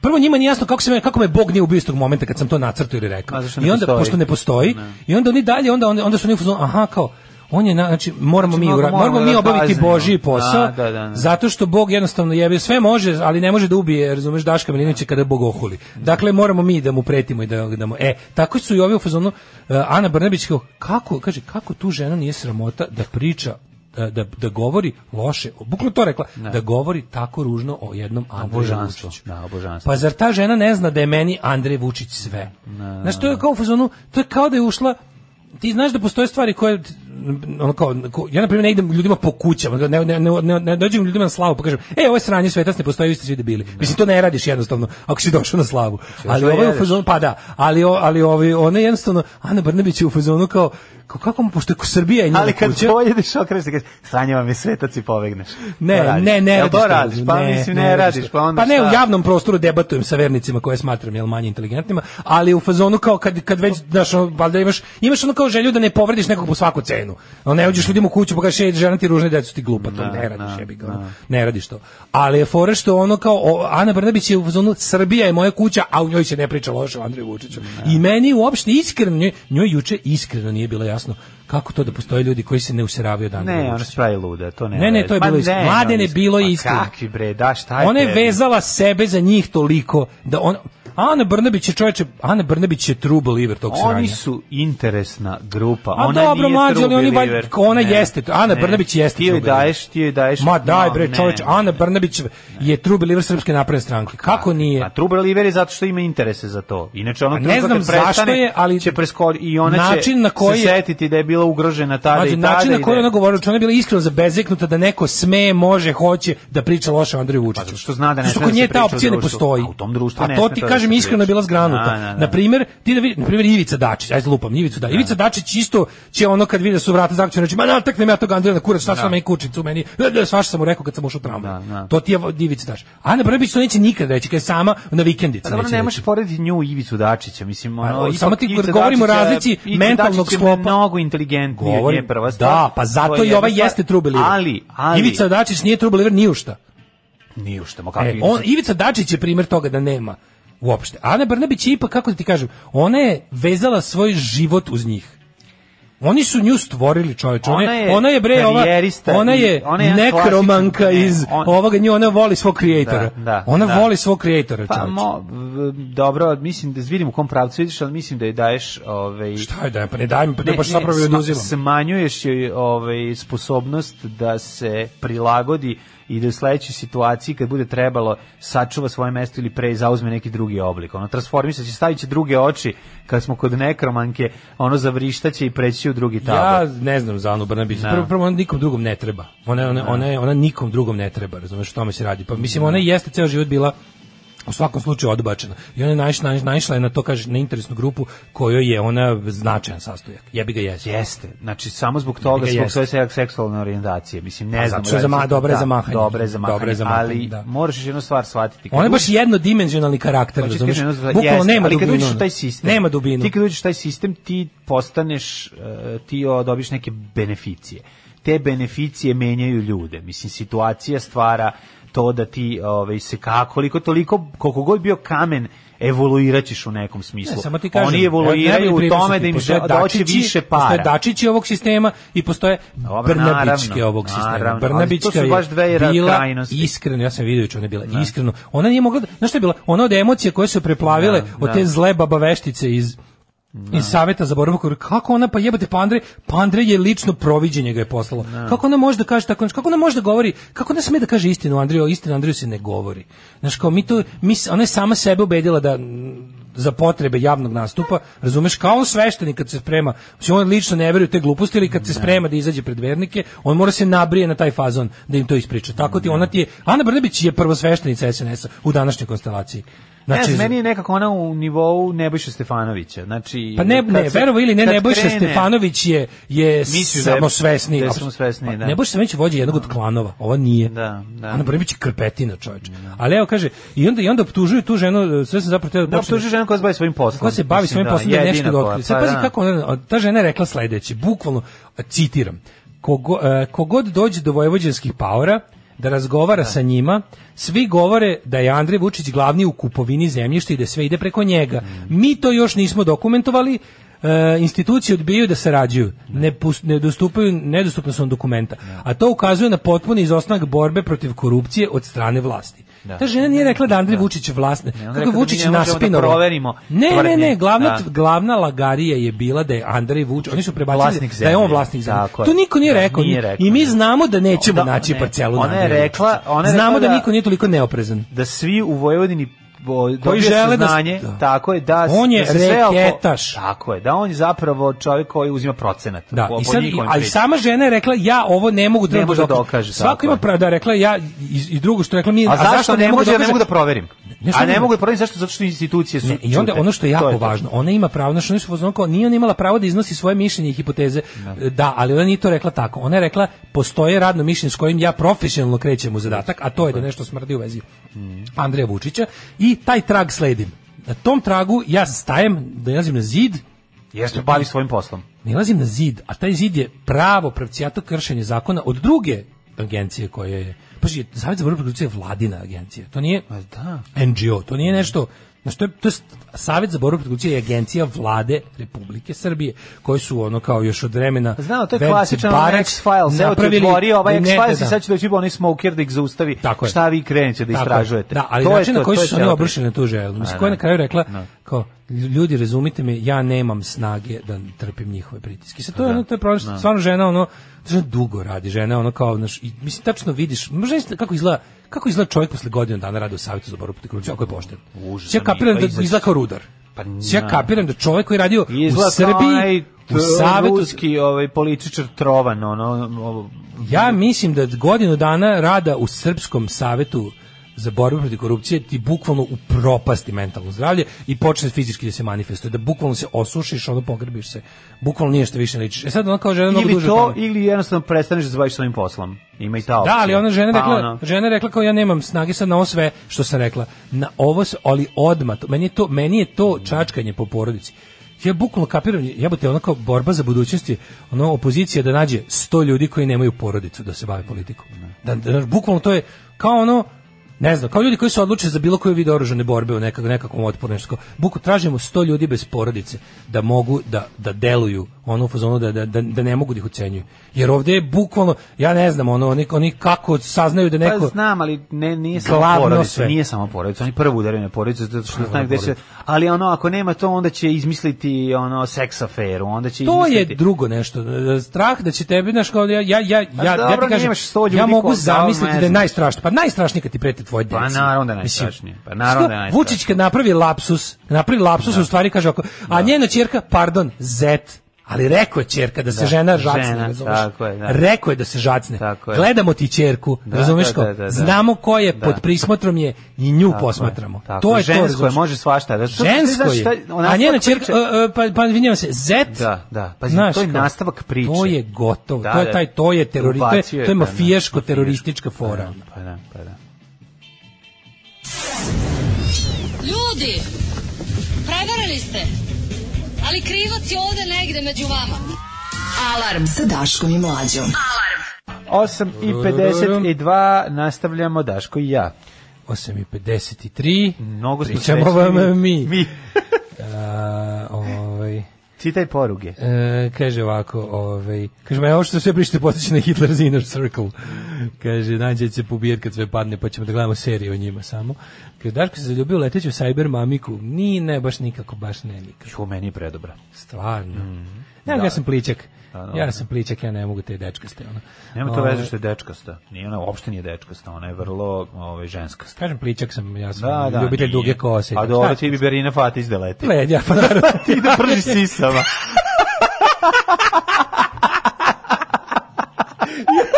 [SPEAKER 6] prvo njima nije jasno kako, se, me- kako me Bog nije ubio istog momenta kad sam to nacrtao ili rekao.
[SPEAKER 7] A zašto ne
[SPEAKER 6] I onda,
[SPEAKER 7] postoji?
[SPEAKER 6] pošto ne postoji, i onda oni dalje, onda, onda, onda su oni u fazonu, aha, kao, On je, na- znači, moramo mi,
[SPEAKER 7] Znači, moramo-
[SPEAKER 6] ura- moramo
[SPEAKER 7] moramo
[SPEAKER 6] mi
[SPEAKER 7] da
[SPEAKER 6] obaviti
[SPEAKER 7] kaznimo.
[SPEAKER 6] Božji posao,
[SPEAKER 7] Da, da, da, da.
[SPEAKER 6] zato što Bog jednostavno jebe, sve može, ali ne može da ubije, razumeš, Daška Milinovića kada Bog ohuli. Dakle, moramo mi da mu pretimo i da, da mu... E, tako su i ovi u fazonu, e, Ana Brnabić kao, kako, kaže, kako tu žena nije sramota da priča da, da, da govori loše, bukvalno to je rekla, da govori tako ružno o jednom Andreju
[SPEAKER 7] božanstvu,
[SPEAKER 6] Vučiću.
[SPEAKER 7] da, o božanstvu.
[SPEAKER 6] Pa zar ta žena ne zna da je meni Andrej Vučić sve? Znaš, to je kao u fazonu, to je kao da je ušla, ti znaš da postoje stvari koje ono kao, ko- ja na primjer ne idem ljudima po kućama, ne, ne, ne, ne, ne dođem ljudima na slavu pa kažem, e, ovo je sranje svetac, ne postoji, vi ste svi debili. Mislim, to ne radiš jednostavno, ako si došao na slavu. Ali
[SPEAKER 7] da
[SPEAKER 6] ovo je u
[SPEAKER 7] jedeš.
[SPEAKER 6] fazonu, pa da, ali, o- ali ovi, ona je jednostavno, Ana Brnabić je u fazonu kao, kao kako mu, pošto je Srbija je njena
[SPEAKER 7] Ali kad
[SPEAKER 6] kuća,
[SPEAKER 7] pojedeš, okreneš se, kažeš, sranje vam je svetac i pobegneš.
[SPEAKER 6] Ne,
[SPEAKER 7] To radiš.
[SPEAKER 6] ne, ne
[SPEAKER 7] Jel
[SPEAKER 6] Pa radiš. to,
[SPEAKER 7] to radiš, pa mislim ne radiš, pa onda
[SPEAKER 6] Pa ne,
[SPEAKER 7] šta?
[SPEAKER 6] u javnom prostoru debatujem sa vernicima koje smatram jel manje inteligentnima, ali u fazonu kao kad kad već znaš, ono, valjda imaš imaš ono kao želju da ne povrediš nekog po svaku cenu. Ono ne uđeš ljudima u kuću pa kažeš ej, žena ti ružne decu ti glupa, to ne radiš, jebi ga. ono, Ne radiš to. Ali je fora što ono kao o, Ana Brnabić je u fazonu Srbija je moja kuća, a u njoj se ne priča loše o Andreju Vučiću. I meni uopšte iskreno njoj, njoj juče iskreno nije bilo jasno kako to da postoje ljudi koji se ne useravaju od Andreja
[SPEAKER 7] Ne, ona
[SPEAKER 6] Vučića.
[SPEAKER 7] se pravi luda, to ne.
[SPEAKER 6] Ne, ne, to je
[SPEAKER 7] Pa
[SPEAKER 6] bilo iskreno.
[SPEAKER 7] ne,
[SPEAKER 6] Mladene,
[SPEAKER 7] no, iskreno.
[SPEAKER 6] bilo je
[SPEAKER 7] Ma
[SPEAKER 6] iskreno.
[SPEAKER 7] Kakvi bre, da, šta je
[SPEAKER 6] Ona je
[SPEAKER 7] tebi?
[SPEAKER 6] vezala sebe za njih toliko da on Ana Brnabić je čoveče, Ana Brnabić je true believer tog sranja.
[SPEAKER 7] Oni su interesna grupa.
[SPEAKER 6] A
[SPEAKER 7] ona
[SPEAKER 6] dobro,
[SPEAKER 7] nije
[SPEAKER 6] mlađe, ali
[SPEAKER 7] true
[SPEAKER 6] oni valj-
[SPEAKER 7] believer.
[SPEAKER 6] ona
[SPEAKER 7] Ne,
[SPEAKER 6] jeste, Ana
[SPEAKER 7] ne.
[SPEAKER 6] Brnabić jeste
[SPEAKER 7] Ti joj
[SPEAKER 6] true believer.
[SPEAKER 7] daješ, ti joj daješ.
[SPEAKER 6] Ma daj
[SPEAKER 7] no,
[SPEAKER 6] bre,
[SPEAKER 7] ne.
[SPEAKER 6] čoveče, Ana Brnabić je true believer Srpske napredne stranke. Kako
[SPEAKER 7] A
[SPEAKER 6] nije?
[SPEAKER 7] true believer je zato što ima interese za to. Inače ono
[SPEAKER 6] A ne znam zašto je, ali
[SPEAKER 7] će preskoči i ona će
[SPEAKER 6] način na koji
[SPEAKER 7] se
[SPEAKER 6] je-
[SPEAKER 7] setiti da je bila ugrožena tada i
[SPEAKER 6] Mlađe,
[SPEAKER 7] tada.
[SPEAKER 6] način na
[SPEAKER 7] i
[SPEAKER 6] koji
[SPEAKER 7] da-
[SPEAKER 6] ona govorila, znači ona je bila iskreno zabezeknuta da neko sme, može, hoće da priča loše o Andreju
[SPEAKER 7] Pa
[SPEAKER 6] Vučiću.
[SPEAKER 7] zato što zna da ne
[SPEAKER 6] Zato što
[SPEAKER 7] sme
[SPEAKER 6] kod
[SPEAKER 7] da
[SPEAKER 6] nje
[SPEAKER 7] se
[SPEAKER 6] ta
[SPEAKER 7] priča o
[SPEAKER 6] opcija ne
[SPEAKER 7] društvu.
[SPEAKER 6] postoji.
[SPEAKER 7] A u tom društvu ne
[SPEAKER 6] A to
[SPEAKER 7] sme
[SPEAKER 6] ti
[SPEAKER 7] to da
[SPEAKER 6] kažem
[SPEAKER 7] se
[SPEAKER 6] iskreno
[SPEAKER 7] priča.
[SPEAKER 6] bila zgranuta.
[SPEAKER 7] Da, da, da.
[SPEAKER 6] Na primjer, ti da vidi, na primjer Ivica Dačić, ajde lupam Ivicu da. Ivica Dačić isto će ono kad vidi da su vrata zaključena, reći ma nataknem ja tog Andreja na kurac, šta sam meni kučicu meni. e, e, Svašta sam mu rekao kad sam ušao u tramvaj.
[SPEAKER 7] Da, da.
[SPEAKER 6] To ti je Ivica Dačić. Ana Brnabić to neće nikad reći, kad je sama na vikendici.
[SPEAKER 7] A dobro,
[SPEAKER 6] neće
[SPEAKER 7] Pa ne
[SPEAKER 6] reći.
[SPEAKER 7] možeš porediti nju i Ivicu Dačića, mislim, ono,
[SPEAKER 6] o,
[SPEAKER 7] ipak
[SPEAKER 6] Pa, samo ti
[SPEAKER 7] Ivica
[SPEAKER 6] govorimo o
[SPEAKER 7] Dačića-
[SPEAKER 6] razlici
[SPEAKER 7] Ivica
[SPEAKER 6] mentalnog
[SPEAKER 7] Dačić je
[SPEAKER 6] sklopa.
[SPEAKER 7] mnogo inteligentnije,
[SPEAKER 6] Govorim,
[SPEAKER 7] nije prva stvar.
[SPEAKER 6] da, pa
[SPEAKER 7] To
[SPEAKER 6] zato
[SPEAKER 7] je
[SPEAKER 6] i ovaj
[SPEAKER 7] jedna stvar.
[SPEAKER 6] jeste true believer.
[SPEAKER 7] Ali, ali,
[SPEAKER 6] Ivica Dačić nije true believer ni u šta.
[SPEAKER 7] nije ušte, ma
[SPEAKER 6] E, on, Ivica Dačić je primjer toga da nema uopšte. Ana Brnabić je ipak, kako da ti kažem, ona je vezala svoj život uz njih. Oni su nju stvorili, čoveče. Ona, je, ona je bre ova,
[SPEAKER 7] karijerista
[SPEAKER 6] ona
[SPEAKER 7] i-
[SPEAKER 6] je,
[SPEAKER 7] ona je jedan
[SPEAKER 6] nekromanka
[SPEAKER 7] klasičan- ne,
[SPEAKER 6] iz
[SPEAKER 7] on-
[SPEAKER 6] ovoga nju, ona voli svog kreatora.
[SPEAKER 7] Da, da,
[SPEAKER 6] ona
[SPEAKER 7] da.
[SPEAKER 6] voli svog kreatora,
[SPEAKER 7] Pa,
[SPEAKER 6] čoveče.
[SPEAKER 7] mo, v- dobro, mislim da vidim u kom pravcu ideš, ali mislim da je daješ... Ovaj,
[SPEAKER 6] Šta je da je, pa ne daj mi, pa ne,
[SPEAKER 7] Ne,
[SPEAKER 6] baš
[SPEAKER 7] ne,
[SPEAKER 6] zapravo
[SPEAKER 7] sma-
[SPEAKER 6] je oduzimam.
[SPEAKER 7] Smanjuješ joj ovaj, sposobnost da se prilagodi i da u sledećoj situaciji kad bude trebalo sačuva svoje mesto ili pre zauzme neki drugi oblik. Ono transformisaće, staviće druge oči kad smo kod nekromanke, ono zavrištaće i preći u drugi tabor.
[SPEAKER 6] Ja ne znam za Anu Brnabić. Prvo, prvo ona nikom drugom ne treba. Ona ona ona je- ona nikom drugom ne treba, razumeš o tome se radi. Pa mislim ona jeste ceo život bila u svakom slučaju odbačena. I ona je naišla, naišla je na to, kaže, na interesnu grupu kojoj je ona značajan sastojak. Jebi ga jesi.
[SPEAKER 7] Jeste, znači samo zbog toga,
[SPEAKER 6] Ga
[SPEAKER 7] zbog
[SPEAKER 6] jeste.
[SPEAKER 7] svoje se- seksualne orijentacije, mislim, ne
[SPEAKER 6] A
[SPEAKER 7] znam.
[SPEAKER 6] zato što je za ma- dobra je za mahanje.
[SPEAKER 7] Dobre je za mahanje,
[SPEAKER 6] Dobra je za mahanje,
[SPEAKER 7] ali
[SPEAKER 6] da.
[SPEAKER 7] moraš još jednu stvar shvatiti. Kad
[SPEAKER 6] Ona je baš
[SPEAKER 7] uđeš-
[SPEAKER 6] jednodimenzionalni karakter,
[SPEAKER 7] Hoćeš
[SPEAKER 6] Pa razumeš?
[SPEAKER 7] Znači, kažem, jedno-
[SPEAKER 6] Bukvalno
[SPEAKER 7] jeste,
[SPEAKER 6] nema
[SPEAKER 7] ali kad
[SPEAKER 6] dubinu.
[SPEAKER 7] uđeš u
[SPEAKER 6] ona.
[SPEAKER 7] taj sistem,
[SPEAKER 6] Nema ono. dubinu.
[SPEAKER 7] Ti kad uđeš u taj sistem, ti postaneš, eh, ti o, dobiješ neke beneficije. Te beneficije menjaju ljude. Mislim, situacija stvara to da ti ovaj, se ka- koliko toliko, koliko god bio kamen, evoluiraćeš u nekom smislu. Pa
[SPEAKER 6] Ne, samo ti kažem,
[SPEAKER 7] Oni evoluiraju
[SPEAKER 6] najbolji
[SPEAKER 7] u
[SPEAKER 6] primer su
[SPEAKER 7] tome
[SPEAKER 6] ti,
[SPEAKER 7] da im
[SPEAKER 6] postoje
[SPEAKER 7] žele da hoće
[SPEAKER 6] Dačići,
[SPEAKER 7] više
[SPEAKER 6] Postoje
[SPEAKER 7] para.
[SPEAKER 6] Dačići ovog sistema i postoje
[SPEAKER 7] Dobro,
[SPEAKER 6] Brnabićke
[SPEAKER 7] naravno,
[SPEAKER 6] ovog sistema.
[SPEAKER 7] naravno, ali to su
[SPEAKER 6] Brnabićka
[SPEAKER 7] baš dve
[SPEAKER 6] je
[SPEAKER 7] ra-
[SPEAKER 6] bila
[SPEAKER 7] krajnosti.
[SPEAKER 6] iskreno, ja sam vidio juče, ona je bila iskreno. Ona nije mogla, da- znaš šta je bila? Ona od emocija koje su je preplavile, od te zle babaveštice iz iz saveta za borbu korupcije. kako ona pa jebate pa Andrej pa Andrej je lično proviđenje ga je poslalo kako ona može da kaže tako nešto? kako ona može da govori kako ona sme da kaže istinu Andreju istinu Andreju se ne govori znaš kao mi to mi s- ona je sama sebe ubedila da mm, za potrebe javnog nastupa razumeš kao on sveštenik kad se sprema mislim on lično ne veruje u te gluposti ili kad se sprema da izađe pred vernike on mora se nabrije na taj fazon da im to ispriča tako ti ona ti je Ana Brnabić je prvo sveštenica SNS-a u današnjoj konstelaciji
[SPEAKER 7] Znači,
[SPEAKER 6] E,
[SPEAKER 7] ne, znam, meni je nekako ona u nivou Nebojša Stefanovića. Znači,
[SPEAKER 6] pa ne,
[SPEAKER 7] kad
[SPEAKER 6] ne,
[SPEAKER 7] se-
[SPEAKER 6] verovo ili ne,
[SPEAKER 7] kad
[SPEAKER 6] Nebojša
[SPEAKER 7] krene-
[SPEAKER 6] Stefanović je, je
[SPEAKER 7] Misliš da je-
[SPEAKER 6] samosvesni.
[SPEAKER 7] da je samosvesniji,
[SPEAKER 6] Pa,
[SPEAKER 7] da.
[SPEAKER 6] Nebojša Stefanović je vođa jednog od klanova, ova nije.
[SPEAKER 7] Da, da.
[SPEAKER 6] Ana Brnabić je krpetina, čoveče. Ali evo, kaže, i onda, i onda optužuju tu ženu, e, sve sam zapravo teo da
[SPEAKER 7] Da,
[SPEAKER 6] počnem-
[SPEAKER 7] optužuje ženu koja se bavi svojim poslom.
[SPEAKER 6] Ko se bavi
[SPEAKER 7] Mislim,
[SPEAKER 6] svojim poslom da je nešto
[SPEAKER 7] jedina
[SPEAKER 6] da
[SPEAKER 7] koja-
[SPEAKER 6] otkrije. Sad
[SPEAKER 7] pa
[SPEAKER 6] pazi
[SPEAKER 7] da.
[SPEAKER 6] kako ona, ta žena je rekla sledeće, bukvalno, citiram, kogo, e, kogod dođe do vojvođanskih paura, da razgovara sa njima, svi govore da je Andrej Vučić glavni u kupovini zemljišta i da sve ide preko njega. Mi to još nismo dokumentovali, e, institucije odbijaju da sarađuju, ne, pus- ne dostupaju, nedostupna su vam dokumenta. A to ukazuje na potpuni izostanak borbe protiv korupcije od strane vlasti. Ta žena nije rekla da Andrej Vučić vlast,
[SPEAKER 7] ona
[SPEAKER 6] kako
[SPEAKER 7] rekla E, da
[SPEAKER 6] je Vučić
[SPEAKER 7] mi ne možemo da
[SPEAKER 6] naspinovao.
[SPEAKER 7] proverimo
[SPEAKER 6] Ne, ne, ne,
[SPEAKER 7] tvrdnje.
[SPEAKER 6] glavna,
[SPEAKER 7] Da.
[SPEAKER 6] glavna lagarija je bila da je Andrej Vučić, oni su prebacili
[SPEAKER 7] Vlasnik
[SPEAKER 6] da je on
[SPEAKER 7] zemlje.
[SPEAKER 6] vlasnik zemlje.
[SPEAKER 7] Tako je.
[SPEAKER 6] To niko nije
[SPEAKER 7] Da,
[SPEAKER 6] rekao.
[SPEAKER 7] nije rekao,
[SPEAKER 6] I mi
[SPEAKER 7] ne.
[SPEAKER 6] znamo da nećemo
[SPEAKER 7] Da,
[SPEAKER 6] naći
[SPEAKER 7] ne.
[SPEAKER 6] parcelu
[SPEAKER 7] Ona
[SPEAKER 6] na
[SPEAKER 7] je
[SPEAKER 6] Andreja
[SPEAKER 7] rekla-
[SPEAKER 6] Vučića.
[SPEAKER 7] ona je
[SPEAKER 6] Znamo
[SPEAKER 7] rekla
[SPEAKER 6] da
[SPEAKER 7] da-
[SPEAKER 6] niko nije toliko neoprezan.
[SPEAKER 7] da svi u Vojvodini bo- dobije
[SPEAKER 6] žele da-
[SPEAKER 7] saznanje,
[SPEAKER 6] da.
[SPEAKER 7] tako je, da...
[SPEAKER 6] On je
[SPEAKER 7] da se sve oko-
[SPEAKER 6] reketaš.
[SPEAKER 7] Tako je, da on je zapravo čovjek koji uzima procenat.
[SPEAKER 6] Da,
[SPEAKER 7] po-
[SPEAKER 6] i
[SPEAKER 7] po
[SPEAKER 6] sad,
[SPEAKER 7] njihovim
[SPEAKER 6] ali
[SPEAKER 7] pričama.
[SPEAKER 6] sama žena je rekla ja ovo ne mogu da
[SPEAKER 7] Ne može da dokaže,
[SPEAKER 6] Svako
[SPEAKER 7] tako
[SPEAKER 6] ima
[SPEAKER 7] je.
[SPEAKER 6] pravo da je rekla ja i, i drugo što je rekla mi
[SPEAKER 7] A, zašto ne može, ja ne mogu da proverim.
[SPEAKER 6] Ne,
[SPEAKER 7] A
[SPEAKER 6] samo
[SPEAKER 7] ne
[SPEAKER 6] ne-
[SPEAKER 7] mogu da proverim, zašto? Zato što institucije su...
[SPEAKER 6] Ne, I onda
[SPEAKER 7] ćute.
[SPEAKER 6] ono što je
[SPEAKER 7] To
[SPEAKER 6] jako
[SPEAKER 7] to.
[SPEAKER 6] važno, ona ima pravo, znači oni su fazon kao nije ona imala pravo da iznosi svoje mišljenje i hipoteze. e, Da. ali ona nije to rekla tako. Ona je rekla postoje radno mišljenje s kojim ja profesionalno krećem u zadatak, a to je Mm. da nešto smrdi u vezi Andreja Vučića i taj trag sledim. Na tom tragu ja stajem, da na zid,
[SPEAKER 7] Jer se bavi svojim poslom.
[SPEAKER 6] nalazim na zid, a taj zid je pravo pravcijato kršenje zakona od druge agencije koja je... Pazi, Savjet za borbu protiv korupcije je vladina agencija. To nije
[SPEAKER 7] da.
[SPEAKER 6] NGO, to nije nešto... Znači, to je, to je Savjet za borbu protiv korupcije je agencija vlade Republike Srbije, koji su ono kao još od vremena...
[SPEAKER 7] Znao, Pa to je
[SPEAKER 6] Verice
[SPEAKER 7] klasičan ono
[SPEAKER 6] Barać
[SPEAKER 7] X-Files. Evo ti
[SPEAKER 6] napravili-
[SPEAKER 7] otvorio ovaj
[SPEAKER 6] Ne, ne,
[SPEAKER 7] X-Files i
[SPEAKER 6] da.
[SPEAKER 7] sad će doći onaj smoker da ih zaustavi.
[SPEAKER 6] Tako je.
[SPEAKER 7] Šta vi kreneće da
[SPEAKER 6] Tako je.
[SPEAKER 7] istražujete.
[SPEAKER 6] Da, ali
[SPEAKER 7] To je
[SPEAKER 6] način na
[SPEAKER 7] to,
[SPEAKER 6] koji
[SPEAKER 7] to je
[SPEAKER 6] su se oni
[SPEAKER 7] cela
[SPEAKER 6] obrušili na tu želju. Mislim, koja je na kraju rekla, kao, ljudi, razumite me, ja nemam snage da trpim njihove pritiske. Sad to je ono, to je problem, što stvarno žena, ono, žena dugo radi, žena, ono, kao, znaš, i, mislim, tačno vidiš, možda jeste kako izgleda, kako izgleda čovjek posle godinu dana rada u savjetu za borbu protiv korupcije, ako je pošten.
[SPEAKER 7] Užasno
[SPEAKER 6] Sve kapiram
[SPEAKER 7] mi
[SPEAKER 6] da
[SPEAKER 7] je, pa
[SPEAKER 6] izgleda kao rudar.
[SPEAKER 7] Pa
[SPEAKER 6] Sve
[SPEAKER 7] na.
[SPEAKER 6] kapiram da čovjek koji je radio
[SPEAKER 7] Izgleda
[SPEAKER 6] u Srbiji,
[SPEAKER 7] kao
[SPEAKER 6] u
[SPEAKER 7] savjetu...
[SPEAKER 6] savjetu,
[SPEAKER 7] ruski ovaj, političar trovan, ono, ovo,
[SPEAKER 6] ja mislim da godinu dana rada u Srpskom savetu za borbu protiv korupcije ti bukvalno upropasti mentalno zdravlje i počne fizički da se manifestuje, da bukvalno se osušiš, ono pogrbiš se, bukvalno nije što više ličiš. E sad ona kao žena mnogo
[SPEAKER 7] ili
[SPEAKER 6] duže
[SPEAKER 7] to,
[SPEAKER 6] o tome.
[SPEAKER 7] ili jednostavno prestaneš da se baviš svojim poslom. Ima i ta opcija.
[SPEAKER 6] Da, ali ona žena dakle,
[SPEAKER 7] Pa
[SPEAKER 6] rekla,
[SPEAKER 7] ono,
[SPEAKER 6] žena rekla kao ja nemam snage sad na ovo sve što sam rekla. Na ovo, s- ali odma, to- meni je to, meni je to čačkanje po porodici. Ja bukvalno kapiram, jebote, ono kao borba za budućnost je, ono, opozicija da nađe 100 ljudi koji nemaju porodicu da se bave politikom. Da, da, bukvalno to je kao ono, ne znam, kao ljudi koji se odluče za bilo koju vid oružane borbe u nekak, nekakvom otporu, nešto kao, buku, tražimo 100 ljudi bez porodice da mogu da, da deluju ono u fazonu da, da, da, da ne mogu da ih ucenjuju. Jer ovdje je bukvalno, ja ne znam, ono, oni, oni kako saznaju da neko...
[SPEAKER 7] Pa znam, ali ne, nije samo
[SPEAKER 6] Glavno
[SPEAKER 7] porodica,
[SPEAKER 6] sve.
[SPEAKER 7] nije samo porodica, oni prvo udaraju na porodicu, zato što znaju gde će,
[SPEAKER 6] porodica.
[SPEAKER 7] ali ono, ako nema to, onda će izmisliti ono, seks aferu, onda će
[SPEAKER 6] To je
[SPEAKER 7] izmisliti...
[SPEAKER 6] drugo nešto. Strah da će tebi, znaš, kao, ja, ja, ja, ja,
[SPEAKER 7] Pa
[SPEAKER 6] ja ti
[SPEAKER 7] dobro,
[SPEAKER 6] kažem,
[SPEAKER 7] nemaš sto ljudi
[SPEAKER 6] ja mogu
[SPEAKER 7] ko-
[SPEAKER 6] zamisliti
[SPEAKER 7] da,
[SPEAKER 6] da je
[SPEAKER 7] ne znam.
[SPEAKER 6] najstrašnije. Pa najstrašnije kad ti prete tvoje djece.
[SPEAKER 7] Pa naravno da je
[SPEAKER 6] Mislim,
[SPEAKER 7] najstrašnije. Pa naravno da je najstrašnije.
[SPEAKER 6] Vučić kad napravi lapsus, kad napravi lapsus, u stvari kaže ovako, a njena ćerka, pardon, zet, ali rekao je čerka da se
[SPEAKER 7] Da,
[SPEAKER 6] žena žacne,
[SPEAKER 7] žena,
[SPEAKER 6] razumeš?
[SPEAKER 7] tako je, da.
[SPEAKER 6] Rekao je da se žacne.
[SPEAKER 7] Tako je.
[SPEAKER 6] Gledamo ti čerku,
[SPEAKER 7] Da,
[SPEAKER 6] razumeš
[SPEAKER 7] da,
[SPEAKER 6] kao?
[SPEAKER 7] da, da, da.
[SPEAKER 6] Znamo ko je,
[SPEAKER 7] Da.
[SPEAKER 6] pod prismotrom je i nju
[SPEAKER 7] Tako je,
[SPEAKER 6] posmatramo.
[SPEAKER 7] tako
[SPEAKER 6] To je to,
[SPEAKER 7] Žensko je,
[SPEAKER 6] razumeš?
[SPEAKER 7] može svašta. Da, to-
[SPEAKER 6] Žensko
[SPEAKER 7] znaš
[SPEAKER 6] je.
[SPEAKER 7] šta, ona
[SPEAKER 6] A njena
[SPEAKER 7] sva
[SPEAKER 6] čerka,
[SPEAKER 7] priča-
[SPEAKER 6] e, e, pa, pa izvinjavam se, zet,
[SPEAKER 7] Da, da. Pazi,
[SPEAKER 6] Znaš
[SPEAKER 7] to je
[SPEAKER 6] kao,
[SPEAKER 7] nastavak priče.
[SPEAKER 6] To je gotovo.
[SPEAKER 7] Da,
[SPEAKER 6] to je
[SPEAKER 7] da.
[SPEAKER 6] taj to je terori, to je, to
[SPEAKER 7] Ubacio je,
[SPEAKER 6] je
[SPEAKER 7] da, da.
[SPEAKER 6] mafijaško teroristička fora.
[SPEAKER 7] Pa da, pa da.
[SPEAKER 5] Ljudi, prevarili ste. Ali krivac je ovde negde među vama.
[SPEAKER 11] Alarm sa Daškom i Mlađom.
[SPEAKER 7] 8 i 52 nastavljamo Daško i ja.
[SPEAKER 6] 8 i 53.
[SPEAKER 7] Mnogo smo
[SPEAKER 6] Pričamo
[SPEAKER 7] srećni.
[SPEAKER 6] vam e, mi.
[SPEAKER 7] mi.
[SPEAKER 6] A, ovaj,
[SPEAKER 7] Čitaj poruge.
[SPEAKER 6] e, kaže ovako, ovaj, kaže, ma ovo što sve pričate potiče na Hitler's Inner Circle. Kaže, nađe se pobijer kad sve padne, pa ćemo da gledamo seriju o njima samo. Kaže, Daško se zaljubio u leteću cyber mamiku. Ni, ne, baš nikako, baš ne, nikako.
[SPEAKER 7] Ču, meni je predobra.
[SPEAKER 6] Stvarno.
[SPEAKER 7] Mhm.
[SPEAKER 6] Ne, ja sam pličak. Ja sam pličak, ja ne mogu te dečke ste. Ono.
[SPEAKER 7] Nema to
[SPEAKER 6] Ovaj,
[SPEAKER 7] veze što je dečkasta. Nije ona uopšte nije dečkasta, ona je vrlo ovaj ženskasta.
[SPEAKER 6] Kažem, pličak sam, ja sam
[SPEAKER 7] Da, da.
[SPEAKER 6] ljubitelj
[SPEAKER 7] nije.
[SPEAKER 6] duge kose.
[SPEAKER 7] A dobro, ti bi Berina Fatić da leti.
[SPEAKER 6] Leđa, pa naravno.
[SPEAKER 7] ti da prži sisama.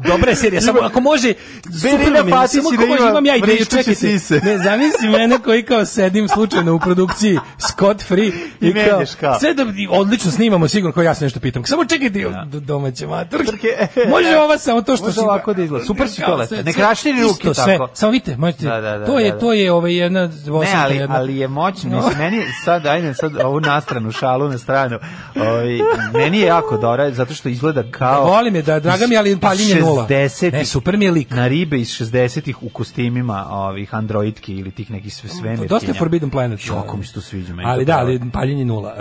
[SPEAKER 6] Dobra je serija, samo ako može, super mi,
[SPEAKER 7] Fatić
[SPEAKER 6] samo
[SPEAKER 7] i da
[SPEAKER 6] ako može,
[SPEAKER 7] ima
[SPEAKER 6] imam ja ideju,
[SPEAKER 7] vrišteće
[SPEAKER 6] čekajte.
[SPEAKER 7] sise.
[SPEAKER 6] Ne, zamisli mene koji kao sedim slučajno u produkciji Scott Free i,
[SPEAKER 7] I menjaš kao.
[SPEAKER 6] sve da i odlično snimamo, sigurno kao ja se nešto pitam. Samo čekajte do- domaće maturke.
[SPEAKER 7] Maturke.
[SPEAKER 6] Može ova samo to što
[SPEAKER 7] Može
[SPEAKER 6] si-
[SPEAKER 7] ovako da izgleda. Super si to
[SPEAKER 6] Kao,
[SPEAKER 7] lepo.
[SPEAKER 6] sve-
[SPEAKER 7] Ne
[SPEAKER 6] sve-
[SPEAKER 7] kraširi ruke
[SPEAKER 6] isto sve.
[SPEAKER 7] tako.
[SPEAKER 6] Samo vidite, možete.
[SPEAKER 7] Da, da, da,
[SPEAKER 6] to je
[SPEAKER 7] da, da.
[SPEAKER 6] to je ovaj jedna
[SPEAKER 7] Ne,
[SPEAKER 6] osamka
[SPEAKER 7] ali,
[SPEAKER 6] jedna.
[SPEAKER 7] ali je moćno. Mislim, meni, je- sad, ajde, sad ovu nastranu, šalu na stranu. Ovaj, meni je jako dobra, zato što izgleda kao...
[SPEAKER 6] Volim je da draga mi, ali paljenje nula.
[SPEAKER 7] 60.
[SPEAKER 6] Ne, super mi je lik.
[SPEAKER 7] Na ribe iz 60-ih u kostimima ovih androidki ili tih nekih sve svemirkinja.
[SPEAKER 6] Dosta je Forbidden Planet.
[SPEAKER 7] Jako mi se to sviđa. meni
[SPEAKER 6] Ali
[SPEAKER 7] to
[SPEAKER 6] da,
[SPEAKER 7] pravo.
[SPEAKER 6] ali paljenje nula. Uh,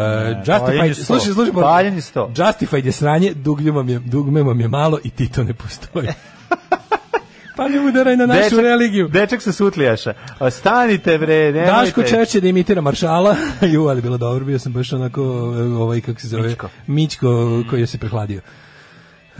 [SPEAKER 7] paljenje
[SPEAKER 6] Justified,
[SPEAKER 7] sto.
[SPEAKER 6] slušaj, slušaj.
[SPEAKER 7] Paljenje sto.
[SPEAKER 6] Justified je sranje, dugme vam je, dugme vam je malo i ti to ne postoji. pa ne udaraj na našu
[SPEAKER 7] Dečak-
[SPEAKER 6] religiju.
[SPEAKER 7] Dečak sa Sutlijaša. A, Stanite bre, nemojte.
[SPEAKER 6] Daško češće da imitira maršala. Ju, ali bilo dobro, bio sam baš onako e, ovaj kako se zove
[SPEAKER 7] Mićko.
[SPEAKER 6] Mićko koji je se prehladio.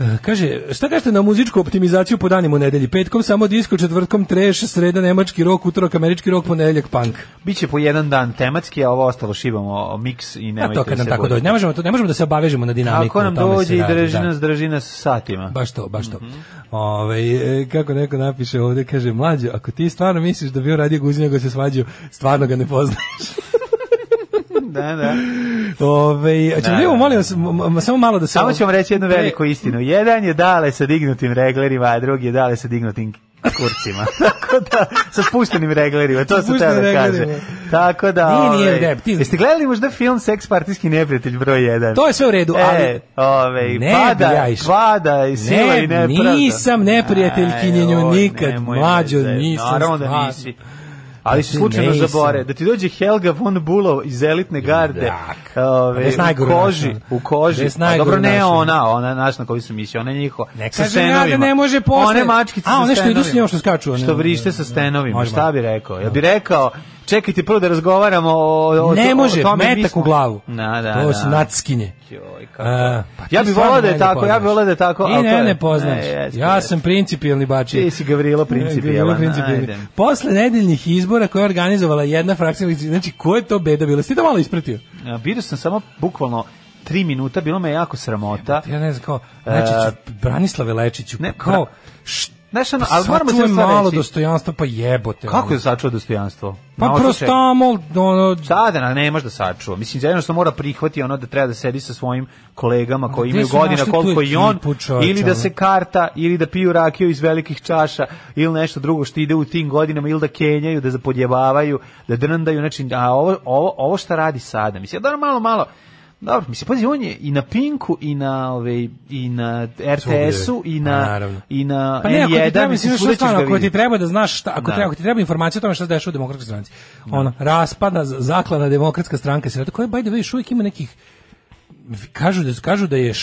[SPEAKER 6] E, Kaže, šta kažete na muzičku optimizaciju po danima u nedelji? Petkom samo disko, četvrtkom treš, sreda nemački rok, utorak američki rok, ponedeljak punk. Pa
[SPEAKER 7] Biće po jedan dan tematski, a ovo ostalo šibamo miks i
[SPEAKER 6] A
[SPEAKER 7] nemojte
[SPEAKER 6] to kad nam
[SPEAKER 7] se
[SPEAKER 6] tako
[SPEAKER 7] bojiti.
[SPEAKER 6] dođe. Ne možemo, to, ne možemo da se obavežemo na dinamiku.
[SPEAKER 7] Ako nam
[SPEAKER 6] o tome se
[SPEAKER 7] dođe i Mhm.
[SPEAKER 6] radi,
[SPEAKER 7] drži
[SPEAKER 6] da.
[SPEAKER 7] nas, drži nas satima.
[SPEAKER 6] Baš to, baš to. Ovaj, e, kako neko napiše ovde, kaže, mlađo, ako ti stvarno misliš da bi on radio guzinja ga se svađao, stvarno ga ne poznaš.
[SPEAKER 7] Da, da.
[SPEAKER 6] Ove, a ćemo
[SPEAKER 7] Da,
[SPEAKER 6] da,
[SPEAKER 7] da.
[SPEAKER 6] molim vas, m- m- samo malo da se...
[SPEAKER 7] Samo ću vam reći jednu
[SPEAKER 6] Pre-
[SPEAKER 7] veliku istinu. Jedan je dale sa dignutim reglerima, a drugi je dale sa dignutim kurcima. Tako da, sa spuštenim reglerima, to
[SPEAKER 6] Sa
[SPEAKER 7] se tebe
[SPEAKER 6] spuštenim
[SPEAKER 7] kaže.
[SPEAKER 6] reglerima.
[SPEAKER 7] Tako da...
[SPEAKER 6] Nije, nije,
[SPEAKER 7] ovaj,
[SPEAKER 6] deb, ti-
[SPEAKER 7] Jeste gledali možda film Seks partijski neprijatelj broj 1?
[SPEAKER 6] To je sve u redu,
[SPEAKER 7] E,
[SPEAKER 6] ali-
[SPEAKER 7] ovaj,
[SPEAKER 6] Ne
[SPEAKER 7] pada,
[SPEAKER 6] bi ja išao.
[SPEAKER 7] pada i sila i
[SPEAKER 6] Ne,
[SPEAKER 7] nepravda.
[SPEAKER 6] nisam neprijatelj
[SPEAKER 7] Aj,
[SPEAKER 6] kinjenju
[SPEAKER 7] oj,
[SPEAKER 6] nikad,
[SPEAKER 7] nemoj me
[SPEAKER 6] mlađo,
[SPEAKER 7] zajeb-
[SPEAKER 6] nisam
[SPEAKER 7] Naravno da
[SPEAKER 6] stvarno.
[SPEAKER 7] nisi. Ali
[SPEAKER 6] Znači,
[SPEAKER 7] si slučajno
[SPEAKER 6] nisam.
[SPEAKER 7] zabore. Da ti dođe Helga von Bulow iz elitne garde ove,
[SPEAKER 6] Bez
[SPEAKER 7] u
[SPEAKER 6] najgoru
[SPEAKER 7] koži,
[SPEAKER 6] našu.
[SPEAKER 7] u koži.
[SPEAKER 6] Bez
[SPEAKER 7] A dobro,
[SPEAKER 6] najgoru
[SPEAKER 7] ne
[SPEAKER 6] našu.
[SPEAKER 7] ona, ona naš na koju sam mislio, ona je njihova.
[SPEAKER 6] Ne
[SPEAKER 7] sa
[SPEAKER 6] kažem ja da
[SPEAKER 7] stenovima.
[SPEAKER 6] ne može posle.
[SPEAKER 7] One mačkice
[SPEAKER 6] A,
[SPEAKER 7] sa
[SPEAKER 6] one što idu s
[SPEAKER 7] stenovima.
[SPEAKER 6] njom što skaču, one-
[SPEAKER 7] Što vrište sa stenovima,
[SPEAKER 6] Može,
[SPEAKER 7] šta
[SPEAKER 6] može.
[SPEAKER 7] bi rekao? Ja bi rekao, čekajte prvo da razgovaramo o, o,
[SPEAKER 6] Ne
[SPEAKER 7] o
[SPEAKER 6] može,
[SPEAKER 7] tome. mi
[SPEAKER 6] metak
[SPEAKER 7] smo-
[SPEAKER 6] u glavu.
[SPEAKER 7] Na, da,
[SPEAKER 6] to
[SPEAKER 7] da.
[SPEAKER 6] su nackinje.
[SPEAKER 7] Joj, kako.
[SPEAKER 6] A, pa ti
[SPEAKER 7] Ja bi
[SPEAKER 6] stvarno
[SPEAKER 7] volao da je
[SPEAKER 6] mene
[SPEAKER 7] tako, ja bi
[SPEAKER 6] poznaš.
[SPEAKER 7] volao da je tako,
[SPEAKER 6] Ti
[SPEAKER 7] ali to
[SPEAKER 6] ne,
[SPEAKER 7] je-
[SPEAKER 6] ne poznaš.
[SPEAKER 7] Ne, jeste,
[SPEAKER 6] ja
[SPEAKER 7] jeste.
[SPEAKER 6] sam principijelni bačija.
[SPEAKER 7] Ti si
[SPEAKER 6] Gavrilo
[SPEAKER 7] Gavrilo principijelan.
[SPEAKER 6] principijelni.
[SPEAKER 7] ajde.
[SPEAKER 6] Posle nedeljnih izbora koje je organizovala jedna frakcija, znači ko je to beda bila? Jesi ti to malo ispratio?
[SPEAKER 7] Ja, E, Vidio sam samo bukvalno tri minuta, bilo me jako sramota.
[SPEAKER 6] Ja ne znam kao, Lečiću, E, Branislave Lečiću,
[SPEAKER 7] ne,
[SPEAKER 6] ne, kao,
[SPEAKER 7] bra-
[SPEAKER 6] št,
[SPEAKER 7] Znaš, ono, ali moramo se
[SPEAKER 6] pa sačuvaj
[SPEAKER 7] stvar
[SPEAKER 6] malo
[SPEAKER 7] reći.
[SPEAKER 6] dostojanstva, pa jebote.
[SPEAKER 7] Kako
[SPEAKER 6] ono.
[SPEAKER 7] je sačuva dostojanstvo?
[SPEAKER 6] Pa
[SPEAKER 7] Na otišaj.
[SPEAKER 6] prostamol, ono,
[SPEAKER 7] Šta da na- ne može da sačuva. Mislim, jedno što mora prihvati ono da treba da sedi sa svojim kolegama koji
[SPEAKER 6] Gde
[SPEAKER 7] imaju
[SPEAKER 6] su
[SPEAKER 7] godina
[SPEAKER 6] našli
[SPEAKER 7] koliko
[SPEAKER 6] tu
[SPEAKER 7] i on,
[SPEAKER 6] ekipu, čoveče,
[SPEAKER 7] ili da
[SPEAKER 6] ono?
[SPEAKER 7] se karta, ili da piju rakiju iz velikih čaša, ili nešto drugo što ide u tim godinama, ili da kenjaju, da zapodjebavaju, da drndaju, znači, a ovo, ovo, ovo šta radi sada? Mislim, ja dobro, malo, malo, Dobro, mislim, pazi, on je i na Pinku, i na, ove, i na RTS-u, i
[SPEAKER 6] Pa,
[SPEAKER 7] na,
[SPEAKER 6] naravno.
[SPEAKER 7] i na
[SPEAKER 6] Pa ne, ako ti
[SPEAKER 7] N1,
[SPEAKER 6] treba,
[SPEAKER 7] mislim,
[SPEAKER 6] mislim,
[SPEAKER 7] svuda
[SPEAKER 6] što
[SPEAKER 7] ćeš ga
[SPEAKER 6] stvarno, ako ti
[SPEAKER 7] vidjeti.
[SPEAKER 6] treba da znaš šta, ako,
[SPEAKER 7] Da.
[SPEAKER 6] treba, ako ti treba informacija o tome šta se dešava u demokratskoj stranci. Ono, raspada, z- zaklana demokratska stranka se koja, by the way, još uvijek ima nekih kažu da kažu da je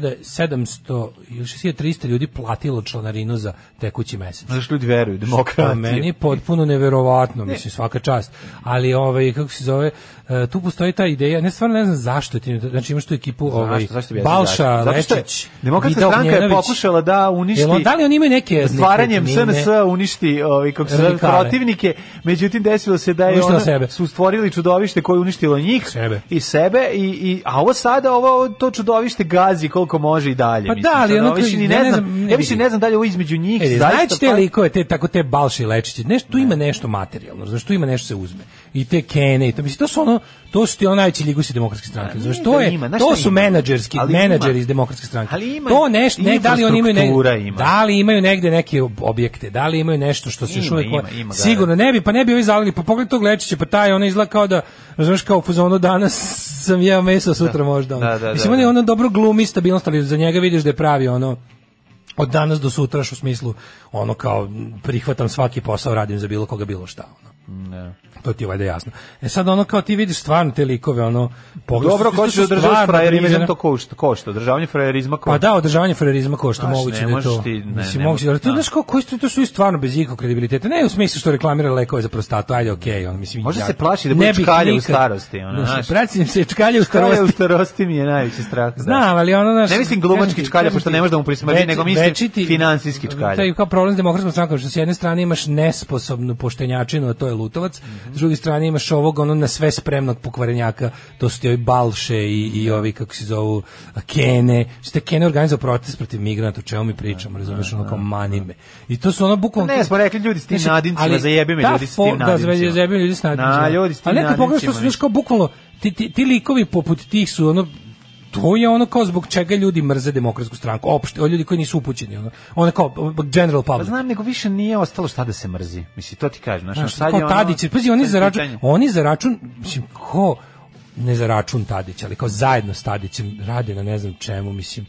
[SPEAKER 6] 6700 ili 6300 ljudi platilo članarinu za tekući mesec.
[SPEAKER 7] Znaš, ljudi veruju,
[SPEAKER 6] Pa
[SPEAKER 7] demokratiju.
[SPEAKER 6] meni je potpuno neverovatno, mislim svaka čast. Ali ovaj kako se zove, e, tu postoji ta ideja, ne stvarno ne znam zašto ti, znači imaš tu ekipu ovaj
[SPEAKER 7] Zašto, zašto bi ja
[SPEAKER 6] Balša,
[SPEAKER 7] zašto? Zato što je
[SPEAKER 6] Lečić,
[SPEAKER 7] Demokratska
[SPEAKER 6] Vida
[SPEAKER 7] stranka je
[SPEAKER 6] Ognjenović.
[SPEAKER 7] pokušala da uništi
[SPEAKER 6] Jel on- da li oni imaju neke
[SPEAKER 7] stvaranjem
[SPEAKER 6] nekretnine?
[SPEAKER 7] SNS uništi ovi kako se zove,
[SPEAKER 6] Radikale.
[SPEAKER 7] protivnike, međutim desilo se da je
[SPEAKER 6] Uništila
[SPEAKER 7] ona,
[SPEAKER 6] sebe.
[SPEAKER 7] su stvorili čudovište koje je uništilo njih
[SPEAKER 6] Sebe.
[SPEAKER 7] i sebe i, i a ovo sada ovo to čudovište gazi koliko može i dalje.
[SPEAKER 6] Pa
[SPEAKER 7] mislim,
[SPEAKER 6] da, ali
[SPEAKER 7] sad,
[SPEAKER 6] ono
[SPEAKER 7] ovo
[SPEAKER 6] kao-
[SPEAKER 7] više ni
[SPEAKER 6] ja
[SPEAKER 7] ne
[SPEAKER 6] ne
[SPEAKER 7] znam,
[SPEAKER 6] znam, ne
[SPEAKER 7] ja više
[SPEAKER 6] vidim.
[SPEAKER 7] ne znam da li je ovo između njih.
[SPEAKER 6] E,
[SPEAKER 7] zaista,
[SPEAKER 6] znači te
[SPEAKER 7] pa-
[SPEAKER 6] likove, te, tako te balše i lečiće, nešto tu ima nešto materijalno, znaš, tu ima nešto se uzme. I te kene, i to, mislim, to su ono, to su ti ono najveći ligusi demokratske stranke, znaš,
[SPEAKER 7] nije
[SPEAKER 6] to,
[SPEAKER 7] da
[SPEAKER 6] je,
[SPEAKER 7] ima, znaš
[SPEAKER 6] to
[SPEAKER 7] šta
[SPEAKER 6] su
[SPEAKER 7] ima?
[SPEAKER 6] menadžerski,
[SPEAKER 7] Ali ima.
[SPEAKER 6] menadžeri iz demokratske stranke.
[SPEAKER 7] Ali ima
[SPEAKER 6] to nešto, ne, da li oni imaju
[SPEAKER 7] infrastruktura
[SPEAKER 6] negde,
[SPEAKER 7] ima.
[SPEAKER 6] da li imaju negde neke ob- objekte, da li imaju nešto što se
[SPEAKER 7] Ima,
[SPEAKER 6] još uvijek,
[SPEAKER 7] ima, ima, da,
[SPEAKER 6] sigurno, ne bi, pa ne bi ovi zalili, pa pogled tog lečiće, pa taj, ono izgleda kao da, znaš, kao u fazonu danas sam jeo meso, sutra možda. ono.
[SPEAKER 7] Da, da,
[SPEAKER 6] mislim,
[SPEAKER 7] da,
[SPEAKER 6] on je
[SPEAKER 7] da.
[SPEAKER 6] ono dobro glumi stabilnost, ali za njega vidiš da je pravi ono, od danas do sutraš u smislu ono kao prihvatam svaki posao radim za bilo koga bilo šta ono. To ti je valjda jasno. E sad ono kao ti vidiš stvarno te likove ono pogledaš
[SPEAKER 7] Dobro,
[SPEAKER 6] to
[SPEAKER 7] ko
[SPEAKER 6] su
[SPEAKER 7] će održavati
[SPEAKER 6] stvarno
[SPEAKER 7] frajerizam,
[SPEAKER 6] priviđene-
[SPEAKER 7] to košta, košta, održavanje frajerizma košta.
[SPEAKER 6] Pa da, održavanje frajerizma košta
[SPEAKER 7] Znaš,
[SPEAKER 6] moguće
[SPEAKER 7] ne
[SPEAKER 6] da je to.
[SPEAKER 7] možeš ti- ne,
[SPEAKER 6] mislim,
[SPEAKER 7] ne
[SPEAKER 6] moguće,
[SPEAKER 7] možeš,
[SPEAKER 6] ali to
[SPEAKER 7] da.
[SPEAKER 6] je, znaš, kao, koji su, to su stvarno bez ikog kredibiliteta. Ne u smislu što reklamira lekove za prostatu, ajde, okej, on mislim.
[SPEAKER 7] Možda
[SPEAKER 6] ja-
[SPEAKER 7] se plaši da
[SPEAKER 6] ne
[SPEAKER 7] bude
[SPEAKER 6] bih
[SPEAKER 7] čkalje u
[SPEAKER 6] nikad-
[SPEAKER 7] starosti, ono,
[SPEAKER 6] Mislim,
[SPEAKER 7] znaš.
[SPEAKER 6] pratim se čkalje u
[SPEAKER 7] Čkalja u
[SPEAKER 6] starosti.
[SPEAKER 7] starosti mi je najveći strah. da.
[SPEAKER 6] Znam, ali ono naš
[SPEAKER 7] Ne mislim glumački čkalja, pošto ne može da mu prismrdi, nego mislim finansijski čkalja.
[SPEAKER 6] Taj kao problem s demokratskom strankom što s jedne strane imaš nesposobnu poštenjačinu, a to je Lutovac,
[SPEAKER 7] Mhm.
[SPEAKER 6] s druge strane imaš ovog ono na sve spremnog pokvarenjaka, to su ti ovi Balše i, i ovi kako se zovu Kene. Ste Kene organizovao protest protiv migranata, o čemu mi pričamo, razumeš, ono kao manime. I to su ono bukvalno
[SPEAKER 7] Ne, smo rekli ljudi s tim
[SPEAKER 6] Znači,
[SPEAKER 7] nadimcima,
[SPEAKER 6] ali
[SPEAKER 7] zajebi me
[SPEAKER 6] ta
[SPEAKER 7] ljudi s tim
[SPEAKER 6] fo- Da,
[SPEAKER 7] nadimcima.
[SPEAKER 6] zajebi me ljudi s nadimcima.
[SPEAKER 7] Na, ljudi s tim
[SPEAKER 6] Ali nekad pogledaš što
[SPEAKER 7] nadimcima,
[SPEAKER 6] su još kao bukvalno, ti, ti, ti likovi poput tih su ono, to je ono kao zbog čega ljudi mrze demokratsku stranku, opšte, o, ljudi koji nisu upućeni, ono, ono kao general
[SPEAKER 7] Pa
[SPEAKER 6] public.
[SPEAKER 7] znam, nego više nije ostalo šta da se mrzi. Misli, to ti kažem. Znaš,
[SPEAKER 6] Znaš,
[SPEAKER 7] sad
[SPEAKER 6] kao
[SPEAKER 7] je ono-
[SPEAKER 6] Tadić, je- pazi,
[SPEAKER 7] to
[SPEAKER 6] oni
[SPEAKER 7] je
[SPEAKER 6] za račun,
[SPEAKER 7] pitanje.
[SPEAKER 6] oni za račun, mislim, ko ne za račun Tadića, ali kao zajedno s Tadićem rade na ne znam čemu, mislim,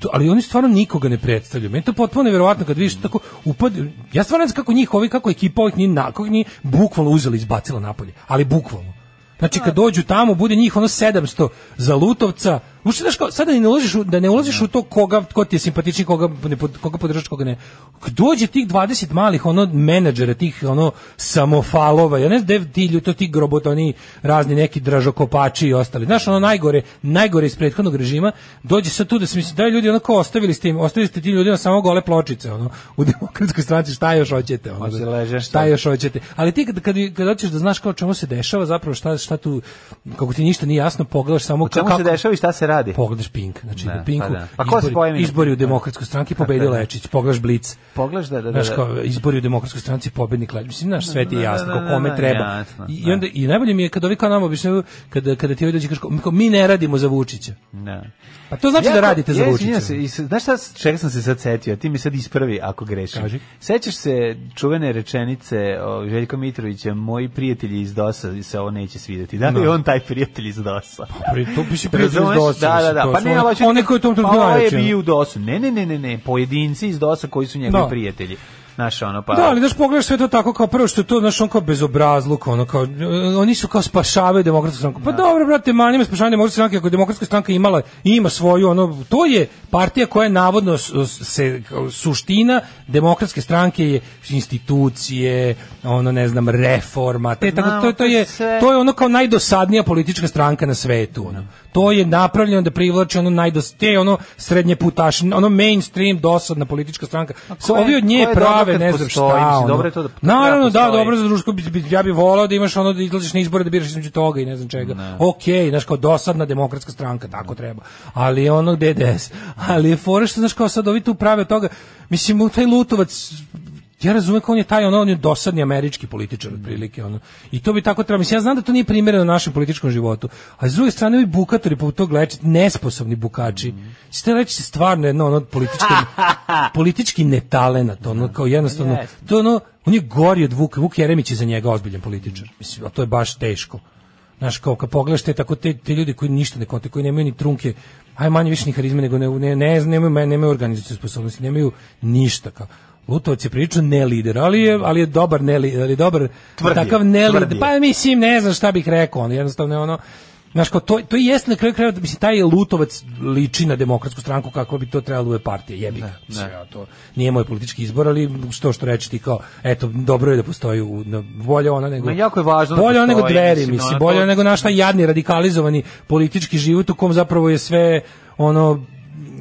[SPEAKER 6] to, ali oni stvarno nikoga ne predstavljaju. Meni je to potpuno neverovatno kad vidiš tako upad, ja stvarno ne znam kako njih, ovi, kako ekipa ovih ni na, kako ni bukvalno uzeli i izbacila napolje, ali bukvalno. Znači kad dođu tamo bude njih ono 700 za Lutovca. Uopšte znaš kao sada ne ulaziš u, da ne ulaziš u to koga ko ti je simpatični, koga ne pod- koga podržavaš, koga ne. Kad dođe tih 20 malih ono menadžera tih ono samofalova. Ja ne znam dev ti ljudi, to ti grobotoni razni neki dražokopači i ostali. Znaš ono najgore, najgore iz prethodnog režima dođe sad tu da se misli da ljudi ono kao ostavili ste im, ostavili ste tim ljudima samo gole pločice ono u demokratskoj stranci šta još hoćete ono.
[SPEAKER 7] Hoće leže, šta?
[SPEAKER 6] Šta još hoćete. Ali ti kad kad kad hoćeš da znaš kao čemu se dešava zapravo šta šta tu kako ti ništa nije jasno pogledaš samo
[SPEAKER 7] O Pa čemu
[SPEAKER 6] kako
[SPEAKER 7] se dešava i šta se radi?
[SPEAKER 6] pogledaš Pink, znači
[SPEAKER 7] Da,
[SPEAKER 6] da, Pinku
[SPEAKER 7] pa da. Pa ko se
[SPEAKER 6] izbori,
[SPEAKER 7] pojmi?
[SPEAKER 6] izbori u
[SPEAKER 7] Da.
[SPEAKER 6] demokratskoj stranki pobedio
[SPEAKER 7] Tako je.
[SPEAKER 6] Lečić, pogledaš Blic.
[SPEAKER 7] Pogledaš da da da.
[SPEAKER 6] Znaš kao, izbori u demokratskoj stranci pobednik Lečić. Mislim, znaš, sve ti je
[SPEAKER 7] Da, da,
[SPEAKER 6] jasno,
[SPEAKER 7] da,
[SPEAKER 6] ko
[SPEAKER 7] da,
[SPEAKER 6] kome
[SPEAKER 7] da,
[SPEAKER 6] treba.
[SPEAKER 7] jasno,
[SPEAKER 6] I,
[SPEAKER 7] da.
[SPEAKER 6] I onda, i najbolje mi je kada ovi kao nama objašnjavaju, kada, kada ti ovi dođe, i kažu, kao, mi ne radimo za Vučića.
[SPEAKER 7] Da.
[SPEAKER 6] Pa to znači da
[SPEAKER 7] Jako-
[SPEAKER 6] radite za
[SPEAKER 7] ja,
[SPEAKER 6] Vučića.
[SPEAKER 7] izvinjam se, i s- znaš šta, čega sam se sad setio, ti mi sad ispravi ako grešim.
[SPEAKER 6] Kaži.
[SPEAKER 7] Sećaš se čuvene rečenice o Željka Mitrovića, moji prijatelji iz DOS-a se ovo neće svidjeti. Da li je
[SPEAKER 6] No. Pa,
[SPEAKER 7] on taj prijatelj iz DOS-a?
[SPEAKER 6] Pri, to bi si prijatelj iz
[SPEAKER 7] Razumeš?
[SPEAKER 6] DOS-a,
[SPEAKER 7] Da, da,
[SPEAKER 6] mislim,
[SPEAKER 7] da.
[SPEAKER 6] to
[SPEAKER 7] Pa
[SPEAKER 6] su
[SPEAKER 7] ne,
[SPEAKER 6] oni-
[SPEAKER 7] ali hoću-
[SPEAKER 6] Oni koji u tom
[SPEAKER 7] pa
[SPEAKER 6] trenutku
[SPEAKER 7] ovaj je
[SPEAKER 6] najveći, ono.
[SPEAKER 7] bio u DOS-u. Ne, ne, ne, ne, ne, pojedinci iz DOS-a koji su njegovi
[SPEAKER 6] Da.
[SPEAKER 7] prijatelji. Znaš, ono, pa...
[SPEAKER 6] Da, ali daš pogledaš sve to tako kao prvo što je to, znaš, on kao bezobrazluk, ono kao, e, oni su kao spašavaju demokratsku stranku. Pa dobro, brate, ma njima spašavanje demokratske stranke, ako je demokratska stranka imala, ima svoju, ono, to je partija koja je navodno s- s- se, kao suština demokratske stranke je institucije, ono, ne znam, reforma, te, tako,
[SPEAKER 7] Znamo,
[SPEAKER 6] to, to,
[SPEAKER 7] to
[SPEAKER 6] je,
[SPEAKER 7] sve-
[SPEAKER 6] to je ono kao najdosadnija politička stranka na svetu, ono. To je napravljeno da privlači ono najdos, te ono srednje putaš, ono mainstream dosadna politička stranka. Sa
[SPEAKER 7] koje-
[SPEAKER 6] ovi od nje
[SPEAKER 7] koje je dobro
[SPEAKER 6] prave,
[SPEAKER 7] kad
[SPEAKER 6] ne znam
[SPEAKER 7] postoji,
[SPEAKER 6] šta.
[SPEAKER 7] mislim,
[SPEAKER 6] ono.
[SPEAKER 7] dobro je to da-
[SPEAKER 6] Naravno,
[SPEAKER 7] da
[SPEAKER 6] da,
[SPEAKER 7] postoji.
[SPEAKER 6] dobro za društvo, bi, bi- ja bih volao da imaš ono da izlaziš na izbore da biraš između toga i ne znam čega. Okej, znaš kao dosadna demokratska stranka, tako treba. Ali je ono DDS. Ali je fora što znaš kao sad ovi tu prave od toga. Mislim, u taj Lutovac ja razumem kao on je taj ono, on je dosadni američki političar otprilike ono. I to bi tako trebalo. Mislim ja znam da to nije primjereno našem političkom životu. A s druge strane ovi bukatori poput tog leči nesposobni bukači. Mm. Ste leči stvarno jedno ono politički politički netalenat, ono kao jednostavno
[SPEAKER 7] Jeste.
[SPEAKER 6] to je ono, on je gori od Vuka, Vuk Jeremić je za njega ozbiljan političar, mislim, a to je baš teško. Znaš, kao kad pogledaš te, tako te, te ljudi koji ništa ne konte, koji nemaju ni trunke, aj manje više ni harizme, nego ne, ne, ne, znam, nemaju, nemaju organizaciju sposobnosti, nemaju ništa. Kao. Lutovac je prilično ne lider, ali je, ali je dobar ne lider, ali je dobar
[SPEAKER 7] Tvrd je,
[SPEAKER 6] takav ne
[SPEAKER 7] tvrd
[SPEAKER 6] lider.
[SPEAKER 7] je.
[SPEAKER 6] Pa mislim, ne znam šta bih rekao, ono, jednostavno je ono, Znaš, kao to, to i jeste na kraju krajeva, da, mislim, taj Lutovac liči na demokratsku stranku kako bi to trebalo da bude partija, jebi ga. Mislim, ja, to nije moj politički izbor, ali što što reći ti kao, eto, dobro je da postoji, u, na, bolje ona nego...
[SPEAKER 7] Ma, jako je važno da
[SPEAKER 6] Bolje ona nego
[SPEAKER 7] postoji,
[SPEAKER 6] dveri,
[SPEAKER 7] mislim,
[SPEAKER 6] mislim,
[SPEAKER 7] ono,
[SPEAKER 6] bolje
[SPEAKER 7] to-
[SPEAKER 6] nego naš taj jadni, radikalizovani politički život u kom zapravo je sve, ono,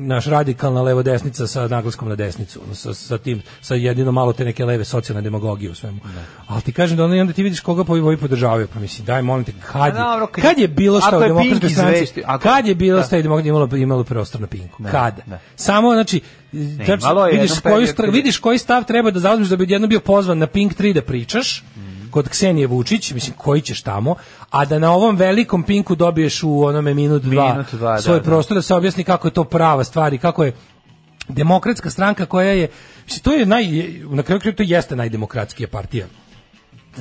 [SPEAKER 6] naš radikalna levo-desnica sa naglaskom na desnicu, ono, sa, sa tim, sa jedino malo te neke leve socijalne demagogije u svemu. Ali ti kažem da ono, i onda ti vidiš koga pa ovi ovi podržavaju, pa mislim, daj, molim te, kad
[SPEAKER 7] A dobro,
[SPEAKER 6] je,
[SPEAKER 7] kad-
[SPEAKER 6] kad je bilo šta
[SPEAKER 7] ako
[SPEAKER 6] u
[SPEAKER 7] je Pink
[SPEAKER 6] demokratskoj stranci,
[SPEAKER 7] izvestio- ako-
[SPEAKER 6] kad je bilo
[SPEAKER 7] da.
[SPEAKER 6] šta i demokratski imalo, imalo prostor na pinku, kada?
[SPEAKER 7] da.
[SPEAKER 6] Samo, znači, znači,
[SPEAKER 7] imalo je
[SPEAKER 6] vidiš,
[SPEAKER 7] jedan
[SPEAKER 6] koju,
[SPEAKER 7] period
[SPEAKER 6] stra-
[SPEAKER 7] kad je-
[SPEAKER 6] vidiš koji stav treba da zauzmeš da bi odjedno bio pozvan na Pink 3 da pričaš, kod Ksenije Vučić, mislim, koji ćeš tamo, a da na ovom velikom Pinku dobiješ u onome minut dva,
[SPEAKER 7] Minut, dva, da,
[SPEAKER 6] svoj
[SPEAKER 7] da.
[SPEAKER 6] prostor da se objasni kako je to prava stvar i kako je demokratska stranka koja je, mislim, to je naj, na kraju kraju to jeste najdemokratskija partija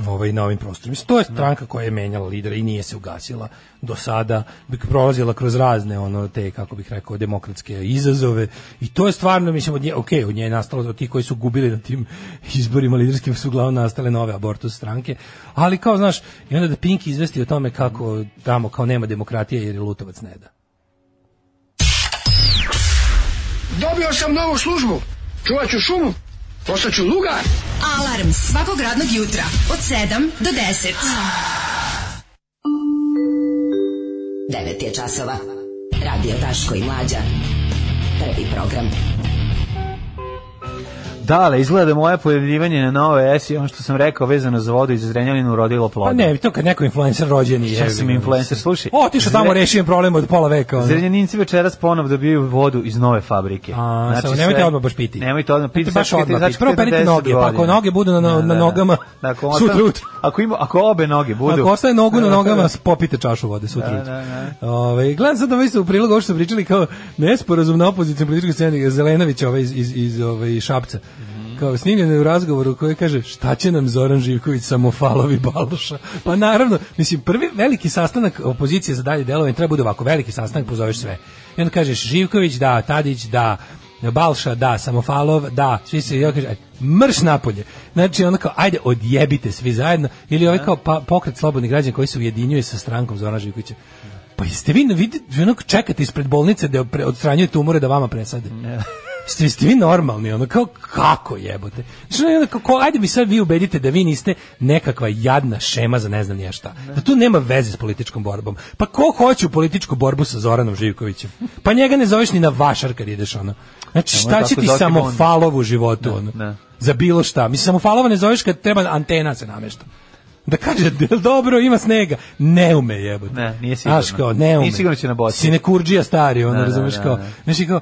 [SPEAKER 6] ovaj, na ovim prostorima. Mislim, to je stranka koja je menjala lidera i nije se ugasila do sada, bi prolazila kroz razne ono te, kako bih rekao, demokratske izazove i to je stvarno, mislim, od nje, ok, od nje je nastalo, od tih koji su gubili na tim izborima liderskim su uglavnom nastale nove abortus stranke, ali kao, znaš, i onda da Pink izvesti o tome kako tamo kao nema demokratije jer je Lutovac ne da.
[SPEAKER 12] Dobio sam novu službu. Čuvat ću šumu. Postaću lugar.
[SPEAKER 11] Alarm svakog radnog jutra od 7 do 10. 9 je časova. Radio Daško i Mlađa. Prvi program.
[SPEAKER 7] Dale, izgleda da moje pojavljivanje na Nove S i ono što sam rekao vezano za vodu iz Zrenjaninu rodilo
[SPEAKER 6] Pa
[SPEAKER 7] plodom.
[SPEAKER 6] ne, to kad neko influencer rođeni je.
[SPEAKER 7] Ja sam influencer, slušaj.
[SPEAKER 6] Otišao tamo,
[SPEAKER 7] Zre-
[SPEAKER 6] rešio im problem od pola veka. ono.
[SPEAKER 7] Zrenjaninci večeras ponov dobijaju vodu iz nove fabrike. Znači,
[SPEAKER 6] A, samo nemojte
[SPEAKER 7] sve-
[SPEAKER 6] odmah baš piti.
[SPEAKER 7] Nemojte odmah piti.
[SPEAKER 6] Nemojte baš
[SPEAKER 7] sačekajte-
[SPEAKER 6] odmah piti.
[SPEAKER 7] sačekajte
[SPEAKER 6] Prvo perite
[SPEAKER 7] 10
[SPEAKER 6] noge, pa ako
[SPEAKER 7] godina.
[SPEAKER 6] noge budu na- na- na nogama,
[SPEAKER 7] Ako
[SPEAKER 6] sutra
[SPEAKER 7] ostane-
[SPEAKER 6] ujutru.
[SPEAKER 7] Ako, ima, ako obe noge budu...
[SPEAKER 6] Ako ostaje nogu na nogama, popite čašu vode sutra.
[SPEAKER 7] Da,
[SPEAKER 6] ujutru.
[SPEAKER 7] da,
[SPEAKER 6] Ovaj, gledam sad ovaj su u prilogu, ovo što su pričali kao nesporazum na opoziciju političkoj sceni Zelenovića ovaj iz, iz, iz ovaj, Šapca. Kao snimljeno je u razgovoru koji kaže šta će nam Zoran Živković samo falovi Baloša. Pa naravno, mislim prvi veliki sastanak opozicije za dalje delovanje treba bude ovako veliki sastanak pozoveš sve. I onda kažeš Živković da, Tadić da, Balša da, Samofalov da, svi se ja kaže aj, mrš napolje. Znači ono kao ajde odjebite svi zajedno ili ovaj kao pa, pokret slobodnih građana koji se ujedinjuje sa strankom Zorana Živkovića. Pa jeste vi, vidite, onako čekate ispred bolnice da pre- odstranjuje tumore da vama presade. Jeste, jeste vi normalni, ono kao kako jebote. Znači, ono, kao, ko- ajde mi sad vi ubedite da vi niste nekakva jadna šema za ne znam nije šta. Da tu nema veze s političkom borbom. Pa ko hoće u političku borbu sa Zoranom Živkovićem? Pa njega ne zoveš ni na vašar kad ideš ono. Znači
[SPEAKER 7] Nemoj
[SPEAKER 6] šta će
[SPEAKER 7] tako
[SPEAKER 6] ti
[SPEAKER 7] zvati
[SPEAKER 6] samo
[SPEAKER 7] Bondi.
[SPEAKER 6] falov u životu ono?
[SPEAKER 7] da.
[SPEAKER 6] Za bilo šta. Mislim samo falova ne zoveš kad treba antena se namešta. Da kaže, "Del dobro, ima snega. Ne ume jebote.
[SPEAKER 7] Ne, nije sigurno.
[SPEAKER 6] Znaš kao, ne ume.
[SPEAKER 7] Nije sigurno će na boci.
[SPEAKER 6] Sinekurđija stari, ono,
[SPEAKER 7] Da, da,
[SPEAKER 6] razumeš
[SPEAKER 7] da,
[SPEAKER 6] kao.
[SPEAKER 7] da.
[SPEAKER 6] Znači kao,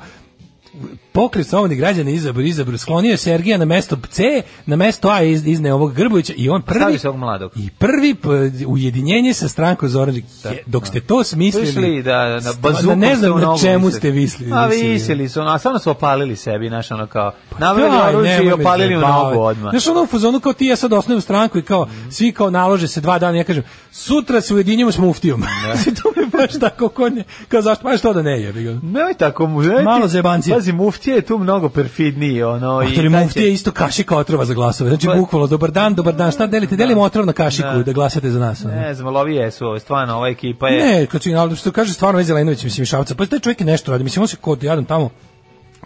[SPEAKER 6] pokret slobodnih građana izabru, izabru, sklonio je Sergija na mesto C, na mesto A iz, izne ovog Grbovića i on prvi,
[SPEAKER 7] Stavi se ovog mladog.
[SPEAKER 6] i prvi p- ujedinjenje sa strankom Zoran Đinđić. Dok ste to smislili,
[SPEAKER 7] Išli da na
[SPEAKER 6] sta-
[SPEAKER 7] bazuku.
[SPEAKER 6] ne
[SPEAKER 7] ste
[SPEAKER 6] znam
[SPEAKER 7] u
[SPEAKER 6] na
[SPEAKER 7] nogu
[SPEAKER 6] čemu
[SPEAKER 7] visili.
[SPEAKER 6] ste visli.
[SPEAKER 7] A
[SPEAKER 6] mislili.
[SPEAKER 7] visili su, a stvarno su opalili sebi, znaš, ono kao, naveli
[SPEAKER 6] Daj,
[SPEAKER 7] oružje i
[SPEAKER 6] Pa nemoj me
[SPEAKER 7] opalili u
[SPEAKER 6] zajebavati.
[SPEAKER 7] nogu odmah.
[SPEAKER 6] Znaš, ono u fazonu kao ti ja sad osnovim stranku i kao, svi kao nalože se dva dana, ja kažem, sutra se ujedinjamo s muftijom. to mi je baš tako konje. Kao zašto, pa što da ne jebi ga.
[SPEAKER 7] Nemoj tako mu, nemoj ti-
[SPEAKER 6] Malo Pa zajebancije.
[SPEAKER 7] Pazi, muftije je tu mnogo perfidniji, ono, i...
[SPEAKER 6] Autori
[SPEAKER 7] kad će-
[SPEAKER 6] muftije isto kašika otrova za glasove. Znači,
[SPEAKER 7] Pa-
[SPEAKER 6] bukvalno, dobar dan, dobar dan, šta delite? Delimo otrov na kašiku
[SPEAKER 7] Da.
[SPEAKER 6] da, glasate za nas. ono.
[SPEAKER 7] Ne znam, ali ovi jesu, ovo, stvarno, ova ekipa Pa je...
[SPEAKER 6] Ne, kad su ali što kaže stvarno ovaj Zelenović, mislim, i Šavca, pa taj čovjek je nešto radi, mislim, on se kod jadan tamo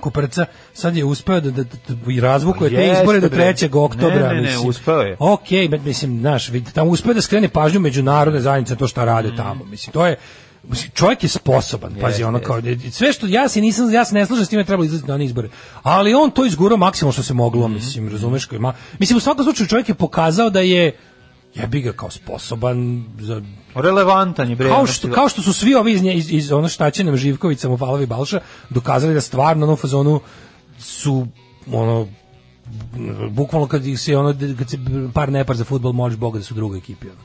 [SPEAKER 6] koprca, sad je uspeo da, da, da i razvukuje te
[SPEAKER 7] Jeste,
[SPEAKER 6] izbore do
[SPEAKER 7] bre.
[SPEAKER 6] 3. oktobra.
[SPEAKER 7] Ne, ne, ne,
[SPEAKER 6] mislim.
[SPEAKER 7] uspeo je.
[SPEAKER 6] Okej, bet- mislim, znaš, vidi, tamo uspeo da skrene pažnju međunarodne zajednice na to šta rade tamo. Mislim, to je mislim, čovjek je sposoban, pazi,
[SPEAKER 7] Mm. Jeste,
[SPEAKER 6] ono kao, sve što, ja se nisam, ja se ne slažem s time trebalo izlaziti na one izbore, ali on to izgurao maksimum što se moglo,
[SPEAKER 7] Mm.
[SPEAKER 6] mislim, razumeš, koji ima, mislim, u svakom slučaju čovjek je pokazao da je, jebi ga kao sposoban za
[SPEAKER 7] Relevantan je, bre.
[SPEAKER 6] kao
[SPEAKER 7] ono
[SPEAKER 6] što,
[SPEAKER 7] ti-
[SPEAKER 6] kao što su svi ovi iz, nje- iz, iz ono šta će nam Živković, Samofalov i Balša dokazali da stvarno na fazonu su ono bukvalno kad ih se ono kad se par nepar za fudbal moliš Boga da su u drugoj ekipi ono.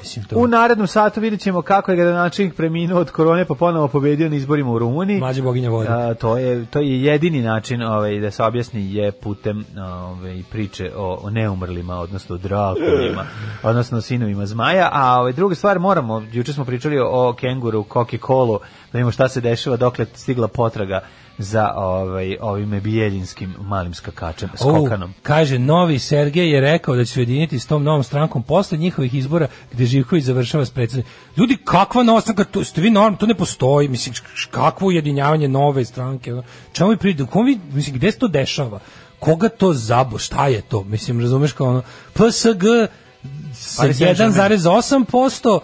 [SPEAKER 6] Mislim to.
[SPEAKER 7] U narednom satu vidjet ćemo kako je gradonačelnik preminuo od korone pa ponovo pobedio na izborima u Rumuniji.
[SPEAKER 6] Mlađe boginje vode.
[SPEAKER 7] A, to, je, to je jedini način ovaj, da se objasni je putem ovaj, priče o, o neumrlima, odnosno drakovima, odnosno sinovima zmaja. A ovaj, druga stvar, moramo, juče smo pričali o kenguru, Coca-Cola, da vidimo šta se dešava, dokle stigla potraga za ovaj, ovim bijeljinskim malim skakačem,
[SPEAKER 6] O,
[SPEAKER 7] skokanom.
[SPEAKER 6] kaže, novi Sergej je rekao da će se ujediniti s tom novom strankom posle njihovih izbora gde Živković završava s predsjednikom. Ljudi, kakva nova stranka, to, ste vi normalni, to ne postoji, mislim, š- š- kakvo ujedinjavanje nove stranke, ono, čemu vi pridi, kom vi, mislim, gde se to dešava? Koga to zabo, šta je to? Mislim, razumeš kao ono, PSG sa
[SPEAKER 7] Paris Saint-Germain.
[SPEAKER 6] 1,8%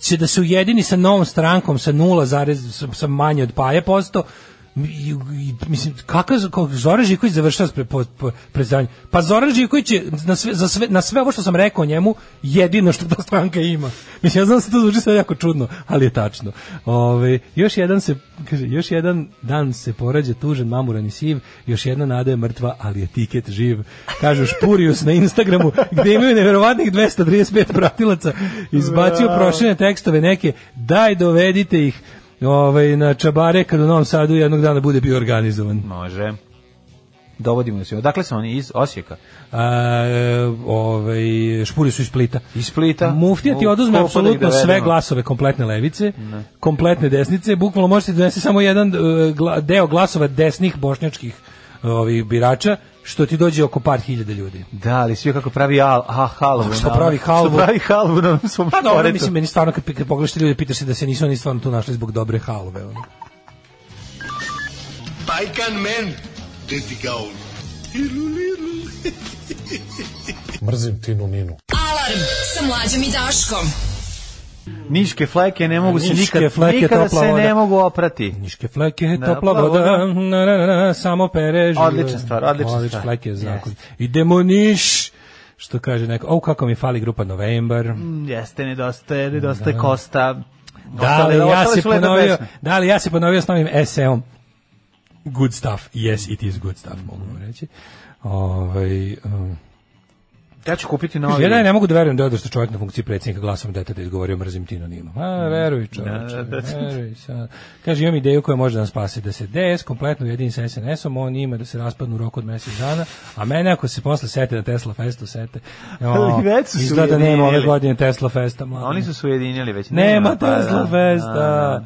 [SPEAKER 6] će da se ujedini sa novom strankom sa 0, zarez- sa, sa manje od paje posto I- i- mislim kakav kako Zoran Živković završava s pre, po, po, predstavljanje. Pa Zoran Živković je na sve, za sve, na sve ovo što sam rekao o njemu jedino što ta stranka ima. Mislim ja znam da se to zvuči sve jako čudno, ali je tačno. Ove, još jedan se kaže još jedan dan se porađa tužan mamuran i siv, još jedna nada je mrtva, ali je tiket živ. Kažu Špurius na Instagramu gde imaju neverovatnih 235 pratilaca, izbacio proširene tekstove neke, daj dovedite ih ovaj, na Čabare kad u Novom Sadu jednog dana bude bio organizovan.
[SPEAKER 7] Može. Dovodimo se. Odakle su oni iz Osijeka?
[SPEAKER 6] A, e, ovaj, špuri su iz Splita.
[SPEAKER 7] Iz Splita.
[SPEAKER 6] Muftija ti
[SPEAKER 7] U
[SPEAKER 6] oduzme
[SPEAKER 7] Skopa da ih
[SPEAKER 6] apsolutno sve
[SPEAKER 7] dovedemo.
[SPEAKER 6] glasove kompletne levice, kompletne desnice, bukvalno možete donesi samo jedan e, gla- deo glasova desnih bošnjačkih e, ovih birača, što ti dođe oko par hiljada ljudi.
[SPEAKER 7] Da, ali svi kako pravi al, a, halvu.
[SPEAKER 6] Što
[SPEAKER 7] na-
[SPEAKER 6] pravi halvu.
[SPEAKER 7] Što pravi halvu ono na onom svom
[SPEAKER 6] Pa dobro,
[SPEAKER 7] šporetu.
[SPEAKER 6] mislim, meni stvarno kad, kad pogledaš te ljude, pitaš se da se nisu oni stvarno tu našli zbog dobre halove. ono.
[SPEAKER 10] Bajkan men, deti gaun.
[SPEAKER 13] Mrzim Tinu Ninu.
[SPEAKER 5] Alarm sa mlađom i Daškom.
[SPEAKER 7] Niške fleke ne mogu se
[SPEAKER 6] Niške
[SPEAKER 7] nikad,
[SPEAKER 6] fleke,
[SPEAKER 7] nikada
[SPEAKER 6] topla
[SPEAKER 7] se ne
[SPEAKER 6] voda.
[SPEAKER 7] mogu oprati.
[SPEAKER 6] Niške fleke,
[SPEAKER 7] Da,
[SPEAKER 6] topla
[SPEAKER 7] plavo,
[SPEAKER 6] voda,
[SPEAKER 7] da.
[SPEAKER 6] na, na, na, na, samo pere žive.
[SPEAKER 7] Odlična stvar, odlična
[SPEAKER 6] Odlične
[SPEAKER 7] stvar.
[SPEAKER 6] fleke, zakon.
[SPEAKER 7] Yes.
[SPEAKER 6] Idemo niš, što kaže neko. O, kako mi fali grupa Novembar.
[SPEAKER 7] Mm, Jeste, nedostaje, nedostaje kosta.
[SPEAKER 6] Da li
[SPEAKER 7] Ostale-
[SPEAKER 6] ja
[SPEAKER 7] ostale
[SPEAKER 6] se
[SPEAKER 7] su lepe
[SPEAKER 6] ponovio,
[SPEAKER 7] pesme.
[SPEAKER 6] da li ja se ponovio s novim SM-om. Good stuff, yes, it is good stuff, mogu vam reći. Ovaj, um,
[SPEAKER 7] Ja ću kupiti novi.
[SPEAKER 6] Ja ne, ne mogu da verujem da je odrastao čovjek na funkciji predsjednika glasom deteta izgovorio mrzim Tino Nino. A, veruj čovječe,
[SPEAKER 7] Mm. Da, da, da.
[SPEAKER 6] veruj. sad. Kaže, imam ideju koja može da nas spasi, da se DS kompletno ujedini sa SNS-om, on ima da se raspadnu u roku od mjesec dana, a mene ako se posle sete na Tesla Festu sete, o,
[SPEAKER 7] Ali već su se
[SPEAKER 6] izgleda da nema ove
[SPEAKER 7] ujedinili.
[SPEAKER 6] godine Tesla Festa. mladine.
[SPEAKER 7] Oni su se ujedinili već.
[SPEAKER 6] Nema
[SPEAKER 7] pa da,
[SPEAKER 6] Tesla
[SPEAKER 7] da,
[SPEAKER 6] Festa.
[SPEAKER 7] da.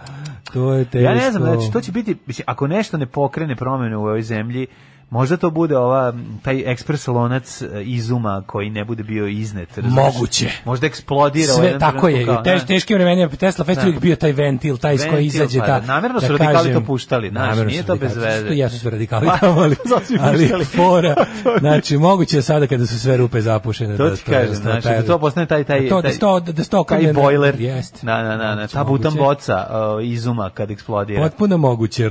[SPEAKER 6] To je teško.
[SPEAKER 7] Ja ne znam, znači to će biti, mislim, ako nešto ne pokrene promjene u ovoj zemlji, možda to bude ova m, taj ekspres lonac e, izuma koji ne bude bio iznet. razumeš?
[SPEAKER 6] Moguće.
[SPEAKER 7] Možda eksplodira. u
[SPEAKER 6] Sve
[SPEAKER 7] jednom
[SPEAKER 6] tako je,
[SPEAKER 7] trenutku
[SPEAKER 6] u
[SPEAKER 7] kao,
[SPEAKER 6] teš,
[SPEAKER 7] ne.
[SPEAKER 6] teškim vremenima Tesla Fest
[SPEAKER 7] Da.
[SPEAKER 6] uvijek bio taj ventil, taj iz koji
[SPEAKER 7] Ventil,
[SPEAKER 6] izađe
[SPEAKER 7] pa
[SPEAKER 6] ta.
[SPEAKER 7] da, namjerno su
[SPEAKER 6] da
[SPEAKER 7] radikali
[SPEAKER 6] kažem-
[SPEAKER 7] to puštali, znaš,
[SPEAKER 6] namjerno
[SPEAKER 7] nije
[SPEAKER 6] su
[SPEAKER 7] to
[SPEAKER 6] radikali,
[SPEAKER 7] bez veze.
[SPEAKER 6] zato što i Ja su sve radikali
[SPEAKER 7] Pa,
[SPEAKER 6] tamo, ali,
[SPEAKER 7] zato su i
[SPEAKER 6] ali
[SPEAKER 7] puštali.
[SPEAKER 6] fora.
[SPEAKER 7] To je-
[SPEAKER 6] znači, moguće je sada kada su sve rupe zapušene.
[SPEAKER 7] To
[SPEAKER 6] da
[SPEAKER 7] ti kažem,
[SPEAKER 6] da
[SPEAKER 7] znači, da to postane taj- taj-
[SPEAKER 6] Da to, da
[SPEAKER 7] taj-
[SPEAKER 6] sto, da, da sto
[SPEAKER 7] Taj
[SPEAKER 6] krene-
[SPEAKER 7] bojler.
[SPEAKER 6] Jeste.
[SPEAKER 7] Da, da, da, da, ta
[SPEAKER 6] Moguće.
[SPEAKER 7] butan boca e, izuma kad eksplodira.
[SPEAKER 6] Potpuno moguće.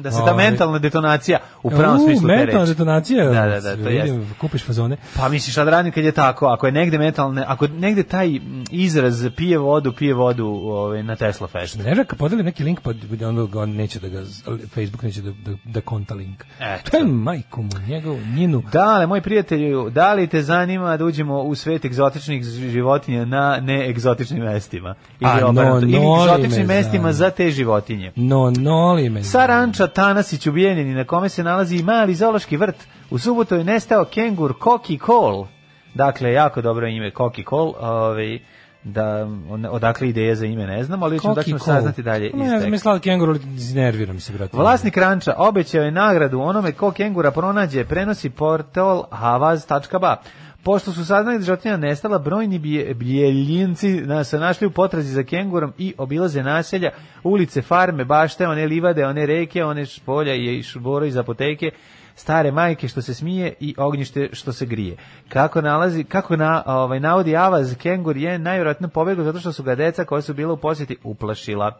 [SPEAKER 7] Da se ta mentalna detonacija Mhm. u pravom
[SPEAKER 6] Ovaj. U,
[SPEAKER 7] smislu te reči.
[SPEAKER 6] mentalna detonacija.
[SPEAKER 7] Da, da, da, to
[SPEAKER 6] Vidim,
[SPEAKER 7] jeste.
[SPEAKER 6] Kupiš fazone.
[SPEAKER 7] Pa misliš, šta da radim kad je tako, ako je negde mentalne, ako negde taj mm, izraz pije vodu, pije vodu ovaj, na Tesla Fest.
[SPEAKER 6] Ne znam, kad podelim neki link, pa onda ga on neće da ga, Facebook neće da, da, da konta link.
[SPEAKER 7] Eto.
[SPEAKER 6] To je majku mu, njegovu, njinu.
[SPEAKER 7] Da, ali moj prijatelju, da li te zanima da uđemo u svet egzotičnih životinja na neegzotičnim mestima? Ili,
[SPEAKER 6] A, no,
[SPEAKER 7] obrnuto, ili
[SPEAKER 6] noli me
[SPEAKER 7] egzotičnim
[SPEAKER 6] zanima.
[SPEAKER 7] mestima za te životinje?
[SPEAKER 6] No, noli me.
[SPEAKER 7] Sa ranča Tanasić u Bijeljini, na kome se nalazi i mali zološki vrt, u subotu je nestao kengur Koki Kol. Dakle, jako dobro ime Koki Kol. Ovaj, da, on- odakle ideja za ime ne znam, ali ćemo, da ćemo saznati dalje iz
[SPEAKER 6] Pa Ne znam,
[SPEAKER 7] teksta.
[SPEAKER 6] mi slatki kenguru, ali iznerviram se, brate.
[SPEAKER 7] Vlasnik ranča obećao je nagradu onome ko kengura pronađe, prenosi portal havaz.ba. Pošto su saznali da životinja nestala, brojni bije- bijeljinci na- se našli u potrazi za kengurom i obilaze naselja, ulice, farme, bašte, one livade, one reke, one špolja i šboro iz apoteke, stare majke što se smije i ognjište što se grije. Kako nalazi, kako na, ovaj, navodi Avaz, kengur je najvjerojatno pobegao zato što su ga deca koja su bila u posjeti uplašila.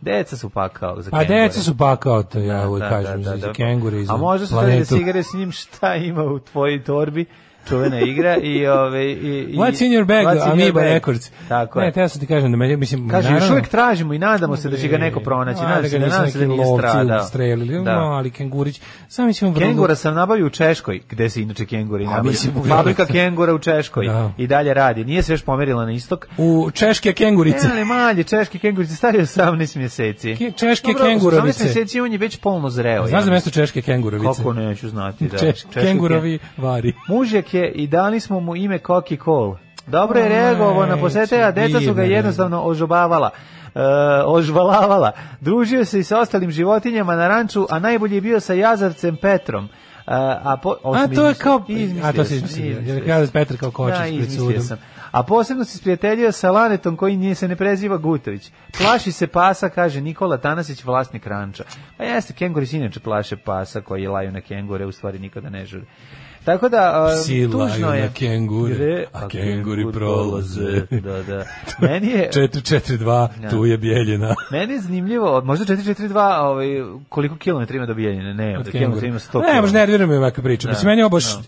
[SPEAKER 7] Deca su pakao za
[SPEAKER 6] Pa
[SPEAKER 7] kengure.
[SPEAKER 6] deca su pakao, to ja uvijek kažem, za kengure i za
[SPEAKER 7] A možda su stavili da se igraju s njim šta ima u tvojoj torbi, čuvena igra i ove i, i
[SPEAKER 6] What's in your bag,
[SPEAKER 7] What's in your
[SPEAKER 6] Amoeba
[SPEAKER 7] bag?
[SPEAKER 6] Records.
[SPEAKER 7] Tako
[SPEAKER 6] ne,
[SPEAKER 7] je.
[SPEAKER 6] te sam ti kažem, da me, mislim,
[SPEAKER 7] Kaže, još
[SPEAKER 6] naravno- E,
[SPEAKER 7] uvijek tražimo i nadamo se da će ga neko pronaći.
[SPEAKER 6] A,
[SPEAKER 7] Nadam
[SPEAKER 6] da
[SPEAKER 7] se
[SPEAKER 6] ga
[SPEAKER 7] da
[SPEAKER 6] nisu
[SPEAKER 7] nadam se da
[SPEAKER 6] neki
[SPEAKER 7] nije
[SPEAKER 6] lovci
[SPEAKER 7] stradao.
[SPEAKER 6] ustrelili,
[SPEAKER 7] Da.
[SPEAKER 6] mali kengurić. Sam mislim, vrlo-
[SPEAKER 7] Kengura sam nabavio u Češkoj, gde se inače kenguri nabavljaju.
[SPEAKER 6] mislim, u
[SPEAKER 7] Fabrika
[SPEAKER 6] Beogradu.
[SPEAKER 7] kengura u Češkoj
[SPEAKER 6] Da.
[SPEAKER 7] i dalje radi. Nije se još pomerila na istok.
[SPEAKER 6] U češke kengurice.
[SPEAKER 7] Ne, ali mali češki kengurice stari 18 mjeseci.
[SPEAKER 6] Ke- češke
[SPEAKER 7] Dobro, 18
[SPEAKER 6] kengurovice.
[SPEAKER 7] mjeseci on je već polno zreo.
[SPEAKER 6] Znaš za
[SPEAKER 7] ja.
[SPEAKER 6] mesto češke kengurovice?
[SPEAKER 7] Kako neću znati, da.
[SPEAKER 6] Češ-
[SPEAKER 7] Češki
[SPEAKER 6] kengurovi vari.
[SPEAKER 7] Mužjak je i dali smo mu ime Koki Kol. Dobro je reagovao na posetitelja, deca su
[SPEAKER 6] divno
[SPEAKER 7] ga
[SPEAKER 6] je.
[SPEAKER 7] jednostavno ožobavala. E, ožvalavala. Družio se i sa ostalim životinjama na ranču, a najbolji je bio sa jazavcem Petrom. E, a, po, ovo
[SPEAKER 6] A
[SPEAKER 7] sam
[SPEAKER 6] to je
[SPEAKER 7] izmislio.
[SPEAKER 6] kao... A to
[SPEAKER 7] Izmislio
[SPEAKER 6] se
[SPEAKER 7] sam,
[SPEAKER 6] izmislio.
[SPEAKER 7] izmislio
[SPEAKER 6] Jer
[SPEAKER 7] sam.
[SPEAKER 6] kada Petar kao kočić
[SPEAKER 7] Da,
[SPEAKER 6] pred
[SPEAKER 7] izmislio
[SPEAKER 6] sudom.
[SPEAKER 7] sam. A posebno se sprijateljio sa Lanetom koji nije se ne preziva Gutović. Plaši se pasa, kaže Nikola Tanasić, vlasnik ranča. Pa jeste, kenguri se inače plaše pasa koji laju na kengure, u stvari nikada ne žure. Tako da, um,
[SPEAKER 6] Psi laju
[SPEAKER 7] tužno je.
[SPEAKER 6] na kengure,
[SPEAKER 7] Gre-
[SPEAKER 6] a kenguri prolaze.
[SPEAKER 7] Da, da. Meni je...
[SPEAKER 6] 442,
[SPEAKER 7] Ja.
[SPEAKER 6] tu je Bijeljina.
[SPEAKER 7] Meni je zanimljivo, od možda 442, ovaj, koliko kilometra ima do Bijeljine? Ne,
[SPEAKER 6] Od
[SPEAKER 7] od kilometra ima 100
[SPEAKER 6] Ne, možda
[SPEAKER 7] kilometara.
[SPEAKER 6] nervira me ovakva priča.
[SPEAKER 7] Da,
[SPEAKER 6] Mislim, meni je ovo baš...
[SPEAKER 7] da.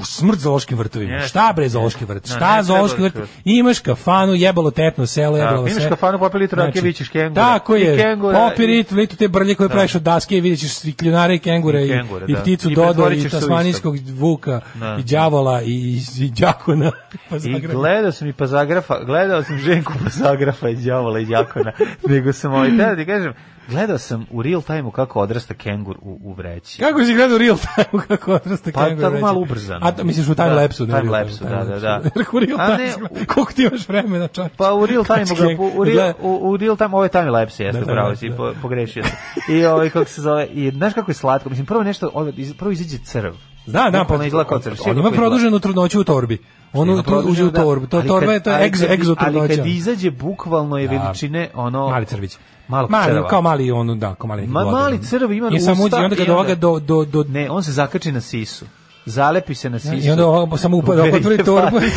[SPEAKER 6] U, smrt zoološkim vrtovima.
[SPEAKER 7] Jeste.
[SPEAKER 6] Šta bre zoološki vrt?
[SPEAKER 7] Da,
[SPEAKER 6] Šta
[SPEAKER 7] ne treba
[SPEAKER 6] zoološki vrt?
[SPEAKER 7] zoološki vrt.
[SPEAKER 6] Imaš kafanu, jebalo tetno selo, jebalo
[SPEAKER 7] imaš
[SPEAKER 6] sve. Znači,
[SPEAKER 7] kafanu, popi litru rakije, vidit ćeš kengura.
[SPEAKER 6] Tako
[SPEAKER 7] I
[SPEAKER 6] je.
[SPEAKER 7] kengura,
[SPEAKER 6] popi
[SPEAKER 7] i-
[SPEAKER 6] litru, litru te brlje koje
[SPEAKER 7] Da.
[SPEAKER 6] praviš od daske i vidjet ćeš i kljunare i kengure i,
[SPEAKER 7] I kengure,
[SPEAKER 6] i
[SPEAKER 7] da.
[SPEAKER 6] pticu
[SPEAKER 7] I
[SPEAKER 6] dodo
[SPEAKER 7] pretvorit
[SPEAKER 6] i
[SPEAKER 7] ćeš se u
[SPEAKER 6] tasmanijskog vuka
[SPEAKER 7] Da.
[SPEAKER 6] i đavola i, i, i đakona. Pa
[SPEAKER 7] I
[SPEAKER 6] zagrabim.
[SPEAKER 7] gledao sam i Pazagrafa, gledao sam Ženku Pazagrafa i Đavola i Đakona, nego sam ovaj, da ti kažem, gledao sam u real time kako odrasta kengur u, u vreći.
[SPEAKER 6] Kako si gledao real time kako odrasta
[SPEAKER 7] Pa
[SPEAKER 6] kengur?
[SPEAKER 7] tako
[SPEAKER 6] reći?
[SPEAKER 7] malo ubrzano.
[SPEAKER 6] A to misliš u
[SPEAKER 7] Da,
[SPEAKER 6] time lapsu, ne?
[SPEAKER 7] time
[SPEAKER 6] real
[SPEAKER 7] lapsu,
[SPEAKER 6] time
[SPEAKER 7] da, da, da.
[SPEAKER 6] lapsu. Jer u real
[SPEAKER 7] A
[SPEAKER 6] time,
[SPEAKER 7] ne,
[SPEAKER 6] si- koliko ti imaš vremena, čovječe?
[SPEAKER 7] Pa u real time
[SPEAKER 6] Znači,
[SPEAKER 7] ga, u, u, real,
[SPEAKER 6] gleda-
[SPEAKER 7] u, u real time, ovo je time lapse, jeste,
[SPEAKER 6] Da,
[SPEAKER 7] da,
[SPEAKER 6] time
[SPEAKER 7] pravo
[SPEAKER 6] lapse,
[SPEAKER 7] si,
[SPEAKER 6] da.
[SPEAKER 7] po, pogrešio sam. I ovaj, kako se zove, i znaš kako je slatko, mislim, prvo nešto, ovaj, iz- prvo iziđe crv.
[SPEAKER 6] Da, da,
[SPEAKER 7] Bukvalno
[SPEAKER 6] pa
[SPEAKER 7] izgleda kao crv. sve
[SPEAKER 6] on
[SPEAKER 7] kako
[SPEAKER 6] ima
[SPEAKER 7] izgleda.
[SPEAKER 6] produženu trudnoću u torbi. On to
[SPEAKER 7] Ima
[SPEAKER 6] uđe
[SPEAKER 7] produženu,
[SPEAKER 6] u
[SPEAKER 7] da.
[SPEAKER 6] torbu. To
[SPEAKER 7] Ali
[SPEAKER 6] torba
[SPEAKER 7] kad-
[SPEAKER 6] je to
[SPEAKER 7] ali
[SPEAKER 6] egz,
[SPEAKER 7] kad-
[SPEAKER 6] egzo
[SPEAKER 7] Ali
[SPEAKER 6] trudnoća.
[SPEAKER 7] kad izađe, bukvalno je
[SPEAKER 6] Da.
[SPEAKER 7] veličine, ono...
[SPEAKER 6] Mali crvić.
[SPEAKER 7] Malo
[SPEAKER 6] mali,
[SPEAKER 7] crva.
[SPEAKER 6] kao mali ono, da, kao mali neki
[SPEAKER 7] Ma,
[SPEAKER 6] vodan.
[SPEAKER 7] mali crv ima
[SPEAKER 6] I sam
[SPEAKER 7] usta
[SPEAKER 6] uđe, i onda kad
[SPEAKER 7] i onda-
[SPEAKER 6] ovoga do, do, do,
[SPEAKER 7] Ne, on se zakači na sisu. Zalepi se na sisu.
[SPEAKER 6] I onda ovo samo upada,
[SPEAKER 7] Uberi
[SPEAKER 6] otvori
[SPEAKER 7] je
[SPEAKER 6] torbu.
[SPEAKER 7] Fatić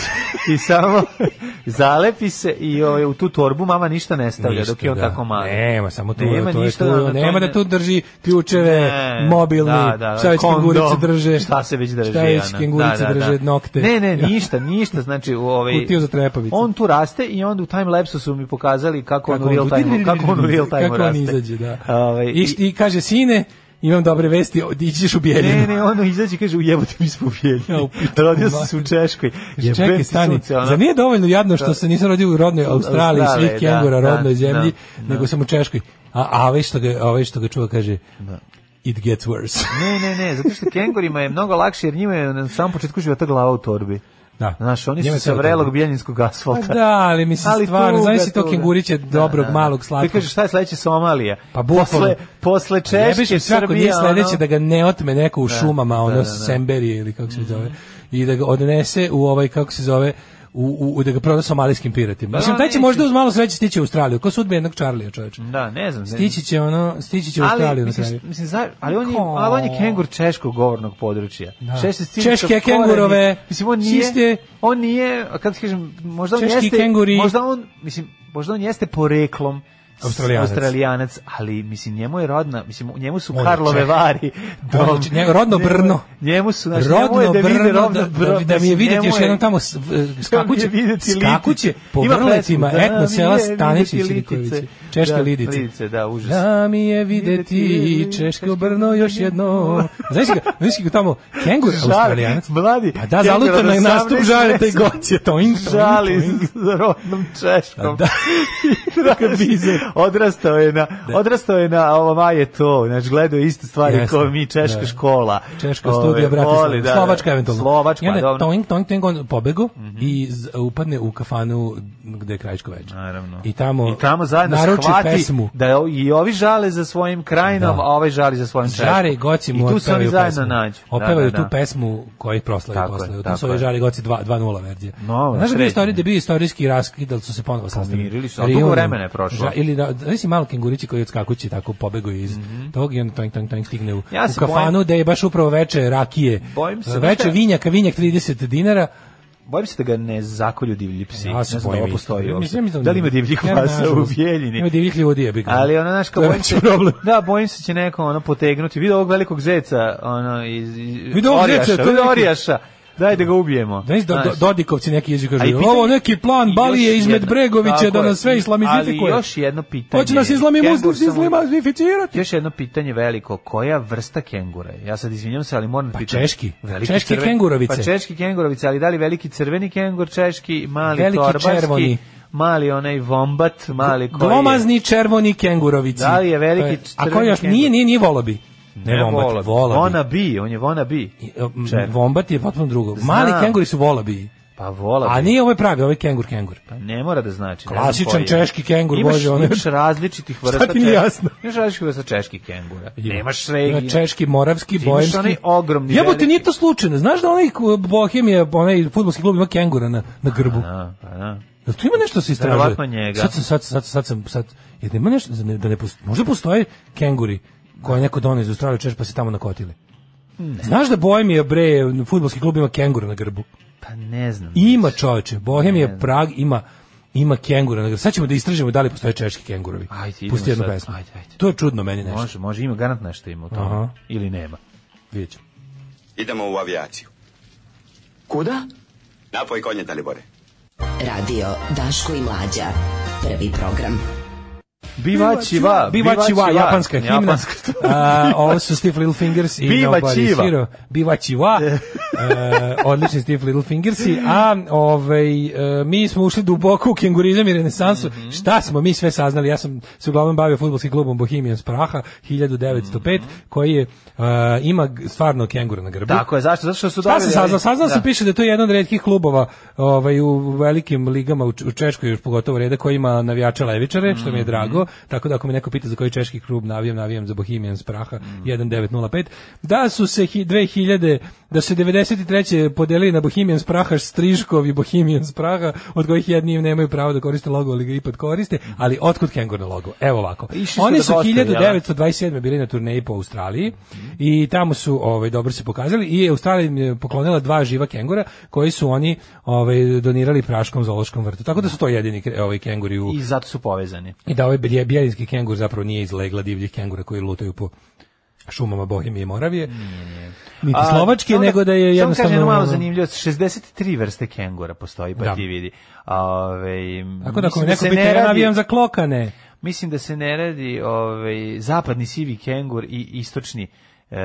[SPEAKER 7] I samo zalepi se i ovaj, u tu torbu mama ništa ne stavlja
[SPEAKER 6] Ništa,
[SPEAKER 7] dok je on
[SPEAKER 6] da.
[SPEAKER 7] tako mali.
[SPEAKER 6] Nema, samo tu,
[SPEAKER 7] Nema
[SPEAKER 6] to je
[SPEAKER 7] ništa
[SPEAKER 6] tu,
[SPEAKER 7] da- da to
[SPEAKER 6] nema da
[SPEAKER 7] ne-
[SPEAKER 6] tu drži ključeve,
[SPEAKER 7] Ne,
[SPEAKER 6] mobilni,
[SPEAKER 7] E, da, da,
[SPEAKER 6] šta već
[SPEAKER 7] kondom,
[SPEAKER 6] kengurice drže.
[SPEAKER 7] Šta se već ono. drže.
[SPEAKER 6] Šta već
[SPEAKER 7] Ana.
[SPEAKER 6] kengurice drže, nokte.
[SPEAKER 7] Ne, ne,
[SPEAKER 6] Ja.
[SPEAKER 7] ništa, ništa. Znači, u ovaj,
[SPEAKER 6] Kutiju za trepavice.
[SPEAKER 7] On tu raste i onda u time-lapsu su mi pokazali kako, on u
[SPEAKER 6] on
[SPEAKER 7] real
[SPEAKER 6] tu-
[SPEAKER 7] time, kako on u real time
[SPEAKER 6] kako on
[SPEAKER 7] raste.
[SPEAKER 6] izađe, da.
[SPEAKER 7] Ovaj,
[SPEAKER 6] I, I kaže, sine, imam dobre vesti, o, ići ćeš u Bijeljinu.
[SPEAKER 7] Ne, ne, ono izađe i kaže, ujebate mi smo u Bijeljinu. Rodio sam se u Češkoj. Jebem
[SPEAKER 6] Čekaj,
[SPEAKER 7] ti
[SPEAKER 6] stani,
[SPEAKER 7] sunce, ono.
[SPEAKER 6] zar nije dovoljno jadno što se nisam rodio u rodnoj Australiji,
[SPEAKER 7] Australiji,
[SPEAKER 6] svih
[SPEAKER 7] da,
[SPEAKER 6] kengura,
[SPEAKER 7] da,
[SPEAKER 6] rodnoj zemlji,
[SPEAKER 7] da, da.
[SPEAKER 6] nego sam u Češkoj. A, a ovaj, što ga, ovaj što ga čuva kaže, it gets worse.
[SPEAKER 7] Ne, ne, ne, zato što kengurima je mnogo lakše jer njima je na samom početku života glava u torbi.
[SPEAKER 6] Da.
[SPEAKER 7] Znaš, oni
[SPEAKER 6] Njima
[SPEAKER 7] su
[SPEAKER 6] je
[SPEAKER 7] sa
[SPEAKER 6] cela
[SPEAKER 7] vrelog
[SPEAKER 6] torba.
[SPEAKER 7] bijeljinskog asfalta.
[SPEAKER 6] Pa da, ali mislim, stvarno,
[SPEAKER 7] tuga,
[SPEAKER 6] znaš si to
[SPEAKER 7] tuga.
[SPEAKER 6] kenguriće Pa dobrog, malog, slatkog.
[SPEAKER 7] Ti kažeš šta je sledeće Somalija?
[SPEAKER 6] Pa
[SPEAKER 7] Posle,
[SPEAKER 6] bukvalno.
[SPEAKER 7] posle Češke,
[SPEAKER 6] Jebiš svako
[SPEAKER 7] Srbije,
[SPEAKER 6] nije sledeće
[SPEAKER 7] ono-
[SPEAKER 6] da ga ne otme neko u šumama, ono
[SPEAKER 7] da, Mhm. da.
[SPEAKER 6] Semberije ili kako se zove, i da ga odnese u ovaj, kako se zove, u, u, u da ga proda somalijskim piratima.
[SPEAKER 7] Da,
[SPEAKER 6] Mislim, taj će
[SPEAKER 7] Pa neće.
[SPEAKER 6] možda uz malo sreće stići u Australiju, ko sudbe jednog Charlija, čoveče.
[SPEAKER 7] Da, ne znam. ne-
[SPEAKER 6] Stići će ono, stići će u Australiju na
[SPEAKER 7] mislim,
[SPEAKER 6] kraju.
[SPEAKER 7] Mislim, za, ali, on je,
[SPEAKER 6] Ko?
[SPEAKER 7] ali on je kengur češkog govornog područja.
[SPEAKER 6] Da.
[SPEAKER 7] Češki stil-
[SPEAKER 6] Češke
[SPEAKER 7] koreni-
[SPEAKER 6] kengurove,
[SPEAKER 7] Mislim, on nije,
[SPEAKER 6] čiste-
[SPEAKER 7] on nije, a kako ti kažem, možda on
[SPEAKER 6] Češki
[SPEAKER 7] jeste,
[SPEAKER 6] kenguri.
[SPEAKER 7] možda on, mislim, možda on jeste poreklom, s-
[SPEAKER 6] Australijanac.
[SPEAKER 7] Australijanac, ali mislim njemu je rodna, mislim njemu su
[SPEAKER 6] On je
[SPEAKER 7] Karlove
[SPEAKER 6] Čeh.
[SPEAKER 7] vari.
[SPEAKER 6] On je
[SPEAKER 7] dom.
[SPEAKER 6] Čeh, njemu- rodno
[SPEAKER 7] Njemu-
[SPEAKER 6] Brno.
[SPEAKER 7] Njemu su znači njemu je
[SPEAKER 6] Rodno
[SPEAKER 7] da vide
[SPEAKER 6] brno,
[SPEAKER 7] rodno
[SPEAKER 6] da, da,
[SPEAKER 7] Brno,
[SPEAKER 6] da mi je
[SPEAKER 7] mislim,
[SPEAKER 6] vidjeti
[SPEAKER 7] njemu
[SPEAKER 6] još
[SPEAKER 7] je-
[SPEAKER 6] jednom tamo s- v- skakuće,
[SPEAKER 7] Njemu je videti litice.
[SPEAKER 6] skakuće po
[SPEAKER 7] Ima
[SPEAKER 6] vrlecima,
[SPEAKER 7] pesmu, da,
[SPEAKER 6] etno
[SPEAKER 7] mi
[SPEAKER 6] sela
[SPEAKER 7] je videti
[SPEAKER 6] Stanišić i
[SPEAKER 7] litice.
[SPEAKER 6] Kovići, češke
[SPEAKER 7] Da,
[SPEAKER 6] lidice.
[SPEAKER 7] lidice, da, užas.
[SPEAKER 6] Da mi je videti češko brno još jedno. Znaš ga, znaš ga tamo, kengur
[SPEAKER 7] Žali,
[SPEAKER 6] australijanac.
[SPEAKER 7] mladi.
[SPEAKER 6] A da, zaluta na nastup žareta i gocije, toing, toing,
[SPEAKER 7] Žali
[SPEAKER 6] toing.
[SPEAKER 7] s rodnom češkom.
[SPEAKER 6] Da.
[SPEAKER 7] Traži- odrastao je na, odrastao je na ovo maje to, znači gledao je iste stvari
[SPEAKER 6] Jeste,
[SPEAKER 7] kao mi češka
[SPEAKER 6] da.
[SPEAKER 7] škola.
[SPEAKER 6] Češka
[SPEAKER 7] Ove,
[SPEAKER 6] studija, brate,
[SPEAKER 7] voli, da, da.
[SPEAKER 6] Slovačka eventualno.
[SPEAKER 7] Slovačka,
[SPEAKER 6] I onda
[SPEAKER 7] dobro. Mhm.
[SPEAKER 6] Toing, toing, toing, on pobegu i z- upadne u kafanu gde je krajičko večer.
[SPEAKER 7] Naravno.
[SPEAKER 6] I tamo,
[SPEAKER 7] I tamo zajedno
[SPEAKER 6] naruči
[SPEAKER 7] shvati
[SPEAKER 6] pesmu.
[SPEAKER 7] da je- i ovi žale za svojim krajinom,
[SPEAKER 6] Da.
[SPEAKER 7] a ovaj žali za svojim češkom.
[SPEAKER 6] Žari Goci mu
[SPEAKER 7] I tu se oni
[SPEAKER 6] otpevaju
[SPEAKER 7] zajedno
[SPEAKER 6] pesmu.
[SPEAKER 7] nađu. Da,
[SPEAKER 6] Opevaju
[SPEAKER 7] da, da.
[SPEAKER 6] tu pesmu koju proslavi
[SPEAKER 7] Tako je,
[SPEAKER 6] posle.
[SPEAKER 7] tako
[SPEAKER 6] Tu su ovi
[SPEAKER 7] je.
[SPEAKER 6] Žari Goci 2 2.0 verzija.
[SPEAKER 7] No,
[SPEAKER 6] Znaš da je bio
[SPEAKER 7] srećni.
[SPEAKER 6] istorij, da je bio istorijski raskid, da su se ponovo sastavili.
[SPEAKER 7] Pomirili su, a dugo
[SPEAKER 6] Reunion.
[SPEAKER 7] vremena je prošlo.
[SPEAKER 6] Ža- ili da, znaš si malo kengurići koji odskakući tako pobegao iz tog i on toing, toing, toing stigne u,
[SPEAKER 7] Mhm. Ja
[SPEAKER 6] u
[SPEAKER 7] se
[SPEAKER 6] kafanu
[SPEAKER 7] bojim-
[SPEAKER 6] da je baš upravo veče rakije.
[SPEAKER 7] Bojim se da
[SPEAKER 6] Veče
[SPEAKER 7] te-
[SPEAKER 6] vinjaka, vinjak 30 dinara.
[SPEAKER 7] Bojim se da ga ne zakolju divlji psi.
[SPEAKER 6] Ja se
[SPEAKER 7] ne znam da
[SPEAKER 6] bojim
[SPEAKER 7] ovo
[SPEAKER 6] isto.
[SPEAKER 7] postoji ovdje.
[SPEAKER 6] Mislim, mislim
[SPEAKER 7] Da li ima divljih
[SPEAKER 6] Ja,
[SPEAKER 7] pasa u
[SPEAKER 6] nažalost.
[SPEAKER 7] Bijeljini?
[SPEAKER 6] Ima divljih ljudi, ja bih
[SPEAKER 7] Ali ono znaš
[SPEAKER 6] To
[SPEAKER 7] kao
[SPEAKER 6] je
[SPEAKER 7] bojim
[SPEAKER 6] već
[SPEAKER 7] se
[SPEAKER 6] problem.
[SPEAKER 7] Da, bojim se će neko ono potegnuti. Vidi ovog velikog zeca, ono iz, iz
[SPEAKER 6] Vidi ovog
[SPEAKER 7] Orijaša,
[SPEAKER 6] zeca, to je
[SPEAKER 7] vidi
[SPEAKER 6] neki-
[SPEAKER 7] Orijaša. Daj da ga ubijemo.
[SPEAKER 6] Da, do, do,
[SPEAKER 7] Znaš.
[SPEAKER 6] Dodikovci neki jezik kažu,
[SPEAKER 7] A i pitanje-
[SPEAKER 6] ovo neki plan
[SPEAKER 7] I
[SPEAKER 6] Balije
[SPEAKER 7] još
[SPEAKER 6] izmed
[SPEAKER 7] jedno-
[SPEAKER 6] Bregovića
[SPEAKER 7] tako
[SPEAKER 6] da
[SPEAKER 7] je.
[SPEAKER 6] nas sve islamizifikuje.
[SPEAKER 7] Ali još jedno pitanje.
[SPEAKER 6] Hoće nas islami
[SPEAKER 7] Kengur
[SPEAKER 6] muslims
[SPEAKER 7] sam-
[SPEAKER 6] islamizificirati.
[SPEAKER 7] Još jedno pitanje veliko, koja vrsta kengura? je? Ja sad izvinjam se, ali moram pa
[SPEAKER 6] češki. Češke kengurovice.
[SPEAKER 7] Pa češki kengurovice, ali da li veliki crveni kengur češki, mali
[SPEAKER 6] Veliki
[SPEAKER 7] torbarski,
[SPEAKER 6] červoni.
[SPEAKER 7] mali onaj vombat, mali koji je-
[SPEAKER 6] Glomazni červoni kengurovici.
[SPEAKER 7] Da li je veliki
[SPEAKER 6] To A
[SPEAKER 7] crveni
[SPEAKER 6] koji još
[SPEAKER 7] kengur?
[SPEAKER 6] nije, nije, nije volobi. Ne,
[SPEAKER 7] Ne
[SPEAKER 6] vombat,
[SPEAKER 7] volobi.
[SPEAKER 6] volobi.
[SPEAKER 7] Vona bi, on je vona bi.
[SPEAKER 6] Mm,
[SPEAKER 7] Čer-
[SPEAKER 6] Vombat je potpuno drugo.
[SPEAKER 7] Znam.
[SPEAKER 6] Mali kenguri su volobi.
[SPEAKER 7] Pa vola
[SPEAKER 6] A nije ovo je pravi, ovo je kengur kengur.
[SPEAKER 7] Ne mora da znači. ne znam
[SPEAKER 6] Klasičan
[SPEAKER 7] koji je.
[SPEAKER 6] češki kengur,
[SPEAKER 7] imaš,
[SPEAKER 6] bože, ono-
[SPEAKER 7] Imaš različitih vrsta
[SPEAKER 6] Šta ti nije
[SPEAKER 7] češki-
[SPEAKER 6] jasno?
[SPEAKER 7] Imaš različitih vrsta čeških kengura.
[SPEAKER 6] Ima.
[SPEAKER 7] Nemaš sve.
[SPEAKER 6] Ima češki, moravski,
[SPEAKER 7] Ti imaš
[SPEAKER 6] boemski.
[SPEAKER 7] onaj ogromni
[SPEAKER 6] Jebote,
[SPEAKER 7] veliki.
[SPEAKER 6] nije to slučajno. Znaš da onaj ko- Bohemija, onaj fudbalski klub ima kengura na, na grbu.
[SPEAKER 7] Da, pa da.
[SPEAKER 6] Jel tu ima nešto da se istražuje?
[SPEAKER 7] Verovatno njega.
[SPEAKER 6] Sad sam, sad, sad, sad sam, sad, jer ima nešto, da ne, da ne postoje, možda postoje kenguri koje je neko donio iz Australije češ pa se tamo nakotili. Znaš da Bohemija, bre, futbolski klub ima kengura na grbu?
[SPEAKER 7] Pa ne znam.
[SPEAKER 6] Ima čoveče, Bohemija, Prag ima ima kengura na grbu. Sad ćemo da istražimo da li postoje češki kengurovi.
[SPEAKER 7] Ajde, idemo
[SPEAKER 6] Pusti jednu
[SPEAKER 7] sad.
[SPEAKER 6] pesmu.
[SPEAKER 7] Ajde, ajde.
[SPEAKER 6] To je čudno meni nešto.
[SPEAKER 7] Može, može, ima garant nešto ima u tome.
[SPEAKER 6] Aha.
[SPEAKER 7] Ili nema.
[SPEAKER 6] Vidjet ćemo.
[SPEAKER 14] Idemo u avijaciju.
[SPEAKER 11] Kuda?
[SPEAKER 14] Napoj konje, Dalibore.
[SPEAKER 11] Radio Daško i Mlađa. Prvi program.
[SPEAKER 7] Bivačiva.
[SPEAKER 6] Bivačiva, japanska himna.
[SPEAKER 7] Japanska.
[SPEAKER 6] A, ovo su Stiff Little Fingers i
[SPEAKER 7] Biva
[SPEAKER 6] Nobody
[SPEAKER 7] Chiva.
[SPEAKER 6] Hero. Biva Chiva. E, odlični Stiff Little Fingersi. A ovaj, e, mi smo ušli duboko u kengurizam i renesansu.
[SPEAKER 7] Mhm.
[SPEAKER 6] Šta smo mi sve saznali? Ja sam se uglavnom bavio futbolskim klubom Bohemian Praha
[SPEAKER 7] Mhm.
[SPEAKER 6] 1905, koji je, e, ima g- stvarno kengura na grbu.
[SPEAKER 7] Tako je, zašto? Zato što su
[SPEAKER 6] Šta sam saznao? Saznao
[SPEAKER 7] Da.
[SPEAKER 6] sam piše da je to jedan od retkih klubova ovaj, u velikim ligama u Č- u Češkoj, još pogotovo reda, koji ima navijača levičare, što mi
[SPEAKER 7] Mm.
[SPEAKER 6] je drago. Tako da ako me neko pita za koji češki klub navijam, navijam za Bohemian Spraha
[SPEAKER 7] Mm.
[SPEAKER 6] 1905. Da su se hi- 2000, da se 93. podelili na Bohemian Spraha Strižkov i Bohemian Spraha, od kojih jedni nemaju pravo da koriste logo, ali ga ipak koriste, ali otkud Kengur na logo? Evo ovako.
[SPEAKER 7] Pa Išli su
[SPEAKER 6] Oni
[SPEAKER 7] da
[SPEAKER 6] su
[SPEAKER 7] gostuju, jel?
[SPEAKER 6] 1900 1927. bili na turneji po Australiji i tamo su ovaj dobro se pokazali i Australija im je poklonila dva živa kengura koji su oni ovaj donirali praškom zoološkom vrtu. Tako da su to jedini kre- ovaj kenguri u
[SPEAKER 7] I zato su povezani.
[SPEAKER 6] i da ovaj bjelje- bjeljinski kengur zapravo nije iz legla divljih kengura koji lutaju po šumama Bohemije i Moravije. Niti slovačke,
[SPEAKER 7] Mm-hmm. samo
[SPEAKER 6] nego da je
[SPEAKER 7] samo
[SPEAKER 6] jednostavno...
[SPEAKER 7] kažem jednu malu
[SPEAKER 6] ono,
[SPEAKER 7] zanimljivost, 63 vrste kengura postoji, pa
[SPEAKER 6] Da.
[SPEAKER 7] ti vidi. Ove,
[SPEAKER 6] Tako da ako
[SPEAKER 7] mislim
[SPEAKER 6] me neko
[SPEAKER 7] se
[SPEAKER 6] pita,
[SPEAKER 7] ne
[SPEAKER 6] ja
[SPEAKER 7] radi-
[SPEAKER 6] navijam za klokane.
[SPEAKER 7] Mislim da se ne radi ovaj, zapadni sivi kengur i istočni e,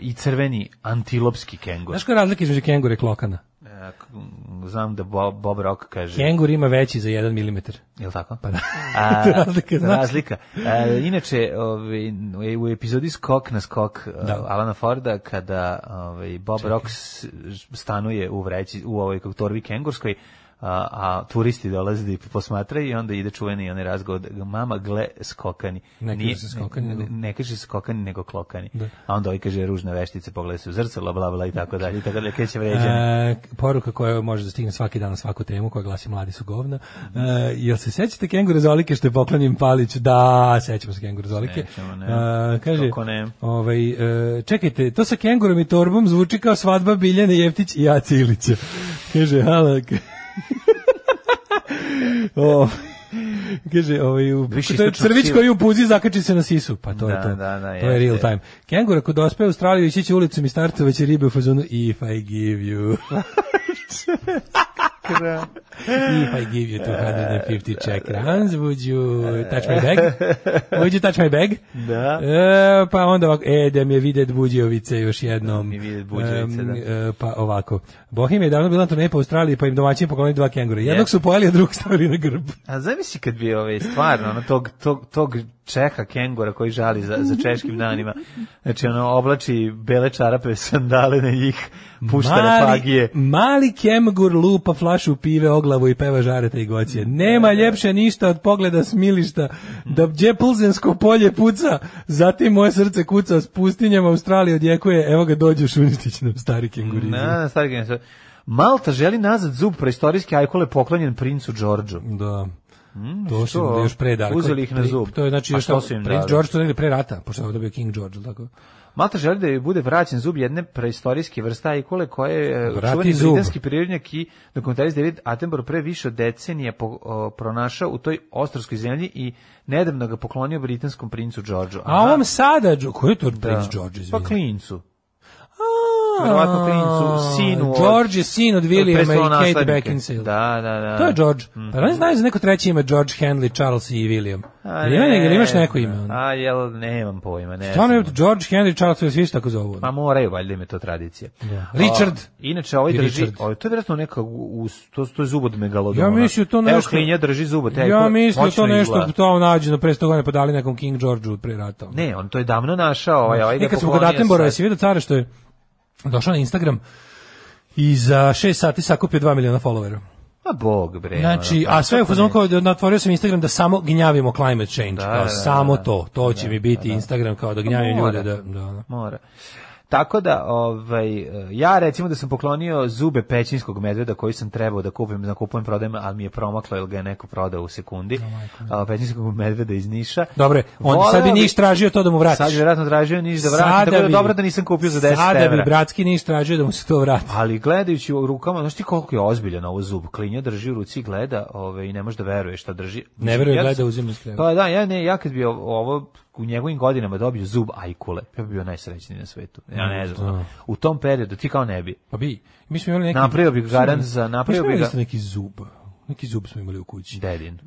[SPEAKER 7] i crveni antilopski kengur.
[SPEAKER 6] Znaš koja je razlika između kengura i klokana?
[SPEAKER 7] E, k- m, znam da Bob, Bob Rock kaže...
[SPEAKER 6] Kengur ima veći za 1 mm.
[SPEAKER 7] Jel tako?
[SPEAKER 6] Pa da.
[SPEAKER 7] A,
[SPEAKER 6] To je razlika, znaš.
[SPEAKER 7] razlika. E, inače, ovaj, u epizodi Skok na skok
[SPEAKER 6] Da.
[SPEAKER 7] da. Alana Forda, kada ovaj, Bob Rock s- stanuje u, vreći, u ovoj kako torvi kengurskoj, a, a turisti dolaze da ih posmatraju i onda ide čuveni onaj razgovor da ga, mama gle skokani.
[SPEAKER 6] Ne
[SPEAKER 7] Nije-
[SPEAKER 6] kaže se skokani,
[SPEAKER 7] ne,
[SPEAKER 6] nego-
[SPEAKER 7] ne kaže se skokani nego klokani. A onda ovaj kaže ružne veštice, pogledaj se u zrcalo, bla bla i tako dalje. I tako dalje, kreće vređanje.
[SPEAKER 6] E, poruka koja može da stigne svaki dan na svaku temu koja glasi mladi su govna. E, jel se sećate kengura zolike što je poklonjen Palić? Da, sećamo se kengura zolike.
[SPEAKER 7] Sećamo, ne.
[SPEAKER 6] E, kaže,
[SPEAKER 7] Kako ne?
[SPEAKER 6] Ovaj, e, čekajte, to sa kengurom i torbom zvuči kao svadba Biljane Jeftić i Ace Ilića. Kaže, halak. o, kaže, ovaj, u,
[SPEAKER 7] Više
[SPEAKER 6] to je
[SPEAKER 7] istočno
[SPEAKER 6] crvić
[SPEAKER 7] sivo.
[SPEAKER 6] koji u puzi zakači se na sisu. Pa to je
[SPEAKER 7] Da,
[SPEAKER 6] to.
[SPEAKER 7] da, da,
[SPEAKER 6] to je real
[SPEAKER 7] jeste.
[SPEAKER 6] time. Kengur ako dospe u Australiju ići će ulicom i startovaće ribe u fazonu If I give you... If I give you 250 Czech crowns, would you touch my bag? Would you touch my bag?
[SPEAKER 7] Da.
[SPEAKER 6] E, pa onda ovako, e, da mi je vide Buđevice još jednom.
[SPEAKER 7] Da mi vide Buđevice,
[SPEAKER 6] Em,
[SPEAKER 7] da.
[SPEAKER 6] e, pa ovako. Bohemija je davno bila turneja po Australiji, pa im domaćin poklonili dva kengura. Jednog su pojeli, a drugog stavili na grb.
[SPEAKER 7] A zamisli kad bi ovaj stvarno ono, tog, tog, tog Čeha Kengora koji žali za, za češkim danima. Znači ono oblači bele čarape, sandale na njih, pušta refagije.
[SPEAKER 6] mali kemgur lupa flašu pive o glavu i peva žarete i gocije. Nema ljepše ništa od pogleda smilišta, da gdje plzensko polje puca, zatim moje srce kuca s pustinjama Australije odjekuje, evo ga dođe Šunjetić nam stari kengurizi.
[SPEAKER 7] Na, na stari Kengor. Malta želi nazad zub preistorijske ajkule poklonjen princu Đorđu.
[SPEAKER 6] Da.
[SPEAKER 7] Mm,
[SPEAKER 6] To su
[SPEAKER 7] što?
[SPEAKER 6] još pre Darko.
[SPEAKER 7] Uzeli ih na
[SPEAKER 6] Pri-
[SPEAKER 7] zub.
[SPEAKER 6] To je znači
[SPEAKER 7] A
[SPEAKER 6] još
[SPEAKER 7] što su im
[SPEAKER 6] Prince
[SPEAKER 7] dali?
[SPEAKER 6] George to je negde pre rata, pošto je ovo dobio King George, jel tako?
[SPEAKER 7] Malta želi da joj bude vraćen zub jedne preistorijske vrste ajkule koje je e,
[SPEAKER 6] Vrati
[SPEAKER 7] čuveni
[SPEAKER 6] zub.
[SPEAKER 7] britanski prirodnjak i dokumentarist David Attenborough pre više od decenije po- o, pronašao u toj ostroskoj zemlji i nedavno ga poklonio britanskom princu Đorđu.
[SPEAKER 6] A ovom sada, Đo- ko je to Prince George,
[SPEAKER 7] Pa
[SPEAKER 6] izvini?
[SPEAKER 7] klincu. Verovatno klincu, sinu. od-
[SPEAKER 6] George je sin od Williama
[SPEAKER 7] prestolonaslednika.
[SPEAKER 6] i Kate Beckinsale.
[SPEAKER 7] Da, da, da.
[SPEAKER 6] To je George.
[SPEAKER 7] Mhm.
[SPEAKER 6] Pa oni znaju za neko treće ime George Henley, Charles i William.
[SPEAKER 7] A
[SPEAKER 6] Jel ima
[SPEAKER 7] ne,
[SPEAKER 6] neg- jel imaš neko ime? ono?
[SPEAKER 7] A jel, nemam pojma, ne
[SPEAKER 6] Stvarno je
[SPEAKER 7] znam.
[SPEAKER 6] George Henry Charles, svi se tako zovu. ono.
[SPEAKER 7] Pa moraju, valjda im je to tradicija.
[SPEAKER 6] Richard.
[SPEAKER 7] O, inače, ovaj
[SPEAKER 6] I
[SPEAKER 7] drži,
[SPEAKER 6] Richard.
[SPEAKER 7] ovaj, to je vjerojatno neka, u, to, to je zub od megalodona.
[SPEAKER 6] Ja mislim to
[SPEAKER 7] Evo,
[SPEAKER 6] nešto...
[SPEAKER 7] klinja drži zub od te
[SPEAKER 6] Ja
[SPEAKER 7] ajkule,
[SPEAKER 6] mislim da to
[SPEAKER 7] moćno
[SPEAKER 6] nešto
[SPEAKER 7] izgleda.
[SPEAKER 6] to nađeno pre 100 godina podali nekom King Georgeu pre rata. ono.
[SPEAKER 7] Ne, on to je davno našao, ovaj, ovaj ga
[SPEAKER 6] E, kad smo kod
[SPEAKER 7] poklonio
[SPEAKER 6] Attenborough,
[SPEAKER 7] sad.
[SPEAKER 6] jesi vidio cara što je došao na Instagram i za 6 sati sakupio 2 miliona followera.
[SPEAKER 7] Pa bog bre.
[SPEAKER 6] Znači,
[SPEAKER 7] ono,
[SPEAKER 6] a sve je u
[SPEAKER 7] kako
[SPEAKER 6] fazonu
[SPEAKER 7] ne?
[SPEAKER 6] kao da natvorio sam Instagram da samo gnjavimo climate change.
[SPEAKER 7] Da,
[SPEAKER 6] kao
[SPEAKER 7] da, da,
[SPEAKER 6] samo
[SPEAKER 7] da. Pa
[SPEAKER 6] to. To će mi biti Instagram kao da gnjavim
[SPEAKER 7] mora.
[SPEAKER 6] ljude. Da, da, ono. da.
[SPEAKER 7] Mora. Tako da, ovaj, ja recimo da sam poklonio zube pećinskog medveda koji sam trebao da kupim, da kupujem, prodajem, ali mi je promaklo jer ga je neko prodao u sekundi. A, pećinskog medveda iz Niša.
[SPEAKER 6] Dobre, on
[SPEAKER 7] Voleo
[SPEAKER 6] sad bi
[SPEAKER 7] bih-
[SPEAKER 6] Niš tražio to da mu vratiš.
[SPEAKER 7] Sad bi vjerojatno tražio Niš da
[SPEAKER 6] Sada
[SPEAKER 7] vratim, tako da
[SPEAKER 6] bi-
[SPEAKER 7] dobro da nisam kupio za 10
[SPEAKER 6] Sada bi
[SPEAKER 7] evra.
[SPEAKER 6] bratski Niš tražio da mu se to vrati.
[SPEAKER 7] Ali gledajući u rukama, znaš ti koliko je ozbiljan ovo zub? Klinja drži u ruci, gleda ove, i ne može da veruje šta drži.
[SPEAKER 6] Ne veruje,
[SPEAKER 7] Ja sam-
[SPEAKER 6] gleda, uzima iz kreva.
[SPEAKER 7] Pa da, ja, ne, ja kad bi ovo- ovo u njegovim godinama dobio zub ajkule, ja bi bio najsrećniji na svetu. Ja ne znam.
[SPEAKER 6] Da.
[SPEAKER 7] U tom periodu ti kao ne bi.
[SPEAKER 6] Pa bi. Mi smo imali neki...
[SPEAKER 7] Napravio bih garant za- napravio
[SPEAKER 6] Mi smo imali
[SPEAKER 7] bih ga-
[SPEAKER 6] isto neki zub. Neki zub smo imali u kući.
[SPEAKER 7] Dedin.
[SPEAKER 6] E,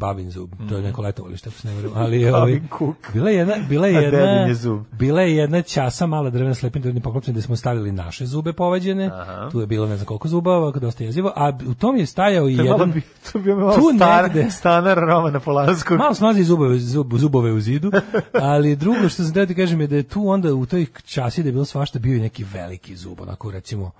[SPEAKER 6] babin zub, to je neko letovalište, ako se ne varam. Ali
[SPEAKER 7] Mhm. Babin
[SPEAKER 6] ovaj,
[SPEAKER 7] kuk.
[SPEAKER 6] bila je jedna, bila je
[SPEAKER 7] A
[SPEAKER 6] jedna,
[SPEAKER 7] dedin je zub.
[SPEAKER 6] bila je jedna časa mala drvena s lepim drvenim poklopcem gde smo stavili naše zube povađene.
[SPEAKER 7] Aha.
[SPEAKER 6] Tu je bilo ne znam koliko zuba, ovako dosta jezivo, a u tom je stajao i
[SPEAKER 7] To je malo
[SPEAKER 6] jedan...
[SPEAKER 7] bi- to bi malo
[SPEAKER 6] Tu
[SPEAKER 7] star-
[SPEAKER 6] negde.
[SPEAKER 7] stanar Romana Polanskog.
[SPEAKER 6] Malo smazi zubove, zub, zubove u zidu, ali drugo što sam teo ti kažem je da je tu onda u toj časi da je bilo svašta bio i neki veliki zub, onako recimo,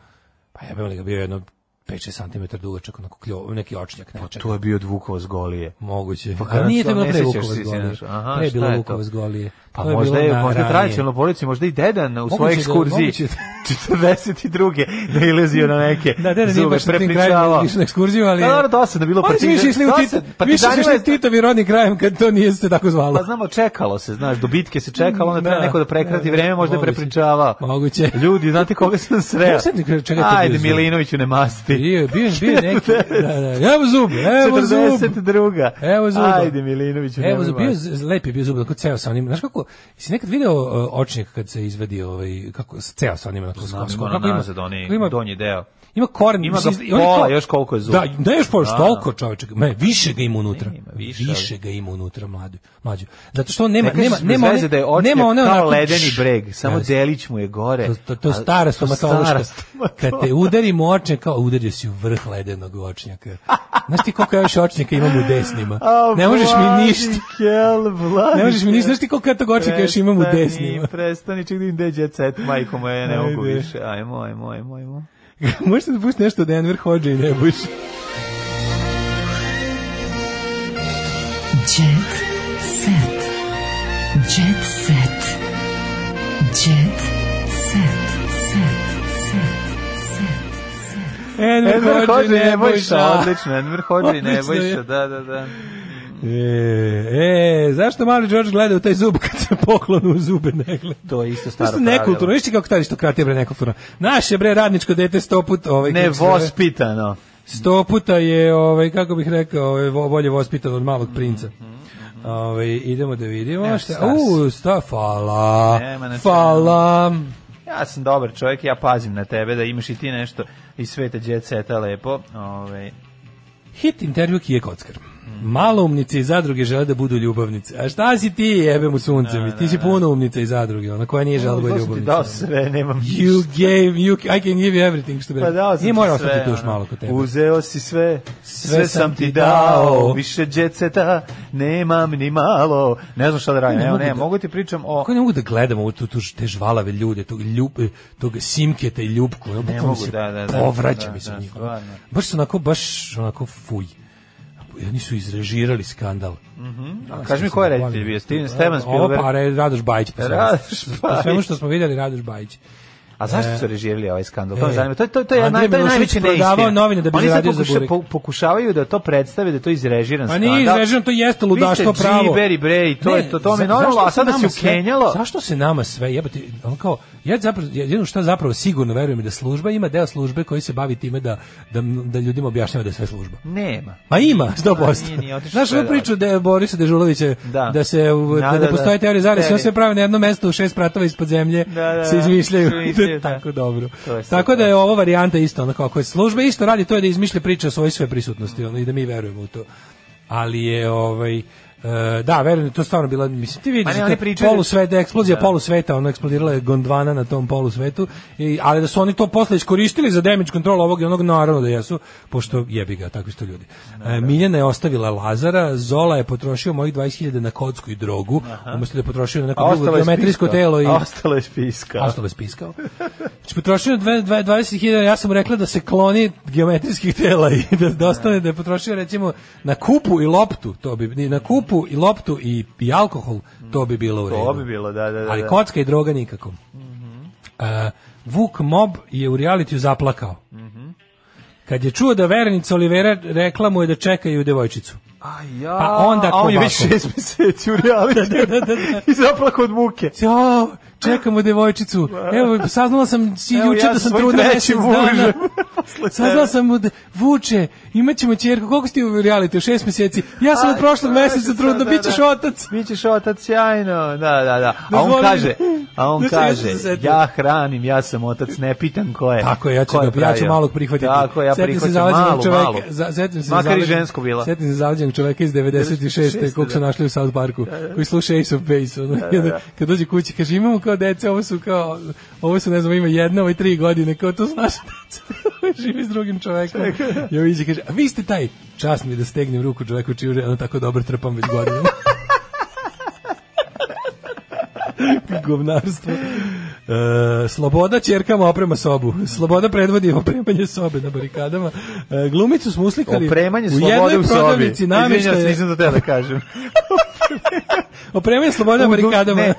[SPEAKER 6] pa ja li ga bio jedno 5-6 cm dugačak, onako kljo, neki očnjak nečega.
[SPEAKER 7] To je bio od Vukova zgolije.
[SPEAKER 6] Moguće.
[SPEAKER 7] Pa
[SPEAKER 6] A
[SPEAKER 7] kad
[SPEAKER 6] nije
[SPEAKER 7] se
[SPEAKER 6] to bilo
[SPEAKER 7] ne
[SPEAKER 6] pre
[SPEAKER 7] sjećaš
[SPEAKER 6] Vukovac
[SPEAKER 7] se,
[SPEAKER 6] golije.
[SPEAKER 7] sjećaš. Aha,
[SPEAKER 6] Pre je
[SPEAKER 7] šta
[SPEAKER 6] bilo
[SPEAKER 7] je to?
[SPEAKER 6] Vukovac golije.
[SPEAKER 7] Pa
[SPEAKER 6] To je
[SPEAKER 7] možda
[SPEAKER 6] bilo
[SPEAKER 7] je,
[SPEAKER 6] na-
[SPEAKER 7] možda je
[SPEAKER 6] ranije.
[SPEAKER 7] tradicionalno policija, možda i deda na, u
[SPEAKER 6] Moguće
[SPEAKER 7] svojoj
[SPEAKER 6] da-
[SPEAKER 7] ekskurziji
[SPEAKER 6] moguće da-
[SPEAKER 7] 42. nailazio na neke
[SPEAKER 6] Da, deda nije
[SPEAKER 7] zube,
[SPEAKER 6] baš na tim
[SPEAKER 7] prepričavao. Pa
[SPEAKER 6] krajima išli na ekskurziju, ali...
[SPEAKER 7] Da, dobro, dosadno bilo. pa
[SPEAKER 6] Oni su
[SPEAKER 7] partizan-
[SPEAKER 6] više išli u Tito,
[SPEAKER 7] dosad-
[SPEAKER 6] više su
[SPEAKER 7] partizanima
[SPEAKER 6] išli
[SPEAKER 7] je-
[SPEAKER 6] u Titovi rodni krajem kad to nije se tako zvalo.
[SPEAKER 7] Pa znamo, čekalo se, znaš, do bitke se čekalo, onda treba
[SPEAKER 6] Da.
[SPEAKER 7] neko da prekrati vreme, možda je
[SPEAKER 6] Moguće.
[SPEAKER 7] prepričavao.
[SPEAKER 6] Moguće.
[SPEAKER 7] Ljudi, znate koga sam sreo?
[SPEAKER 6] Ja sad ne kažem, čega je to bio
[SPEAKER 7] Ajde,
[SPEAKER 6] zub?
[SPEAKER 7] Milinoviću, ne masti.
[SPEAKER 6] Bio, je- bio, je- bio je neki. Da, da, evo zub, evo zub.
[SPEAKER 7] 42.
[SPEAKER 6] Evo zuba.
[SPEAKER 7] Ajde, Milinoviću,
[SPEAKER 6] Evo
[SPEAKER 7] nemoj
[SPEAKER 6] zub, bio
[SPEAKER 7] vas.
[SPEAKER 6] z- lep je bio zub, tako ceo sa onim. Znaš kako, si nekad video uh, očnik kad se izvadi ovaj, kako, s- ceo sa onim. Onako,
[SPEAKER 7] Znam,
[SPEAKER 6] s-
[SPEAKER 7] ima
[SPEAKER 6] kako
[SPEAKER 7] ono
[SPEAKER 6] ima-
[SPEAKER 7] nazad, onaj
[SPEAKER 6] kako ima-
[SPEAKER 7] donji deo.
[SPEAKER 6] Ima koren,
[SPEAKER 7] Ima ga
[SPEAKER 6] mislim, i on je
[SPEAKER 7] pola,
[SPEAKER 6] kao-
[SPEAKER 7] još koliko je zub.
[SPEAKER 6] Da, da još pola,
[SPEAKER 7] Da,
[SPEAKER 6] što
[SPEAKER 7] da.
[SPEAKER 6] toliko čoveče. Ne, više ga ima unutra.
[SPEAKER 7] više,
[SPEAKER 6] više,
[SPEAKER 7] ali-
[SPEAKER 6] ga ima unutra, mlađe. Mlađe. Zato što on nema,
[SPEAKER 7] Ne kažeš
[SPEAKER 6] nema,
[SPEAKER 7] bez
[SPEAKER 6] nema,
[SPEAKER 7] veze
[SPEAKER 6] one,
[SPEAKER 7] da je očnjak
[SPEAKER 6] nema one
[SPEAKER 7] kao
[SPEAKER 6] onako-
[SPEAKER 7] ledeni breg, samo
[SPEAKER 6] Da,
[SPEAKER 7] delić mu je gore.
[SPEAKER 6] To, to, to je
[SPEAKER 7] A-
[SPEAKER 6] stara
[SPEAKER 7] to stara
[SPEAKER 6] stomatološka.
[SPEAKER 7] stomatološka.
[SPEAKER 6] Kad te udarim u očnjak, kao udario si u vrh ledenog očnjaka. Znaš ti koliko ja još očnjaka imam u desnima? Ne možeš mi ništa. Ne možeš mi ništa. Znaš ti koliko ja tog očnjaka Pa još imam u
[SPEAKER 7] Prestani,
[SPEAKER 6] desnima?
[SPEAKER 7] Prestani, čekaj da im deđe jet set, majko moja, ja ne mogu
[SPEAKER 6] Ajde.
[SPEAKER 7] više. Ajmo, ajmo, ajmo, ajmo.
[SPEAKER 6] Možete da pušti nešto Denver hođe i ne buš.
[SPEAKER 5] Jet set. Jet set. Jet set. Set.
[SPEAKER 7] Enver Hođe i Nebojša,
[SPEAKER 6] Nebojša.
[SPEAKER 7] odlično, Enver Hođe i
[SPEAKER 6] Odlično je.
[SPEAKER 7] Nebojša, da, da, da.
[SPEAKER 6] E, e, zašto mali George gleda u taj zub kad se poklonu u zube ne gleda?
[SPEAKER 7] To je isto staro
[SPEAKER 6] Staro
[SPEAKER 7] pravilo.
[SPEAKER 6] nekulturno, vište kako ta aristokratija bre nekulturno. Naše bre radničko dete sto put ovaj,
[SPEAKER 7] Ne
[SPEAKER 6] kako se zove,
[SPEAKER 7] vospitano.
[SPEAKER 6] Sto puta je, ovaj, kako bih rekao, ovaj, vo- bolje vospitan od malog princa.
[SPEAKER 7] Mhm,
[SPEAKER 6] Ovaj, idemo da vidimo.
[SPEAKER 7] Nema
[SPEAKER 6] šta,
[SPEAKER 7] šta
[SPEAKER 6] u, sta, fala,
[SPEAKER 7] Nema na čemu.
[SPEAKER 6] fala.
[SPEAKER 7] Ja sam dobar čovjek, ja pazim na tebe da imaš i ti nešto iz sveta jet seta lepo. ovaj. Ove,
[SPEAKER 6] Hit intervju Kije Kockar. Maloumnice i zadruge žele da budu ljubavnice. A šta si ti, jebem u sunce mi? Ti si puno umnica i zadruge, ona koja nije žela da bude
[SPEAKER 7] to sam ti
[SPEAKER 6] ljubavnica.
[SPEAKER 7] dao sve, nemam
[SPEAKER 6] You gave, you, I can give you everything, što bi
[SPEAKER 7] Pa dao
[SPEAKER 6] rekao.
[SPEAKER 7] sam
[SPEAKER 6] Nije
[SPEAKER 7] ti
[SPEAKER 6] morao
[SPEAKER 7] sve,
[SPEAKER 6] ostati tu još
[SPEAKER 7] ono.
[SPEAKER 6] malo kod tebe.
[SPEAKER 7] Uzeo si sve, sve,
[SPEAKER 6] Sve
[SPEAKER 7] sam
[SPEAKER 6] sam
[SPEAKER 7] ti
[SPEAKER 6] ti
[SPEAKER 7] dao,
[SPEAKER 6] dao.
[SPEAKER 7] više djeceta, nemam ni malo. Ne znam šta da radim,
[SPEAKER 6] Ne
[SPEAKER 7] evo
[SPEAKER 6] mogu
[SPEAKER 7] ne,
[SPEAKER 6] da-
[SPEAKER 7] mogu ti pričam o...
[SPEAKER 6] Kako ne mogu da gledamo ovu tu, tu, te žvalave ljude, tog, ljub, tog simketa i ljubku, ja bukvalno
[SPEAKER 7] mogu,
[SPEAKER 6] se
[SPEAKER 7] da, da, da,
[SPEAKER 6] povraća
[SPEAKER 7] da,
[SPEAKER 6] mi se
[SPEAKER 7] da,
[SPEAKER 6] njih.
[SPEAKER 7] stvarno.
[SPEAKER 6] Baš su onako, baš onako fuj. I Oni su izrežirali skandal.
[SPEAKER 7] Mhm. A Kaži mi ko je reditelj bio, Steven, Steven Spielberg.
[SPEAKER 6] Ovo pa Re- Radoš Bajić. Po svemu.
[SPEAKER 7] Radoš
[SPEAKER 6] Po svemu
[SPEAKER 7] Bajić.
[SPEAKER 6] što smo vidjeli, Radoš Bajić.
[SPEAKER 7] A zašto
[SPEAKER 6] E,
[SPEAKER 7] su režirali ovaj skandal? To me
[SPEAKER 6] e,
[SPEAKER 7] zanima. To, je- to, to je,
[SPEAKER 6] Andrej
[SPEAKER 7] naj, to je
[SPEAKER 6] Milošević
[SPEAKER 7] najveći
[SPEAKER 6] prodavao
[SPEAKER 7] neistina.
[SPEAKER 6] novine da bi
[SPEAKER 7] Oni sad
[SPEAKER 6] zaradio za
[SPEAKER 7] pokuša-
[SPEAKER 6] burek.
[SPEAKER 7] po- pokušavaju da to predstave, da to je izrežiran
[SPEAKER 6] Pa
[SPEAKER 7] skandal.
[SPEAKER 6] nije izrežirano, to jeste ludaštvo
[SPEAKER 7] Vi ste
[SPEAKER 6] pravo.
[SPEAKER 7] džiberi, bre, i to je to. To mi
[SPEAKER 6] za-
[SPEAKER 7] je normalno,
[SPEAKER 6] zašto
[SPEAKER 7] a
[SPEAKER 6] se
[SPEAKER 7] sada
[SPEAKER 6] nama
[SPEAKER 7] se
[SPEAKER 6] sve-
[SPEAKER 7] ukenjalo.
[SPEAKER 6] Zašto se nama sve, jebate, on kao, ja zapravo, ja- jedino što zapravo sigurno verujem je da služba ima deo službe koji se bavi time da, da, da ljudima objašnjava da je sve služba.
[SPEAKER 7] Nema.
[SPEAKER 6] Ma ima,
[SPEAKER 7] A,
[SPEAKER 6] 100%.
[SPEAKER 7] nije, nije otišlo
[SPEAKER 6] Znaš
[SPEAKER 7] sve
[SPEAKER 6] ovu priču da je Borisa Dežulovića,
[SPEAKER 7] Da.
[SPEAKER 6] da, da se u-
[SPEAKER 7] Da,
[SPEAKER 6] da, da,
[SPEAKER 7] da,
[SPEAKER 6] postoje
[SPEAKER 7] da.
[SPEAKER 6] teorije zavere, sve
[SPEAKER 7] Teorije.
[SPEAKER 6] se pravi na jednom mestu u šest pratova ispod zemlje,
[SPEAKER 7] Da, da,
[SPEAKER 6] se izmišljaju.
[SPEAKER 7] da, izmišljaju, da.
[SPEAKER 6] Tako dobro.
[SPEAKER 7] To je super.
[SPEAKER 6] Tako da je ovo varijanta isto, onako, ako je služba isto radi, to je da izmišlja priče o svojoj sve prisutnosti, ono, i da mi verujemo u to. Ali je, ovaj, e, da, verujem, to je stvarno bila, mislim, ti
[SPEAKER 7] Pa
[SPEAKER 6] vidiš,
[SPEAKER 7] ne,
[SPEAKER 6] da
[SPEAKER 7] oni
[SPEAKER 6] je
[SPEAKER 7] pričaju-
[SPEAKER 6] polusveta, eksplozija
[SPEAKER 7] Da.
[SPEAKER 6] polusveta, ono, eksplodirala je Gondvana na tom polusvetu, i, ali da su oni to posle iskoristili za damage control ovog i onog, naravno da jesu, pošto jebi ga, takvi su to ljudi. E, Miljana je ostavila Lazara, Zola je potrošio mojih 20.000 na kocku i drogu, umesto da je potrošio na
[SPEAKER 7] A
[SPEAKER 6] neko drugo
[SPEAKER 7] ostalo je
[SPEAKER 6] Pa geometrijsko
[SPEAKER 7] spiskao.
[SPEAKER 6] telo i...
[SPEAKER 7] A Ostalo je spiska.
[SPEAKER 6] Ostalo je spiskao. Znači, potrošio je dve- dve- 20.000, ja sam mu rekla da se kloni geometrijskih tela i da, da ostane da je potrošio recimo na kupu i loptu, to bi, ni na kupu i loptu i, i alkohol, to bi bilo u redu.
[SPEAKER 7] To bi bilo, da, da, da.
[SPEAKER 6] Ali
[SPEAKER 7] da. Mhm.
[SPEAKER 6] kocka i droga nikako. E, Vuk Mob je u realitiju zaplakao.
[SPEAKER 7] Mhm.
[SPEAKER 6] Kad je čuo da verenica Olivera rekla mu je da čekaju devojčicu.
[SPEAKER 7] A ja,
[SPEAKER 6] Pa onda
[SPEAKER 7] a on je već
[SPEAKER 6] Kovakov.
[SPEAKER 7] šest meseci u realitiju.
[SPEAKER 6] da, da, da.
[SPEAKER 7] I zaplako od muke.
[SPEAKER 6] Jo, čekamo devojčicu. Evo, saznala sam si
[SPEAKER 7] Evo,
[SPEAKER 6] juče
[SPEAKER 7] ja
[SPEAKER 6] da
[SPEAKER 7] sa
[SPEAKER 6] sam
[SPEAKER 7] svojim
[SPEAKER 6] trudna mesec
[SPEAKER 7] trećim
[SPEAKER 6] dana.
[SPEAKER 7] mužem. Posle
[SPEAKER 6] Saznala sam mu da, vuče, imat ćemo čerku. Koliko ste u reality? Šest mjeseci. Ja sam od prošlog mjeseca trudna, bit ćeš otac.
[SPEAKER 7] Bićeš otac sjajno. Da, da, da. A on
[SPEAKER 6] Dozvoli.
[SPEAKER 7] kaže, a on
[SPEAKER 6] Znači, ja sam se
[SPEAKER 7] kaže,
[SPEAKER 6] setio.
[SPEAKER 7] ja hranim, ja sam otac, ne pitam ko je.
[SPEAKER 6] Tako je, ja ću,
[SPEAKER 7] ko je
[SPEAKER 6] ga- ja ću
[SPEAKER 7] pravio."
[SPEAKER 6] malog prihvatiti.
[SPEAKER 7] Tako, ja
[SPEAKER 6] Setim
[SPEAKER 7] prihvaćam
[SPEAKER 6] se zavađenog
[SPEAKER 7] malu,
[SPEAKER 6] čoveka,
[SPEAKER 7] malu.
[SPEAKER 6] Za, setim se
[SPEAKER 7] Makar i
[SPEAKER 6] zavađenog-
[SPEAKER 7] žensko bila.
[SPEAKER 6] Setim se zavađenog čoveka iz 96. kog su
[SPEAKER 7] Da.
[SPEAKER 6] našli u South Parku, koji sluša Ace of Base. Ono, kada- Kad dođe kući, kaže, imamo kao dece, ovo su kao, ovo su, ne znam, ima jedna, ovo je tri godine, kao to su naša deca. Živi s drugim čovekom. I ovo iđe, kaže, a vi ste taj, čast mi je da stegnem ruku čoveku čiju ženu tako dobro trpam već godinama. govnarstvo. E, sloboda čerkama oprema sobu. Sloboda predvodi opremanje sobe na barikadama. E, glumicu smo uslikali
[SPEAKER 7] Opremanje
[SPEAKER 6] u
[SPEAKER 7] slobode
[SPEAKER 6] jednoj
[SPEAKER 7] u sobi.
[SPEAKER 6] prodavnici
[SPEAKER 7] Izvinjam se,
[SPEAKER 6] namještaja.
[SPEAKER 7] nisam to teo da kažem.
[SPEAKER 6] Opremanje slobode na barikadama.
[SPEAKER 7] Ne,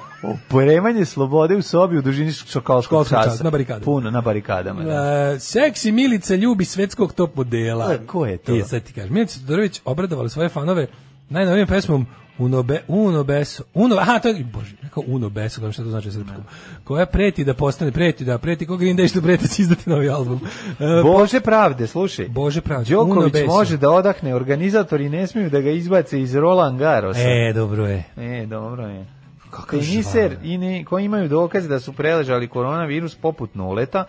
[SPEAKER 7] opremanje slobode u sobi u dužini šokološkog
[SPEAKER 6] Školskog
[SPEAKER 7] časa.
[SPEAKER 6] časa, na barikadama.
[SPEAKER 7] Puno, na barikadama. Da.
[SPEAKER 6] E, seksi Milica ljubi svetskog top modela.
[SPEAKER 7] A, ko je to?
[SPEAKER 6] E, sad ti kažem. Milica Todorović obradovali svoje fanove najnovijom pesmom Uno, be, uno beso, uno, aha, to je, bože, rekao uno beso, kao šta to znači srpskom, koja preti da postane, preti da, preti, koga im deš da preti, će izdati novi album. E,
[SPEAKER 7] Bože pravde, slušaj.
[SPEAKER 6] Bože pravde, uno
[SPEAKER 7] Đoković
[SPEAKER 6] beso.
[SPEAKER 7] može da odahne, organizatori ne smiju da ga izbace iz Roland Garrosa.
[SPEAKER 6] E, dobro je.
[SPEAKER 7] E, dobro je.
[SPEAKER 6] Kakav
[SPEAKER 7] Teniser i ne, koji imaju dokaze da su preležali koronavirus poput noleta,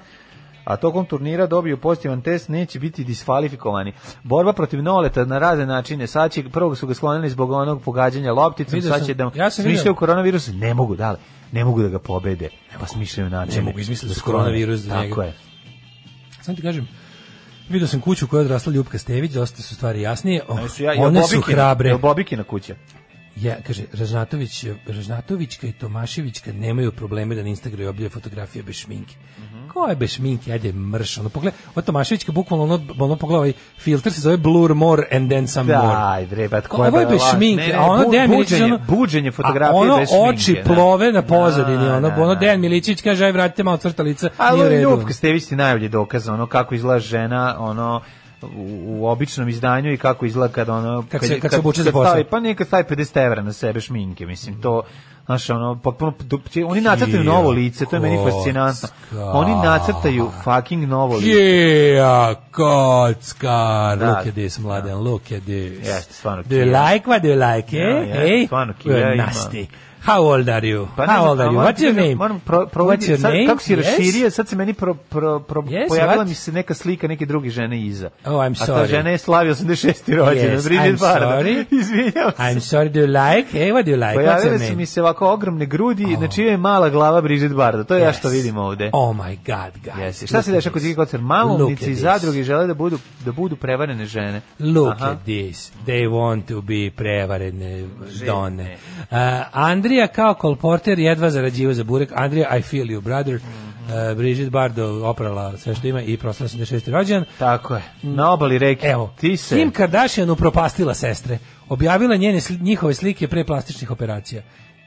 [SPEAKER 7] a tokom turnira dobiju pozitivan test, neće biti diskvalifikovani. Borba protiv noleta na razne načine. Sad će, prvo su ga sklonili zbog onog pogađanja lopticom,
[SPEAKER 6] Vidio
[SPEAKER 7] sad
[SPEAKER 6] sam,
[SPEAKER 7] će da
[SPEAKER 6] ja sam vidio.
[SPEAKER 7] smišljaju koronavirus, ne mogu, da ne mogu da ga pobede, pa smišljaju načine.
[SPEAKER 6] Ne mogu, izmislili
[SPEAKER 7] da
[SPEAKER 6] su
[SPEAKER 7] sklone.
[SPEAKER 6] koronavirus za njega.
[SPEAKER 7] Tako je.
[SPEAKER 6] Sam ti kažem, vidio sam kuću koja je odrasla Ljubka Stević, dosta su stvari jasnije. Oh,
[SPEAKER 7] Pa, One su, ja,
[SPEAKER 6] one su hrabre.
[SPEAKER 7] Je Bobikina kuća?
[SPEAKER 6] Ja, kaže, Ražnatović, Ražnatovićka i Tomaševićka nemaju probleme da na Instagramu objave fotografije bez šminke.
[SPEAKER 7] Mhm.
[SPEAKER 6] Ko je bez šminke? Ajde, mrš. Ono, pogled, ova Tomaševićka bukvalno ono, ono pogleda ovaj filter se zove Blur More and then some more.
[SPEAKER 7] Daj, bre, bat, koja
[SPEAKER 6] Ovo je bez
[SPEAKER 7] laž.
[SPEAKER 6] šminke,
[SPEAKER 7] Ne, ne,
[SPEAKER 6] a ono
[SPEAKER 7] bu-
[SPEAKER 6] Dejan Milić...
[SPEAKER 7] buđenje-
[SPEAKER 6] ono,
[SPEAKER 7] buđenje fotografije
[SPEAKER 6] a ono
[SPEAKER 7] bez šminke,
[SPEAKER 6] oči
[SPEAKER 7] da.
[SPEAKER 6] plove na pozadini,
[SPEAKER 7] Da,
[SPEAKER 6] ono,
[SPEAKER 7] da,
[SPEAKER 6] ono
[SPEAKER 7] da.
[SPEAKER 6] Dejan Milićić kaže, aj, vratite malo crta lica, nije u
[SPEAKER 7] Pa, Ali
[SPEAKER 6] redu.
[SPEAKER 7] Ljubka Stević ti je najbolji dokaz ono kako izgleda žena ono u, u običnom izdanju i kako izgleda kad ono
[SPEAKER 6] Kad se- kad se obuče za posao.
[SPEAKER 7] stavi, pa nekad stavi 50 evra na sebe šminke mislim to znaš ono potpuno oni nacrtaju novo lice to je meni fascinantno oni nacrtaju fucking novo lice
[SPEAKER 6] Yeah, kockar.
[SPEAKER 7] Da.
[SPEAKER 6] Look at this, mladen, look at this.
[SPEAKER 7] Jeste, stvarno
[SPEAKER 6] Do you
[SPEAKER 7] Kija.
[SPEAKER 6] like what you like, eh?
[SPEAKER 7] Ja, jeste,
[SPEAKER 6] Eh?
[SPEAKER 7] stvarno Kija
[SPEAKER 6] You're
[SPEAKER 7] ima.
[SPEAKER 6] nasty. How old are you?
[SPEAKER 7] Pa ne
[SPEAKER 6] How
[SPEAKER 7] znam,
[SPEAKER 6] old are you?
[SPEAKER 7] a moram
[SPEAKER 6] What's
[SPEAKER 7] ti
[SPEAKER 6] your
[SPEAKER 7] kažem,
[SPEAKER 6] name?
[SPEAKER 7] Moram pro,
[SPEAKER 6] What's
[SPEAKER 7] provoditi,
[SPEAKER 6] your
[SPEAKER 7] sad,
[SPEAKER 6] name?
[SPEAKER 7] kako si
[SPEAKER 6] Yes?
[SPEAKER 7] raširio, sad se meni pro, pro, pro,
[SPEAKER 6] Yes,
[SPEAKER 7] pojavila
[SPEAKER 6] what?
[SPEAKER 7] mi se neka slika neke druge žene iza.
[SPEAKER 6] Oh, I'm
[SPEAKER 7] A ta
[SPEAKER 6] sorry.
[SPEAKER 7] žena je slavio 86. rođena,
[SPEAKER 6] Yes,
[SPEAKER 7] Bridget
[SPEAKER 6] I'm
[SPEAKER 7] Barda.
[SPEAKER 6] sorry.
[SPEAKER 7] Izvinjavam se.
[SPEAKER 6] I'm sorry, do you like? Eh, what do you like? What's your
[SPEAKER 7] Pojavile su mi
[SPEAKER 6] name?
[SPEAKER 7] se ovako ogromne grudi, na čijoj je mala glava Bridget Barda. To je ja što vidim ovde.
[SPEAKER 6] Oh my god, guys.
[SPEAKER 7] Jesi. Šta se
[SPEAKER 6] Look at
[SPEAKER 7] dešava kod
[SPEAKER 6] this.
[SPEAKER 7] Ziggy Kocer?
[SPEAKER 6] Look at
[SPEAKER 7] Mamovnici i
[SPEAKER 6] this.
[SPEAKER 7] zadruge žele da budu, da budu prevarene žene.
[SPEAKER 6] Look
[SPEAKER 7] Aha.
[SPEAKER 6] at this. They want to be prevarene donne. Uh, Andrija kao kolporter jedva zarađiva za burek. Andrija, I feel you, brother.
[SPEAKER 7] Mhm.
[SPEAKER 6] Uh, Brigitte Bardo oprala sve što ima i prosto 86. rođendan.
[SPEAKER 7] Tako je. Na obali reke.
[SPEAKER 6] Mm. Evo,
[SPEAKER 7] ti se...
[SPEAKER 6] Kim Kardashian upropastila sestre. Objavila njene sli- njihove slike pre plastičnih operacija.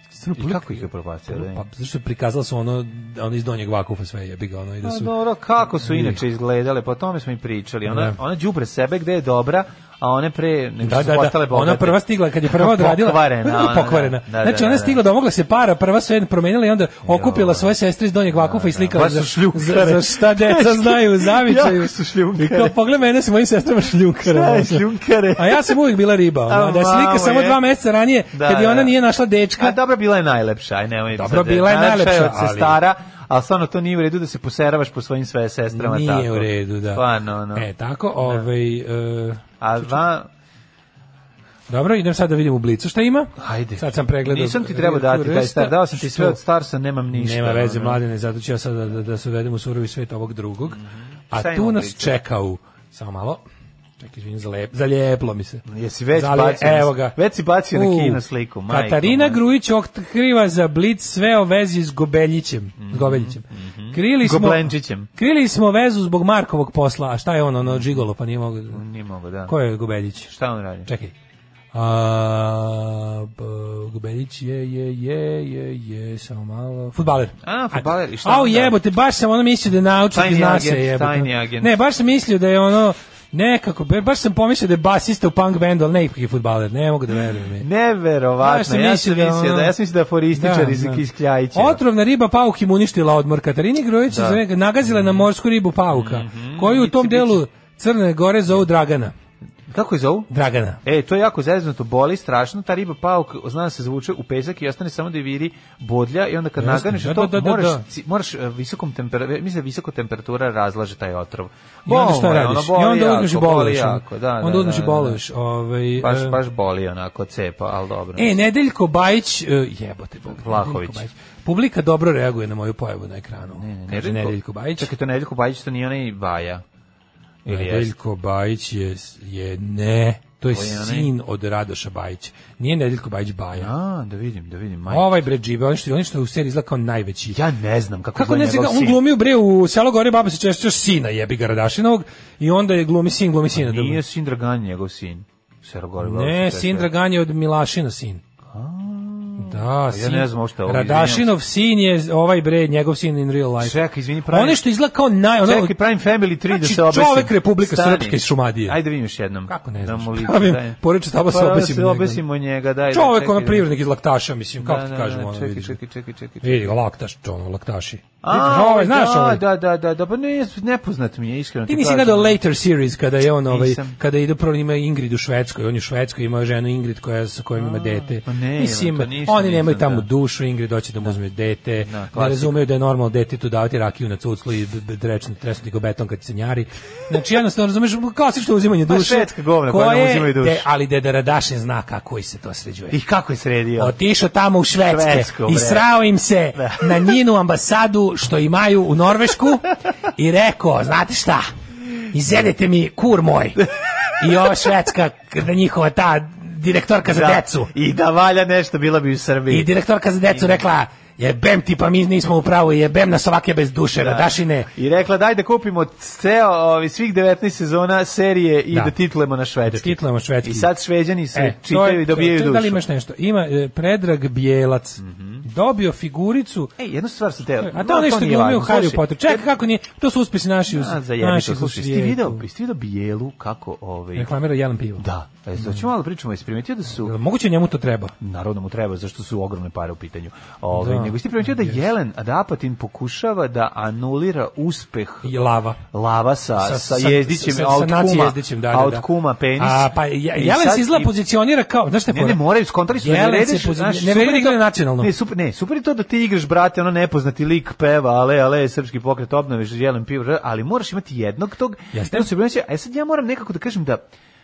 [SPEAKER 6] Stvarno,
[SPEAKER 7] I kako ih je propastio? da?
[SPEAKER 6] Pa, zašto prikazala su ono, ono iz donjeg vakufa sve jebi ga, ono i da
[SPEAKER 7] Pa
[SPEAKER 6] su...
[SPEAKER 7] dobro, kako su inače izgledale, po tome smo i pričali. Ona,
[SPEAKER 6] Da.
[SPEAKER 7] ona đubre sebe gde je dobra, a one pre nego
[SPEAKER 6] Da,
[SPEAKER 7] su
[SPEAKER 6] da, da.
[SPEAKER 7] postale bogate.
[SPEAKER 6] Ona prva stigla kad je prva odradila.
[SPEAKER 7] Pokvarena, ona, da.
[SPEAKER 6] pokvarena.
[SPEAKER 7] Da, da,
[SPEAKER 6] znači ona
[SPEAKER 7] da,
[SPEAKER 6] je
[SPEAKER 7] da.
[SPEAKER 6] stigla da mogla se para, prva sve promenila i onda okupila svoje sestre iz Donjeg Vakufa i slikala
[SPEAKER 7] baš su
[SPEAKER 6] za, za,
[SPEAKER 7] šljunkare.
[SPEAKER 6] za šta deca znaju, zavičaju.
[SPEAKER 7] Jako su šljunkare.
[SPEAKER 6] I kao pogled mene sa mojim sestrama šljunkare.
[SPEAKER 7] Šta je
[SPEAKER 6] Ono,
[SPEAKER 7] šljunkare?
[SPEAKER 6] A ja sam uvijek bila riba. Ono,
[SPEAKER 7] A,
[SPEAKER 6] da je slika
[SPEAKER 7] malo
[SPEAKER 6] samo
[SPEAKER 7] je.
[SPEAKER 6] dva meseca ranije
[SPEAKER 7] Da,
[SPEAKER 6] kad je
[SPEAKER 7] da,
[SPEAKER 6] ona
[SPEAKER 7] da.
[SPEAKER 6] nije našla
[SPEAKER 7] A
[SPEAKER 6] dečka.
[SPEAKER 7] dobro, bila je najlepša, aj nemoj.
[SPEAKER 6] Dobro,
[SPEAKER 7] sad,
[SPEAKER 6] bila je najlepša,
[SPEAKER 7] od
[SPEAKER 6] ali-
[SPEAKER 7] sestara, ali stvarno to nije u redu da se poseravaš po svojim sve sestrama.
[SPEAKER 6] Nije
[SPEAKER 7] tako.
[SPEAKER 6] u redu, da.
[SPEAKER 7] Stvarno, ono.
[SPEAKER 6] E, tako, ovaj, e,
[SPEAKER 7] A va,
[SPEAKER 6] dobro, idem sad da vidim u blicu šta ima.
[SPEAKER 7] Ajde.
[SPEAKER 6] Sad sam pregledao. e,
[SPEAKER 7] Nisam ti trebao dati taj star, dao sam ti sve od Starsa, nemam ništa.
[SPEAKER 6] Nema veze,
[SPEAKER 7] ono.
[SPEAKER 6] mladene, zato ću ja sad da, da, da se uvedem u surovi svet ovog drugog.
[SPEAKER 7] Mhm. Šta
[SPEAKER 6] A
[SPEAKER 7] imamo
[SPEAKER 6] tu nas
[SPEAKER 7] blizu?
[SPEAKER 6] čekao, samo malo, čekaj, izvinim, zalep, zalijeplo mi se.
[SPEAKER 7] Jesi već
[SPEAKER 6] Zalije-
[SPEAKER 7] bacio, na-
[SPEAKER 6] evo ga.
[SPEAKER 7] već si bacio na
[SPEAKER 6] U,
[SPEAKER 7] kino sliku, majko.
[SPEAKER 6] Katarina
[SPEAKER 7] moja.
[SPEAKER 6] Grujić otkriva za Blic sve o vezi s Gobeljićem.
[SPEAKER 7] Mhm,
[SPEAKER 6] S Gobeljićem. Krili smo,
[SPEAKER 7] Goblenčićem.
[SPEAKER 6] krili smo vezu zbog Markovog posla, a šta je on, ono, džigolo, pa nije mogu...
[SPEAKER 7] Nije mogu, da.
[SPEAKER 6] Ko je Gobeljić?
[SPEAKER 7] Šta on radi?
[SPEAKER 6] Čekaj. A, b, Gubelić je, je, je, je, je, samo malo. Futbaler.
[SPEAKER 7] A, fudbaler, Pa i šta
[SPEAKER 6] Au,
[SPEAKER 7] onda?
[SPEAKER 6] jebote, baš sam ono mislio da je naučnik
[SPEAKER 7] Tajni
[SPEAKER 6] iz NASA.
[SPEAKER 7] agent,
[SPEAKER 6] jebote.
[SPEAKER 7] tajni agent.
[SPEAKER 6] Ne, baš sam mislio da je ono, nekako, be- baš sam pomislio da je basista u punk bandu, ali ne ipak je futbaler, ne mogu da verujem.
[SPEAKER 7] Neverovatno,
[SPEAKER 6] Baš sam
[SPEAKER 7] ja sam
[SPEAKER 6] mislio da
[SPEAKER 7] mislio
[SPEAKER 6] ono-
[SPEAKER 7] da, ja sam mislio da je aforističar
[SPEAKER 6] Da,
[SPEAKER 7] iz,
[SPEAKER 6] da.
[SPEAKER 7] iz Kljajića.
[SPEAKER 6] Otrovna riba pauk im uništila odmor. Katarini Grujić
[SPEAKER 7] Da. Mhm.
[SPEAKER 6] da. nagazila je na morsku ribu pauka, koju u tom
[SPEAKER 7] bici,
[SPEAKER 6] delu Crne Gore zovu Dragana.
[SPEAKER 7] Kako je zovu?
[SPEAKER 6] Dragana.
[SPEAKER 7] E, to je jako zeznuto, boli strašno, ta riba pauk, zna da se zvuče u pesak i ostane samo da je viri bodlja i onda kad
[SPEAKER 6] Jasno,
[SPEAKER 7] naganeš
[SPEAKER 6] da,
[SPEAKER 7] to,
[SPEAKER 6] da, da,
[SPEAKER 7] moraš,
[SPEAKER 6] da.
[SPEAKER 7] ci- moraš e, visokom temperaturu, mislim da visoko temperatura razlaže taj otrov.
[SPEAKER 6] I onda
[SPEAKER 7] Bolno
[SPEAKER 6] šta
[SPEAKER 7] je,
[SPEAKER 6] radiš?
[SPEAKER 7] ono,
[SPEAKER 6] I
[SPEAKER 7] boli
[SPEAKER 6] onda uzmeš i
[SPEAKER 7] jako,
[SPEAKER 6] boluješ. ono.
[SPEAKER 7] boli jako, da, da,
[SPEAKER 6] onda uzmeš
[SPEAKER 7] da,
[SPEAKER 6] i
[SPEAKER 7] da,
[SPEAKER 6] boluješ. Ovaj,
[SPEAKER 7] Baš,
[SPEAKER 6] em,
[SPEAKER 7] baš boli onako cepa, ali dobro.
[SPEAKER 6] E, Nedeljko Bajić, e, jebote Bog,
[SPEAKER 7] Vlahović.
[SPEAKER 6] Nedeljko Bajić. Publika dobro reaguje na moju pojavu na ekranu. Kaže
[SPEAKER 7] Nedeljko-
[SPEAKER 6] Nedeljko Bajić. E,
[SPEAKER 7] Čekaj, to Nedeljko Bajić, to nije onaj Baja. Ili jeste?
[SPEAKER 6] Nedeljko Bajić je, je ne, to je
[SPEAKER 7] To je onaj-
[SPEAKER 6] sin od Radoša Bajića. Nije Nedeljko Bajić Baja.
[SPEAKER 7] A, da vidim, da vidim, majko.
[SPEAKER 6] Ovaj bre džibe, on što, on što je u seriji izgleda kao najveći.
[SPEAKER 7] Ja ne znam kako,
[SPEAKER 6] Kako ne
[SPEAKER 7] izgleda
[SPEAKER 6] znam,
[SPEAKER 7] njegov
[SPEAKER 6] on
[SPEAKER 7] sin.
[SPEAKER 6] glumio bre u Selo Gore, baba se češće sina jebi ga Radašinovog i onda je glumi sin, glumi sina.
[SPEAKER 7] Nije sin Dragan njegov sin. Serogori
[SPEAKER 6] Ne, sin Dragan je od Milašina sin. Da,
[SPEAKER 7] ja ne znam uopšte ovo,
[SPEAKER 6] Radašinov sin je ovaj bre, njegov sin in real life.
[SPEAKER 7] Čekaj, izvini, pravim-
[SPEAKER 6] One što izgleda kao naj... Ono,
[SPEAKER 7] Čekaj, pravim Family 3 da
[SPEAKER 6] Znači,
[SPEAKER 7] se obesim.
[SPEAKER 6] čovek Republika
[SPEAKER 7] Stani.
[SPEAKER 6] Srpska iz Šumadije.
[SPEAKER 7] Ajde vidim još jednom. Kako
[SPEAKER 6] ne
[SPEAKER 7] Da
[SPEAKER 6] znaš?
[SPEAKER 7] mu liči,
[SPEAKER 6] Pravim,
[SPEAKER 7] daj.
[SPEAKER 6] pored štaba se
[SPEAKER 7] Pa, da
[SPEAKER 6] obesimo
[SPEAKER 7] se
[SPEAKER 6] njega.
[SPEAKER 7] obesimo njega, daj. da,
[SPEAKER 6] Čovek,
[SPEAKER 7] čekaj
[SPEAKER 6] ono
[SPEAKER 7] da-
[SPEAKER 6] privrednik iz Laktaša, mislim, kako
[SPEAKER 7] Da,
[SPEAKER 6] ti
[SPEAKER 7] da,
[SPEAKER 6] kažemo.
[SPEAKER 7] da,
[SPEAKER 6] ono,
[SPEAKER 7] čekaj,
[SPEAKER 6] vidiš.
[SPEAKER 7] čekaj, čekaj, čekaj, čekaj.
[SPEAKER 6] Vidi ga, Laktaš, ono, Laktaši. Vidiš,
[SPEAKER 7] A,
[SPEAKER 6] ovaj, znaš,
[SPEAKER 7] da,
[SPEAKER 6] ovaj,
[SPEAKER 7] da, da, da, da, pa ne, nepoznat mi je, iskreno.
[SPEAKER 6] Ti
[SPEAKER 7] ti
[SPEAKER 6] nisi
[SPEAKER 7] kažem. ono,
[SPEAKER 6] gledao Later series kada je on ovaj
[SPEAKER 7] Nisam.
[SPEAKER 6] kada ide prvo ima Ingrid u Švedskoj, on je u Švedskoj ima ženu Ingrid koja sa kojom ima dete.
[SPEAKER 7] pa ne,
[SPEAKER 6] Mislim
[SPEAKER 7] to ništa
[SPEAKER 6] oni nemaju
[SPEAKER 7] nisam,
[SPEAKER 6] tamo
[SPEAKER 7] da.
[SPEAKER 6] dušu, Ingrid hoće da mu uzme dete.
[SPEAKER 7] klasika.
[SPEAKER 6] ne razumeju da je normalno detetu davati rakiju na cuclu i drečni tresnuti ga u beton kad se njari. Znači jednostavno razumeš klasično uzimanje
[SPEAKER 7] Pa,
[SPEAKER 6] duše.
[SPEAKER 7] švedska govna koja
[SPEAKER 6] koje-
[SPEAKER 7] nam uzimaju dušu.
[SPEAKER 6] de- ali Deda Radašin zna kako i se to sređuje.
[SPEAKER 7] I kako je sredio?
[SPEAKER 6] Otišao tamo u Švedske
[SPEAKER 7] Švedsko, bre.
[SPEAKER 6] i srao im se na njinu ambasadu što imaju u Norvešku i rekao, znate šta, izjedete mi kur moj. I ova Švedska, kada njihova ta direktorka za
[SPEAKER 7] Da.
[SPEAKER 6] decu.
[SPEAKER 7] I da valja nešto, bila bi u Srbiji.
[SPEAKER 6] I direktorka za decu rekla, jebem ti pa mi nismo u pravu, jebem nas ovake bez duše,
[SPEAKER 7] Da.
[SPEAKER 6] radašine.
[SPEAKER 7] I rekla daj da kupimo ceo ovi, svih 19 sezona serije i da,
[SPEAKER 6] Da.
[SPEAKER 7] titlujemo na švedski.
[SPEAKER 6] Da titlujemo švedski.
[SPEAKER 7] I sad šveđani se
[SPEAKER 6] E, to
[SPEAKER 7] čitaju
[SPEAKER 6] je-
[SPEAKER 7] i dobijaju
[SPEAKER 6] to je-
[SPEAKER 7] dušu. Mhm.
[SPEAKER 6] Da li imaš nešto? Ima e, Predrag Bijelac. Dobio figuricu.
[SPEAKER 7] Ej, jednu E, stvar sam te...
[SPEAKER 6] A to nešto glumio u Harry Potter. Čekaj, kako nije? To su uspesi naši uz
[SPEAKER 7] A, za
[SPEAKER 6] naši
[SPEAKER 7] jebito,
[SPEAKER 6] u
[SPEAKER 7] slušaj, jesi ti
[SPEAKER 6] svijetu.
[SPEAKER 7] video, jesi ti video bijelu kako ovaj...
[SPEAKER 6] Reklamira jedan pivo.
[SPEAKER 7] Da, e, to ćemo malo pričamo, jesi primetio da su...
[SPEAKER 6] Moguće njemu to treba.
[SPEAKER 7] Naravno mu treba, zašto su ogromne pare u pitanju. Ove,
[SPEAKER 6] Da.
[SPEAKER 7] Nego jesi ti primetio da Jelen, da Apatin pokušava da anulira uspeh
[SPEAKER 6] I lava.
[SPEAKER 7] lava sa, Pa, sa, jezdićem,
[SPEAKER 6] sa-
[SPEAKER 7] a od
[SPEAKER 6] sa naci
[SPEAKER 7] kuma,
[SPEAKER 6] jezdićem, da, da,
[SPEAKER 7] a od
[SPEAKER 6] da.
[SPEAKER 7] kuma penis.
[SPEAKER 6] A, pa, ja,
[SPEAKER 7] I
[SPEAKER 6] Jelen
[SPEAKER 7] sad
[SPEAKER 6] se izgleda
[SPEAKER 7] i-
[SPEAKER 6] pozicionira kao, znaš šta je
[SPEAKER 7] Ne, ne,
[SPEAKER 6] fora?
[SPEAKER 7] moraju, skontali su da
[SPEAKER 6] Jelen
[SPEAKER 7] ne
[SPEAKER 6] se
[SPEAKER 7] rediš,
[SPEAKER 6] pozi-
[SPEAKER 7] znaš,
[SPEAKER 6] ne
[SPEAKER 7] super je
[SPEAKER 6] vredi
[SPEAKER 7] to-
[SPEAKER 6] igra nacionalno.
[SPEAKER 7] Ne, super, ne, super je to da ti igraš, brate, ono nepoznati lik peva, ale, ale, srpski pokret obnove, želim pivo, ali moraš imati jednog tog.
[SPEAKER 6] Jeste.
[SPEAKER 7] Jednog se brinoće, a E, sad ja moram nekako da kažem da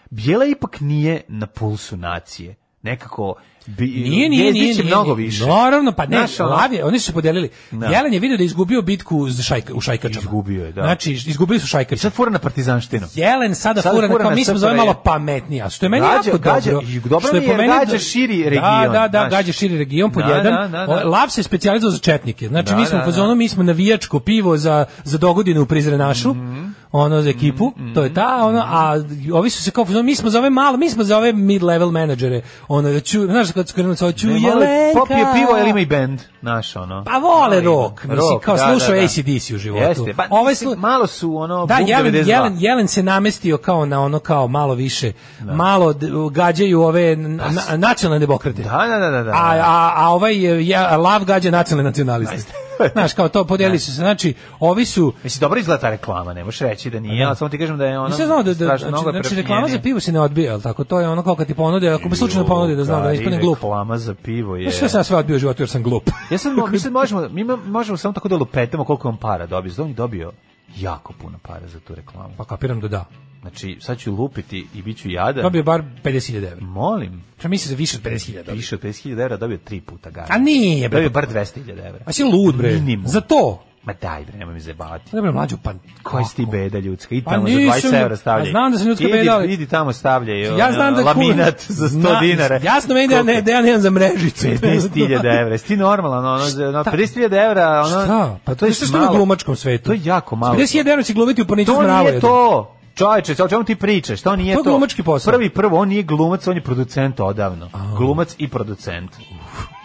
[SPEAKER 7] Bijela ipak nije na pulsu nacije. Nekako, bi,
[SPEAKER 6] Nije, nije,
[SPEAKER 7] Jezdić
[SPEAKER 6] nije,
[SPEAKER 7] je
[SPEAKER 6] nije.
[SPEAKER 7] mnogo
[SPEAKER 6] nije.
[SPEAKER 7] više.
[SPEAKER 6] Naravno, pa ne,
[SPEAKER 7] Znaš, ono-
[SPEAKER 6] Lav je- oni su se podelili.
[SPEAKER 7] Da.
[SPEAKER 6] Jelen je video da je izgubio bitku z šajka, u šajkačama.
[SPEAKER 7] Izgubio je, da.
[SPEAKER 6] Znači, izgubili su šajkače.
[SPEAKER 7] Sad fura na partizanštinu.
[SPEAKER 6] Jelen sada,
[SPEAKER 7] Sada
[SPEAKER 6] fura, na-
[SPEAKER 7] fura
[SPEAKER 6] kao
[SPEAKER 7] na
[SPEAKER 6] mi smo
[SPEAKER 7] SFRJ.
[SPEAKER 6] zove malo pametnija, što je meni
[SPEAKER 7] Gađa-
[SPEAKER 6] jako
[SPEAKER 7] gađa-
[SPEAKER 6] dobro.
[SPEAKER 7] i dobro
[SPEAKER 6] što
[SPEAKER 7] mi je,
[SPEAKER 6] po meni-
[SPEAKER 7] gađa širi region,
[SPEAKER 6] Da, da, da,
[SPEAKER 7] znaš.
[SPEAKER 6] gađa širi region pod
[SPEAKER 7] Da,
[SPEAKER 6] jedan.
[SPEAKER 7] da, da, da.
[SPEAKER 6] O, Lav se specijalizovao za četnike. Znači
[SPEAKER 7] Da,
[SPEAKER 6] mi smo
[SPEAKER 7] da,
[SPEAKER 6] u fazonu,
[SPEAKER 7] da.
[SPEAKER 6] mi smo navijačko pivo za za dogodine u Prizrenašu.
[SPEAKER 7] Mhm.
[SPEAKER 6] Ono za ekipu, to je ta, ono, a ovi su se kao u fazonu, mi smo za ove malo, mi smo za ove mid-level menadžere. Ono, ću, znaš kad su krenuli sa ovo, ću
[SPEAKER 7] Ne, malo je-
[SPEAKER 6] Jelenka.
[SPEAKER 7] Popije pivo, ali ima i bend, naš ono.
[SPEAKER 6] Pa vole
[SPEAKER 7] Ima.
[SPEAKER 6] rock, mislim,
[SPEAKER 7] Rock,
[SPEAKER 6] kao
[SPEAKER 7] da,
[SPEAKER 6] slušao
[SPEAKER 7] da, da.
[SPEAKER 6] AC/DC u životu.
[SPEAKER 7] Jeste, pa
[SPEAKER 6] Ovaj
[SPEAKER 7] mislim,
[SPEAKER 6] slu-
[SPEAKER 7] malo su ono,
[SPEAKER 6] Da,
[SPEAKER 7] Bum
[SPEAKER 6] Jelen,
[SPEAKER 7] 92.
[SPEAKER 6] Jelen, Jelen se namestio kao na ono kao malo više, malo d- gađaju ove na- na- nacionalne demokrate.
[SPEAKER 7] Da, da, da, da. da.
[SPEAKER 6] A, a, a ovaj ja, Lav gađa nacionalne nacionaliste. Znaš, kao to podeli su se. Znači, ovi su...
[SPEAKER 7] Mislim, dobro izgleda ta reklama, ne možeš reći da nije, ali samo ti kažem da je ona...
[SPEAKER 6] Nisam znao da, da
[SPEAKER 7] strašno
[SPEAKER 6] znači,
[SPEAKER 7] mnogo
[SPEAKER 6] znači
[SPEAKER 7] prefinjenija.
[SPEAKER 6] reklama za pivo se ne odbija, jel tako? To je ono kao kad ti ponude, ako me slučajno ponude da znam da ne
[SPEAKER 7] Kari,
[SPEAKER 6] ispane glup. Pa
[SPEAKER 7] Reklama za pivo je...
[SPEAKER 6] Znaš što sam ja sve odbio u životu jer sam glup.
[SPEAKER 7] Ja sam, mislim, možemo, mi ima- možemo samo tako da lupetamo koliko on para dobio. Znači, on je dobio jako puno para za tu reklamu.
[SPEAKER 6] Pa kapiram da da.
[SPEAKER 7] Znači, sad ću lupiti i bit ću jadan.
[SPEAKER 6] Dobio je bar 50.000 evra.
[SPEAKER 7] Molim,
[SPEAKER 6] Ča mislim da više od 50.000 evra.
[SPEAKER 7] više od 50.000 evra dobio tri puta gara.
[SPEAKER 6] A nije, bre.
[SPEAKER 7] Dobio bar 200.000 evra.
[SPEAKER 6] Pa si lud, bre.
[SPEAKER 7] Minimum.
[SPEAKER 6] Za to?
[SPEAKER 7] Ma daj bre, nemoj mi zebati.
[SPEAKER 6] Dobro, mlađo, pa...
[SPEAKER 7] Koji si ti beda ljudska? I
[SPEAKER 6] Pa
[SPEAKER 7] tamo za
[SPEAKER 6] nisam,
[SPEAKER 7] 20 evra stavljaj.
[SPEAKER 6] pa znam da sam ljudska
[SPEAKER 7] idi,
[SPEAKER 6] beda, ali-
[SPEAKER 7] Idi tamo stavljaj ono,
[SPEAKER 6] Ja znam da... ku-
[SPEAKER 7] laminat za 100
[SPEAKER 6] Zna-
[SPEAKER 7] dinara.
[SPEAKER 6] Jasno meni da ja, ne, da ja nemam za mrežicu.
[SPEAKER 7] 50.000 evra. Sti normalan, ono, ono 50.000 evra, ono...
[SPEAKER 6] Šta? Pa to je što je u glumačkom svetu.
[SPEAKER 7] To je jako malo.
[SPEAKER 6] 50.000 evra će glumiti u porniću
[SPEAKER 7] To
[SPEAKER 6] s mravo.
[SPEAKER 7] nije to. Čovječe, o čemu ti pričaš? To nije
[SPEAKER 6] To
[SPEAKER 7] to.
[SPEAKER 6] je glumački posao.
[SPEAKER 7] Prvi prvo, on nije glumac, on je producent odavno. Glumac i producent.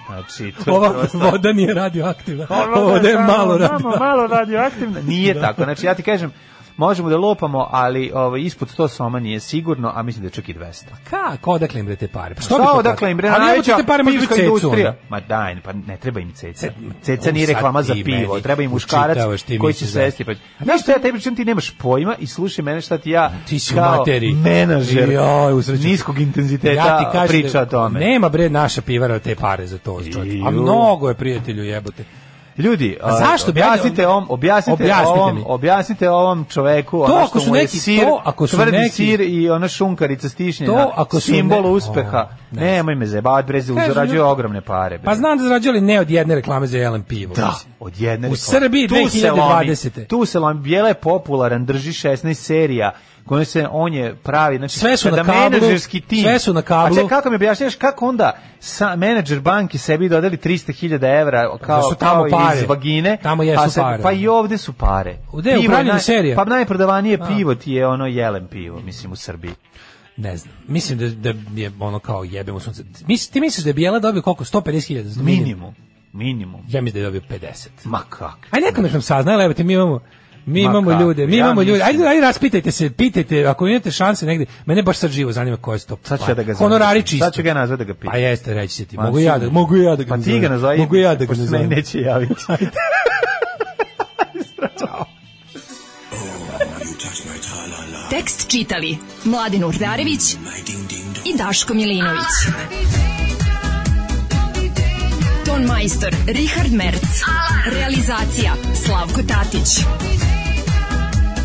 [SPEAKER 7] Znači, to je
[SPEAKER 6] Ova
[SPEAKER 7] prosto-
[SPEAKER 6] voda nije radioaktivna. Ova
[SPEAKER 7] Ono,
[SPEAKER 6] voda je
[SPEAKER 7] da,
[SPEAKER 6] malo
[SPEAKER 7] da,
[SPEAKER 6] radioaktivna.
[SPEAKER 7] Malo radioaktivna. Nije tako. Znači, ja ti kažem, možemo da lopamo, ali ovaj, ispod 100 soma nije sigurno, a mislim da je čak i 200.
[SPEAKER 6] Kako, odakle im bre te pare? Pa što
[SPEAKER 7] Što
[SPEAKER 6] bi to
[SPEAKER 7] dakle im bre
[SPEAKER 6] Ali evo ti
[SPEAKER 7] najveća
[SPEAKER 6] te pare možda u
[SPEAKER 7] pivska
[SPEAKER 6] cecu,
[SPEAKER 7] industrija?
[SPEAKER 6] onda.
[SPEAKER 7] Ma daj, pa ne treba im ceca. Ceca
[SPEAKER 6] Sad
[SPEAKER 7] nije reklama za
[SPEAKER 6] ti
[SPEAKER 7] pivo,
[SPEAKER 6] meni
[SPEAKER 7] treba im muškarac
[SPEAKER 6] učitavaš, ti
[SPEAKER 7] koji
[SPEAKER 6] mi
[SPEAKER 7] će
[SPEAKER 6] se
[SPEAKER 7] sesti. Pa... Znaš šta ja tebi pričam, ti nemaš pojma i slušaj mene šta ti ja
[SPEAKER 6] Ti si u
[SPEAKER 7] kao
[SPEAKER 6] materiji.
[SPEAKER 7] menadžer
[SPEAKER 6] Joj, usrećen.
[SPEAKER 7] niskog intenziteta
[SPEAKER 6] Ja ti kažem
[SPEAKER 7] priča o tome.
[SPEAKER 6] Nema bre naša pivara te pare za to, čovječe. A
[SPEAKER 7] Ju.
[SPEAKER 6] mnogo je prijatelju jebote.
[SPEAKER 7] Ljudi,
[SPEAKER 6] A zašto bi-
[SPEAKER 7] objasnite ovom, objasnite,
[SPEAKER 6] Objasnite
[SPEAKER 7] ovom,
[SPEAKER 6] mi.
[SPEAKER 7] objasnite ovom čoveku
[SPEAKER 6] To
[SPEAKER 7] ono
[SPEAKER 6] ako
[SPEAKER 7] što
[SPEAKER 6] su
[SPEAKER 7] mu je
[SPEAKER 6] neki-
[SPEAKER 7] sir,
[SPEAKER 6] to ako su
[SPEAKER 7] tvrdi
[SPEAKER 6] neki-
[SPEAKER 7] sir i ona šunkarica stišnjena,
[SPEAKER 6] To ako su
[SPEAKER 7] simbol
[SPEAKER 6] ne-
[SPEAKER 7] uspeha.
[SPEAKER 6] O, ne
[SPEAKER 7] Nemoj me zebat, brez,
[SPEAKER 6] Kažem,
[SPEAKER 7] zarađuje
[SPEAKER 6] ljudi-
[SPEAKER 7] ogromne pare. bre.
[SPEAKER 6] Pa znam da zarađuje ne od jedne reklame za jelen pivo.
[SPEAKER 7] Da,
[SPEAKER 6] mislim.
[SPEAKER 7] od jedne
[SPEAKER 6] U
[SPEAKER 7] reklame.
[SPEAKER 6] Srbiji
[SPEAKER 7] Tu se lomi,
[SPEAKER 6] 2020.
[SPEAKER 7] Tu se lomi, Bijela je popularan, drži 16 serija, kojom se on je pravi, znači
[SPEAKER 6] Sve su
[SPEAKER 7] kada
[SPEAKER 6] na kablu,
[SPEAKER 7] menadžerski tim.
[SPEAKER 6] sve su na kablu.
[SPEAKER 7] A čekaj, kako mi objašnjaš kako onda sa menadžer banki sebi dodeli 300.000 evra kao,
[SPEAKER 6] su tamo
[SPEAKER 7] kao iz
[SPEAKER 6] pare.
[SPEAKER 7] vagine,
[SPEAKER 6] Tamo jesu
[SPEAKER 7] pa
[SPEAKER 6] pare.
[SPEAKER 7] Pa i ovde su pare.
[SPEAKER 6] Gde je
[SPEAKER 7] Pivo je
[SPEAKER 6] upravljena
[SPEAKER 7] naj-
[SPEAKER 6] serija?
[SPEAKER 7] Pa najprodavanije pivo ti je ono jelen pivo, mislim u Srbiji.
[SPEAKER 6] Ne znam. Mislim da, da je ono kao jebemo sunce. Mis, ti misliš da je Bijela dobio koliko? 150.000?
[SPEAKER 7] Minimum. Minimum.
[SPEAKER 6] Ja mislim da je dobio 50.
[SPEAKER 7] Ma kak.
[SPEAKER 6] Ajde neka nam sazna, evo te mi imamo Mi
[SPEAKER 7] Ma
[SPEAKER 6] imamo
[SPEAKER 7] kako,
[SPEAKER 6] ljude, mi
[SPEAKER 7] ja
[SPEAKER 6] imamo ljude.
[SPEAKER 7] mislim-
[SPEAKER 6] Ajde, ajde raspitajte se, pitajte, ako imate šanse negde. Mene baš sad živo zanima ko je to.
[SPEAKER 7] Sad ću ja da ga zovem.
[SPEAKER 6] Honorari čisto.
[SPEAKER 7] Sad ću ga nazvati da ga pitam.
[SPEAKER 6] Pa jeste, reći će ti.
[SPEAKER 7] Ma,
[SPEAKER 6] Mogu ja da,
[SPEAKER 7] sigurno.
[SPEAKER 6] mogu ja da ga
[SPEAKER 7] Pa ti
[SPEAKER 6] nazovem.
[SPEAKER 7] ga nazove.
[SPEAKER 6] Mogu ja da ga
[SPEAKER 7] pošto se meni
[SPEAKER 6] nazovem.
[SPEAKER 7] neće javiti.
[SPEAKER 5] Tekst čitali Mladin Urdarević i Daško Milinović. Ton majstor Richard Merc. Realizacija Slavko Tatić.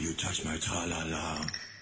[SPEAKER 10] You touch my tra-la-la.